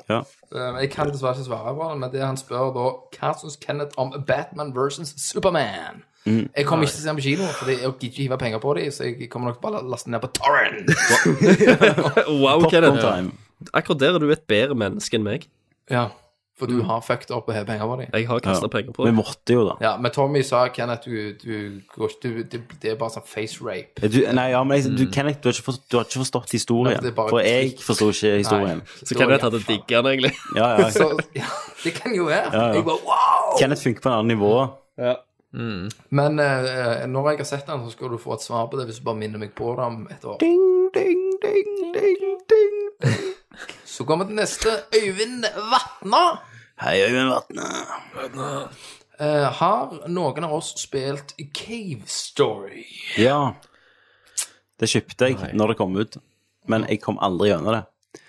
Speaker 1: Ja.
Speaker 6: Eh, Jeg kan dessverre ikke svare på det, men det han spør da Hva syns Kenneth om Batman versus Superman?
Speaker 3: Mm.
Speaker 6: Jeg kommer ikke til å se den på kino, for jeg gidder ikke hive penger på dem, så jeg kommer nok bare laste den ned på Torrent.
Speaker 3: Wow,
Speaker 1: Popcorn
Speaker 3: Kenneth.
Speaker 1: time.
Speaker 3: Akkurat der er du et bedre menneske enn meg.
Speaker 6: Ja, for du har fucked opp og har penger på dem.
Speaker 3: Jeg har kasta penger på
Speaker 1: Vi
Speaker 3: det.
Speaker 1: måtte jo, da.
Speaker 6: Ja, men Tommy sa Kenneth, du, du går ikke du, det, det er bare sånn face rape.
Speaker 1: Du, nei, ja, men jeg, du, Kenneth, du har ikke forstått, du har ikke forstått historien.
Speaker 6: det er bare-
Speaker 1: For jeg forsto ikke historien.
Speaker 3: Så Kenneth hadde
Speaker 6: digg.
Speaker 3: digga den, egentlig.
Speaker 1: Ja, ja.
Speaker 6: Så ja, det kan jo være. Jeg bare wow!
Speaker 1: Kenneth funker på en annen nivå.
Speaker 6: Men eh, når jeg har sett den, så skal du få et svar på det hvis du bare minner meg på det om et år. Så kommer det neste. Øyvind Vatna.
Speaker 1: Hei, Øyvind Vatne.
Speaker 6: Eh, har noen av oss spilt Cave Story?
Speaker 1: Ja. Det kjøpte jeg når det kom ut, men jeg kom aldri gjennom det.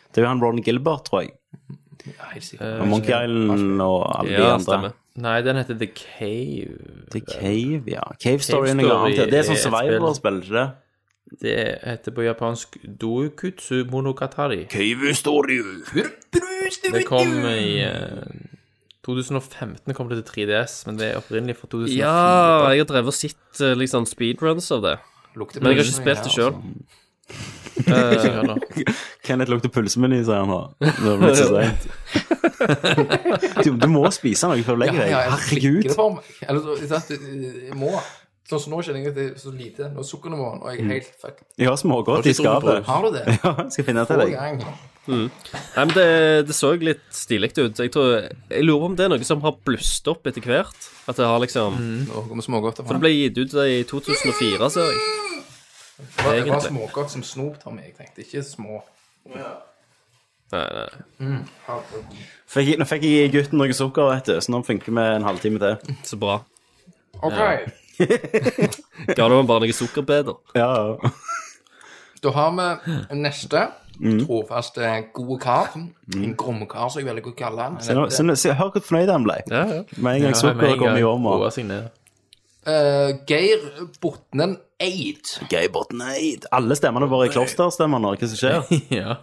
Speaker 1: Det er jo han Ron Gilbert, tror jeg.
Speaker 6: Ja, helt
Speaker 3: Eh,
Speaker 6: sikkert.
Speaker 1: Og Monkey Island og alle de
Speaker 3: Ja,
Speaker 1: andre.
Speaker 3: stemmer.
Speaker 2: Nei, den heter The Cave.
Speaker 1: Det er Cave, ja. Cave Story er noe
Speaker 2: Story
Speaker 1: annet. ja. Det er
Speaker 2: er
Speaker 1: sånn
Speaker 2: et
Speaker 1: Survivor-spill, ikke det?
Speaker 2: Det heter på japansk Doukutsu Monogatari.
Speaker 1: Cave Story.
Speaker 2: Det kom i eh, 2015 kom det til 3DS, men det er opprinnelig fra 2004.
Speaker 3: Ja, jeg har drevet og sett eh, liksom speedruns av det.
Speaker 6: Lukter
Speaker 3: Men jeg har
Speaker 6: pølse
Speaker 3: ikke spilt det sjøl.
Speaker 2: Ikke hør nå.
Speaker 1: Kenneth lukter pølsemeny, sier han nå. Det er blitt så seint. Du, du må spise noe før du
Speaker 6: Ja,
Speaker 1: legger deg.
Speaker 6: ja, jeg klikker det
Speaker 1: Herregud.
Speaker 6: for meg. Eller så, ikke sant, Eh, jeg må. Sånn som nå kjenner jeg at det er så lite. Nå er sukkernivåen, og jeg er helt fucked.
Speaker 1: Jeg har smågodt i skapet.
Speaker 6: Har du det?
Speaker 1: Ja, skal jeg finne det
Speaker 6: Få
Speaker 1: til
Speaker 6: i
Speaker 1: deg.
Speaker 6: gang.
Speaker 3: Nei, men det, det så litt stilig ut. Jeg, tror, jeg lurer på om det er noe som har blust opp etter hvert. At det har liksom
Speaker 6: Nå kommer smågodt.
Speaker 3: For det ble gitt ut i 2004, ser jeg.
Speaker 6: Det var
Speaker 3: egentlig.
Speaker 6: smågodt som snop, Tommy. Jeg tenkte ikke små.
Speaker 3: Nei, nei.
Speaker 1: Fikk, jeg- nå fikk jeg i gutten noe sukker, vet du, så nå funker vi en halvtime til.
Speaker 3: Så bra.
Speaker 6: Ok,
Speaker 3: Ga du ham bare noe sukkerbeder?
Speaker 1: Ja, ja.
Speaker 6: da har vi neste Mm. trofaste gode kar. En grommekar, som jeg veldig godt kaller han.
Speaker 1: Se nå- se nå- se- Hør hvor fornøyd han ble.
Speaker 3: Ja, ja.
Speaker 1: Med en gang sukkeret kom i ormen.
Speaker 6: Eh, Geir Botnen Eid.
Speaker 1: Gøybotn Eid. Alle stemmene våre er klosterstemmer. Hva som skjer?
Speaker 2: Ja.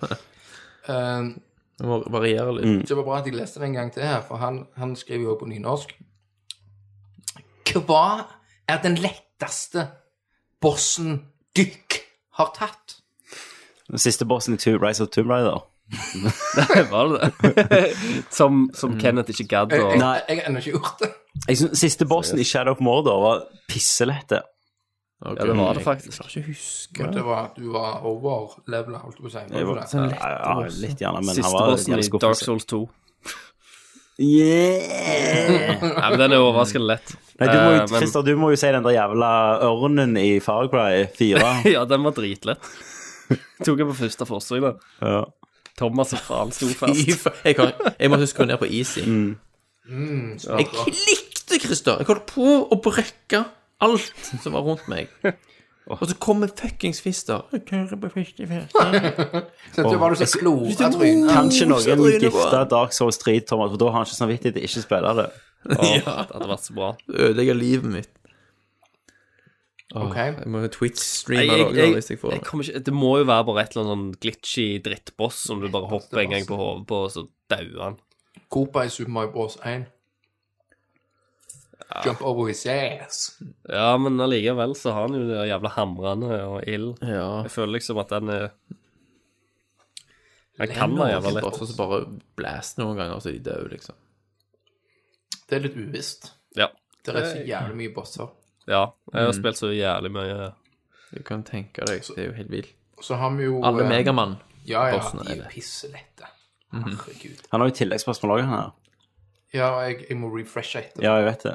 Speaker 6: Eh,
Speaker 2: Det må variere litt.
Speaker 6: det var bra at jeg leste det en gang til her, for han, han skriver jo på nynorsk. Hva er den letteste bossen dykk har tatt?
Speaker 1: Den siste bossen i Tomb- Rise of Tomb Raider.
Speaker 3: Var det det? Som, som Kenneth ikke gadd å
Speaker 6: Jeg,
Speaker 1: Nei.
Speaker 6: jeg har ennå ikke gjort det.
Speaker 1: Jeg synes, Siste bossen i Shadow of Mordor var pisselette.
Speaker 2: Ok.
Speaker 3: Ja, det var det faktisk. Jeg klarer ikke
Speaker 6: Men det var, du var overlevela, holdt jeg på å si. Var du det?
Speaker 1: Ja, ja, litt gjerne, men han
Speaker 3: Siste
Speaker 1: var altså.
Speaker 3: bossen
Speaker 1: gjerne
Speaker 3: i
Speaker 1: skuffelse.
Speaker 3: Dark Souls 2.
Speaker 1: Yeah!
Speaker 3: Nei, men den er overraskende lett.
Speaker 1: Nei, du må jo,
Speaker 3: Eh, men-
Speaker 1: Christer, du må jo si den der jævla ørnen i Far Cry 4.
Speaker 3: Ja, den var dritlett. Tok jeg på første forsøk, da.
Speaker 1: Ja.
Speaker 3: Thomas og faen sto
Speaker 2: Fy
Speaker 3: fast.
Speaker 2: faen. Jeg, kan, jeg måtte skru ned på easy.
Speaker 6: Mm,
Speaker 2: Jeg klikte, Christer! Jeg holdt på å brekke alt som var rundt meg. Og så kommer fuckings Fister. Jeg kører på fiskefest.
Speaker 6: Så det var du så klora trynet.
Speaker 2: så
Speaker 1: Kanskje noen
Speaker 2: trynet på.
Speaker 1: gifter Dark Souls 3, Thomas, for da har han ikke samvittighet til ikke å spille det.
Speaker 3: Ja, det hadde vært så bra.
Speaker 2: Du ødelegger livet mitt. Åh,
Speaker 6: Ok.
Speaker 2: Jeg må
Speaker 3: Jeg,
Speaker 2: Twitch-streame
Speaker 3: jeg,
Speaker 2: det
Speaker 3: jeg,
Speaker 2: hvis jeg får
Speaker 3: jeg kommer ikke, det må jo være bare et eller annet sånn glitchy drittboss som du bare hopper en gang på hodet på, og så dauer han.
Speaker 6: Cooper i Super Mario Bros. 1. Jump over his ass.
Speaker 3: Ja, men allikevel så har han jo det jævla hamrende og ild.
Speaker 2: Ja.
Speaker 3: Jeg føler liksom at den er Den kan
Speaker 2: Kan
Speaker 3: være
Speaker 2: være
Speaker 3: jævla lett.
Speaker 2: Bare, så bare blast noen ganger, så de dør, liksom.
Speaker 6: Det er litt uvisst.
Speaker 3: Ja.
Speaker 6: Det er så jævlig mye bosser.
Speaker 3: ja. Jeg har spilt så jævlig mye
Speaker 2: Du kan tenke deg, det er jo helt vilt.
Speaker 6: Og så har vi jo
Speaker 2: Alle
Speaker 6: eh,
Speaker 2: Megamann.
Speaker 6: Ja, ja,
Speaker 2: bossene
Speaker 6: de
Speaker 2: er
Speaker 6: er
Speaker 2: det. Mhm.
Speaker 6: pisselette. Herregud.
Speaker 1: Han har jo tilleggsspørsmål òg, han her.
Speaker 6: Ja, og jeg, jeg må refreshe etter.
Speaker 1: Ja, jeg vet det.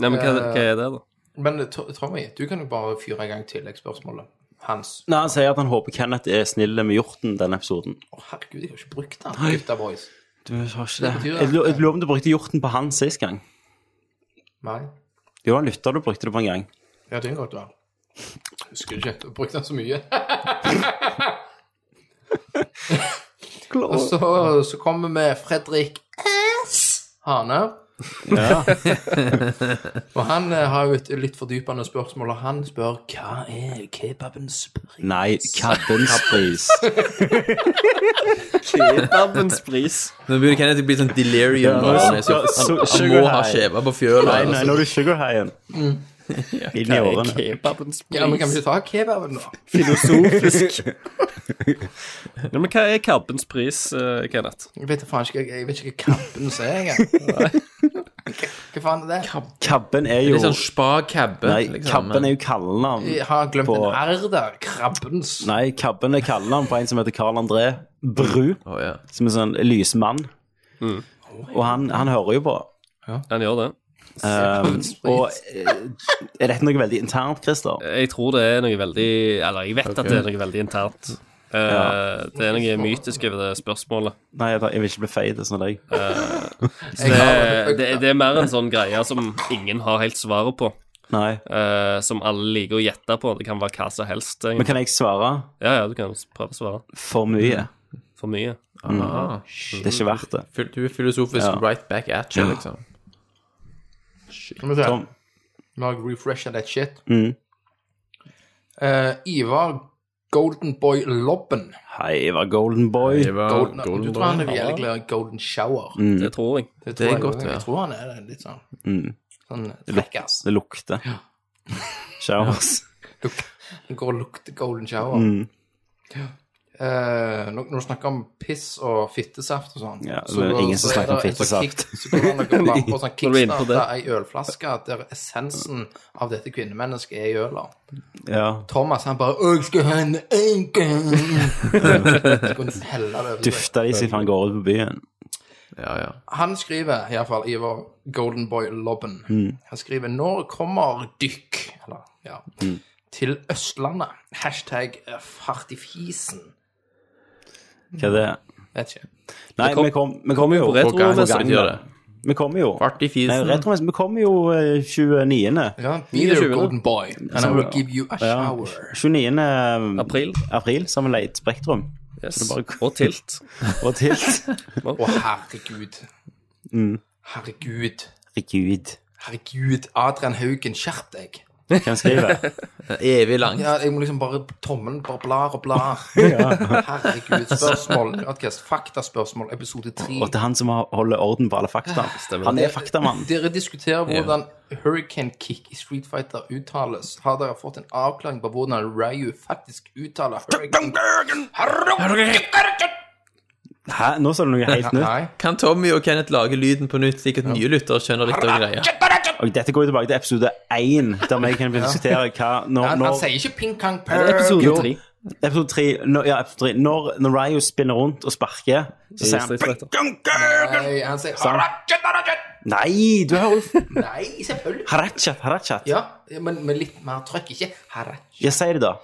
Speaker 3: Nei, men hva, hva er det, da?
Speaker 6: Men eh, To- Tommy, du kan jo bare fyre i gang tilleggsspørsmålet hans.
Speaker 1: Nei, Han sier at han håper Kenneth er snill med hjorten den episoden.
Speaker 6: Å, herregud, jeg har ikke brukt den. Gutta boys.
Speaker 1: Du har ikke det.
Speaker 6: betyr det.
Speaker 1: Jeg lo- jeg lover om du brukte hjorten på han sist gang.
Speaker 6: Nei.
Speaker 1: Jo, han lytta du brukte det på en gang.
Speaker 6: Ja, det kan godt være. Husker ikke. Jeg brukte den så mye. Og så, så kommer vi med Fredrik S. Hane. og han eh, har jo et litt fordypende spørsmål, og han spør hva er kebabens pris?
Speaker 1: Nei, kabbens pris.
Speaker 3: Kebabens pris.
Speaker 2: Nå begynner Kenneth å bli sånn delirium.
Speaker 1: Ja,
Speaker 2: altså, han er så-
Speaker 1: ja, så-
Speaker 2: han- Han
Speaker 1: sugar
Speaker 2: må ha
Speaker 1: high.
Speaker 2: skjeva på fjøla.
Speaker 1: Nei, nei,
Speaker 2: altså.
Speaker 1: nå er du sugarhaien. Inn i årene.
Speaker 3: Kebabens
Speaker 6: Ja, men kan
Speaker 3: pris.
Speaker 6: vi ikke ta kebaben, da?
Speaker 3: Filosofisk. Ja, men hva er kabbens pris, eh, Kenneth?
Speaker 6: Jeg vet, faen ikke, jeg vet ikke hva kampen er engang. Hva faen er det?
Speaker 1: Kabben er jo
Speaker 2: Litt sånn spa cabbe.
Speaker 1: Nei,
Speaker 2: liksom,
Speaker 1: kabben er
Speaker 2: men-
Speaker 1: jo kallenavn.
Speaker 6: Jeg har glemt
Speaker 1: På-
Speaker 6: en R der. Krabbens.
Speaker 1: Nei, kabben er kallenavn på en som heter Carl André Bru,
Speaker 2: Å, ja.
Speaker 1: som er sånn lysmann.
Speaker 2: Mm.
Speaker 1: Og han, han hører jo på.
Speaker 3: Han gjør det.
Speaker 1: Um, og eh, er dette noe veldig internt, Christer?
Speaker 3: Jeg tror det er noe veldig Eller jeg vet at det er noe veldig internt. Eh, Det er noe mytisk over det spørsmålet.
Speaker 1: Nei, jeg jeg vil ikke bli feit sånn som deg.
Speaker 6: Jeg
Speaker 3: Det,
Speaker 6: har-
Speaker 3: det, det er mer en sånn greie som ingen har helt svaret på.
Speaker 1: Nei.
Speaker 3: eh, som alle liker å gjette på. Det kan være hva som helst.
Speaker 1: Men
Speaker 3: egentlig.
Speaker 1: kan jeg svare
Speaker 3: Ja, ja, du kan prøve å svare.
Speaker 1: for mye?
Speaker 3: For mye.
Speaker 2: Ah,
Speaker 1: Det er ikke verdt det.
Speaker 2: fil- Du er filosofisk
Speaker 1: Mm. Ja.
Speaker 2: right back at you, liksom.
Speaker 6: Skal vi se.
Speaker 1: Tom. Mm.
Speaker 6: Nå har jeg refresha that shit. Eh, Ivar Golden Boy Lobben.
Speaker 1: Hei, jeg var golden Ah, boy.
Speaker 2: Det var
Speaker 6: Golden,
Speaker 2: golden
Speaker 6: du tror han
Speaker 2: boy.
Speaker 6: er jævlig glad i Golden Shower?
Speaker 3: Det tror jeg.
Speaker 6: Det, tror
Speaker 2: er
Speaker 6: jeg
Speaker 2: godt,
Speaker 6: også.
Speaker 2: ja.
Speaker 6: Jeg tror han er det, litt sånn.
Speaker 1: Mm.
Speaker 6: Sånn trekkass.
Speaker 1: Det lukter. Showers.
Speaker 6: Han går og lukter Golden Shower.
Speaker 1: Mm.
Speaker 6: Ja. Eh, når, når du snakker om piss og fittesaft og sånn
Speaker 1: Ja, det er ingen som snakker om
Speaker 6: det en sånn kick-
Speaker 1: fittesaft.
Speaker 6: Så går han og bare på sånn
Speaker 3: Når du er inne på
Speaker 6: kickstarter ei ølflaske der essensen av dette kvinnemennesket er i øla.
Speaker 1: Ja.
Speaker 6: Thomas han bare 'Å, jeg skal ha en enkel'. Så kunne du helle det over seg.
Speaker 1: Dufter de siden han går ut på byen.
Speaker 2: Ja, ja.
Speaker 6: Han skriver, iallfall Ivar Golden Boy Lobben, han skriver 'Når kommer dykk?' Eller, ja. Til Østlandet. Hashtag eh, fartifisen.
Speaker 1: Hva er det?
Speaker 6: Vet ikke.
Speaker 1: Nei, vi kom- vi kommer jo.
Speaker 3: På retromessa.
Speaker 2: gjør det.
Speaker 1: Vi kommer jo.
Speaker 2: Fart i
Speaker 1: Nei,
Speaker 2: fisen.
Speaker 1: retromessa. Vi kommer jo eh, 29.
Speaker 6: Ja, be there,
Speaker 3: 29..
Speaker 6: golden boy, and I will give you a shower.
Speaker 1: 29.
Speaker 3: April.
Speaker 1: mm, april sammen med Leit Spektrum
Speaker 3: Yes. Og tilt.
Speaker 1: og Tilt.
Speaker 6: Å, herregud. Herregud.
Speaker 1: Herregud.
Speaker 6: Herregud, Adrian Haugen, skjerp deg.
Speaker 1: Hvem skriver?
Speaker 2: Evig lang.
Speaker 6: Ja, jeg må liksom bare Tommelen bare blar og blar. Herregud. Spørsmål. Podcast, faktaspørsmål, episode tre.
Speaker 1: Og til han som har- holder orden på alle fakta. Han er faktamann.
Speaker 6: Eh, Dere diskuterer hvordan Hurricane Kick i Street Fighter uttales. Har dere fått en avklaring på hvordan Ryu faktisk uttaler Hurricane
Speaker 1: Hæ? Nå sa du noe helt nytt.
Speaker 6: Nei.
Speaker 2: Kan Tommy og Kenneth lage lyden på nytt, slik at nye lyttere skjønner litt av greia?
Speaker 1: Og dette går jo tilbake til episode 1, der vi kan diskutere hva når,
Speaker 6: Han, han
Speaker 1: når,
Speaker 6: sier ikke ping kong
Speaker 3: Er det
Speaker 6: perk.
Speaker 3: episode tre?
Speaker 1: Episode 3, når, ja, episode 3 når, når Ryo spinner rundt og sparker, så sier han
Speaker 3: Street Fighter.
Speaker 6: Nei, han sier
Speaker 1: Sant. Nei, du hører jo
Speaker 6: Nei, selvfølgelig.
Speaker 1: Harachat, harachat.
Speaker 6: Ja, men med litt mer trøkk. Ikke Harachi.
Speaker 1: Jeg sier det, da.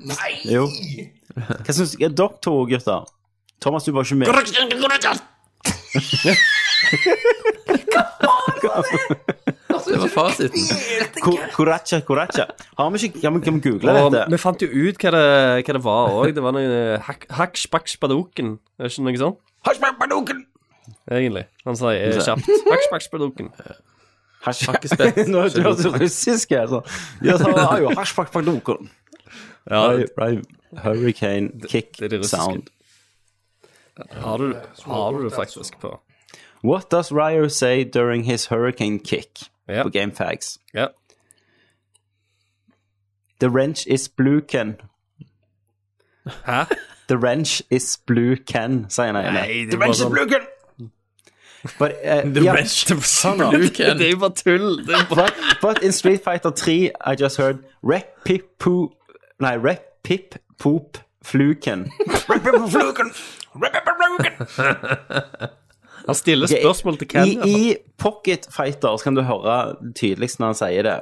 Speaker 6: Nei!
Speaker 1: Jo. Hva syns ja, dere to, gutter? Thomas, du var ikke med.
Speaker 2: Det var fasiten.
Speaker 1: Ko- Koracha, koracha. Har vi ikke Kan vi, kan vi google
Speaker 3: Og
Speaker 1: dette?
Speaker 3: vi fant jo ut hva det, hva det var òg. Det var noe eh, hak- hakk, spakk, spadoken. Er det ikke noe sånt? Egentlig. Han sier eh, kjapt hakk, spakk, spadoken.
Speaker 1: Hakkespett. Nå er det så russisk, altså. Ja, så har jo hasjpakpakdunken. Ja, hurricane kick
Speaker 3: det er det russiske.
Speaker 1: sound.
Speaker 3: Har du, har du det faktisk på?
Speaker 1: What does Ryo say during his hurricane kick?
Speaker 3: Ja.
Speaker 1: På GameFags.
Speaker 3: Ja.
Speaker 1: The wrench is blue Ken.
Speaker 3: Hæ?
Speaker 1: The wrench is blue Ken, sier han ene.
Speaker 3: Nei, det er bare sånn
Speaker 1: But, uh,
Speaker 2: The
Speaker 1: yeah,
Speaker 2: rest of
Speaker 1: Blue
Speaker 2: Ken.
Speaker 3: Det er jo bare tull. Det er bare...
Speaker 1: but, but in Street Fighter 3, I just heard rep pip poo Nei, rep pip poop fluken.
Speaker 3: Han stiller spørsmål til Ken.
Speaker 1: I, i Pocket Fighter så kan du høre tydeligst når han sier det.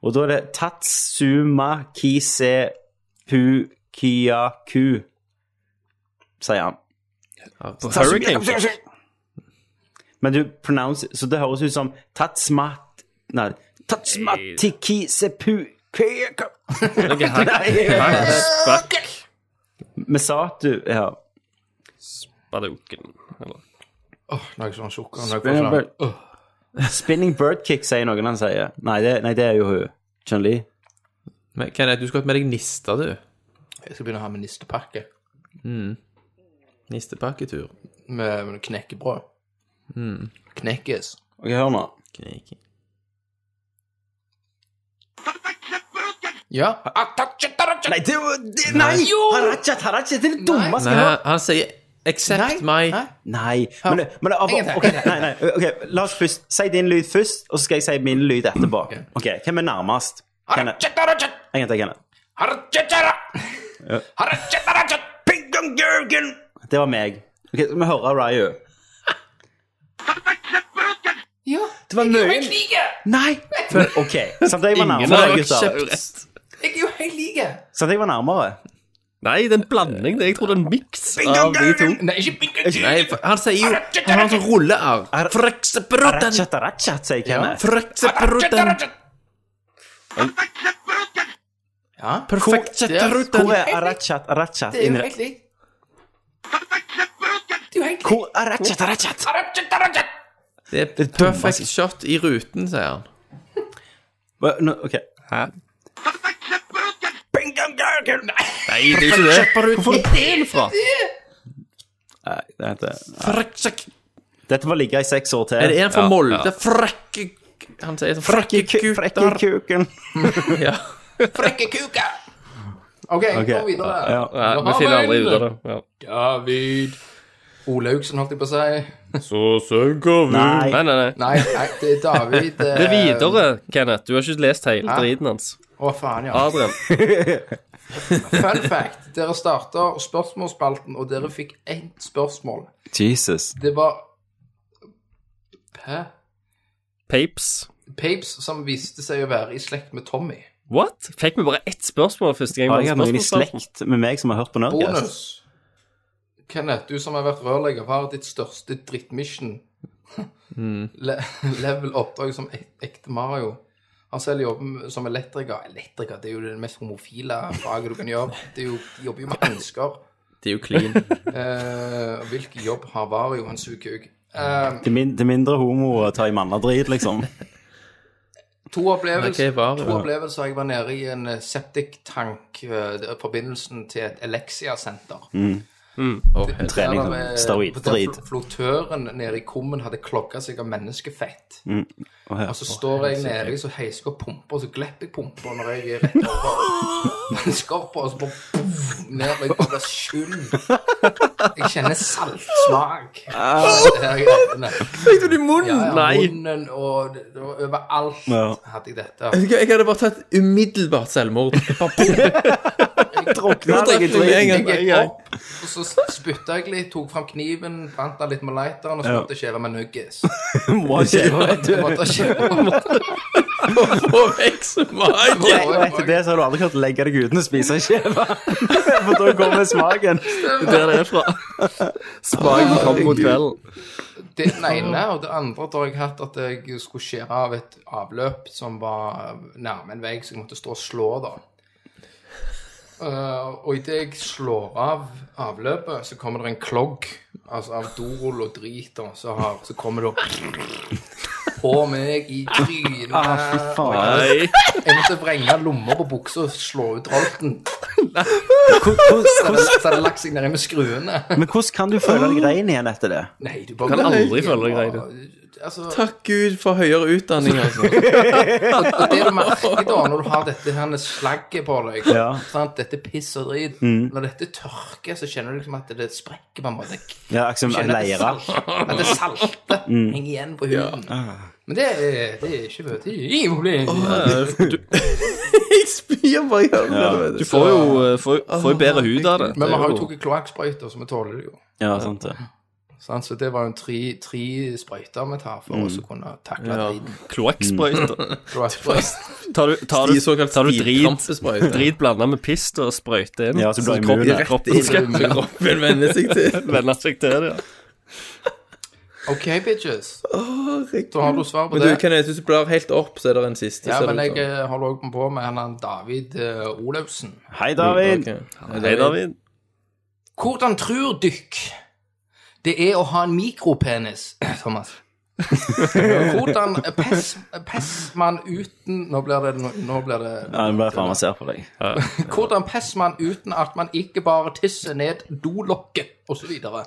Speaker 1: Og da er det Tatsuma Kise Pu Kiyaku, sier han.
Speaker 3: Hurricane.
Speaker 1: Men du pronounce Så det høres ut som Tatsmat Nei, Tatsmatiki sepu keka.
Speaker 3: Noe hack- hack, spack,
Speaker 1: Mesatu ja.
Speaker 3: baduken. Eller-
Speaker 6: Åh, Noe sånn sjokker. noe
Speaker 1: Spinning
Speaker 6: sånn-
Speaker 1: bird, spinning bird kick, sier noen han sier. Nei, det, nei, det er jo hun. Chun-Li.
Speaker 2: Men Kenneth, du skulle hatt med deg nista, du.
Speaker 6: sånn- Jeg skal begynne å ha med nistepakke
Speaker 2: Nistepakketur.
Speaker 6: med, med knekkebrød.
Speaker 1: Mm.
Speaker 6: Knekkes.
Speaker 1: Ok, hør nå.
Speaker 2: Kniking.
Speaker 6: Ja.
Speaker 1: Nei, det var det, Nei! Harachat, harachat, det er det dummeste
Speaker 2: Nei,
Speaker 1: jeg har
Speaker 2: han, han sier 'accept my'
Speaker 6: Nei.
Speaker 1: Nei, men, det- men det,
Speaker 6: Ingenting.
Speaker 1: ok, nei, nei, ok, La oss først si din lyd først, og så skal jeg si min lyd etterpå. Ok, Hvem er nærmest? Kenneth. Jeg heter Kenneth. Ping dong Jørgen! Det var meg. Ok, så Vi hører Ryu.
Speaker 6: Ja.
Speaker 1: Det var nøyen. Nei! For, ok, Samtidig var jeg
Speaker 3: Ingen av
Speaker 1: nærmere,
Speaker 3: dere
Speaker 1: gutter.
Speaker 3: kjøpte rett.
Speaker 6: Jeg er jo helt like.
Speaker 1: Samtidig var jeg nærmere.
Speaker 3: Nei, det er en blanding. det. Jeg tror det er en miks av de to.
Speaker 6: Nei, ikke bingo.
Speaker 2: Nei, for- han sier jo Han har en sånn rullearv.
Speaker 1: Ar-
Speaker 2: Frøksebrotten!
Speaker 1: Ratchat, ratchat, sier Kenneth.
Speaker 2: Frøksebrotten!
Speaker 6: Ja.
Speaker 1: Hvor
Speaker 2: Perfektsebrotten!
Speaker 1: er arachat, arachat?
Speaker 6: Det er jo helt lik. Det er jo helt lik.
Speaker 1: Hvor arachat, arachat?
Speaker 2: Det er et
Speaker 1: altså.
Speaker 2: perfect shot i ruten, sier han.
Speaker 1: Hva- nå, Ok.
Speaker 3: Nei, det er ikke det.
Speaker 2: Hvor får du det fra?
Speaker 1: Nei, det heter-
Speaker 2: Frøksek...
Speaker 1: Dette får ligge i seks år til.
Speaker 2: Er det en fra Molde? Frekke... Han sier sånn Frekke
Speaker 1: Ku- Frekke
Speaker 2: gutter.
Speaker 1: kuken.
Speaker 2: Ja.
Speaker 6: Frekke kuka. OK,
Speaker 1: Ok,
Speaker 6: gå videre.
Speaker 1: ja,
Speaker 3: Nei, vi finner aldri ut av det. Ja.
Speaker 6: David Olaugsen, holdt jeg på å si.
Speaker 3: Så synker vi
Speaker 1: Nei.
Speaker 3: Nei, nei, nei.
Speaker 6: Nei, nei, det er David eh,
Speaker 3: Det er videre, Kenneth. Du har ikke lest hele driten hans.
Speaker 6: Å, faen, ja.
Speaker 3: Adrian.
Speaker 6: Fun fact. Dere starta spørsmålsspalten, og dere fikk ett spørsmål.
Speaker 1: Jesus.
Speaker 6: Det var Hæ?
Speaker 3: Papes.
Speaker 6: Papes som viste seg å være i slekt med Tommy.
Speaker 3: What? Fikk vi bare ett spørsmål første gang?
Speaker 1: Har
Speaker 3: vi
Speaker 1: jeg
Speaker 3: hadde
Speaker 1: hatt noen i
Speaker 3: spørsmålsspalten?
Speaker 1: slekt med meg som har hørt på Nerdcast?
Speaker 6: Bonus. Kenneth, du som har vært rørlegger, hva er ditt største drittmission? Le level oppdrag som ek ekte Mario. Han selv jobber som elektriker. Elektriker det er jo det mest homofile faget du kan gjøre. Det er jo, jobber jo med hansker.
Speaker 2: Det er jo clean.
Speaker 6: Eh, hvilken jobb har Vario en sugekuk? Eh,
Speaker 1: Til, min, til mindre homo og ta i mannadrit, liksom.
Speaker 6: to, opplevelser,
Speaker 2: Nei, hva er Vario?
Speaker 6: to opplevelser. Jeg var nede i en eh, septiktank, eh, det er forbindelsen til et Elexia-senter.
Speaker 2: Å, helvete.
Speaker 1: Trening
Speaker 6: Der,
Speaker 1: som
Speaker 6: eh,
Speaker 1: Mm. steroid.
Speaker 6: der
Speaker 1: Drit.
Speaker 6: fl- Flottøren nede i kummen hadde klokka seg av menneskefett.
Speaker 1: Mm. Å, ja.
Speaker 6: Og så står jeg nede i så heiser jeg opp pumpa, og så glipper jeg pumpa når jeg er rett over skorpa, og så bare boff, ned og jeg bare blir skyld. Jeg kjenner saltsmak.
Speaker 1: Ah.
Speaker 6: Der jeg er inne.
Speaker 2: Fikk du det i munnen?
Speaker 6: Ja, ja,
Speaker 3: Nei.
Speaker 6: munnen og det- det var overalt
Speaker 1: Ja.
Speaker 6: hadde jeg dette.
Speaker 2: Vet du hva, Jeg hadde bare tatt umiddelbart selvmord. Bare-
Speaker 1: Drukna deg i
Speaker 2: drepte meg en
Speaker 1: drit.
Speaker 2: gang.
Speaker 6: Jeg gikk opp, og så spytta jeg litt, tok fram kniven, brant den litt med lighteren, og så
Speaker 1: Ja.
Speaker 6: måtte jeg skjeve med nuggets.
Speaker 1: Må ikke-
Speaker 6: Jeg måtte skjeve-
Speaker 2: Få vekk smaken!
Speaker 1: Og etter det så har du aldri klart å legge deg uten å spise en skjeve. For da kommer smaken.
Speaker 3: Det er der det er fra. Spaken kom mot kvelden.
Speaker 6: Det er den ene, og det andre da har jeg hatt at jeg skulle skjære av et avløp som var nærme en vegg, så jeg måtte stå og slå, da. Uh, og idet jeg slår av avløpet, så kommer det en klogg altså av dorull og drit. Og så, har, så kommer det opp på meg i trynet.
Speaker 1: Fy faen.
Speaker 3: Nei.
Speaker 6: Jeg måtte vrenge lommer på buksa og slå ut rolten.
Speaker 1: Hvor- hvor-
Speaker 6: Så hadde- så hadde det lagt seg nedi med skruene.
Speaker 1: Men hvordan kan du føle deg ren igjen etter det?
Speaker 6: Nei, du bare
Speaker 3: Kan aldri føle deg grei,
Speaker 6: Altså,
Speaker 2: Takk Gud for høyere utdanning, altså.
Speaker 6: og det du merker da, når du har dette her slagget på deg,
Speaker 1: Ja.
Speaker 6: sant? dette piss og drit
Speaker 3: Mm.
Speaker 6: Når dette tørker, så kjenner du liksom at det sprekker på en måte.
Speaker 1: Ja, akkurat som
Speaker 6: Kjenner at det,
Speaker 1: leire.
Speaker 6: salt, at det salte
Speaker 3: Mm.
Speaker 6: henger igjen på huden. Men det er, det er ikke det er ingen problem.
Speaker 2: Jeg spyr bare i øynene.
Speaker 3: Du får jo, eh, får, får jo bedre hud av det.
Speaker 6: Men
Speaker 3: Det
Speaker 6: vi
Speaker 3: er
Speaker 6: har jo
Speaker 3: jo-
Speaker 6: tatt kloakksprøyter, så vi tåler det jo.
Speaker 1: Ja, sant det.
Speaker 6: Sant? Så det var jo tre, tre sprøyter vi
Speaker 3: Mm.
Speaker 6: tar for oss å kunne takle
Speaker 2: Ja.
Speaker 6: driten.
Speaker 3: Kloakksprøyter.
Speaker 6: Kloakksprøyter.
Speaker 3: Tar du, tar du,
Speaker 2: såkalt
Speaker 3: tar du drit,
Speaker 2: stivkrampesprøyte.
Speaker 3: drit blanda med piss og sprøyter inn?
Speaker 1: Ja, så
Speaker 3: sånn
Speaker 1: blir det
Speaker 3: kroppen,
Speaker 1: immun, ja.
Speaker 3: kroppen skal
Speaker 2: Kroppen venner seg til.
Speaker 3: venne seg til det. ja.
Speaker 6: OK, bitches. Da har du svar på
Speaker 2: Men du,
Speaker 6: det.
Speaker 2: Kenneth, hvis du blar helt opp, så er det en siste.
Speaker 6: Ja,
Speaker 2: ser
Speaker 6: men
Speaker 2: det ut
Speaker 6: jeg eh, holder også på med han han David eh, Olaussen.
Speaker 1: Hei, David.
Speaker 2: som. Ok.
Speaker 3: Hei, David.
Speaker 2: Altså,
Speaker 6: Hvordan tror dykk det er å ha en mikropenis, Thomas? Hvordan pess, pess man uten Nå blir det, nå blir det
Speaker 1: Ja, Nå ble jeg faen meg ser på deg.
Speaker 6: Hvordan pess man uten at man ikke bare tisser ned dolokket, osv.? Nei,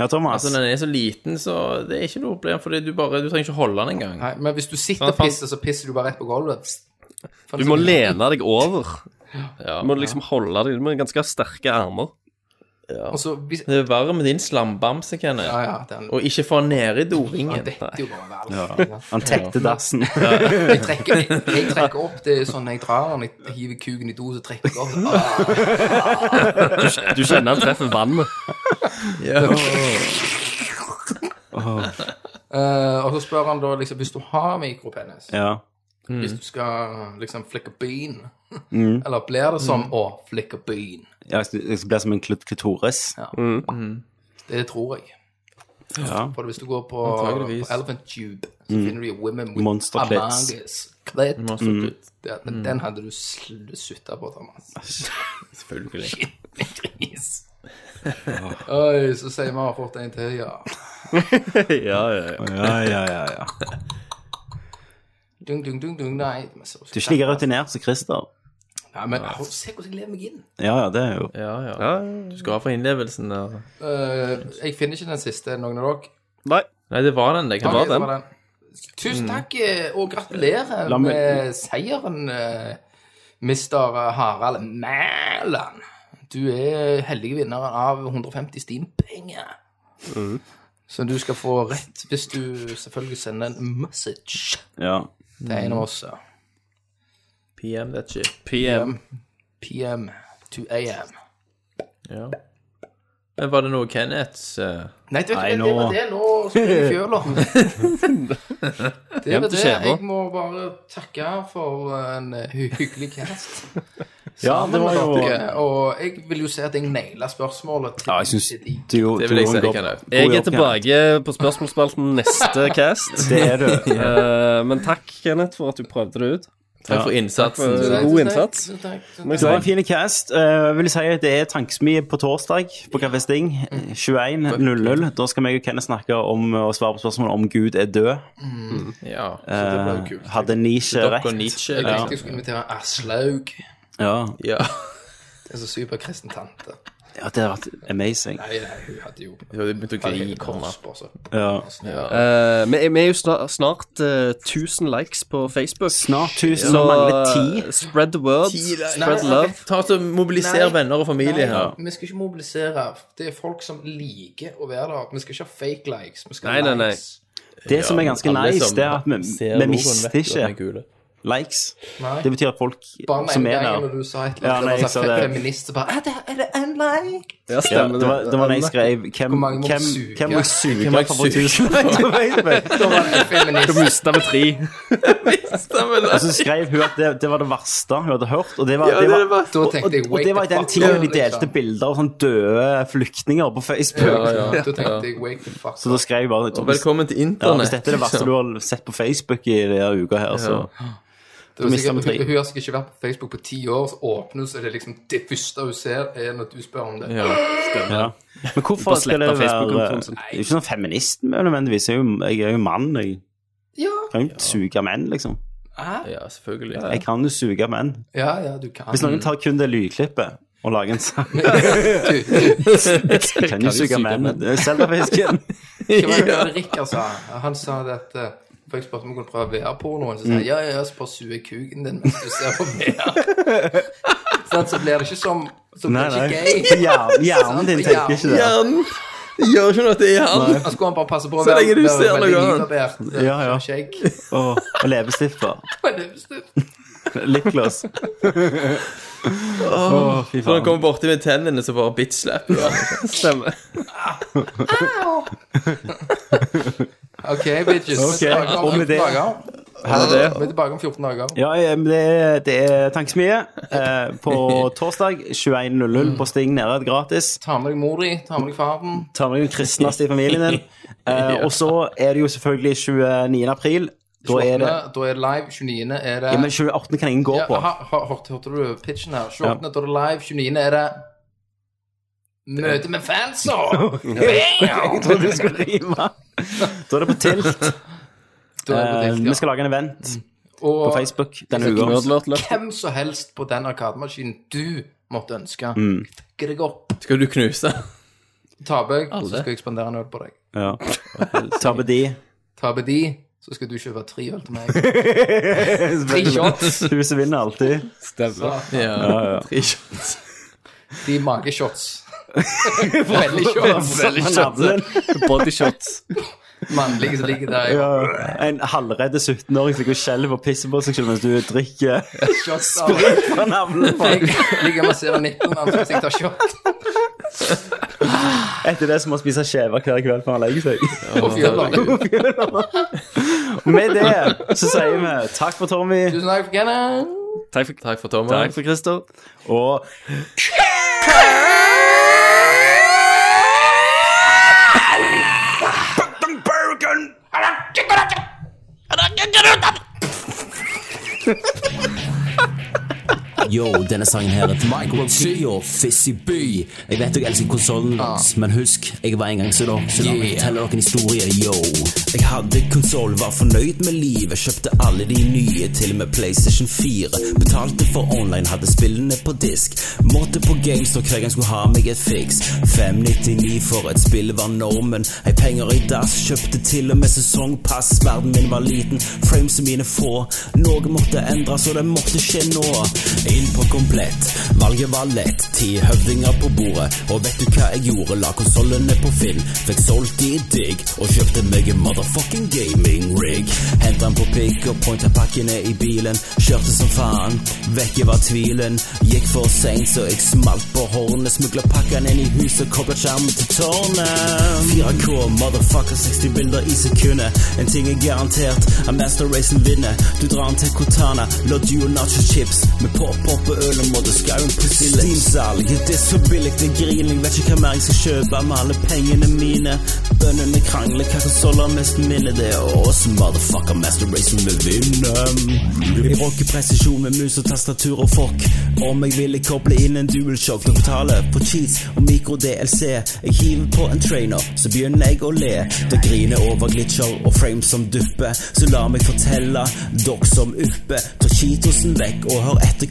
Speaker 1: Ja, Thomas.
Speaker 2: Altså, den er så liten, så det er ikke noe problem, for du, bare, du trenger ikke holde den engang.
Speaker 6: men hvis du sitter og pisser, så pisser du bare rett på gulvet.
Speaker 3: Sånn Du må lene deg over.
Speaker 2: Ja.
Speaker 3: Du må liksom holde deg Du må ha ganske sterke armer.
Speaker 6: Og så hvis,
Speaker 2: Det er verre med din slambamse, Kenneth,
Speaker 6: Ja, ja, den
Speaker 2: og ikke få den ned i
Speaker 6: den
Speaker 2: doringen.
Speaker 6: detter jo bare vel.
Speaker 1: Han tekte dassen.
Speaker 6: Jeg trekker, jeg, jeg trekker opp, det er sånn jeg drar den, jeg hiver kuken i do, så trekker jeg opp. Ah.
Speaker 3: Du kjenner han treffer vannet.
Speaker 6: Eh, og så spør han da liksom, hvis du har mikropenis,
Speaker 1: Ja. Mm.
Speaker 6: hvis du skal liksom flikke bean, eller blir det som
Speaker 1: Mm.
Speaker 6: å flikke bean?
Speaker 1: Ja, Jeg skal bli som en klut- klitoris.
Speaker 6: Det tror jeg.
Speaker 1: Ja.
Speaker 6: For hvis du går på,
Speaker 2: Antageligvis.
Speaker 6: på Elephant Tube, så finner du jo Women with
Speaker 1: Mm. Monster clits.
Speaker 6: Amangus Clit.
Speaker 2: Mm.
Speaker 6: Det- Den, den hadde du sl- sutta på, Thomas.
Speaker 1: Ah,
Speaker 2: Selvfølgelig.
Speaker 6: Gris. Oi, så sier vi har fått en til, ja.
Speaker 3: Ja, ja, ja.
Speaker 1: Ja, ja, ja, ja.
Speaker 6: Dung, dung, dung, dung, nei. men så-
Speaker 1: Du er ikke like rutinert som Christer.
Speaker 6: Nei, men au, se hvordan jeg lever meg inn.
Speaker 1: Ja, ja, det er jo
Speaker 2: Ja, ja. Du skal ha for innlevelsen der.
Speaker 6: Eh, jeg finner ikke den siste, noen av dere.
Speaker 3: Nei.
Speaker 2: Nei, det var den. Det kan
Speaker 6: Takk,
Speaker 2: være
Speaker 6: det
Speaker 2: den.
Speaker 6: var den. Tusen takk, eh, og gratulerer
Speaker 1: La meg-
Speaker 6: med seieren, eh, mister eh, Harald Mæland. Du er heldig vinner av 150 Steam-penger. Som du skal få rett hvis du selvfølgelig sender en message
Speaker 1: Ja.
Speaker 6: til en av oss. eh, ja.
Speaker 2: PM, that shit.
Speaker 3: PM.
Speaker 6: PM to AM.
Speaker 2: Ja. Men var det noe Kenneths eh,
Speaker 6: Nei, det,
Speaker 1: Nei,
Speaker 6: det, det
Speaker 1: nå-
Speaker 6: var det. Nå springer fjøla. det var
Speaker 3: til
Speaker 6: det.
Speaker 3: skjeva.
Speaker 6: Jeg må bare takke for en eh, hy- hyggelig cast.
Speaker 1: ja, det var jo
Speaker 6: Dere, og jeg vil jo si at jeg naila spørsmålet til
Speaker 1: Ja, jeg syns
Speaker 6: til de.
Speaker 1: du
Speaker 2: Det vil jeg
Speaker 1: Toren
Speaker 2: si,
Speaker 1: går-
Speaker 2: Kenneth.
Speaker 1: går
Speaker 3: Jeg
Speaker 1: jo
Speaker 3: er
Speaker 1: opp,
Speaker 3: tilbake på spørsmålsspalten neste cast.
Speaker 1: Kenneth. Det er du.
Speaker 3: Eh, Men takk, Kenneth, for at du prøvde det ut.
Speaker 2: Takk for innsatsen.
Speaker 3: Takk for-
Speaker 6: Tusen
Speaker 3: god
Speaker 6: takk,
Speaker 3: innsats.
Speaker 6: tusen takk, tusen
Speaker 1: Det var en fin cast. Eh, Jeg vil si at det er tankesmie på torsdag på Café Sting. 21.00. Da skal meg og Kenneth snakke om å svare på spørsmål om Gud er død.
Speaker 2: Ja.
Speaker 6: takk.
Speaker 1: Eh, Hadde Nietzsche
Speaker 2: Dokk og
Speaker 1: rett?
Speaker 2: Nietzsche.
Speaker 6: Jeg
Speaker 2: Ja.
Speaker 6: tenkte jeg skulle invitere Aslaug.
Speaker 1: Ja.
Speaker 2: ja.
Speaker 6: Det er så superkristen tante.
Speaker 1: ja, det har vært amazing.
Speaker 6: Nei, nei, hun hadde jo altså.
Speaker 2: Du hadde begynt å
Speaker 6: hadde hele
Speaker 2: grine.
Speaker 6: kors på seg.
Speaker 1: Ja.
Speaker 3: Eh, Vi vi er jo sna- snart eh, 1000 likes på Facebook.
Speaker 1: Snart 1000,
Speaker 3: Så eh,
Speaker 1: nå mangler ti.
Speaker 3: spread the word. Spread love.
Speaker 2: Ta så Mobiliser
Speaker 6: Nei.
Speaker 2: venner og familie her.
Speaker 6: Vi skal ikke mobilisere. Det er folk som liker å være der. Vi skal ikke ha fake likes. Vi skal
Speaker 3: Nei, nei,
Speaker 6: ha
Speaker 3: nei.
Speaker 6: likes.
Speaker 1: Det som er ganske
Speaker 2: Alle
Speaker 1: nice,
Speaker 2: som
Speaker 1: det er at vi,
Speaker 2: ser
Speaker 1: vi
Speaker 2: logoen
Speaker 1: mister
Speaker 2: vet jo at den er
Speaker 1: ikke
Speaker 2: kule.
Speaker 1: likes.
Speaker 6: Nei.
Speaker 1: Det betyr at folk
Speaker 6: Bare med
Speaker 1: som
Speaker 6: en
Speaker 1: er
Speaker 6: gang
Speaker 1: der
Speaker 6: når du sa et
Speaker 1: Ja, nei,
Speaker 6: eller
Speaker 1: jeg
Speaker 6: annet ja,
Speaker 1: sa det.
Speaker 6: feminist, så bare Er det, er det en like?
Speaker 1: ja, det, var, det var da jeg skrev Hvem,
Speaker 6: Hvor mange må
Speaker 1: hvem,
Speaker 6: suge?
Speaker 1: hvem må jeg suge
Speaker 2: må jeg
Speaker 1: for å få
Speaker 2: suge?
Speaker 1: 1000 likes på Facebook?
Speaker 6: Da var det feminist.
Speaker 3: Mista med tre.
Speaker 1: Og så skrev hun at det, det var det verste hun hadde hørt. Og det var,
Speaker 2: det
Speaker 1: det
Speaker 2: er
Speaker 1: var,
Speaker 2: det verste.
Speaker 6: Da
Speaker 1: og, og,
Speaker 6: tenkte jeg
Speaker 1: og det var i den tiden de delte
Speaker 6: liksom.
Speaker 1: bilder av sånn døde flyktninger på Facebook.
Speaker 2: Ja, ja.
Speaker 6: Da tenkte jeg wake the fuck
Speaker 1: Så da
Speaker 6: up.
Speaker 1: skrev jeg bare
Speaker 2: Og velkommen til
Speaker 1: ja,
Speaker 2: internett.
Speaker 1: Hvis dette er det verste du har sett på Facebook i denne uka her, så
Speaker 6: Det var
Speaker 1: mister
Speaker 6: sikkert-
Speaker 1: vi tre.
Speaker 6: Hun hun har sikkert ikke vært på Facebook på ti år, så åpner hun, så er det liksom det første hun ser, er når du spør om det.
Speaker 2: Ja.
Speaker 1: ja. Men hvorfor
Speaker 3: bare
Speaker 1: skal det
Speaker 3: slette
Speaker 1: være
Speaker 3: Facebook-kontoen
Speaker 1: Det
Speaker 3: sin.
Speaker 1: er jo ikke sånn feminist nødvendigvis. Jeg er jo, jeg er jo mann. Jeg
Speaker 6: Ja,
Speaker 1: kan jo ikke suge menn, liksom.
Speaker 2: ja, selvfølgelig.
Speaker 1: Jeg kan jo suge menn.
Speaker 6: ja, ja du kan.
Speaker 1: Hvis noen tar kun det lydklippet og lager en sang
Speaker 6: Du, du,
Speaker 1: Jeg kan jo suge menn. Seldafisken.
Speaker 6: hva var det Rikard sa? altså. Han sa det at eh, for jeg spurte om hun kunne prøve VR-pornoen, så sa
Speaker 2: Mm.
Speaker 6: han ja, ja, ja, så bare suger jeg kuken din mens du ser på VR. Sånn, så blir det ikke som Så
Speaker 1: Nei,
Speaker 6: blir det
Speaker 1: nei.
Speaker 6: ikke gay.
Speaker 1: Hjernen, hjernen din tenker ikke det.
Speaker 2: Hjernen Det gjør ikke noe at det er han.
Speaker 6: Da skulle han bare passe på å
Speaker 2: Så lenge du
Speaker 6: være-
Speaker 2: ser
Speaker 6: være
Speaker 2: noe
Speaker 6: veldig
Speaker 2: annet.
Speaker 6: nybarbert. eh,
Speaker 1: Ja, ja.
Speaker 6: Skjegg.
Speaker 1: Og, og leppestifter.
Speaker 6: Men det er bestemt.
Speaker 1: Lipgloss. Å, fy
Speaker 2: Så han
Speaker 1: faen.
Speaker 2: kommer borti med tennene, så bare bitch-slapper du han.
Speaker 3: Stemmer.
Speaker 6: OK, bitches.
Speaker 1: Ok,
Speaker 6: Vi er tilbake om
Speaker 1: og med
Speaker 6: 14
Speaker 1: det-
Speaker 6: dager.
Speaker 1: Her er det.
Speaker 6: Vi er tilbake om 14 dager.
Speaker 1: Ja, eh, men det er, det er tankesmie. Eh, på torsdag 21.00 på Sting nede gratis.
Speaker 6: Ta med deg mor di, ta med deg far din.
Speaker 1: Ta med den kristneste i familien din. Eh, Og så er det jo selvfølgelig 29. april. Da er det
Speaker 6: 28., da er det live. 29. er det
Speaker 1: ja, Men 28. kan ingen gå
Speaker 6: Ja,
Speaker 1: på.
Speaker 6: ha- ha- hørte, hørte du pitchen her? 28. da er det live. 29. er det Møte med fanser!
Speaker 1: Jeg trodde du skulle rime. Da er det på tilt. Mm.
Speaker 6: Da er det på
Speaker 1: Eh,
Speaker 6: dikt, ja.
Speaker 1: Vi skal lage en event
Speaker 6: Og
Speaker 1: på Facebook denne uka.
Speaker 2: Nerdlert-løftet.
Speaker 6: hvem som helst på den arkademaskinen du måtte ønske,
Speaker 1: Mm.
Speaker 6: dekker deg opp.
Speaker 2: Skal du knuse?
Speaker 6: Taper jeg, så
Speaker 2: Alle.
Speaker 6: skal jeg spandere en øl på deg.
Speaker 1: Ja. Ta på de.
Speaker 6: Taper de, så skal du kjøpe tre øl til meg.
Speaker 1: Tre
Speaker 6: shots.
Speaker 1: Hun som vinner alltid.
Speaker 2: Ja,
Speaker 1: Ja, ja.
Speaker 2: Tre shots.
Speaker 6: De mageshots. Veldig shots.
Speaker 2: Bodyshots.
Speaker 6: Mannlige som ligger der.
Speaker 1: Ja, en halvredd 17-åring som går og skjelver og pisser på seg selv mens du drikker
Speaker 6: Shots av
Speaker 1: sprit fra navnet på
Speaker 6: Jeg ligger og masserer nippelen hans mens jeg tar shot.
Speaker 1: Etter det så må han spise skjever hver kveld før han legger seg.
Speaker 6: Og fjoller.
Speaker 1: Med det så sier vi takk for Tommy
Speaker 6: Tusen takk for Kenneth.
Speaker 2: Takk for, Takk for Thomas.
Speaker 3: Takk for Christer.
Speaker 1: og
Speaker 9: Yo, denne sangen her er til Michael G og Fizzy B. Jeg vet dere elsker konsollen deres, men husk, jeg var en gang så da. Så la meg fortelle dere en historie, yo. Jeg hadde konsoll, var fornøyd med livet. Kjøpte alle de nye, til og med PlayStation 4. Betalte for online, hadde spillene på disk. Måtte på GameStop hver gang skulle ha meg et fiks. 599 for et spill var normen. Hei, penger i dass, kjøpte til og med sesongpass. Verden min var liten, frames mine få. Noe måtte endres, og det måtte skje nå. Inn på komplett, valget var lett. Ti høvdinger på bordet, og vet du hva jeg gjorde? La konsollene på Finn, fikk solgt de digg, og kjøpte meg en motherfucking gaming rig. Hentet den på pick og pointa pakkene i bilen. Kjørte som faen, vekke var tvilen. Gikk for seint, så jeg smalt på hornet. Smugla pakkene inn i huset, kobla skjermen til tårnet. 4K, motherfucker, 60 bilder i sekundet. En ting er garantert, at Master Racen vinner. Du drar den til Cortana, la duo nacho chips. Med pop-pop og øl og modder skauen på sille. Steamsalg, det er så billig, det er griling. Vet ikke hva mer jeg skal kjøpe med alle pengene mine. Bøndene krangler, hva konsoller mest minner det er oss, motherfucker, Master Racen vil vinne. Jeg rocker presisjon med mus og tastatur og fokk. Om jeg ville koble inn en dualshock, dere betaler på cheats og mikro-DLC. Jeg hiver på en trainer, så begynner jeg å le. Da griner over glitcher og frames som dupper. Så la meg fortelle, dere som uppe. Ta cheatosen vekk og hør etter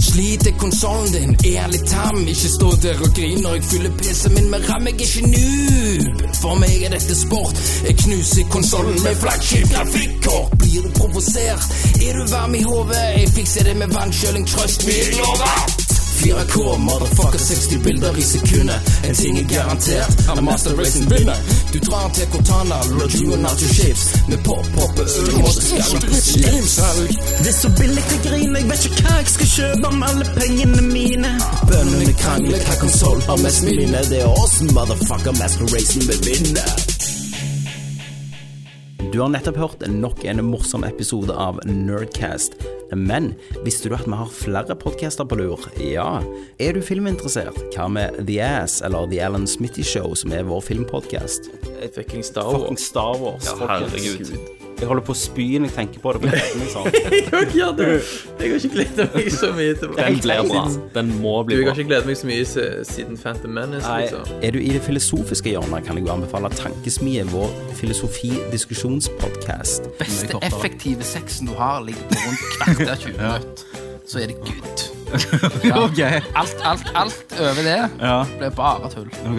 Speaker 10: Sliter konsollen din, er litt tam. Ikke stå der og grin når jeg fyller PC-en min med ram. Jeg er ikke noob. For meg er dette sport. Jeg knuser konsollen med flaggskip grafikkort. Blir du provosert? Er du varm i hodet? Jeg fikser det med vannkjøling, trøst me, jeg lover. 4K, motherfucker, 60 bilder i sekundet. En ting er garantert, at Master Racen vinner. Du drar til Cortana, Roger og Nacho Chips. Med pop-pop og øl, og det skal bli slimsalg.
Speaker 9: Det er så billig til griner, jeg vet ikke hva jeg skal kjøpe med alle pengene mine. Bøndene krangler, hva konsoll har mest mine? Det er oss, motherfucker, Master Racen vil vinne. Du har nettopp hørt nok en morsom episode av Nerdcast. Men visste du at vi har flere podcaster på lur? Ja. Er du filminteressert? Hva med The Ass eller The Alan Smitty Show, som er vår filmpodcast?
Speaker 2: Fucking Star
Speaker 1: fucking
Speaker 2: Wars.
Speaker 1: Star Wars.
Speaker 2: Ja,
Speaker 1: folkens.
Speaker 2: herregud.
Speaker 1: Jeg holder på å spy når jeg tenker på det. på kvelden, liksom.
Speaker 2: Jeg har ikke gledet meg så mye til
Speaker 3: Den blir bra. Den må
Speaker 2: Du,
Speaker 3: bli
Speaker 2: jeg har
Speaker 3: bra.
Speaker 2: ikke gledet meg så mye se- siden Phantom Menace,
Speaker 1: Nei.
Speaker 2: liksom.
Speaker 9: Er du i det filosofiske hjørnet, kan jeg jo anbefale Tankesmie, vår filosofi-diskusjonspodcast.
Speaker 6: beste effektive sexen du har, ligger på rundt kvarter 20 minutter. Så er det good.
Speaker 11: ok.
Speaker 6: Alt, alt, alt over det
Speaker 11: Ja.
Speaker 6: ble bare tull.
Speaker 11: Ok.